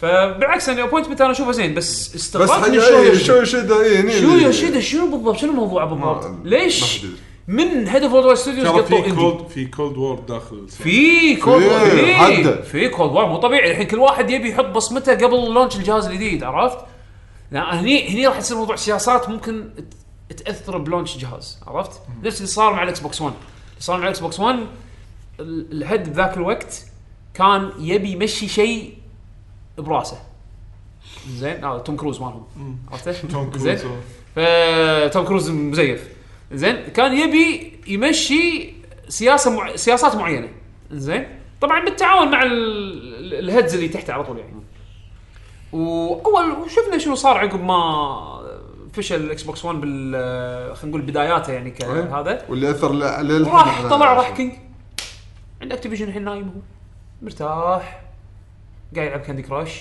[SPEAKER 1] فبالعكس يعني انا ابوينتمنت انا اشوفه زين بس
[SPEAKER 4] بس
[SPEAKER 1] استغربت
[SPEAKER 4] حق
[SPEAKER 1] من شو
[SPEAKER 4] إيه، شو
[SPEAKER 1] يشد
[SPEAKER 4] يشيدا اي هني
[SPEAKER 1] شو
[SPEAKER 4] اللي-
[SPEAKER 1] يشد شنو بالضبط شنو الموضوع بالضبط؟
[SPEAKER 4] ما-
[SPEAKER 1] ليش
[SPEAKER 4] ما حد يدري.
[SPEAKER 1] من هدف وورد ستوديوز
[SPEAKER 3] ترى
[SPEAKER 1] قطوا
[SPEAKER 3] في
[SPEAKER 1] اندي
[SPEAKER 3] كولد في كولد وور داخل
[SPEAKER 1] في كولد
[SPEAKER 4] في-
[SPEAKER 1] في
[SPEAKER 4] حده.
[SPEAKER 1] في كولد وور مو طبيعي الحين كل واحد يبي يحط بصمته قبل لونش الجهاز الجديد عرفت؟ لا هني هني راح يصير موضوع سياسات ممكن ت- تاثر بلونش جهاز عرفت؟ نفس اللي صار مع الاكس بوكس 1 اللي صار مع الاكس بوكس 1 ال- الهيد بذاك الوقت كان يبي يمشي شيء براسه زين هذا توم كروز مالهم عرفته؟ توم زين فتوم كروز مزيف زين كان يبي يمشي سياسه مع... سياسات معينه زين طبعا بالتعاون مع ال... ال- الهيدز اللي تحته على طول يعني واول وشفنا شنو صار عقب ما فشل الاكس بوكس 1 بال خلينا نقول بداياته يعني
[SPEAKER 4] إيه.
[SPEAKER 1] كهذا
[SPEAKER 4] واللي اثر ل- عليه الحين
[SPEAKER 1] وراح
[SPEAKER 4] على-
[SPEAKER 1] طلع راح كينج عند اكتيفيجن الحين نايم هو مرتاح قاعد يلعب كاندي كراش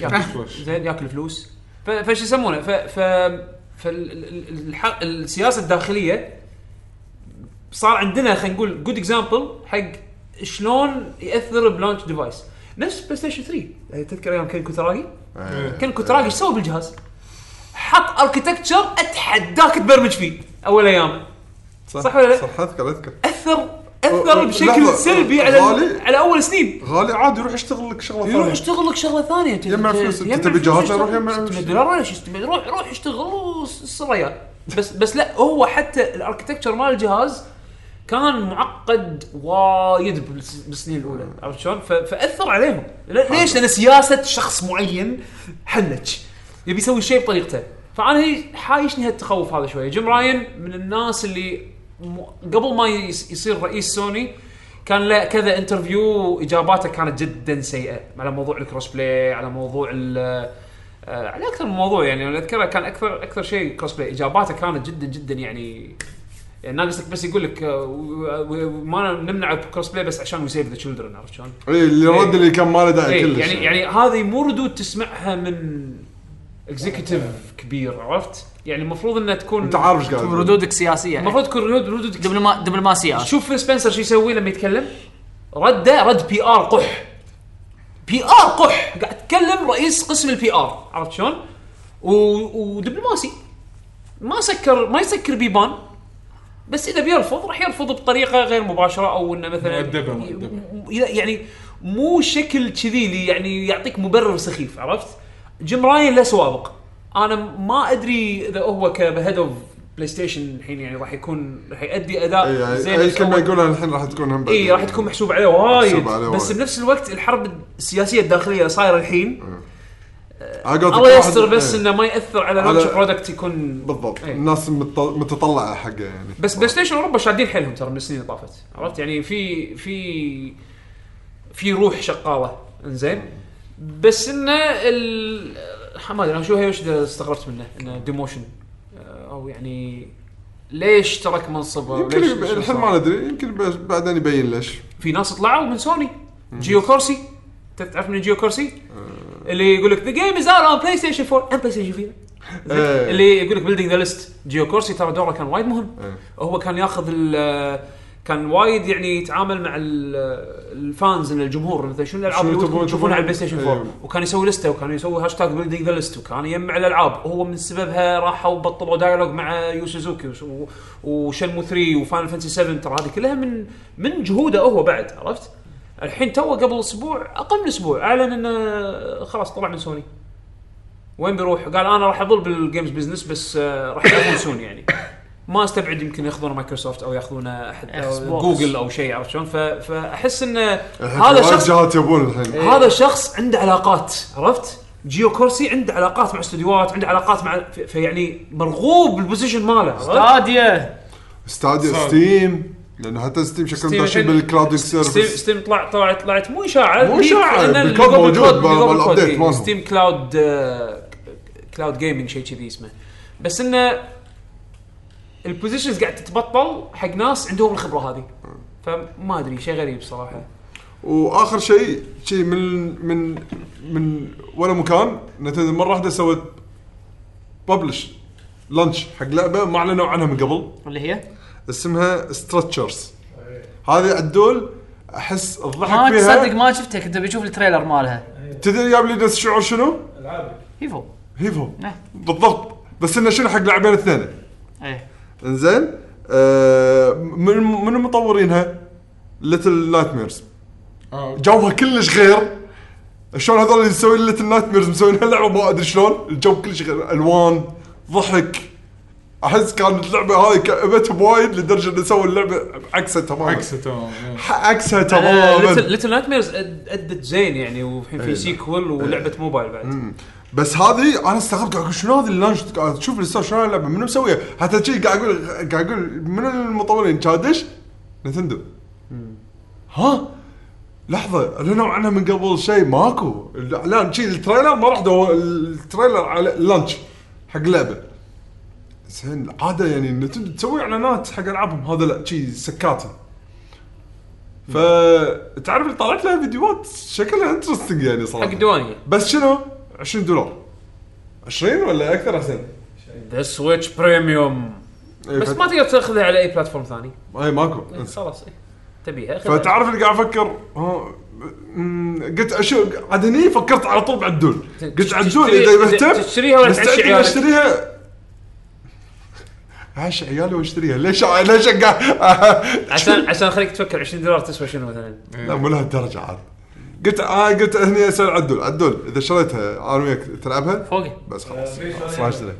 [SPEAKER 1] ياكل زين ياكل فلوس ف- فش يسمونه ف ف فالسياسه الداخليه صار عندنا خلينا نقول جود اكزامبل حق شلون ياثر بلانش ديفايس نفس بلاي ستيشن 3 يعني تذكر ايام كان كوتراجي
[SPEAKER 4] إيه.
[SPEAKER 1] كان كوتراجي ايش سوى بالجهاز؟ حط اركتكتشر اتحداك تبرمج فيه اول ايام صح ولا لا؟
[SPEAKER 4] صح اذكر اذكر
[SPEAKER 1] اثر
[SPEAKER 4] أه،
[SPEAKER 1] اثر
[SPEAKER 4] أه،
[SPEAKER 1] بشكل
[SPEAKER 4] لحظة.
[SPEAKER 1] سلبي على
[SPEAKER 4] غالي؟
[SPEAKER 1] على اول سنين
[SPEAKER 4] غالي عادي يروح يشتغل لك شغله
[SPEAKER 1] يروح
[SPEAKER 4] ثانيه
[SPEAKER 1] يشتغل لك شغله ثانيه انت
[SPEAKER 4] يجمع
[SPEAKER 1] أنت-
[SPEAKER 4] فلوس. أنت
[SPEAKER 1] يجمع
[SPEAKER 4] تبي
[SPEAKER 1] فلوس
[SPEAKER 4] جهاز
[SPEAKER 1] يشتغل.
[SPEAKER 4] يروح يجمع
[SPEAKER 1] 600
[SPEAKER 4] فلوس.
[SPEAKER 1] دولار ولا شي 600 روح روح اشتغل وس- الريال بس بس لا هو حتى الاركتكتشر مال الجهاز كان معقد وايد بالس- بالسنين الاولى عرفت شلون؟ ف- فاثر عليهم ل- ليش؟ لان سياسه شخص معين حنك يبي يسوي الشيء بطريقته فانا هي حايشني هالتخوف هذا شويه جيم راين من الناس اللي م- قبل ما يس- يصير رئيس سوني كان له كذا انترفيو واجاباته كانت جدا سيئه على موضوع الكروس بلاي على موضوع ال- آه، على اكثر من موضوع يعني انا اذكره كان اكثر اكثر شيء كروس بلاي اجاباته كانت جدا جدا يعني يعني ناقصك بس يقول لك آه، و- و- ما نمنع الكروس بلاي بس عشان وي سيف ذا تشلدرن عرفت شلون؟
[SPEAKER 4] اي إيه، اللي رد اللي كان ما له داعي
[SPEAKER 1] إيه،
[SPEAKER 4] آه، كلش
[SPEAKER 1] يعني يعني هذه مو ردود تسمعها من اكزيكتيف كبير عرفت؟ يعني المفروض انها تكون
[SPEAKER 4] انت عارف ايش قاعد تقول.
[SPEAKER 5] ردودك سياسيه يعني.
[SPEAKER 1] المفروض تكون ردود ردود
[SPEAKER 5] دبلوما دبلوماسيه
[SPEAKER 1] شوف فيل سبنسر شو يسوي لما يتكلم رده رد بي ار قح بي ار قح قاعد يتكلم رئيس قسم البي ار عرفت شلون؟ و... ودبلوماسي ما سكر ما يسكر بيبان بس اذا بيرفض راح يرفض بطريقه غير مباشره او انه مثلا
[SPEAKER 3] مؤدبة- مؤدبة.
[SPEAKER 1] إذا- يعني مو شكل كذي اللي يعني يعطيك مبرر سخيف عرفت؟ جيم راين له سوابق انا ما ادري اذا هو كهيد اوف بلاي ستيشن الحين يعني راح يكون راح يؤدي اداء
[SPEAKER 4] إيه، يعني
[SPEAKER 1] آه، زين
[SPEAKER 4] اي
[SPEAKER 1] بس
[SPEAKER 4] كلمه
[SPEAKER 1] أول-
[SPEAKER 4] يقولها الحين راح تكون هم بعد.
[SPEAKER 1] اي إيه، راح تكون محسوب عليه وايد
[SPEAKER 4] محسوب عليه
[SPEAKER 1] بس
[SPEAKER 4] وايد.
[SPEAKER 1] بنفس الوقت الحرب السياسيه الداخليه صايره الحين
[SPEAKER 4] على قولتك
[SPEAKER 1] الله
[SPEAKER 4] واحد-
[SPEAKER 1] يستر بس
[SPEAKER 4] إيه.
[SPEAKER 1] انه ما ياثر على
[SPEAKER 4] على-
[SPEAKER 1] لونش برودكت يكون
[SPEAKER 4] بالضبط نعم.
[SPEAKER 1] إيه.
[SPEAKER 4] الناس مت- متطلعه حقه يعني
[SPEAKER 1] بس بلاي ستيشن اوروبا شادين حيلهم ترى من السنين اللي طافت عرفت يعني في في في روح شغاله انزين بس انه ال ما ادري انا شو هي وش دا استغربت منه انه ديموشن او يعني ليش ترك منصبه
[SPEAKER 4] يمكن
[SPEAKER 1] وليش-
[SPEAKER 4] يب-
[SPEAKER 1] شو
[SPEAKER 4] الحين
[SPEAKER 1] صار؟
[SPEAKER 4] ما ندري يمكن بس- بعدين يبين ليش
[SPEAKER 1] في ناس طلعوا من سوني جيو كورسي أنت تعرف من جيو كورسي اللي يقول لك ذا جيم از اوت اون بلاي ستيشن 4 اند بلاي ستيشن 5
[SPEAKER 4] إيه.
[SPEAKER 1] اللي يقول لك بيلدينج ذا ليست جيو كورسي ترى دوره كان وايد مهم
[SPEAKER 4] إيه.
[SPEAKER 1] هو كان ياخذ ال- كان وايد يعني يتعامل مع ال- الفانز إن الجمهور مثلا شنو الالعاب
[SPEAKER 4] شنو
[SPEAKER 1] اللي ودكم
[SPEAKER 4] تبون-
[SPEAKER 1] تشوفونها على البلاي
[SPEAKER 4] تبون-
[SPEAKER 1] ستيشن 4
[SPEAKER 4] أيوة.
[SPEAKER 1] وكان يسوي لسته وكان يسوي هاشتاج بيلدينج ذا ليست وكان يجمع الالعاب هو من سببها راحوا بطلوا دايالوج مع يو سوزوكي وش- و- وشنمو 3 وفاينل فانتسي 7 ترى هذه كلها من من جهوده هو بعد عرفت؟ الحين تو قبل اسبوع اقل من اسبوع اعلن انه خلاص طلع من سوني وين بيروح؟ قال انا راح اظل بالجيمز بزنس بس آه، راح يكون سوني يعني ما استبعد يمكن ياخذون مايكروسوفت او ياخذون احد أو
[SPEAKER 11] Xbox.
[SPEAKER 1] جوجل او شيء عرفت شلون؟ ف- فاحس انه
[SPEAKER 4] الحين
[SPEAKER 1] هذا
[SPEAKER 4] وايد
[SPEAKER 1] شخص إيه.
[SPEAKER 4] جهات يبون الحين
[SPEAKER 1] هذا شخص عنده علاقات عرفت؟ جيو كورسي عنده علاقات مع استديوهات عنده علاقات مع ف- فيعني مرغوب بالبوزيشن ماله عرفت؟
[SPEAKER 5] آه،
[SPEAKER 11] استاديا
[SPEAKER 4] استاديو
[SPEAKER 3] صار.
[SPEAKER 4] ستيم لانه حتى ستيم شكلهم
[SPEAKER 1] ستيم
[SPEAKER 4] داشين
[SPEAKER 1] الحين-
[SPEAKER 4] بالكلاود
[SPEAKER 1] ستيم
[SPEAKER 4] سيرفيس
[SPEAKER 1] ستيم طلع طلعت طلعت مو اشاعه
[SPEAKER 4] مو
[SPEAKER 1] ليك
[SPEAKER 4] إشاعة،
[SPEAKER 1] إن
[SPEAKER 4] بالكود
[SPEAKER 1] الجوجل
[SPEAKER 4] موجود
[SPEAKER 1] كود-
[SPEAKER 4] بال-
[SPEAKER 1] الجوجل كود،
[SPEAKER 4] بالأبديت
[SPEAKER 1] إيه،
[SPEAKER 4] مالهم.
[SPEAKER 1] ستيم كلاود آه، كلاود جيمنج شيء كذي اسمه بس انه البوزيشنز قاعد تتبطل حق ناس عندهم الخبره هذه فما ادري شيء غريب صراحه
[SPEAKER 4] واخر شيء شيء من من من ولا مكان نتندو مره واحده سوت ببلش لانش حق لعبه ما اعلنوا عنها من قبل
[SPEAKER 5] اللي هي
[SPEAKER 4] اسمها ستريتشرز هذه الدول احس
[SPEAKER 5] ما
[SPEAKER 4] الضحك
[SPEAKER 5] تصدق
[SPEAKER 4] فيها
[SPEAKER 5] ما شفتها كنت بشوف التريلر مالها
[SPEAKER 4] تدري جاب لي نفس الشعور شنو؟
[SPEAKER 5] هيفو
[SPEAKER 4] هيفو
[SPEAKER 5] نعم.
[SPEAKER 4] بالضبط بس انه شنو حق لاعبين اثنين
[SPEAKER 5] ايه
[SPEAKER 4] انزين آه من من مطورينها ليتل نايت ميرز
[SPEAKER 3] آه، أوكي.
[SPEAKER 4] جوها كلش غير شلون هذول اللي مسوين ليتل نايت ميرز مسوين هاللعبه ما ادري شلون الجو كلش غير الوان ضحك احس كانت اللعبه هاي كئبتها بوايد لدرجه انه سووا اللعبه عكسها تماما
[SPEAKER 3] عكسه تمام إيه.
[SPEAKER 4] ح- عكسها تماما
[SPEAKER 1] ليتل نايت ميرز ادت زين يعني والحين في
[SPEAKER 4] إيه.
[SPEAKER 1] سيكول ولعبه موبايل بعد
[SPEAKER 4] بس هذه انا استغربت قاعد اقول شنو هذا اللانش قاعد اشوف الستار شنو اللعبه منو مسويها حتى شي قاعد اقول قاعد اقول من المطورين كادش نتندو ها لحظه اعلنوا عنها من قبل شيء ماكو الاعلان شي التريلر ما راح دو- التريلر على اللانش حق لعبه زين عاده يعني نتندو تسوي اعلانات حق العابهم هذا لا شي سكاتي فتعرف اللي طلعت لها فيديوهات شكلها انترستنج يعني صراحه
[SPEAKER 1] حق دوانية
[SPEAKER 4] بس شنو؟ 20 دولار 20 ولا اكثر احسن؟
[SPEAKER 1] ذا سويتش بريميوم بس ما تقدر تاخذها على اي بلاتفورم ثاني
[SPEAKER 4] اي إيه، ماكو
[SPEAKER 1] خلاص إيه. تبيها خذها.
[SPEAKER 4] فتعرف اللي قاعد افكر ها، مم، قلت اشوف عاد هني فكرت على طول بعدول قلت عدول
[SPEAKER 1] تشتري-
[SPEAKER 4] اذا مهتم
[SPEAKER 1] تشتريها ولا
[SPEAKER 4] مستعد
[SPEAKER 1] تعشي
[SPEAKER 4] إني
[SPEAKER 1] عيالك؟
[SPEAKER 4] اشتريها عاش عيالي واشتريها ليش ليش قاعد-
[SPEAKER 1] عشان عشان اخليك تفكر 20 دولار تسوى شنو مثلا
[SPEAKER 4] لا مو لهالدرجه عاد قلت آه قلت هني اسال عدول عدول اذا شريتها انا وياك تلعبها
[SPEAKER 5] فوقي
[SPEAKER 4] بس خلاص خلاص ما اشتري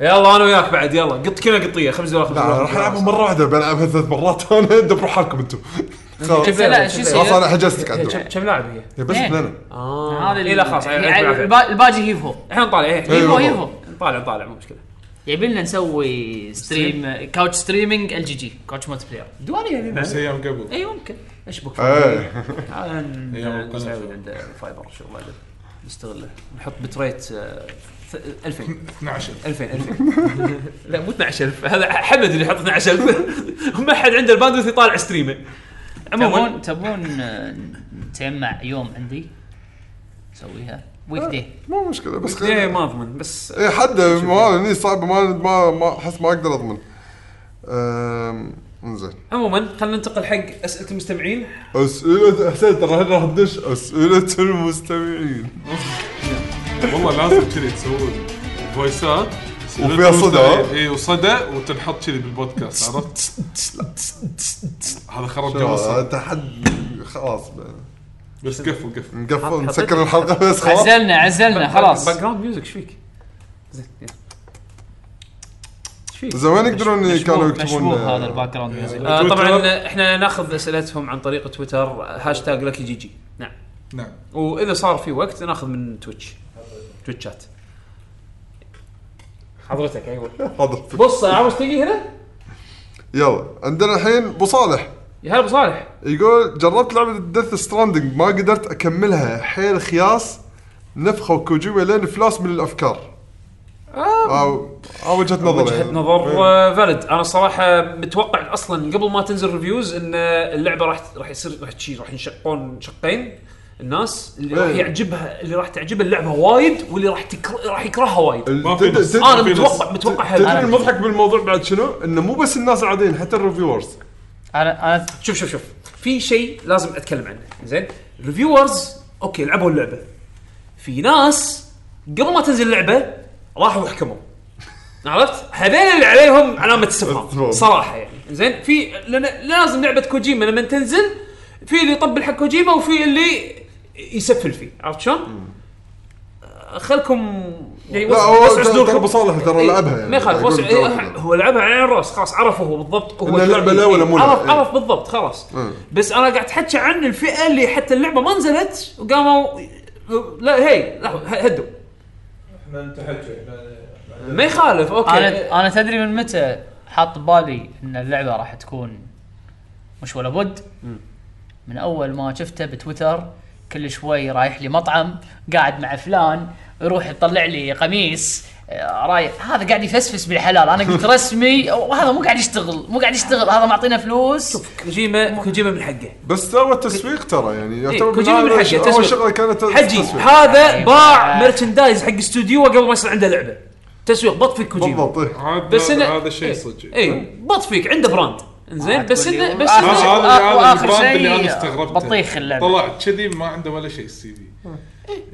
[SPEAKER 1] يلا انا وياك بعد يلا قط كنا قطيه 5 دولار 5
[SPEAKER 4] لا
[SPEAKER 1] دولار
[SPEAKER 4] راح العبها مره واحده بلعبها ثلاث مرات انا دبروا حالكم انتم خلاص
[SPEAKER 5] لا لا شو
[SPEAKER 4] خلاص
[SPEAKER 5] يصير
[SPEAKER 4] انا حجزتك عدو
[SPEAKER 1] كم- كم لاعب هي؟
[SPEAKER 4] هي بس
[SPEAKER 5] إيه.
[SPEAKER 4] اثنين
[SPEAKER 1] اه
[SPEAKER 5] هذا
[SPEAKER 1] هذا لا خلاص
[SPEAKER 5] يعني
[SPEAKER 1] يعني لعبة بالعافية.
[SPEAKER 5] البا- الباجي هيفو
[SPEAKER 1] الحين نطالع إيه،
[SPEAKER 4] هيفو.
[SPEAKER 5] هيفو هيفو
[SPEAKER 1] نطالع نطالع مو مشكله
[SPEAKER 5] يبي لنا نسوي ستريم كاوتش ستريمينج ال جي جي كاوتش مالتي بلاير
[SPEAKER 1] دواني يعني
[SPEAKER 3] بس
[SPEAKER 1] بعد.
[SPEAKER 3] ايام قبل
[SPEAKER 5] اي إيه، ممكن
[SPEAKER 1] ايش بك
[SPEAKER 4] ايه
[SPEAKER 1] تعال
[SPEAKER 3] أيام القناة.
[SPEAKER 1] نسوي عند فايبر شغل بعدين نستغله نحط بتريت آه، ث- 2000
[SPEAKER 3] 12
[SPEAKER 1] 2000 2000 لا مو 12000 هذا حمد اللي يحط 12000 ما حد عنده الباندوث يطالع ستريمه عموما
[SPEAKER 11] تبون تبون آه، نتجمع يوم عندي نسويها ويك داي
[SPEAKER 4] مو مشكله بس
[SPEAKER 1] إيه، ما اضمن بس
[SPEAKER 4] اي حد موال هني صعب ما ما ما احس ما اقدر اضمن أم، انزين
[SPEAKER 1] عموما خلينا ننتقل حق اسئله المستمعين
[SPEAKER 4] اسئله احسن ترى هنا راح ندش اسئله المستمعين
[SPEAKER 3] والله لازم كذي تسوون فويسات
[SPEAKER 4] وفيها صدى، ها؟
[SPEAKER 3] اي إيه، وصدى وتنحط كذي بالبودكاست عرفت؟ هذا خرب
[SPEAKER 4] شو،
[SPEAKER 3] جوصة
[SPEAKER 4] انت حد خلاص بقى.
[SPEAKER 3] بس قفل قفل
[SPEAKER 4] نقفل نسكر الحلقه بس خلاص
[SPEAKER 11] عزلنا عزلنا خلاص
[SPEAKER 1] باك جراوند ميوزك ايش فيك؟ زين يلا. إيش فيك؟
[SPEAKER 4] زمان يقدرون
[SPEAKER 11] مشبوه-
[SPEAKER 4] كانوا يكتبون
[SPEAKER 11] مشبوه هذا الباك جراوند ميوزك
[SPEAKER 1] آه، طبعا احنا ناخذ اسئلتهم عن طريق تويتر هاشتاج لكي جي جي نعم
[SPEAKER 3] نعم
[SPEAKER 1] واذا صار في وقت ناخذ من تويتش تويتشات حضرتك ايوه
[SPEAKER 4] حاضر.
[SPEAKER 1] بص عاوز تجي هنا؟
[SPEAKER 4] يلا عندنا الحين ابو صالح
[SPEAKER 1] يا هلا ابو صالح
[SPEAKER 4] يقول جربت لعبه ديث ستراندنج ما قدرت اكملها حيل خياس نفخوا كوجيما لين فلاس من الافكار
[SPEAKER 1] آه.
[SPEAKER 4] او او وجهه نظر
[SPEAKER 1] وجهه
[SPEAKER 4] يعني.
[SPEAKER 1] نظر
[SPEAKER 4] إيه.
[SPEAKER 1] فالid انا صراحه متوقع اصلا قبل ما تنزل ريفيوز ان اللعبه راح راح يصير راح تشي راح ينشقون شقين الناس اللي راح
[SPEAKER 4] إيه.
[SPEAKER 1] يعجبها اللي راح تعجبها اللعبه وايد واللي راح تكر... راح يكرهها وايد
[SPEAKER 4] ال-
[SPEAKER 3] ما في
[SPEAKER 4] تد-
[SPEAKER 3] نص.
[SPEAKER 4] تد-
[SPEAKER 1] انا متوقع متوقع
[SPEAKER 4] تدري
[SPEAKER 1] هذا
[SPEAKER 4] المضحك بالموضوع بعد شنو؟ انه مو بس الناس العاديين حتى الريفيورز
[SPEAKER 11] انا انا
[SPEAKER 1] شوف شوف شوف في شيء لازم اتكلم عنه زين الريفيورز اوكي لعبوا اللعبه في ناس قبل ما تنزل اللعبه راحوا وحكموا عرفت؟ هذول اللي عليهم علامه استفهام
[SPEAKER 4] استفهام.
[SPEAKER 1] صراحه يعني زين في لأن لازم لعبه كوجيما لما تنزل في اللي يطبل حق كوجيما وفي اللي يسفل فيه عرفت شلون؟ آه، خلكم يعني
[SPEAKER 4] لا
[SPEAKER 1] وسع-
[SPEAKER 4] هو
[SPEAKER 1] وسعوا
[SPEAKER 4] ترى-
[SPEAKER 1] صدوركم.
[SPEAKER 4] ترى ابو صالح ترى
[SPEAKER 1] إيه،
[SPEAKER 4] لعبها يعني
[SPEAKER 1] ما يخالف
[SPEAKER 4] يقول
[SPEAKER 1] وسع-
[SPEAKER 4] جربها.
[SPEAKER 1] إيه، هو لعبها على الراس خلاص عرفه هو بالضبط هو
[SPEAKER 4] إن اللعبة لا ولا مو لعبة.
[SPEAKER 1] عرف
[SPEAKER 4] إيه.
[SPEAKER 1] عرف بالضبط خلاص
[SPEAKER 4] مم.
[SPEAKER 1] بس انا قاعد احكي عن الفئه اللي حتى اللعبه ما نزلت وقاموا لا هي لحظة، ه- هدوا
[SPEAKER 12] احنا انتهينا احنا
[SPEAKER 1] ما يخالف اوكي
[SPEAKER 11] انا انا تدري من متى حاط بالي ان اللعبه راح تكون مش ولا بد من اول ما شفته بتويتر كل شوي رايح لي مطعم قاعد مع فلان يروح يطلع لي قميص آه، رايح هذا قاعد يفسفس بالحلال انا قلت رسمي وهذا مو قاعد يشتغل مو قاعد يشتغل هذا معطينا فلوس
[SPEAKER 1] كوجيما كوجيما من حقه
[SPEAKER 4] بس هو تسويق ترى يعني يعتبر
[SPEAKER 1] كوجيما إيه، من
[SPEAKER 4] هذا
[SPEAKER 1] حقه،
[SPEAKER 4] اول
[SPEAKER 1] تسويق.
[SPEAKER 4] شغله كانت
[SPEAKER 1] حجي
[SPEAKER 4] تسويق.
[SPEAKER 1] هذا
[SPEAKER 11] أيوة.
[SPEAKER 1] باع مرشندايز حق استوديو قبل ما يصير عنده لعبه تسويق بط فيك كوجيما
[SPEAKER 4] بالضبط إيه.
[SPEAKER 3] عاد
[SPEAKER 1] بس
[SPEAKER 3] هذا-
[SPEAKER 1] إنه-
[SPEAKER 3] هذا شيء
[SPEAKER 1] إيه،
[SPEAKER 3] صدق
[SPEAKER 1] اي بط فيك عنده براند زين بس انه بس
[SPEAKER 11] آخر
[SPEAKER 1] إنه-
[SPEAKER 3] هذا
[SPEAKER 11] شيء-
[SPEAKER 3] هذا
[SPEAKER 11] وآخر
[SPEAKER 3] البراند
[SPEAKER 11] شيء
[SPEAKER 3] اللي انا استغربته
[SPEAKER 11] بطيخ اللعبة.
[SPEAKER 3] طلع كذي ما عنده ولا شيء السي في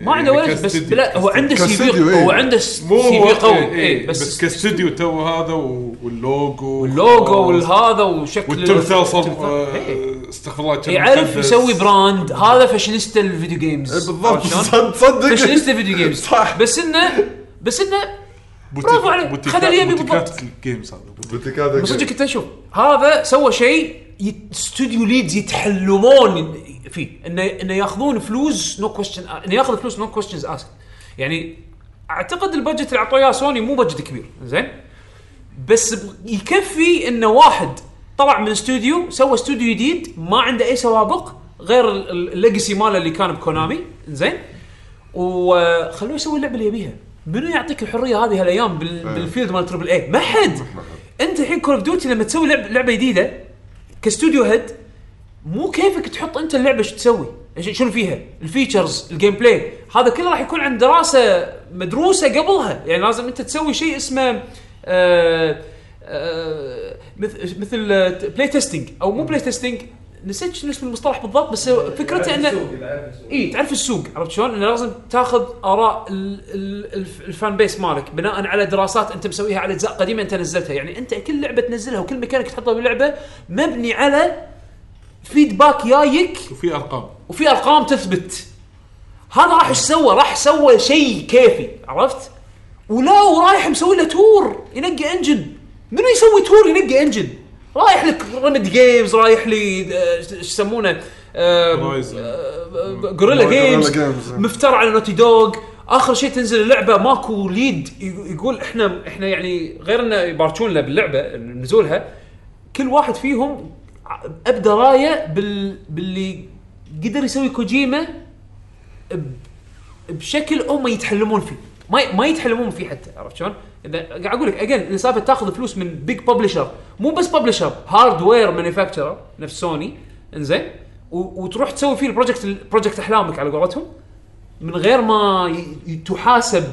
[SPEAKER 1] ما عنده ولا شيء، بس
[SPEAKER 3] يعني كاستديو-
[SPEAKER 1] لا هو عنده سي
[SPEAKER 4] كاستديو،
[SPEAKER 1] في
[SPEAKER 4] إيه.
[SPEAKER 1] هو عنده
[SPEAKER 3] مو
[SPEAKER 1] سي
[SPEAKER 3] هو
[SPEAKER 1] في قوي إيه،
[SPEAKER 3] اي
[SPEAKER 1] اي
[SPEAKER 3] بس, كاستديو تو هذا و- واللوجو
[SPEAKER 1] اللوجو والهذا وشكل
[SPEAKER 3] والتمثال صب
[SPEAKER 1] التمثال. إيه.
[SPEAKER 3] آه، استغفر الله كان
[SPEAKER 1] يعرف
[SPEAKER 3] مكدس.
[SPEAKER 1] يسوي براند هذا فاشينيستا الفيديو
[SPEAKER 3] إيه،
[SPEAKER 1] جيمز
[SPEAKER 4] بالضبط
[SPEAKER 1] عرفت شلون؟
[SPEAKER 4] صد- صدق
[SPEAKER 1] فاشينيستا الفيديو جيمز
[SPEAKER 4] صح.
[SPEAKER 1] بس انه بس انه
[SPEAKER 3] بوتيك-
[SPEAKER 1] برافو عليك،
[SPEAKER 3] بوتيكات-
[SPEAKER 1] خذ اللي يبي
[SPEAKER 3] بوتيكات
[SPEAKER 1] بالضبط.
[SPEAKER 3] الجيمز هذا
[SPEAKER 4] بوتيك هذا
[SPEAKER 1] بس صدق انت شوف هذا سوى شيء يت- استوديو ليدز يتحلمون فيه انه انه ياخذون فلوس نو كويستشن انه ياخذ فلوس نو كويستشنز اسك يعني اعتقد البادجت اللي اعطوه اياه سوني مو بادجت كبير زين بس ب- يكفي انه واحد طلع من استوديو سوى استوديو جديد ما عنده اي سوابق غير ال- ال- الليجسي ماله اللي كان بكونامي زين وخلوه يسوي اللعبه اللي يبيها منو يعطيك الحريه هذه هالايام بال... بالفيلد مال تربل اي إيه. ما حد انت الحين كول اوف ديوتي لما تسوي لعب... لعبه جديده كاستوديو هيد مو كيفك تحط انت اللعبه شو تسوي ش- شنو فيها الفيتشرز الجيم بلاي هذا كله راح يكون عن دراسه مدروسه قبلها يعني لازم انت تسوي شيء اسمه آه آه مثل مثل بلاي تيستنج او مو بلاي تيستنج نسيت شنو اسم المصطلح بالضبط بس فكرته انه اي إيه، تعرف السوق عرفت شلون؟ انه لازم تاخذ اراء ال- ال- الف- الفان بيس مالك بناء على دراسات انت مسويها على اجزاء قديمه انت نزلتها، يعني انت كل لعبه تنزلها وكل مكانك تحطها باللعبه مبني على فيدباك جايك
[SPEAKER 3] وفي ارقام
[SPEAKER 1] وفي ارقام تثبت. هذا راح ايش سوى؟ راح سوى شيء كيفي عرفت؟ ولا ورايح مسوي له تور ينقي انجن منو يسوي تور ينقي انجن؟ رايح لك ريمد جيمز رايح لي آه، ايش يسمونه؟ آه،
[SPEAKER 3] رايزن
[SPEAKER 1] جوريلا
[SPEAKER 4] جوريلا
[SPEAKER 1] جيمز
[SPEAKER 4] جيمز.
[SPEAKER 1] مفتر على نوتي دوغ اخر شيء تنزل اللعبه ماكو ليد ي- يقول احنا احنا يعني غير انه يبارشون له باللعبه نزولها كل واحد فيهم ع- ابدى رايه بال باللي قدر يسوي كوجيما ب- بشكل هم يتحلمون فيه ما ي- ما يتحلمون فيه حتى عرفت شلون؟ اذا قاعد اقول لك اجين سالفه تاخذ فلوس من بيج ببلشر مو بس ببلشر هاردوير مانيفاكتشرر نفس سوني انزين و- وتروح تسوي فيه البروجكت البروجكت احلامك على قولتهم من غير ما ي- ي- تحاسب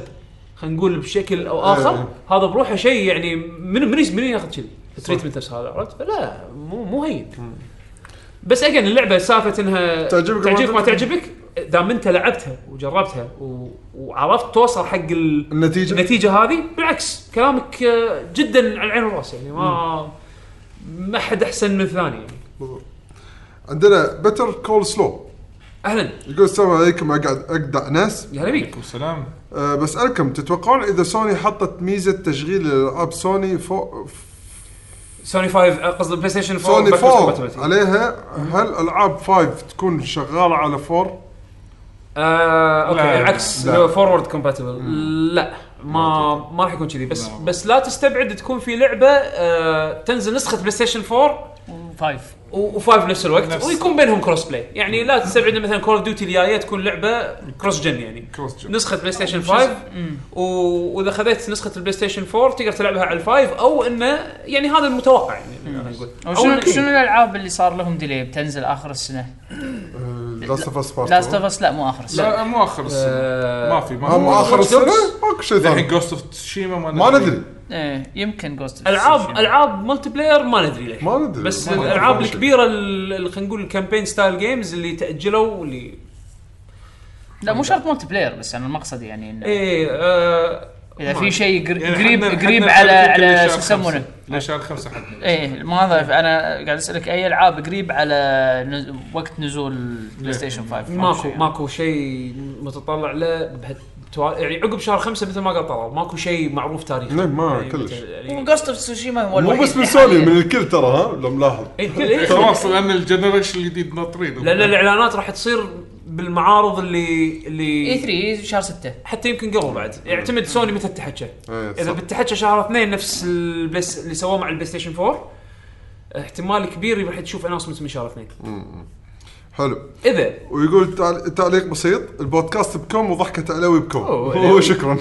[SPEAKER 1] خلينا نقول بشكل او اخر
[SPEAKER 4] إيه.
[SPEAKER 1] هذا بروحه شيء يعني من من من ياخذ كذي التريتمنت نفس هذا عرفت؟ فلا مو مو هين بس اجين اللعبه سالفه انها
[SPEAKER 4] تعجبك
[SPEAKER 1] تعجبك
[SPEAKER 4] ما
[SPEAKER 1] ما تعجبك دام انت لعبتها وجربتها و... وعرفت توصل حق ال...
[SPEAKER 4] النتيجه
[SPEAKER 1] النتيجه هذه بالعكس كلامك آه، جدا على العين والراس يعني ما ما حد احسن من الثاني يعني
[SPEAKER 4] عندنا بتر كول سلو
[SPEAKER 1] اهلا
[SPEAKER 4] يقول السلام عليكم اقعد اجدع ناس
[SPEAKER 1] يا هلا بيك
[SPEAKER 3] والسلام
[SPEAKER 4] أه بسالكم تتوقعون اذا سوني حطت ميزه تشغيل الالعاب سوني فوق
[SPEAKER 1] سوني 5 قصدي بلاي ستيشن 4
[SPEAKER 4] سوني
[SPEAKER 1] backwards
[SPEAKER 4] 4
[SPEAKER 1] compatibility.
[SPEAKER 4] عليها هل العاب 5 تكون شغاله على 4
[SPEAKER 1] آه، اوكي
[SPEAKER 3] لا،
[SPEAKER 1] العكس
[SPEAKER 4] لا.
[SPEAKER 1] لو فورورد كومباتبل لا ما ما راح يكون كذي بس
[SPEAKER 3] لا.
[SPEAKER 1] بس لا تستبعد تكون في لعبه آه، تنزل نسخه بلاي ستيشن 4
[SPEAKER 11] فايف
[SPEAKER 1] و- وفايف نفس الوقت
[SPEAKER 3] نفس.
[SPEAKER 1] ويكون بينهم كروس بلاي يعني لا تستبعد إن مثلا كول اوف ديوتي الجايه تكون لعبه كروس جن يعني
[SPEAKER 3] كروس جن
[SPEAKER 1] نسخه بلاي ستيشن 5 و- واذا خذيت نسخه البلاي ستيشن 4 تقدر تلعبها على الفايف او انه يعني هذا المتوقع يعني أنا أقول.
[SPEAKER 11] أو شنو
[SPEAKER 1] إنه-
[SPEAKER 11] شنو الالعاب اللي صار لهم ديلي بتنزل اخر السنه؟
[SPEAKER 4] لاست اوف اس
[SPEAKER 11] لاست اوف اس لا مو اخر السنه
[SPEAKER 3] لا مو اخر السنه
[SPEAKER 1] آه،
[SPEAKER 3] ما في ما
[SPEAKER 4] هم
[SPEAKER 3] في
[SPEAKER 4] اخر
[SPEAKER 1] Watch Dogs؟
[SPEAKER 4] السنه ماكو شيء
[SPEAKER 3] الحين
[SPEAKER 4] ثاني
[SPEAKER 3] جوست اوف تشيما
[SPEAKER 4] ما ندري
[SPEAKER 11] ايه يمكن جوست
[SPEAKER 1] العاب العاب ملتي بلاير ما ندري ليش
[SPEAKER 4] ما ندري
[SPEAKER 1] بس
[SPEAKER 4] ما ندري.
[SPEAKER 1] الالعاب
[SPEAKER 4] ما
[SPEAKER 1] الكبيره ال- ال- خلينا نقول الكامبين ستايل جيمز اللي تاجلوا واللي
[SPEAKER 11] لا مو شرط ملتي بلاير بس انا المقصد يعني انه
[SPEAKER 1] ايه آه،
[SPEAKER 11] اذا
[SPEAKER 1] ما
[SPEAKER 11] في شيء قر-
[SPEAKER 3] يعني
[SPEAKER 11] قريب
[SPEAKER 3] حدنا-
[SPEAKER 11] قريب
[SPEAKER 3] حدنا
[SPEAKER 11] على
[SPEAKER 3] الترتيب كله
[SPEAKER 11] على
[SPEAKER 3] شهر
[SPEAKER 11] شو يسمونه
[SPEAKER 3] خمسة. لشهر خمسة حدنا
[SPEAKER 1] إيه.
[SPEAKER 11] ايه ما أضيف. انا قاعد اسالك اي العاب قريب على نز... وقت نزول بلاي ستيشن 5
[SPEAKER 1] ماكو
[SPEAKER 11] شيء.
[SPEAKER 1] ماكو شيء متطلع له بهت- بتوا- يعني عقب شهر خمسة مثل ما قال طلال ماكو شيء معروف تاريخيا
[SPEAKER 4] لا، ما
[SPEAKER 1] يعني
[SPEAKER 4] كلش.
[SPEAKER 1] مثل- يعني-
[SPEAKER 11] وجوست اوف تسوشيما هو
[SPEAKER 4] مو
[SPEAKER 11] الوحيد
[SPEAKER 4] بس من
[SPEAKER 11] حالياً.
[SPEAKER 4] سوني من الكل ترى ها لو ملاحظ
[SPEAKER 1] إيه، كل- إيه.
[SPEAKER 3] خلاص لان الجنريشن الجديد ناطرين
[SPEAKER 1] لان الاعلانات راح تصير بالمعارض اللي
[SPEAKER 11] اي
[SPEAKER 1] اللي
[SPEAKER 11] 3 إيه، شهر 6
[SPEAKER 1] حتى يمكن قبل بعد يعتمد سوني متى التحكى
[SPEAKER 4] إيه،
[SPEAKER 1] اذا
[SPEAKER 4] صح.
[SPEAKER 1] بالتحكى شهر اثنين نفس البلاس اللي سووه مع البلاي ستيشن 4 احتمال كبير راح تشوف اناونسمنت من شهر اثنين
[SPEAKER 4] حلو
[SPEAKER 1] اذا
[SPEAKER 4] ويقول تعل- تعليق بسيط البودكاست بكم وضحكة علوي بكم
[SPEAKER 1] أوه،
[SPEAKER 4] أوه شكرا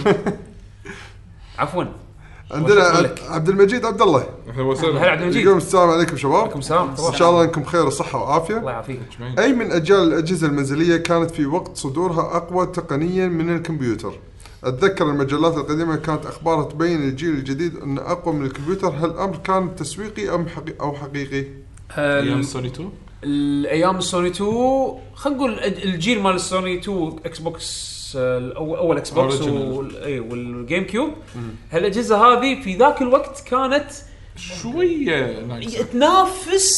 [SPEAKER 1] عفوا
[SPEAKER 4] عندنا
[SPEAKER 1] وشكراً
[SPEAKER 4] عبد-
[SPEAKER 1] لك.
[SPEAKER 4] عبد المجيد عبد الله
[SPEAKER 3] اهلا
[SPEAKER 1] هلا
[SPEAKER 3] وسهلا
[SPEAKER 1] عبد
[SPEAKER 4] يقول
[SPEAKER 1] المجيد
[SPEAKER 4] السلام عليكم شباب
[SPEAKER 1] عليكم السلام
[SPEAKER 4] ان
[SPEAKER 1] الله
[SPEAKER 4] شاء الله انكم بخير وصحه وعافيه
[SPEAKER 1] يعافيك
[SPEAKER 4] اي من اجيال الاجهزه المنزليه كانت في وقت صدورها اقوى تقنيا من الكمبيوتر اتذكر المجلات القديمه كانت اخبارها تبين الجيل الجديد انه اقوى من الكمبيوتر هل الامر كان تسويقي ام حقي او حقيقي
[SPEAKER 3] ايام سوني 2
[SPEAKER 1] الايام السوني 2 خلينا نقول الج- الجيل مال السوني 2 اكس بوكس آه، الأو- اول اكس بوكس
[SPEAKER 3] Original.
[SPEAKER 1] وال- اي والجيم كيوب هالاجهزه هذه في ذاك الوقت كانت
[SPEAKER 3] شويه ناقصة.
[SPEAKER 1] تنافس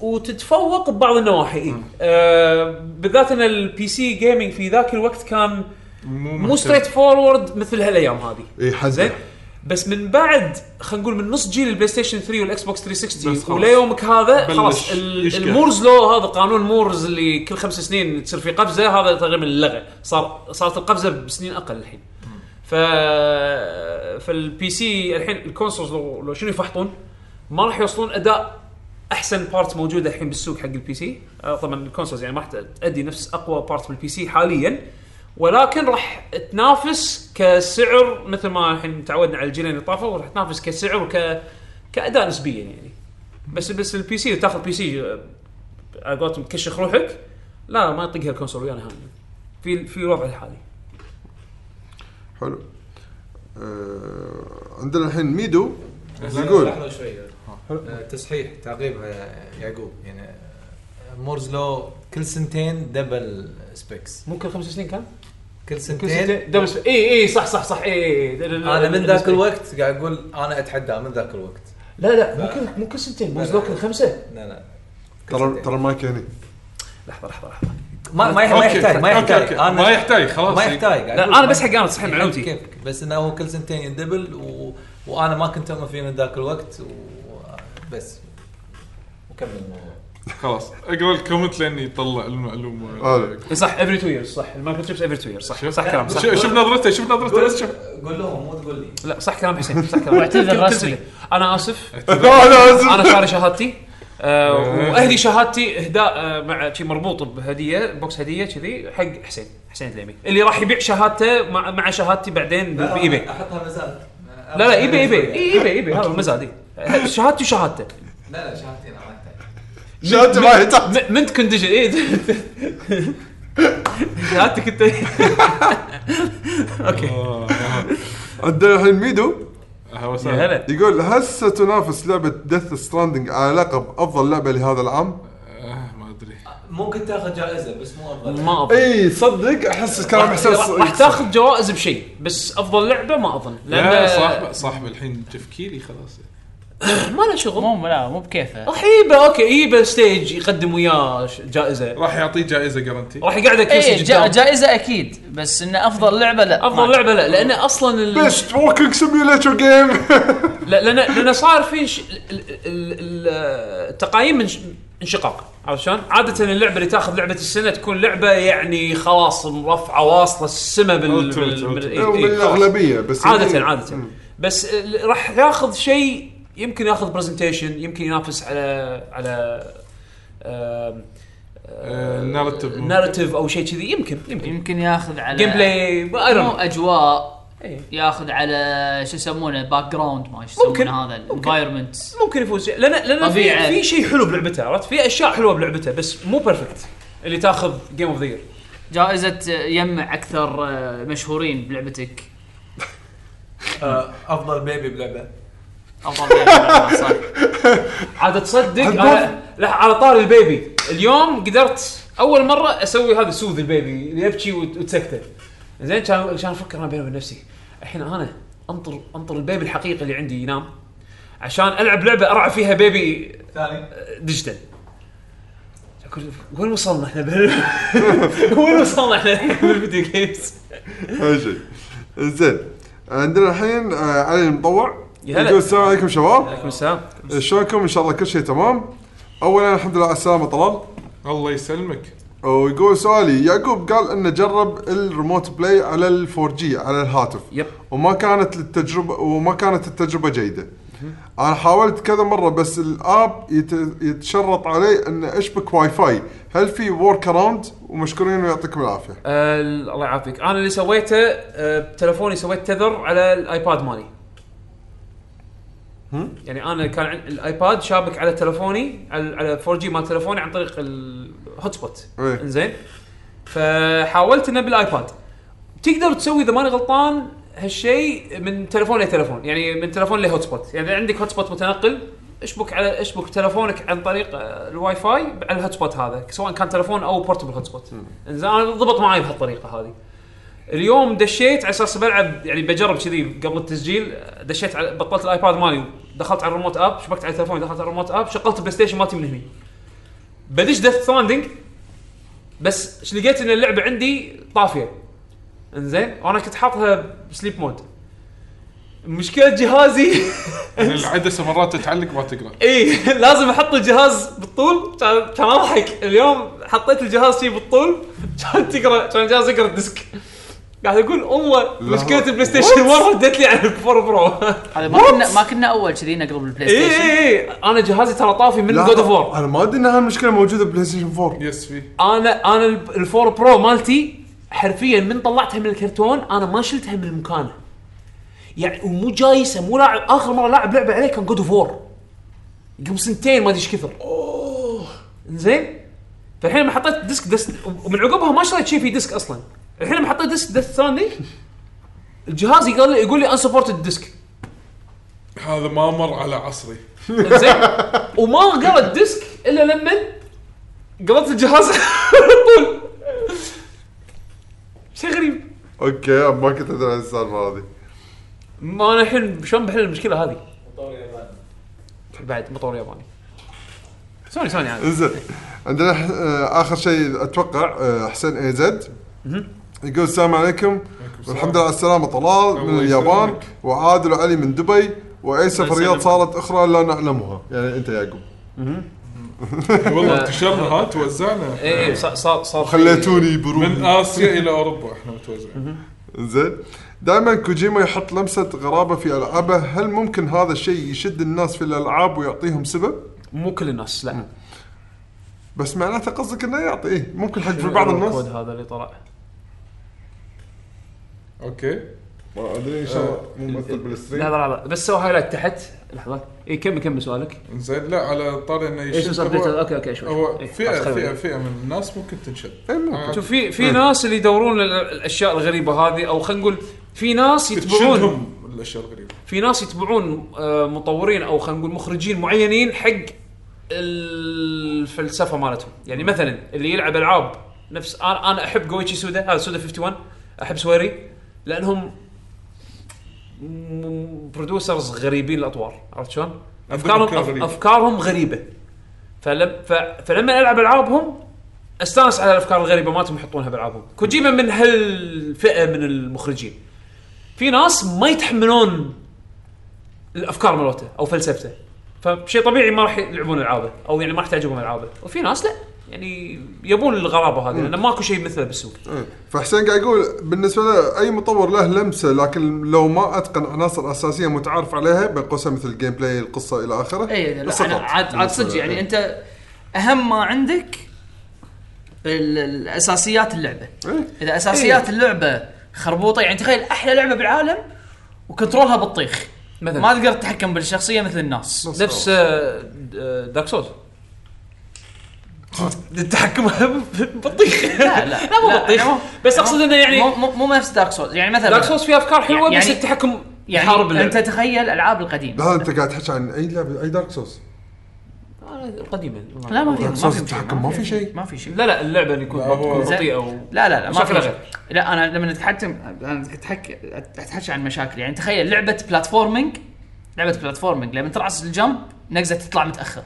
[SPEAKER 1] وتتفوق ببعض النواحي إيه. آه بالذات ان البي سي جيمنج في ذاك الوقت كان مو
[SPEAKER 3] محتاج.
[SPEAKER 1] ستريت فورورد مثل هالايام هذه
[SPEAKER 4] اي حزين
[SPEAKER 1] زين بس من بعد خلينا نقول من نص جيل البلاي ستيشن 3 والاكس بوكس
[SPEAKER 3] بس
[SPEAKER 1] 360
[SPEAKER 3] خلاص.
[SPEAKER 1] وليومك هذا
[SPEAKER 3] بلش
[SPEAKER 1] خلاص ال-
[SPEAKER 3] يشقى.
[SPEAKER 1] المورز لو هذا قانون مورز اللي كل خمس سنين تصير فيه قفزه هذا تقريبا لغى صار صارت القفزه بسنين اقل الحين ف فالبي سي الحين الكونسولز لو, لو شنو يفحطون ما راح يوصلون اداء احسن بارت موجوده الحين بالسوق حق البي سي آه، طبعا الكونسولز يعني ما راح تادي نفس اقوى بارت بالبي سي حاليا ولكن راح تنافس كسعر مثل ما الحين تعودنا على الجيلين اللي طافوا راح تنافس كسعر وك كاداء نسبيا يعني بس بس البي سي تاخذ بي سي آه، على قولتهم كشخ روحك لا ما يطقها الكونسول ويانا هم في في الوضع الحالي
[SPEAKER 4] حلو آه عندنا الحين ميدو يقول
[SPEAKER 6] لحظه شوي آه، تصحيح تعقيب آه، يعقوب يعني آه، مورز لو كل سنتين دبل سبيكس
[SPEAKER 1] مو كل خمس سنين كان؟
[SPEAKER 6] كل
[SPEAKER 1] كل
[SPEAKER 6] سنتين
[SPEAKER 1] سنتين دبل اي اي إيه، صح صح إيه، صح اي
[SPEAKER 6] انا من ذاك الوقت قاعد اقول انا اتحدى من ذاك الوقت
[SPEAKER 1] لا لا مو كل مو كل سنتين مو كل خمسه
[SPEAKER 6] لا لا كل
[SPEAKER 4] ترى
[SPEAKER 6] سنتين.
[SPEAKER 4] ترى المايك هني
[SPEAKER 1] لحظه لحظه لحظه
[SPEAKER 6] ما ما يح- ما يحتاج ما
[SPEAKER 3] أوكي،
[SPEAKER 6] يحتاج
[SPEAKER 3] أوكي.
[SPEAKER 6] أنا-
[SPEAKER 3] ما يحتاج، خلاص.
[SPEAKER 6] ما يحتاج قاعد
[SPEAKER 1] لا
[SPEAKER 6] أقول
[SPEAKER 1] انا
[SPEAKER 6] ما
[SPEAKER 1] بس حق انا صحيح
[SPEAKER 6] يحتاج
[SPEAKER 1] معلومتي
[SPEAKER 6] كيفك بس انه هو كل سنتين يندبل و... وانا ما كنت اؤمن فيه من ذاك الوقت و... بس وكمل الموضوع
[SPEAKER 3] خلاص اقرا الكومنت لاني يطلع المعلومه
[SPEAKER 4] آه.
[SPEAKER 1] صح افري تو ييرز صح المايكرو تشيبس افري تو ييرز صح صح كلام صح
[SPEAKER 3] شوف شوف نظرته شوف نظرته بس شوف
[SPEAKER 6] قول لهم مو تقول لي
[SPEAKER 1] لا صح كلام حسين صح كلام
[SPEAKER 11] واعتذر
[SPEAKER 1] كل- كل
[SPEAKER 11] رسمي.
[SPEAKER 1] سنة. انا اسف
[SPEAKER 4] لا، لا،
[SPEAKER 1] انا شاري شهادتي آه، واهدي شهادتي اهداء آه، مع شي مربوط بهديه بوكس هديه كذي حق حسين حسين العليمي اللي راح يبيع شهادته مع, مع شهادتي بعدين ب- بايباي
[SPEAKER 6] احطها مزاد
[SPEAKER 1] لا لا ايباي ايباي إي- ايباي ايباي هذا مزادي شهادتي وشهادته
[SPEAKER 6] لا لا شهادتين عرفتها
[SPEAKER 4] شهادتي ما يحتاج
[SPEAKER 1] م- منت كونديشن اي شهادتك انت اوكي
[SPEAKER 3] آه،
[SPEAKER 4] عندنا الحين ميدو
[SPEAKER 3] أهلا
[SPEAKER 1] يا
[SPEAKER 3] وسهلا.
[SPEAKER 1] هلا
[SPEAKER 4] يقول هل ستنافس لعبه ديث ستراندنج على لقب افضل لعبه لهذا العام؟
[SPEAKER 3] آه، ما ادري
[SPEAKER 6] ممكن تاخذ جائزه بس مو افضل
[SPEAKER 1] ما افضل
[SPEAKER 4] اي صدق احس كلام حسين
[SPEAKER 1] راح راح تاخذ جوائز بشيء بس افضل لعبه ما اظن
[SPEAKER 3] لا
[SPEAKER 1] لان
[SPEAKER 3] صاحب صاحب الحين تفكيري خلاص
[SPEAKER 1] ما له شغل
[SPEAKER 11] مو لا مو بكيفه
[SPEAKER 1] راح يبه اوكي يبه ستيج يقدم وياه ش- جائزه
[SPEAKER 3] راح يعطيه جائزه جرانتي
[SPEAKER 1] راح يقعد كرسي
[SPEAKER 11] اي إيه، جا
[SPEAKER 1] قدام
[SPEAKER 11] جائزه اكيد بس انه افضل لعبه لا
[SPEAKER 1] افضل
[SPEAKER 11] ما-
[SPEAKER 1] لعبه لا لان اصلا ال-
[SPEAKER 4] بيست ووكينج سيميوليتر جيم
[SPEAKER 1] لا لان لان صار في ش- ال- ال- ال- التقايم انش- انشقاق عرفت شلون؟ عادة اللعبة اللي تاخذ لعبة السنة تكون لعبة يعني خلاص مرفعة واصلة السماء بال
[SPEAKER 3] Ultimate،
[SPEAKER 1] بال- بال-
[SPEAKER 3] ultimate.
[SPEAKER 1] إي- إي، خلاص.
[SPEAKER 4] بالاغلبيه بس
[SPEAKER 1] عادة
[SPEAKER 4] يعني-
[SPEAKER 1] عادة بس ال- راح ياخذ شيء يمكن ياخذ برزنتيشن يمكن ينافس على على آم،
[SPEAKER 3] آه، narrative.
[SPEAKER 1] ناريتيف او شيء كذي يمكن يمكن
[SPEAKER 11] يمكن ياخذ على
[SPEAKER 1] جيم بلاي I don't
[SPEAKER 11] مو
[SPEAKER 1] know.
[SPEAKER 11] اجواء
[SPEAKER 1] إيه.
[SPEAKER 11] ياخذ على شو يسمونه باك جراوند ما شو
[SPEAKER 1] ممكن.
[SPEAKER 11] يسمونه هذا
[SPEAKER 1] ممكن.
[SPEAKER 11] الانفايرمنت
[SPEAKER 1] ممكن يفوز لان لان في
[SPEAKER 11] طبيعة.
[SPEAKER 1] في شيء حلو بلعبته عرفت في اشياء حلوه بلعبته بس مو بيرفكت اللي تاخذ جيم اوف ذا
[SPEAKER 11] جائزه يجمع اكثر آه، مشهورين بلعبتك
[SPEAKER 6] افضل بيبي بلعبه
[SPEAKER 11] افضل لعبة، صح
[SPEAKER 1] عاد تصدق
[SPEAKER 4] حبوب.
[SPEAKER 1] على, لا على طار البيبي اليوم قدرت اول مره اسوي هذا سوذ البيبي يبكي وت- وتسكته زين كان كان افكر انا بيني وبين نفسي الحين انا انطر انطر البيبي الحقيقي اللي عندي ينام عشان العب لعبه ارعى فيها بيبي
[SPEAKER 6] ثاني
[SPEAKER 1] ديجيتال أقول وين وصلنا احنا بال... وين وصلنا احنا بالفيديو جيمز
[SPEAKER 4] اي شيء زين عندنا الحين آه، علي المطوع
[SPEAKER 1] يا هلا.
[SPEAKER 4] يقول السلام عليكم شباب
[SPEAKER 1] عليكم السلام
[SPEAKER 4] شلونكم ان شاء الله كل شيء تمام اولا الحمد لله على السلامه طلال
[SPEAKER 3] الله يسلمك
[SPEAKER 4] ويقول سؤالي يعقوب قال انه جرب الريموت بلاي على الفور جي على الهاتف
[SPEAKER 1] يب.
[SPEAKER 4] وما كانت التجربه وما كانت التجربه جيده انا حاولت كذا مره بس الاب يت- يتشرط علي ان اشبك واي فاي هل في ورك اراوند ومشكورين ويعطيكم العافيه
[SPEAKER 1] آه، الله يعافيك انا اللي سويته آه، بتلفوني سويت تذر على الايباد مالي يعني انا كان عن- الايباد شابك على تلفوني على على 4 جي مال تلفوني عن طريق الهوت سبوت
[SPEAKER 4] إيه.
[SPEAKER 1] انزين فحاولت انه بالايباد تقدر تسوي اذا ماني غلطان هالشيء من تلفون لتلفون يعني من تلفون لهوت سبوت يعني اذا عندك هوت سبوت متنقل اشبك على اشبك تلفونك عن طريق آه، الواي فاي على الهوت سبوت هذا سواء كان تلفون او بورتبل هوت سبوت انزين انا ضبط معي بهالطريقه هذه اليوم دشيت على اساس بلعب يعني بجرب كذي قبل التسجيل دشيت على بطلت الايباد مالي دخلت على الريموت اب شبكت على تلفوني دخلت على الريموت اب شغلت البلاي ستيشن مالتي من هني بدش ديث ستراندنج بس ش- لقيت ان اللعبه عندي طافيه انزين وانا كنت حاطها بسليب مود مشكله جهازي
[SPEAKER 3] يعني العدسه مرات تتعلق ما تقرا
[SPEAKER 1] اي لازم احط الجهاز بالطول كان كان اضحك اليوم حطيت الجهاز شي بالطول كان تقرا كان الجهاز يقرا الديسك قاعد اقول والله مشكله البلاي ستيشن مره ردت لي على الفور برو إيه،
[SPEAKER 11] هذا ما كنا ما كنا اول كذي نقلب البلاي
[SPEAKER 1] اي
[SPEAKER 11] ستيشن
[SPEAKER 1] اي اي انا جهازي ترى طافي من
[SPEAKER 4] لا،
[SPEAKER 1] جود اوف وور
[SPEAKER 4] انا ما ادري ان هالمشكله موجوده بلاي ستيشن 4
[SPEAKER 3] يس في
[SPEAKER 1] انا انا ال- الفور برو مالتي حرفيا من طلعتها من الكرتون انا ما شلتها من مكانها يعني ومو جايسه مو لاعب اخر مره لاعب لعبه عليه كان جود اوف وور قبل سنتين ما ادري ايش كثر اوه زين فالحين لما حطيت ديسك ديسك ومن عقبها ما شريت شيء في ديسك اصلا الحين لما حطيت ديسك ديسك ثاني الجهاز يقول لي يقول لي انسبورتد ديسك
[SPEAKER 3] هذا ما مر على عصري
[SPEAKER 1] زين وما قرا الديسك الا لما قرأت الجهاز على طول شيء غريب
[SPEAKER 4] اوكي أنا ما كنت ادري عن السالفه هذه
[SPEAKER 1] ما انا الحين شلون بحل المشكله هذه؟ بعد مطور ياباني سوني سوني يعني. عادي
[SPEAKER 4] انزين عندنا ح- آه، اخر شيء اتوقع آه، حسين اي زد يقول السلام عليكم والحمد لله على السلامه طلال من
[SPEAKER 3] الله
[SPEAKER 4] اليابان
[SPEAKER 3] يسلمك.
[SPEAKER 4] وعادل وعلي من دبي وايسا في الرياض
[SPEAKER 1] يسلمك.
[SPEAKER 4] صارت اخرى لا نعلمها يعني انت يا يعقوب
[SPEAKER 3] والله انتشرنا ها توزعنا
[SPEAKER 1] اي صار صار إيه، صار في-
[SPEAKER 4] خليتوني
[SPEAKER 3] من
[SPEAKER 4] بروحي
[SPEAKER 3] اسيا الى اوروبا احنا متوزعين
[SPEAKER 4] زين دائما كوجيما يحط لمسه غرابه في العابه هل ممكن هذا الشيء يشد الناس في الالعاب ويعطيهم سبب
[SPEAKER 1] مو كل الناس لا
[SPEAKER 4] بس معناته قصدك انه يعطي إيه ممكن حق في بعض
[SPEAKER 1] الكود
[SPEAKER 4] الناس
[SPEAKER 1] هذا اللي طلع
[SPEAKER 3] اوكي
[SPEAKER 4] ما ادري ان شاء الله مو ممثل
[SPEAKER 1] لحظه
[SPEAKER 4] بالستريم
[SPEAKER 1] لحظه بس سوى هايلايت تحت لحظه اي كمل كمل سؤالك
[SPEAKER 3] زين لا على طاري انه
[SPEAKER 1] ايش
[SPEAKER 3] يشد
[SPEAKER 1] صار
[SPEAKER 3] هو-
[SPEAKER 1] اوكي اوكي شوي
[SPEAKER 3] هو
[SPEAKER 1] إيه، خلاص،
[SPEAKER 3] فئه
[SPEAKER 1] خلي
[SPEAKER 3] فئه
[SPEAKER 1] بالك.
[SPEAKER 3] فئه من الناس ممكن تنشد
[SPEAKER 4] إيه، ممكن.
[SPEAKER 1] شوف في في ناس اللي يدورون ال- الاشياء الغريبه هذه او خلينا نقول في ناس يتبعون
[SPEAKER 3] تشدهم الاشياء الغريبه
[SPEAKER 1] في ناس يتبعون آه، مطورين او خلينا نقول مخرجين معينين حق الفلسفه مالتهم يعني مثلا اللي يلعب العاب نفس انا انا احب جويتشي سودا هذا سودا 51 احب سويري لانهم برودوسرز غريبين الاطوار عرفت شلون؟
[SPEAKER 3] عندهم
[SPEAKER 1] افكارهم
[SPEAKER 3] أفكار غريبة.
[SPEAKER 1] أف- افكارهم غريبه فلم ف... فلما العب العابهم استانس على الافكار الغريبه مالتهم يحطونها بالعابهم كوجيما من هالفئه من المخرجين في ناس ما يتحملون الافكار مالته او فلسفته فشيء طبيعي ما راح يلعبون العابه او يعني ما راح تعجبهم العابه وفي ناس لا يعني يبون الغرابه هذه لان ماكو شيء مثله بالسوق
[SPEAKER 4] إيه. فحسين قاعد يقول بالنسبه له اي مطور له لمسه لكن لو ما اتقن عناصر اساسيه متعارف عليها بين قوسين مثل الجيم بلاي القصه الى اخره
[SPEAKER 5] اي إيه، لا،
[SPEAKER 4] السقط.
[SPEAKER 5] أنا عاد عاد صدق
[SPEAKER 4] إيه.
[SPEAKER 5] يعني انت اهم ما عندك ال- الاساسيات اللعبه
[SPEAKER 4] إيه.
[SPEAKER 5] اذا اساسيات اللعبه خربوطه يعني تخيل احلى لعبه بالعالم وكنترولها بطيخ
[SPEAKER 1] مثلا
[SPEAKER 5] ما تقدر تتحكم بالشخصيه مثل الناس
[SPEAKER 1] نفس آه، دارك سولز التحكم بطيخ
[SPEAKER 5] لا لا يعني
[SPEAKER 1] لا مو بطيخ بس اقصد انه
[SPEAKER 5] مو
[SPEAKER 1] يعني
[SPEAKER 5] مو, مو نفس دارك سولز يعني مثلا
[SPEAKER 1] دارك سولز فيها افكار حلوه بس
[SPEAKER 5] يعني-
[SPEAKER 1] التحكم
[SPEAKER 5] يعني
[SPEAKER 1] يحارب اللعب.
[SPEAKER 5] انت تخيل الالعاب القديمه
[SPEAKER 4] لا انت قاعد تحكي عن اي لعبه اي دارك سوس
[SPEAKER 1] قديما
[SPEAKER 5] لا ما في
[SPEAKER 4] دارك
[SPEAKER 5] ما
[SPEAKER 4] سولز
[SPEAKER 5] في شيء،
[SPEAKER 4] التحكم ما في شيء
[SPEAKER 5] ما في شيء
[SPEAKER 1] آه، لا لا اللعبه اللي يكون
[SPEAKER 3] لا، هو-
[SPEAKER 1] تكون بطيئه و...
[SPEAKER 5] لا لا لا ما في
[SPEAKER 1] مشاكل
[SPEAKER 5] شيء.
[SPEAKER 1] غير.
[SPEAKER 5] لا انا لما اتحكم انا كنت أتحك- اتحكي عن مشاكل يعني تخيل لعبه بلاتفورمينج لعبه بلاتفورمينج لما ترعص الجنب نقزه تطلع متاخر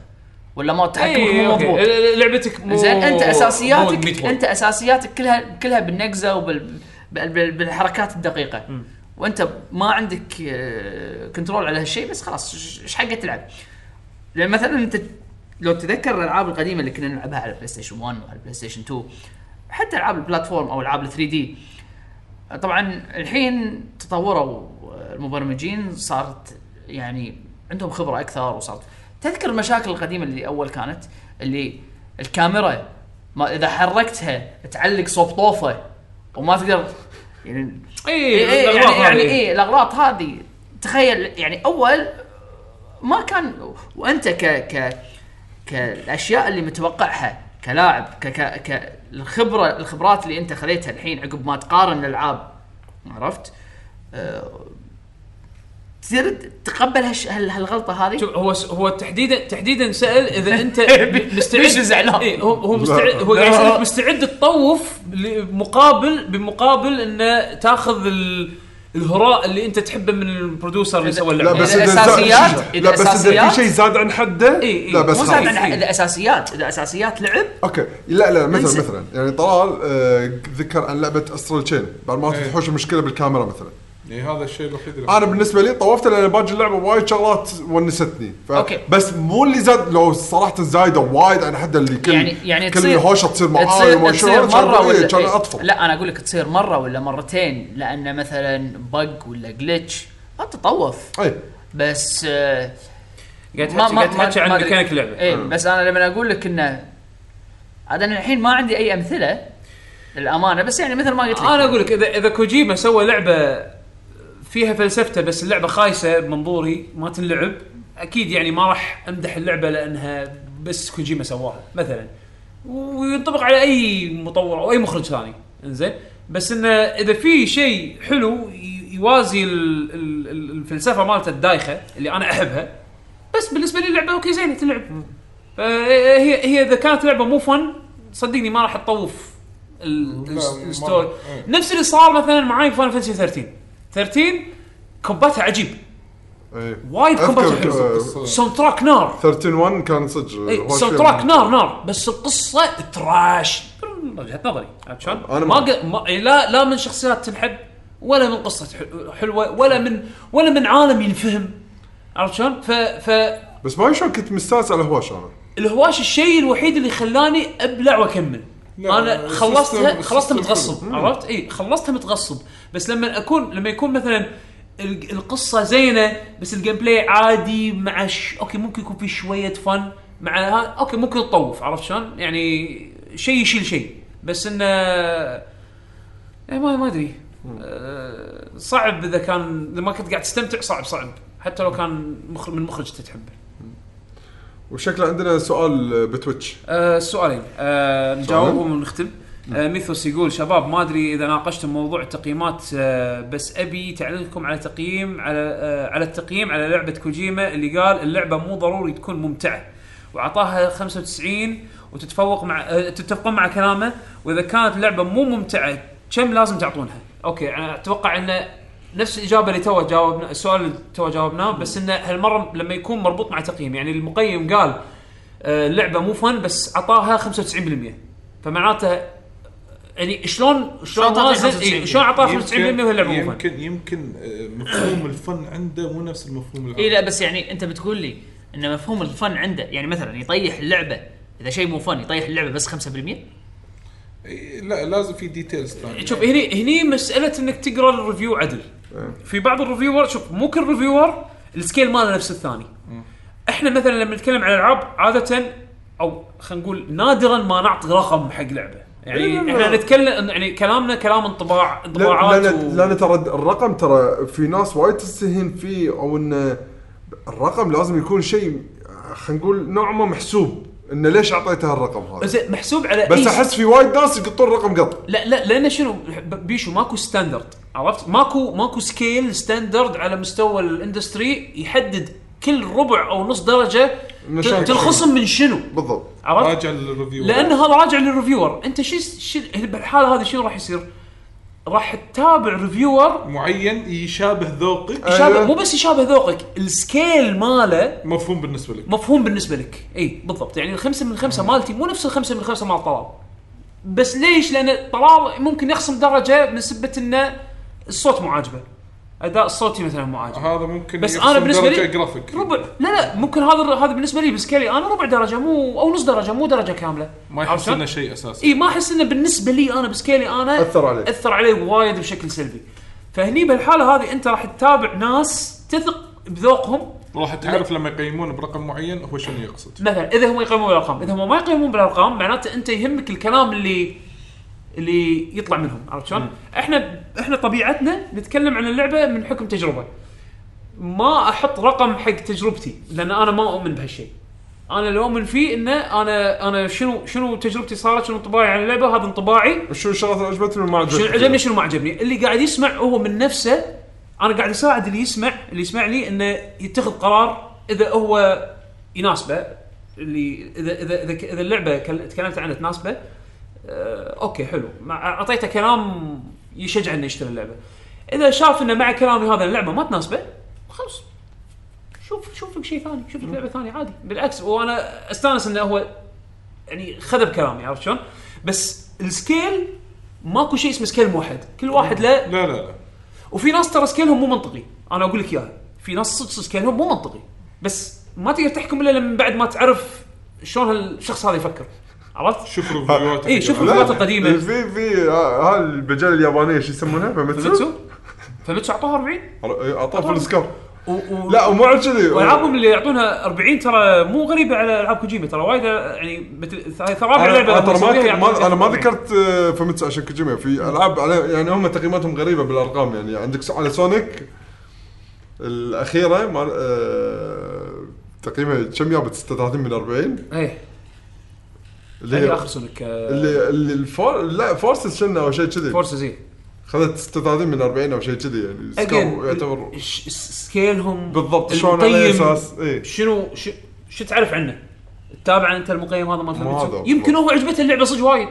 [SPEAKER 5] ولا ما تحكمك
[SPEAKER 1] أي،
[SPEAKER 5] مو
[SPEAKER 1] إيه، أوكي.
[SPEAKER 5] مضبوط
[SPEAKER 1] ل- لعبتك مو
[SPEAKER 5] زين انت
[SPEAKER 1] مو Meat
[SPEAKER 5] اساسياتك
[SPEAKER 1] Boy.
[SPEAKER 5] انت اساسياتك كلها كلها بالنقزه وبال بال- بال- بالحركات الدقيقه وانت ما عندك آه، كنترول على هالشيء بس خلاص ش- ايش حقك تلعب؟ لان مثلا انت لو تتذكر الالعاب القديمه اللي كنا نلعبها على بلاي ستيشن 1 وعلى بلاي ستيشن 2 حتى العاب البلاتفورم او العاب ال 3 دي طبعا الحين تطوروا المبرمجين صارت يعني عندهم خبره اكثر وصارت تذكر المشاكل القديمه اللي اول كانت اللي الكاميرا ما اذا حركتها تعلق صوب طوفه وما تقدر يعني
[SPEAKER 1] اي
[SPEAKER 5] إيه إيه
[SPEAKER 1] الأغراض
[SPEAKER 5] يعني, يعني
[SPEAKER 1] هذه.
[SPEAKER 5] ايه الاغراض هذه تخيل يعني اول ما كان وانت ك ك كالاشياء اللي متوقعها كلاعب ك ك ك الخبره الخبرات اللي انت خذيتها الحين عقب ما تقارن الالعاب عرفت؟ أه تصير تقبل هالش- هال- هالغلطه هذه
[SPEAKER 1] شوف هو هو تحديدا تحديدا سال اذا انت مستعد
[SPEAKER 5] ليش زعلان؟
[SPEAKER 1] إيه، هو هو مستعد هو قاعد يسالك مستعد تطوف ل- مقابل بمقابل انه تاخذ ال- الهراء اللي انت تحبه من البرودوسر اللي سوى
[SPEAKER 4] لا
[SPEAKER 1] اللعبه
[SPEAKER 4] بس
[SPEAKER 5] إذا
[SPEAKER 4] إذا زاد-
[SPEAKER 5] الأساسيات- إذا
[SPEAKER 4] لا بس اذا
[SPEAKER 5] الأساسيات-
[SPEAKER 4] في شيء زاد عن حده
[SPEAKER 1] إي، إي.
[SPEAKER 4] لا بس
[SPEAKER 5] مو زاد
[SPEAKER 4] خلاص.
[SPEAKER 5] عن- اذا اساسيات اذا اساسيات لعب
[SPEAKER 4] اوكي لا لا مثلا
[SPEAKER 5] انسى.
[SPEAKER 4] مثلا يعني طلال آه، ذكر عن لعبه استرال تشين بعد ما
[SPEAKER 3] إيه.
[SPEAKER 4] تحوش المشكله بالكاميرا مثلا
[SPEAKER 3] يعني هذا الشيء الوحيد اللي
[SPEAKER 4] انا بالنسبه لي طوفت لان باقي اللعبه وايد شغلات ونستني ف...
[SPEAKER 5] أوكي.
[SPEAKER 4] بس مو اللي زاد لو صراحه زايده وايد عن حد اللي كل
[SPEAKER 5] يعني يعني
[SPEAKER 4] كل
[SPEAKER 5] تصير
[SPEAKER 4] الهوشه تصير معاي
[SPEAKER 5] تصير,
[SPEAKER 4] وما
[SPEAKER 5] تصير
[SPEAKER 4] شلون كان
[SPEAKER 5] مره
[SPEAKER 4] إيه،
[SPEAKER 5] ولا
[SPEAKER 4] كان
[SPEAKER 5] إيه.
[SPEAKER 4] اطفل
[SPEAKER 5] لا انا اقول لك تصير مره ولا مرتين لان مثلا بق ولا جلتش ما تطوف
[SPEAKER 4] اي
[SPEAKER 5] بس آه،
[SPEAKER 1] قاعد تحكي قاعد تحكي عن
[SPEAKER 5] أدري.
[SPEAKER 1] ميكانيك اللعبه
[SPEAKER 5] ايه بس انا لما اقول لك انه عاد انا الحين ما عندي اي امثله للامانه بس يعني مثل ما قلت لك
[SPEAKER 1] انا اقول لك اذا اذا كوجيما سوى لعبه فيها فلسفته بس اللعبه خايسه بمنظوري ما تنلعب اكيد يعني ما راح امدح اللعبه لانها بس كوجيما سواها مثلا وينطبق على اي مطور او اي مخرج ثاني انزين بس انه اذا في شيء حلو ي- يوازي ال- ال- ال- الفلسفه مالته الدايخه اللي انا احبها بس بالنسبه لي اللعبه اوكي زينه تلعب فهي آه، هي هي اذا كانت لعبه مو فن صدقني ما راح تطوف ال-
[SPEAKER 3] لا،
[SPEAKER 1] الس-
[SPEAKER 3] ما-
[SPEAKER 1] الستوري
[SPEAKER 3] إيه.
[SPEAKER 1] نفس اللي صار مثلا معاي فان فانسي 13 13 كومباتها عجيب
[SPEAKER 4] إيه.
[SPEAKER 1] وايد كومباتها
[SPEAKER 4] اذكر
[SPEAKER 1] حلو
[SPEAKER 4] آه،
[SPEAKER 1] ساوند تراك نار
[SPEAKER 4] 13 1 كان صدق يعني.
[SPEAKER 1] إيه،
[SPEAKER 4] هوش
[SPEAKER 1] ساوند
[SPEAKER 4] فيها.
[SPEAKER 1] تراك نار نار بس القصه تراش من وجهه نظري عرفت شلون؟
[SPEAKER 4] أنا
[SPEAKER 1] ما,
[SPEAKER 4] ما-
[SPEAKER 1] ق- ما إيه، لا لا من شخصيات تنحب ولا من قصه حل- حلوه ولا من ولا من عالم ينفهم عرفت شلون؟ ف ف
[SPEAKER 4] بس ما شلون كنت مستانس على هواش انا
[SPEAKER 1] الهواش الشيء الوحيد اللي خلاني ابلع واكمل
[SPEAKER 3] لا،
[SPEAKER 1] انا
[SPEAKER 3] السيستم-
[SPEAKER 1] خلصتها خلصتها
[SPEAKER 3] السيستم
[SPEAKER 1] متغصب عرفت اي خلصتها متغصب بس لما اكون لما يكون مثلا ال- القصه زينه بس الجيم بلاي عادي مع ش... اوكي ممكن يكون في شويه فن مع ها اوكي ممكن تطوف عرفت شلون؟ يعني شيء يشيل شيء بس انه إيه ما ما ادري آه، صعب اذا كان اذا ما كنت قاعد تستمتع صعب صعب حتى لو كان مخرج من مخرج تحبه.
[SPEAKER 4] وشكله عندنا سؤال بتويتش
[SPEAKER 1] آه، السؤالين آه، نجاوبهم ونختم آه، ميثوس يقول شباب ما ادري اذا ناقشتم موضوع التقييمات آه، بس ابي تعليقكم على تقييم على آه، على التقييم على لعبه كوجيما اللي قال اللعبه مو ضروري تكون ممتعه واعطاها 95 وتتفوق مع آه، تتفقون مع كلامه واذا كانت اللعبه مو ممتعه كم لازم تعطونها؟ اوكي انا اتوقع ان نفس الاجابه اللي تو جاوبنا السؤال اللي تو جاوبناه بس انه هالمره لما يكون مربوط مع تقييم يعني المقيم قال آه، اللعبه مو فن بس عطاها 95% فمعناته يعني شلون شلون
[SPEAKER 11] شلون تعطيه
[SPEAKER 1] وازن إيه،
[SPEAKER 11] 95%؟
[SPEAKER 1] شلون عطاه 95%
[SPEAKER 3] يمكن-
[SPEAKER 1] وهي اللعبه مو فن
[SPEAKER 3] يمكن يمكن آه، مفهوم الفن عنده مو نفس المفهوم العام
[SPEAKER 11] اي لا بس يعني انت بتقول لي ان مفهوم الفن عنده يعني مثلا يطيح اللعبه اذا شيء مو فن يطيح اللعبه بس 5%
[SPEAKER 3] إي، لا لازم في ديتيلز ثانيه
[SPEAKER 1] شوف هني هني مساله انك تقرا الريفيو عدل
[SPEAKER 4] إيه.
[SPEAKER 1] في بعض الريفيور شوف مو كل ريفيور السكيل ماله نفس الثاني احنا مثلا لما نتكلم عن العاب عاده او خلينا نقول نادرا ما نعطي رقم حق لعبه يعني
[SPEAKER 4] لا، لا، لا.
[SPEAKER 1] احنا نتكلم يعني كلامنا كلام انطباع
[SPEAKER 4] لا
[SPEAKER 1] انطباعات
[SPEAKER 4] لان لان ترى الرقم ترى في ناس وايد تستهين فيه او انه الرقم لازم يكون شيء خلينا نقول نوع ما محسوب انه ليش اعطيته الرقم هذا
[SPEAKER 1] زين محسوب على
[SPEAKER 4] بس
[SPEAKER 1] أي-
[SPEAKER 4] احس في وايد ناس يقطون الرقم قط
[SPEAKER 1] لا لا لان شنو بيشو ماكو ستاندرد عرفت ماكو ماكو سكيل ستاندرد على مستوى الاندستري يحدد كل ربع او نص درجه
[SPEAKER 4] إنه
[SPEAKER 1] ت-
[SPEAKER 4] شلون
[SPEAKER 1] تنخصم من شنو
[SPEAKER 4] بالضبط
[SPEAKER 1] عرفت
[SPEAKER 3] راجع للريفيو
[SPEAKER 1] لان هذا راجع للريفيور انت شو شو بالحاله هذه شنو راح يصير راح تتابع ريفيور
[SPEAKER 3] معين يشابه ذوقك
[SPEAKER 1] يشابه
[SPEAKER 4] أيوه.
[SPEAKER 1] مو بس يشابه ذوقك السكيل ماله
[SPEAKER 3] مفهوم بالنسبه لك
[SPEAKER 1] مفهوم بالنسبه لك اي بالضبط يعني الخمسه من
[SPEAKER 3] آه.
[SPEAKER 1] خمسه مالتي مو نفس الخمسه من خمسه مال طلال بس ليش؟ لان طلال ممكن يخصم درجه من سبه انه الصوت مو عاجبه اداء الصوتي مثلا مو عاجبه
[SPEAKER 3] هذا ممكن
[SPEAKER 1] بس
[SPEAKER 3] يحسب
[SPEAKER 1] أنا بالنسبة لي-
[SPEAKER 3] درجة جرافيك
[SPEAKER 1] ربع لا لا ممكن هذا هذا بالنسبه لي بسكيلي انا ربع درجه مو او نص درجه مو درجه كامله
[SPEAKER 3] ما
[SPEAKER 1] عرفت
[SPEAKER 3] يحس
[SPEAKER 1] شلون؟
[SPEAKER 3] انه شيء اساسي
[SPEAKER 1] اي ما احس انه بالنسبه لي انا بسكيلي انا
[SPEAKER 4] أثر عليك.
[SPEAKER 1] اثر علي وايد بشكل سلبي فهني بالحاله هذه انت راح تتابع ناس تثق بذوقهم
[SPEAKER 3] راح تعرف لما يقيمون برقم معين هو شنو يقصد
[SPEAKER 1] مثلا اذا هم يقيمون بالارقام اذا هم ما يقيمون بالارقام معناته انت يهمك الكلام اللي اللي يطلع منهم عرفت شلون؟ احنا احنا طبيعتنا نتكلم عن اللعبه من حكم تجربه ما احط رقم حق تجربتي لان انا ما اؤمن بهالشيء انا اللي اؤمن فيه انه انا انا شنو شنو تجربتي صارت شنو انطباعي عن اللعبه هذا انطباعي
[SPEAKER 4] شو الشغلات اللي عجبتني وما
[SPEAKER 1] شنو
[SPEAKER 4] عجبتني
[SPEAKER 1] عجبني شنو ما عجبني اللي قاعد يسمع هو من نفسه انا قاعد اساعد اللي يسمع اللي يسمع لي انه يتخذ قرار اذا هو يناسبه اللي اذا اذا اذا, إذا اللعبه كل- تكلمت عنها تناسبه آه اوكي حلو مع- اعطيته كلام يشجع انه يشتري اللعبه اذا شاف انه مع كلامي هذا اللعبه ما تناسبه خلاص شوف شوف لك شيء ثاني شوف لك لعبه ثانيه عادي بالعكس وانا استانس انه هو يعني خذ بكلامي عرفت شلون؟ بس السكيل ماكو شيء اسمه سكيل موحد، كل واحد له
[SPEAKER 3] لا لا لا
[SPEAKER 1] وفي ناس ترى سكيلهم مو منطقي، انا اقول لك اياها، في ناس صدق صدق سكيلهم مو منطقي، بس ما تقدر تحكم الا لما بعد ما تعرف شلون هالشخص هذا يفكر. عرفت؟
[SPEAKER 3] شوف ريفيوهات
[SPEAKER 1] اي إيه، شوف
[SPEAKER 4] لا.
[SPEAKER 1] الروايات القديمه
[SPEAKER 4] في في آه، ها البجال اليابانيه شو إيه، يسمونها
[SPEAKER 1] فمتسو
[SPEAKER 4] فمتسو
[SPEAKER 1] فمتسو اعطوها 40
[SPEAKER 4] اعطاه فول سكور
[SPEAKER 1] و... و...
[SPEAKER 4] لا ومو عاد كذي آه،
[SPEAKER 1] والعابهم اللي يعطونها 40 ترى مو غريبه على العاب كوجيما ترى وايد يعني مثل ثوابع
[SPEAKER 4] انا
[SPEAKER 1] اللعبه
[SPEAKER 4] أنا
[SPEAKER 1] لما
[SPEAKER 4] آه، ترى
[SPEAKER 1] يسويها
[SPEAKER 4] ما-
[SPEAKER 1] يعطونها
[SPEAKER 4] ما انا ما
[SPEAKER 1] 40.
[SPEAKER 4] ذكرت آه، فهمت عشان كوجيما في العاب على يعني هم تقييماتهم غريبه بالارقام يعني عندك على سونيك الاخيره مال آه، تقييمها كم جابت 36 من 40
[SPEAKER 1] ايه اللي
[SPEAKER 4] اللي هي
[SPEAKER 1] اخر سونيك آه،
[SPEAKER 4] اللي اللي الفور لا فورسز شنو او شيء كذي
[SPEAKER 1] فورسز اي
[SPEAKER 4] خذت 36 من 40 او شيء كذي يعني سكور يعتبر
[SPEAKER 1] Again، ش- س- سكيلهم
[SPEAKER 4] بالضبط شلون على إيه.
[SPEAKER 1] المقيم
[SPEAKER 4] اساس اي
[SPEAKER 1] شنو شو- شو تعرف عنه؟ تتابع انت المقيم هذا مال
[SPEAKER 4] ما
[SPEAKER 1] فميتسو؟
[SPEAKER 4] هذا إيه.
[SPEAKER 1] يمكن هو عجبته اللعبه صدق وايد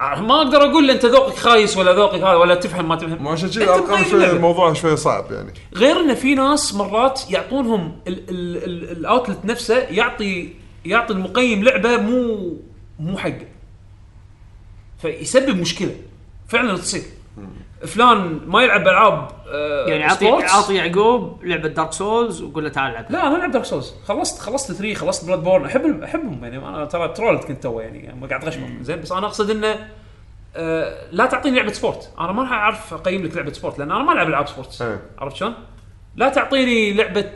[SPEAKER 1] آه، ما اقدر اقول له انت ذوقك خايس ولا ذوقك هذا ولا تفهم ما تفهم
[SPEAKER 4] ما عشان كذي
[SPEAKER 1] أنت
[SPEAKER 4] الارقام
[SPEAKER 1] مقيم
[SPEAKER 4] شوي
[SPEAKER 1] اللعبة.
[SPEAKER 4] الموضوع شوي صعب يعني
[SPEAKER 1] غير ان في ناس مرات يعطونهم ال- ال- ال- الاوتلت نفسه يعطي يعطي المقيم لعبه مو مو حقه فيسبب مشكله فعلا تصير فلان ما يلعب العاب آه،
[SPEAKER 11] يعني اعطي
[SPEAKER 1] سبورتس.
[SPEAKER 11] اعطي يعقوب لعبه دارك سولز وقول له تعال العب
[SPEAKER 1] لا انا العب دارك سولز خلصت خلصت 3 خلصت بلاد بورن احب احبهم يعني انا ترى ترولت كنت تو يعني ما قاعد غشمهم زين بس انا اقصد انه آه لا تعطيني لعبه سبورت انا ما راح اعرف اقيم لك لعبه سبورت لان انا ما العب العاب سبورت
[SPEAKER 4] إيه.
[SPEAKER 1] عرفت شلون؟ لا تعطيني آه، لعبه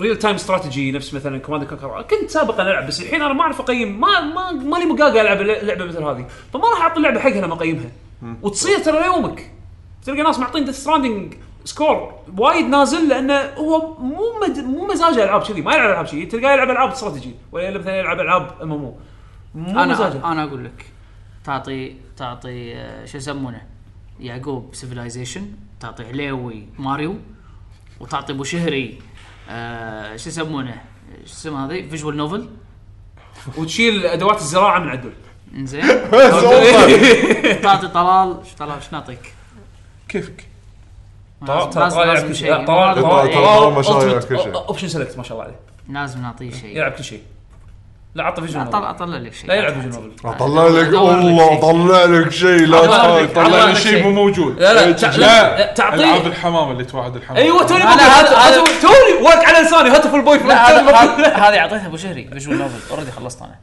[SPEAKER 1] ريل تايم استراتيجي نفس مثلا كوماند كونكر كنت سابقا العب بس الحين انا ما اعرف اقيم ما ما مالي مقاقه العب لعبه مثل هذه فما راح اعطي اللعبه حقها لما اقيمها وتصير ترى ليومك تلقى ناس معطين ديث ستراندنج سكور وايد نازل لانه هو مو مد... مو مزاجه العاب كذي ما يلعب العاب كذي تلقاه يلعب العاب استراتيجي ولا مثلا يلعب العاب ام ام مو مزاجه
[SPEAKER 5] انا انا اقول لك تعطي تعطي آه، شو يسمونه يعقوب سيفلايزيشن تعطي عليوي ماريو وتعطي ابو شهري آه، شو يسمونه شو اسمه هذه فيجوال نوفل
[SPEAKER 1] وتشيل ادوات الزراعه من عدل
[SPEAKER 5] انزين تعطي طلال شو طلال شو نعطيك؟
[SPEAKER 3] كيفك
[SPEAKER 1] طلال
[SPEAKER 5] لازم-
[SPEAKER 1] طلال يلعب
[SPEAKER 5] لازم
[SPEAKER 1] كل شيء
[SPEAKER 5] شيء.
[SPEAKER 1] لا، طلال طلال
[SPEAKER 5] إيه.
[SPEAKER 4] طلال ما شاء الله يلعب كل شيء.
[SPEAKER 1] اوبشن سيلكت ما شاء الله عليه
[SPEAKER 5] لازم نعطيه إيه، شيء
[SPEAKER 1] يلعب كل شيء لا عطى فيجن
[SPEAKER 5] اطلع اطلع لك شيء
[SPEAKER 1] لا يلعب فيجن نوفل
[SPEAKER 4] اطلع لك
[SPEAKER 5] أدور لك
[SPEAKER 4] والله
[SPEAKER 5] شيء.
[SPEAKER 4] اطلع لك شيء لا
[SPEAKER 1] أطلع
[SPEAKER 4] تخاف.
[SPEAKER 1] لك-
[SPEAKER 3] طلع
[SPEAKER 1] أعطاني
[SPEAKER 3] لي
[SPEAKER 1] شيء.
[SPEAKER 3] طيب، شيء مو موجود
[SPEAKER 1] طيب. لا لا تع- لا
[SPEAKER 3] العاب
[SPEAKER 1] تعطيه
[SPEAKER 3] الحمام اللي توعد الحمام
[SPEAKER 1] ايوه توني
[SPEAKER 5] أنا هذا- هذا-
[SPEAKER 1] بقول- توني ورك على لساني هاتفول بوي
[SPEAKER 5] لا هذا-
[SPEAKER 1] فريند
[SPEAKER 5] هذا- هذه اعطيتها ابو شهري فيجوال نوفل اوريدي خلصت انا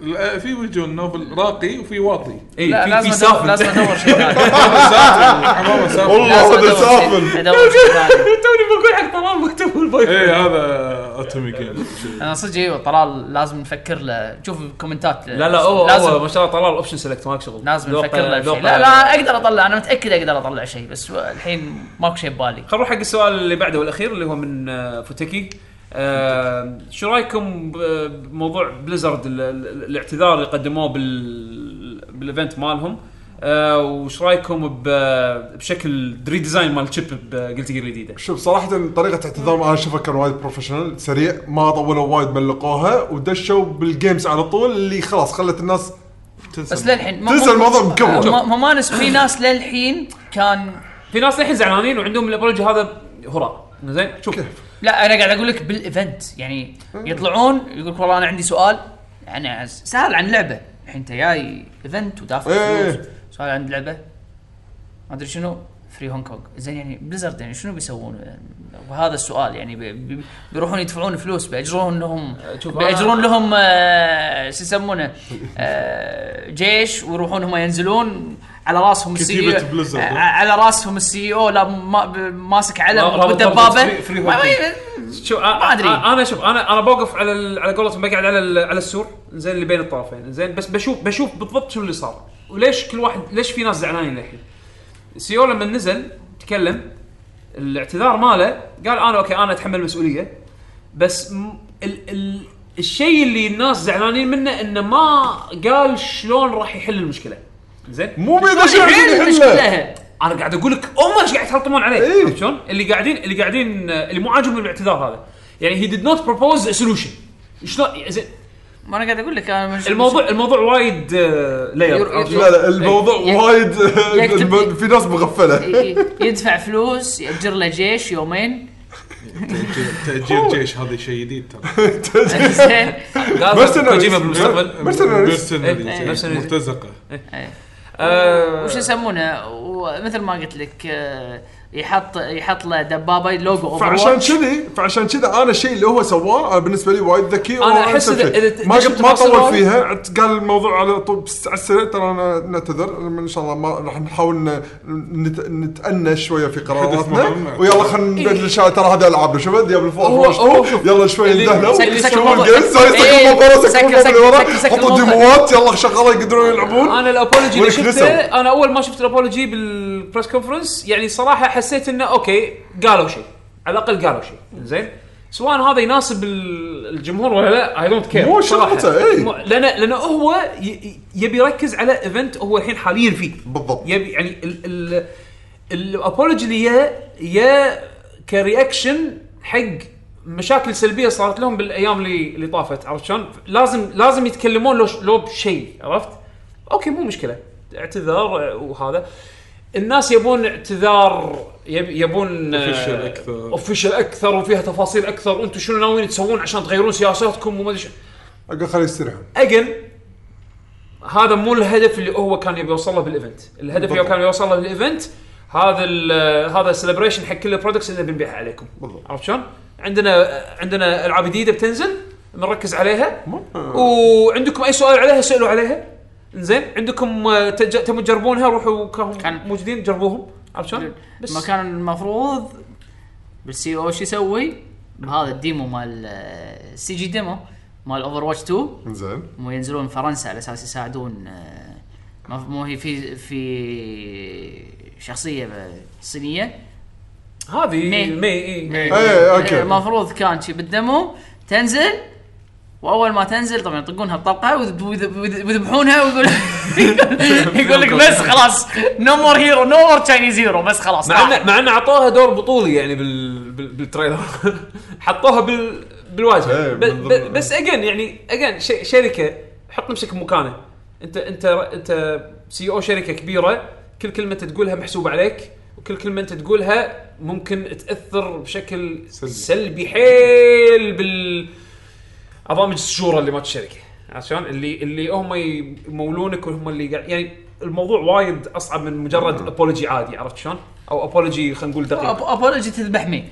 [SPEAKER 3] لا، في وجون نوبل راقي وفي واطي
[SPEAKER 5] لا
[SPEAKER 1] اي إيه، في
[SPEAKER 5] لازم أدور-
[SPEAKER 1] سافن
[SPEAKER 5] لازم ادور شيء ثاني
[SPEAKER 3] الحمام سافر
[SPEAKER 4] والله
[SPEAKER 5] لازم
[SPEAKER 4] هذا
[SPEAKER 5] أدور شيء-
[SPEAKER 4] سافل
[SPEAKER 5] ادور شيء ثاني
[SPEAKER 1] توني بقول حق طلال مكتوب البوي
[SPEAKER 3] اي إيه، هذا اتومي جيم
[SPEAKER 5] انا صدق ايوه طلال لازم نفكر له شوف الكومنتات
[SPEAKER 1] لا لا هو
[SPEAKER 5] لازم
[SPEAKER 1] هو ما شاء الله طلال اوبشن سيلكت ماك شغل
[SPEAKER 5] لازم
[SPEAKER 1] ذوقه-
[SPEAKER 5] نفكر له
[SPEAKER 1] ذوقه-
[SPEAKER 5] شيء لا لا اقدر اطلع انا متاكد اقدر اطلع شيء بس الحين ماكو شيء ببالي
[SPEAKER 1] خلينا نروح حق السؤال اللي بعده والاخير اللي هو من آه، فوتكي آه، شو رايكم ب- بموضوع بليزرد ال- ال- الاعتذار اللي قدموه بال بالايفنت مالهم آه، وش رايكم ب- بشكل ريديزاين مال تشيب بقلت جير الجديده
[SPEAKER 4] شوف صراحة طريقة اعتذارهم انا اشوفها كان وايد بروفيشنال سريع ما طولوا وايد ملقوها ودشوا بالجيمز على طول اللي خلاص خلت الناس
[SPEAKER 5] بس للحين ما-
[SPEAKER 4] تنسى
[SPEAKER 5] ما-
[SPEAKER 4] الموضوع مكبر.
[SPEAKER 5] ما- ما ما نس في ناس للحين كان
[SPEAKER 1] في ناس للحين زعلانين وعندهم الابولوجي هذا هراء زين شوف
[SPEAKER 5] لا انا قاعد اقول لك بالايفنت يعني يطلعون يقول لك والله انا عندي سؤال انا عز- سال عن لعبه الحين انت جاي ايفنت ودافع
[SPEAKER 4] إيه.
[SPEAKER 5] فلوس سؤال عن لعبه ما ادري شنو فري هونغ كونغ زين يعني بليزرد يعني شنو بيسوون وهذا السؤال يعني بي- بي- بيروحون يدفعون فلوس بياجرون لهم
[SPEAKER 1] شوف أنا-
[SPEAKER 5] بياجرون لهم آه، شو يسمونه آه، جيش ويروحون هم ينزلون على راسهم السي
[SPEAKER 3] كتيبة بليزرد.
[SPEAKER 5] آه، على راسهم السي او لا ما- ماسك علم
[SPEAKER 1] رابط- رابط
[SPEAKER 5] والدبابه
[SPEAKER 1] فري- فري
[SPEAKER 5] ما-
[SPEAKER 1] هوكينج.
[SPEAKER 5] ما-
[SPEAKER 1] شو ما
[SPEAKER 5] أدري.
[SPEAKER 1] انا شوف انا انا بوقف على ال- على قولتهم بقعد على ال- على السور زين اللي بين الطرفين زين بس بشوف بشوف بالضبط شو اللي صار وليش كل واحد ليش في ناس زعلانين للحين سيو لما نزل تكلم الاعتذار ماله قال انا اوكي انا اتحمل مسؤوليه بس م- ال ال الشيء اللي الناس زعلانين منه انه ما قال شلون راح يحل المشكله زين
[SPEAKER 4] مو بيد شيء
[SPEAKER 5] الحين المشكله
[SPEAKER 1] انا قاعد اقول لك هم ايش قاعد يتحطمون عليه
[SPEAKER 4] إيه.
[SPEAKER 1] عرفت شلون؟ اللي قاعدين اللي قاعدين اللي مو عاجبهم الاعتذار هذا يعني هي ديد نوت بروبوز سولوشن شلون زين
[SPEAKER 5] ما انا قاعد اقول لك انا مش
[SPEAKER 1] الموضوع الموضوع وايد آه، لاير
[SPEAKER 5] ير-
[SPEAKER 4] لا لا الموضوع
[SPEAKER 5] يك-
[SPEAKER 4] وايد
[SPEAKER 5] يكتب-
[SPEAKER 4] في ناس مغفلة
[SPEAKER 5] ي- ي- يدفع فلوس ياجر له جيش يومين
[SPEAKER 3] تاجير جيش هذا شيء جديد ترى
[SPEAKER 5] زين
[SPEAKER 4] بس أنا- إيه،
[SPEAKER 1] كوجيما بالمستقبل
[SPEAKER 4] مرسنريز
[SPEAKER 5] إيه.
[SPEAKER 3] مرسنريز مرتزقه
[SPEAKER 1] آه،
[SPEAKER 5] وش يسمونه ومثل ما قلت لك آه، يحط يحط له دبابه لوجو اوفر
[SPEAKER 4] فعشان
[SPEAKER 5] واتش
[SPEAKER 4] كذي فعشان كذي انا الشيء اللي هو سواه أنا بالنسبه لي وايد ذكي
[SPEAKER 1] أنا أحس
[SPEAKER 4] وأنسب
[SPEAKER 1] إذا-
[SPEAKER 4] شيء.
[SPEAKER 1] إذا
[SPEAKER 4] ما
[SPEAKER 1] تدش
[SPEAKER 4] قلت ما
[SPEAKER 1] بتفاصيل
[SPEAKER 4] طول
[SPEAKER 1] وايد.
[SPEAKER 4] فيها عد- قال الموضوع على طول بس- على السريع ترى أنا نعتذر أنا ان شاء الله ما راح نحاول ن- نت- نتأنى شويه في قراراتنا
[SPEAKER 3] مهم.
[SPEAKER 4] ويلا خلينا نبدل شغله ترى هذا العاب شباب ديابل
[SPEAKER 1] إيه. هو- هو شوف.
[SPEAKER 4] يلا شوي
[SPEAKER 1] اللي-
[SPEAKER 4] اندهنا
[SPEAKER 1] سكر-
[SPEAKER 5] سكر
[SPEAKER 4] شوفوا
[SPEAKER 5] الموضوع.
[SPEAKER 4] الجيم، سكر
[SPEAKER 5] إيه.
[SPEAKER 4] الموضوع
[SPEAKER 5] سكر-
[SPEAKER 4] سكر الموضوع اللي
[SPEAKER 5] سكر-
[SPEAKER 4] ورا
[SPEAKER 5] سكر- سكر
[SPEAKER 4] حطوا
[SPEAKER 5] الموضوع.
[SPEAKER 4] ديموات يلا شغاله يقدرون يلعبون
[SPEAKER 1] انا الابولوجي اللي
[SPEAKER 4] والكريسو.
[SPEAKER 1] شفته انا اول ما شفت الابولوجي بالبريس كونفرنس يعني صراحه حسيت انه اوكي قالوا شيء على الاقل قالوا شيء زين سواء هذا يناسب ال- الجمهور ولا لا اي دونت كير
[SPEAKER 4] مو شرطه، إي.
[SPEAKER 1] لان لان هو ي- ي- يبي يركز على ايفنت هو الحين حاليا فيه
[SPEAKER 4] بالضبط
[SPEAKER 1] يبي يعني ال ال الابولوجي اللي يا يا كرياكشن حق مشاكل سلبيه صارت لهم بالايام اللي اللي طافت عرفت شلون؟ لازم لازم يتكلمون لو ش- لو بشيء عرفت؟ اوكي مو مشكله اعتذار آه، وهذا الناس يبون اعتذار يب- يبون
[SPEAKER 3] Official أكثر.
[SPEAKER 1] اوفيشال اكثر وفيها تفاصيل اكثر وانتم شنو ناويين تسوون عشان تغيرون سياساتكم وما ادري شنو
[SPEAKER 4] اقول خليه يستريحون
[SPEAKER 1] اجن هذا مو الهدف اللي هو كان يبي يوصل له بالايفنت، الهدف اللي هو كان يوصل له بالايفنت هذا ال- هذا السليبريشن حق كل البرودكتس اللي بنبيعها عليكم
[SPEAKER 4] بالضبط.
[SPEAKER 1] عرفت شلون؟ عندنا عندنا العاب جديده بتنزل بنركز عليها
[SPEAKER 4] ما-
[SPEAKER 1] وعندكم اي سؤال عليها سالوا عليها زين عندكم آه، تج- تبون تجربونها روحوا كانوا
[SPEAKER 5] كان-
[SPEAKER 1] موجودين جربوهم عرفت شلون؟ بس
[SPEAKER 5] ما كان المفروض بالسي او شو يسوي؟ بهذا الديمو مال آه، سي جي ديمو مال اوفر واتش 2
[SPEAKER 4] زين
[SPEAKER 5] مو ينزلون فرنسا على اساس يساعدون آه، ما- مو هي في في شخصيه ب- صينيه
[SPEAKER 1] هذه إيه.
[SPEAKER 5] مي.
[SPEAKER 1] مي اي
[SPEAKER 4] ايه
[SPEAKER 5] آه،
[SPEAKER 4] اوكي
[SPEAKER 5] المفروض كان شي بالدمو تنزل واول ما تنزل طبعا يطقونها بطلقه ويذب- ويذب- ويذب- ويذبحونها ويقول يقول لك بس خلاص نو مور هيرو نو مور تشاينيز هيرو بس خلاص
[SPEAKER 1] مع ان مع ان اعطوها دور بطولي يعني بال... بال... بالتريلر حطوها بال... بالواجهه
[SPEAKER 4] إيه،
[SPEAKER 1] ب...
[SPEAKER 4] بالضبط.
[SPEAKER 1] ب... بس اجين يعني اجين ش... شركه حط نفسك مكانه انت انت انت سي او شركه كبيره كل كلمه انت تقولها محسوبه عليك وكل كلمه انت تقولها ممكن تاثر بشكل سلبي, سلبي حيل بال برامج الشورى اللي مالت الشركه عرفت شلون؟ اللي اللي هم يمولونك وهم اللي قاعد يعني الموضوع وايد اصعب من مجرد ابولوجي عادي عرفت شلون؟ او ابولوجي خلينا نقول دقيق
[SPEAKER 5] ابولوجي آه، تذبح مين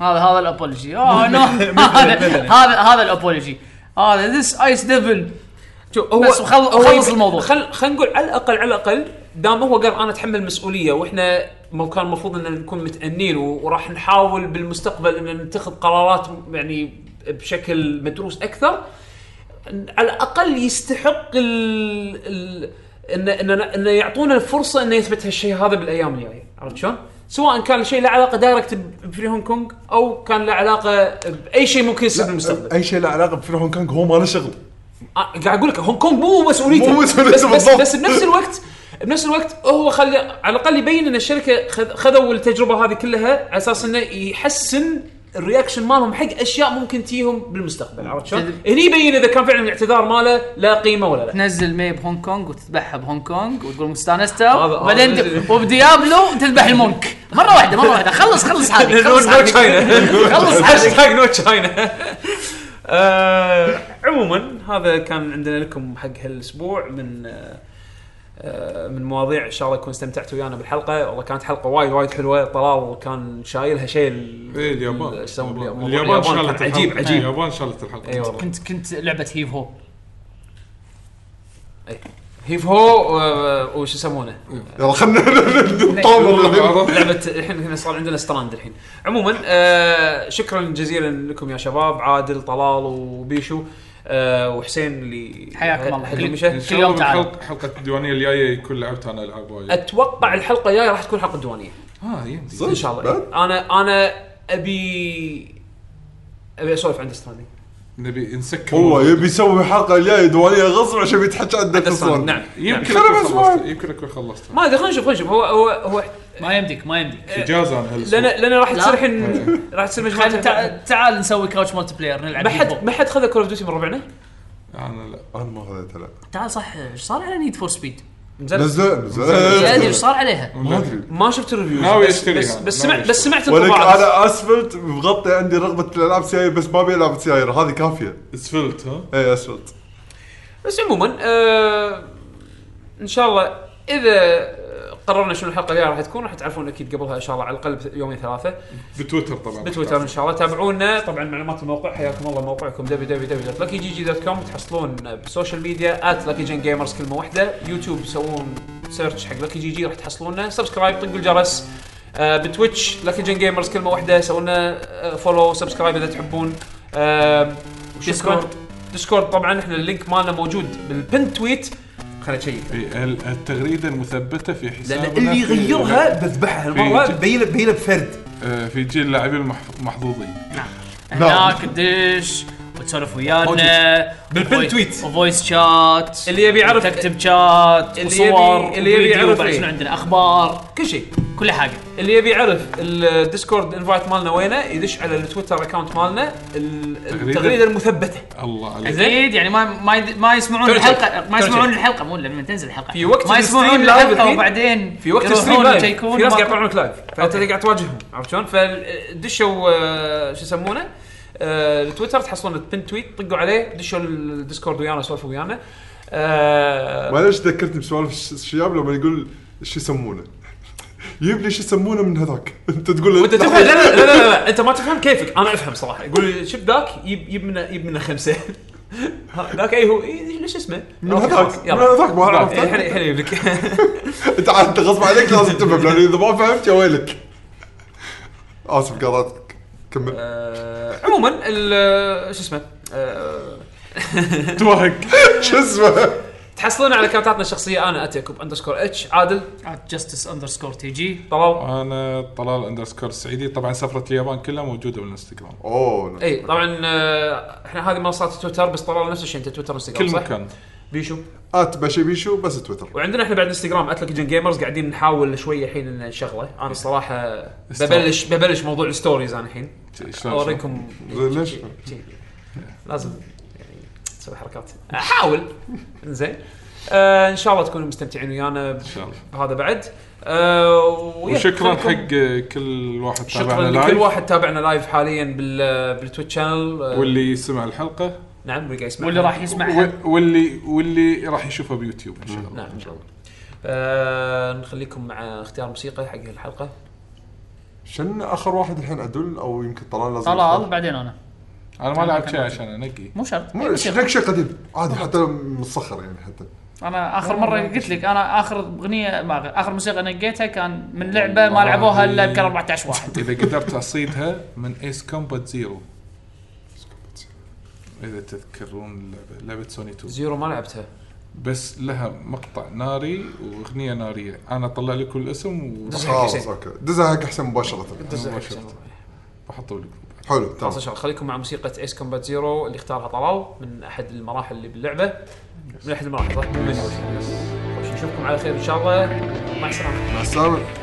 [SPEAKER 5] هذا هذا الابولوجي اه نو هذا هذا هذا الابولوجي هذا ذس ايس ديفل
[SPEAKER 1] شوف هو
[SPEAKER 5] بس وخل-
[SPEAKER 1] هو
[SPEAKER 5] وخلص
[SPEAKER 1] يب-
[SPEAKER 5] الموضوع.
[SPEAKER 1] خل خلينا نقول على الاقل على الاقل دام هو قال انا اتحمل مسؤوليه واحنا مو كان المفروض ان نكون متانين و- وراح نحاول بالمستقبل ان نتخذ قرارات يعني بشكل مدروس اكثر على الاقل يستحق ال ال ان ان ان يعطونا الفرصه انه يثبت هالشيء هذا بالايام الجايه عرفت شلون؟ سواء كان الشيء له علاقه دايركت ب- بفري هونغ كونغ او كان له علاقه باي شيء ممكن يصير بالمستقبل
[SPEAKER 4] اي شيء له علاقه بفيلم هونغ كونغ هو ما له شغل
[SPEAKER 1] آه، قاعد اقول لك هونغ كونغ مو مسؤوليته
[SPEAKER 4] مو مسؤوليته
[SPEAKER 1] بس, بس,
[SPEAKER 4] بالضبط.
[SPEAKER 1] بس بنفس الوقت بنفس الوقت هو خلي على الاقل يبين ان الشركه خذ- خذوا التجربه هذه كلها على اساس انه يحسن الرياكشن مالهم حق اشياء ممكن تجيهم بالمستقبل عرفت شلون؟ هني يبين اذا كان فعلا الاعتذار ماله لا قيمه ولا لا
[SPEAKER 5] تنزل مي بهونغ كونغ وتذبحها بهونغ كونغ وتقول مستانستا
[SPEAKER 1] هذا- هذا
[SPEAKER 5] وبعدين
[SPEAKER 1] نزل.
[SPEAKER 5] د- وبديابلو تذبح المونك مره واحده مره واحده خلص خلص هذه خلص
[SPEAKER 1] نو
[SPEAKER 5] هذه
[SPEAKER 1] تشاينا
[SPEAKER 5] خلص هذه
[SPEAKER 1] هاشتاج نو تشاينا آه، عموما هذا كان عندنا لكم حق هالاسبوع من آه، آه، من مواضيع ان شاء الله تكون استمتعتوا ويانا بالحلقه والله كانت حلقه وايد وايد حلوه طلال كان شايلها شيء ال-
[SPEAKER 3] ايه اليابان
[SPEAKER 1] ال- يسمون باليابان. موضوع
[SPEAKER 3] اليابان شالت
[SPEAKER 1] كان عجيب
[SPEAKER 3] الحلقة.
[SPEAKER 1] عجيب
[SPEAKER 3] اليابان شالت الحلقه
[SPEAKER 1] اي والله
[SPEAKER 5] كنت كنت لعبه هيف هو
[SPEAKER 3] إيه.
[SPEAKER 1] هيف هو آه، وش يسمونه
[SPEAKER 4] يلا خلنا نطور
[SPEAKER 1] لعبه الحين هنا صار عندنا ستراند الحين عموما آه شكرا جزيلا لكم يا شباب عادل طلال وبيشو آه وحسين اللي
[SPEAKER 5] حياكم الله.
[SPEAKER 1] اللي
[SPEAKER 5] كل-
[SPEAKER 1] مشى
[SPEAKER 3] ان شاء
[SPEAKER 5] يوم
[SPEAKER 3] الله
[SPEAKER 5] تعال.
[SPEAKER 3] بالحلقه حلقه الديوانيه الجايه يكون لعبت انا العاب وايد
[SPEAKER 1] اتوقع الحلقه الجايه راح تكون حلقه ديوانيه
[SPEAKER 3] اه يمدي
[SPEAKER 1] ان شاء الله انا انا ابي ابي اسولف عن ستراندنج
[SPEAKER 3] نبي نسكر
[SPEAKER 4] هو يبي يسوي حلقه الجايه ديوانيه غصب عشان بيتحكى عن ديث
[SPEAKER 1] نعم
[SPEAKER 4] ستراند
[SPEAKER 1] نعم.
[SPEAKER 3] يمكن
[SPEAKER 4] خلنا
[SPEAKER 3] اكون
[SPEAKER 4] بالأسبوع.
[SPEAKER 3] خلصت يمكن اكون خلصت
[SPEAKER 1] ما ادري خلينا نشوف خلينا نشوف هو هو هو
[SPEAKER 5] ما يمديك ما يمديك
[SPEAKER 1] أه،
[SPEAKER 3] اجازه انا هالاسبوع
[SPEAKER 1] لان لان راح
[SPEAKER 5] لا.
[SPEAKER 1] تصير الحين راح تصير
[SPEAKER 5] خل-
[SPEAKER 1] مجموعه
[SPEAKER 5] تع- تعال نسوي كراوتش مالتي بلاير نلعب
[SPEAKER 1] ما
[SPEAKER 5] Heave
[SPEAKER 1] حد
[SPEAKER 5] Ho.
[SPEAKER 1] ما حد خذ كول اوف ديوتي من ربعنا
[SPEAKER 3] انا لا
[SPEAKER 4] انا ما خذيتها لا
[SPEAKER 5] تعال صح ايش صار على نيد فور سبيد؟
[SPEAKER 1] زين
[SPEAKER 4] نزل
[SPEAKER 5] يا ادري ايش
[SPEAKER 4] نزل
[SPEAKER 5] يعني صار عليها؟
[SPEAKER 4] ما ادري
[SPEAKER 1] ما شفت الريفيوز
[SPEAKER 3] ناوي
[SPEAKER 1] بس
[SPEAKER 3] أشتريها.
[SPEAKER 1] بس, بس
[SPEAKER 3] ناوي
[SPEAKER 1] سمعت بس سمعت
[SPEAKER 4] ولك
[SPEAKER 1] انطباعات
[SPEAKER 4] انا اسفلت مغطي عندي رغبه الالعاب سيارة بس ما ابي العب سيارة هذه إيه، كافيه
[SPEAKER 3] اسفلت ها
[SPEAKER 4] اي اسفلت
[SPEAKER 1] بس عموما آه ان شاء الله اذا قررنا شنو الحلقه الجايه راح تكون راح تعرفون اكيد قبلها ان شاء الله على الاقل يومين ثلاثه
[SPEAKER 3] بتويتر طبعا
[SPEAKER 1] بتويتر ان شاء الله تابعونا طبعا معلومات الموقع حياكم الله موقعكم www.luckygg.com تحصلون بالسوشيال ميديا @luckygengamers كلمه واحده يوتيوب سوون سيرش حق لكي جي جي راح تحصلونا سبسكرايب طقوا الجرس آه بتويتش لكي جن جيمرز كلمه واحده سوونا آه، فولو سبسكرايب اذا تحبون آه وشكراً.
[SPEAKER 5] Discord.
[SPEAKER 1] ديسكورد طبعا احنا اللينك مالنا موجود بالبن تويت خلينا نشيك
[SPEAKER 3] في ال- التغريده المثبته في حسابنا
[SPEAKER 1] لان اللي
[SPEAKER 3] في-
[SPEAKER 1] يغيرها بذبحها
[SPEAKER 3] في-
[SPEAKER 1] المره بينه بينه بفرد
[SPEAKER 3] آه، في جيل اللاعبين المح- المحظوظين
[SPEAKER 1] نعم.
[SPEAKER 5] هناك تدش وتسولف ويانا
[SPEAKER 1] بالبن تويت.
[SPEAKER 5] وفويس شات
[SPEAKER 1] اللي يبي يعرف-
[SPEAKER 5] تكتب شات
[SPEAKER 1] اللي
[SPEAKER 5] وصور
[SPEAKER 1] يبي- اللي يبي
[SPEAKER 5] وفيديو،
[SPEAKER 1] يعرف
[SPEAKER 5] وبعد
[SPEAKER 1] إيه.
[SPEAKER 5] شنو عندنا اخبار
[SPEAKER 1] كل شيء
[SPEAKER 5] كل حاجه
[SPEAKER 1] اللي يبي يعرف الديسكورد انفايت مالنا وينه يدش على التويتر اكونت مالنا ال- التغريده المثبته
[SPEAKER 3] الله عليك
[SPEAKER 5] اكيد يعني ما ما يد- ما يسمعون
[SPEAKER 1] ترجع.
[SPEAKER 5] الحلقه ما
[SPEAKER 1] ترجع.
[SPEAKER 5] يسمعون الحلقه مو لما تنزل الحلقه
[SPEAKER 1] في وقت
[SPEAKER 5] ما يسمعون
[SPEAKER 1] الستريم لايف
[SPEAKER 5] الحلقه
[SPEAKER 1] الحين.
[SPEAKER 5] وبعدين
[SPEAKER 1] في وقت
[SPEAKER 5] يروحون
[SPEAKER 1] الستريم لايف
[SPEAKER 5] ويشيكون
[SPEAKER 1] في ناس قاعد
[SPEAKER 5] وما-
[SPEAKER 1] يطلعونك لايف فانت اللي قاعد تواجههم عرفت شلون؟ فدشوا آه، شو يسمونه؟ آه، التويتر تحصلون البن تويت طقوا عليه دشوا الديسكورد ويانا سولفوا ويانا آه،
[SPEAKER 4] معلش ذكرتني بسوالف الش- الشياب لما يقول ايش يسمونه يجيب لي شو يسمونه من هذاك انت تقول له
[SPEAKER 1] وانت تفهم لا لا, لا لا لا انت ما تفهم كيفك انا افهم صراحه يقول شوف ذاك يب يب منه يب منه خمسه ها، ذاك اي هو إي، ليش اسمه؟
[SPEAKER 4] من
[SPEAKER 1] أوكي، خلاص،
[SPEAKER 4] هذاك من
[SPEAKER 1] يلا
[SPEAKER 4] هذاك ما عرفته
[SPEAKER 1] الحين الحين يجيب لك
[SPEAKER 4] انت عاد- انت غصب عليك لازم تفهم لان اذا ما فهمت يا ويلك اسف قاطعتك كمل
[SPEAKER 1] آه، عموما ال- شو اسمه آه،
[SPEAKER 4] شو اسمه
[SPEAKER 1] تحصلون على كارتاتنا الشخصيه انا اتيكوب اندرسكور اتش عادل
[SPEAKER 11] جاستس اندرسكور تي جي
[SPEAKER 1] طلال
[SPEAKER 3] انا طلال اندرسكور السعيدي طبعا سفره اليابان كلها موجوده بالانستغرام
[SPEAKER 4] اوه نعم.
[SPEAKER 1] اي طبعا آه، احنا هذه منصات تويتر بس طلال نفس الشيء انت تويتر انستغرام
[SPEAKER 3] كل
[SPEAKER 1] صح؟
[SPEAKER 3] مكان
[SPEAKER 1] بيشو
[SPEAKER 4] ات بشي بيشو بس تويتر
[SPEAKER 1] وعندنا احنا بعد انستغرام اتلكجن جيمرز قاعدين نحاول شويه الحين ان نشغله انا الصراحه ببلش ببلش موضوع الستوريز انا الحين
[SPEAKER 3] شلون- شلون
[SPEAKER 1] اوريكم
[SPEAKER 4] زين ليش؟
[SPEAKER 1] شي. لازم يعني تسوي حركات احاول زين آه ان شاء الله تكونوا مستمتعين ويانا
[SPEAKER 3] إن شاء الله.
[SPEAKER 1] بهذا بعد آه ويا،
[SPEAKER 3] وشكرا
[SPEAKER 1] خلكم-
[SPEAKER 3] حق كل واحد
[SPEAKER 1] شكرا
[SPEAKER 3] تابعنا
[SPEAKER 1] لكل
[SPEAKER 3] لايف
[SPEAKER 1] واحد تابعنا لايف حاليا بال بالتويتش شانل آه،
[SPEAKER 3] واللي سمع الحلقه
[SPEAKER 1] نعم واللي قاعد يسمع
[SPEAKER 11] واللي راح يسمعها
[SPEAKER 3] و- واللي واللي راح يشوفها بيوتيوب ان شاء الله
[SPEAKER 1] نعم ان شاء الله آه نخليكم مع اختيار موسيقى حق الحلقه
[SPEAKER 4] شن اخر واحد الحين عدل او يمكن طلال لازم
[SPEAKER 11] طلال بعدين انا
[SPEAKER 3] انا ما لعبت شيء عشان انقي
[SPEAKER 11] مو شرط أي
[SPEAKER 4] مو-
[SPEAKER 11] موسيقى.
[SPEAKER 4] شكلك شيء قديم عادي حتى لو مسخر يعني حتى
[SPEAKER 11] انا اخر مره قلت لك انا اخر اغنيه ما أغ- اخر موسيقى نقيتها كان من لعبه ما لعبوها الا يمكن 14 واحد
[SPEAKER 3] اذا قدرت اصيدها من ايس كومبات زيرو اذا تذكرون اللعبه لعبه سوني 2
[SPEAKER 1] زيرو ما لعبتها
[SPEAKER 3] بس لها مقطع ناري واغنيه ناريه انا اطلع لكم الاسم
[SPEAKER 4] خلاص اوكي دزها حق حسين مباشره
[SPEAKER 3] وبحطه لكم
[SPEAKER 4] حلو
[SPEAKER 1] خلاص ان
[SPEAKER 4] تمام
[SPEAKER 1] شاء الله خليكم مع موسيقى ايس كومبات زيرو اللي اختارها طلال من احد المراحل اللي باللعبه من احد المراحل صح؟ نشوفكم على خير ان شاء الله مع السلامه
[SPEAKER 4] مع السلامه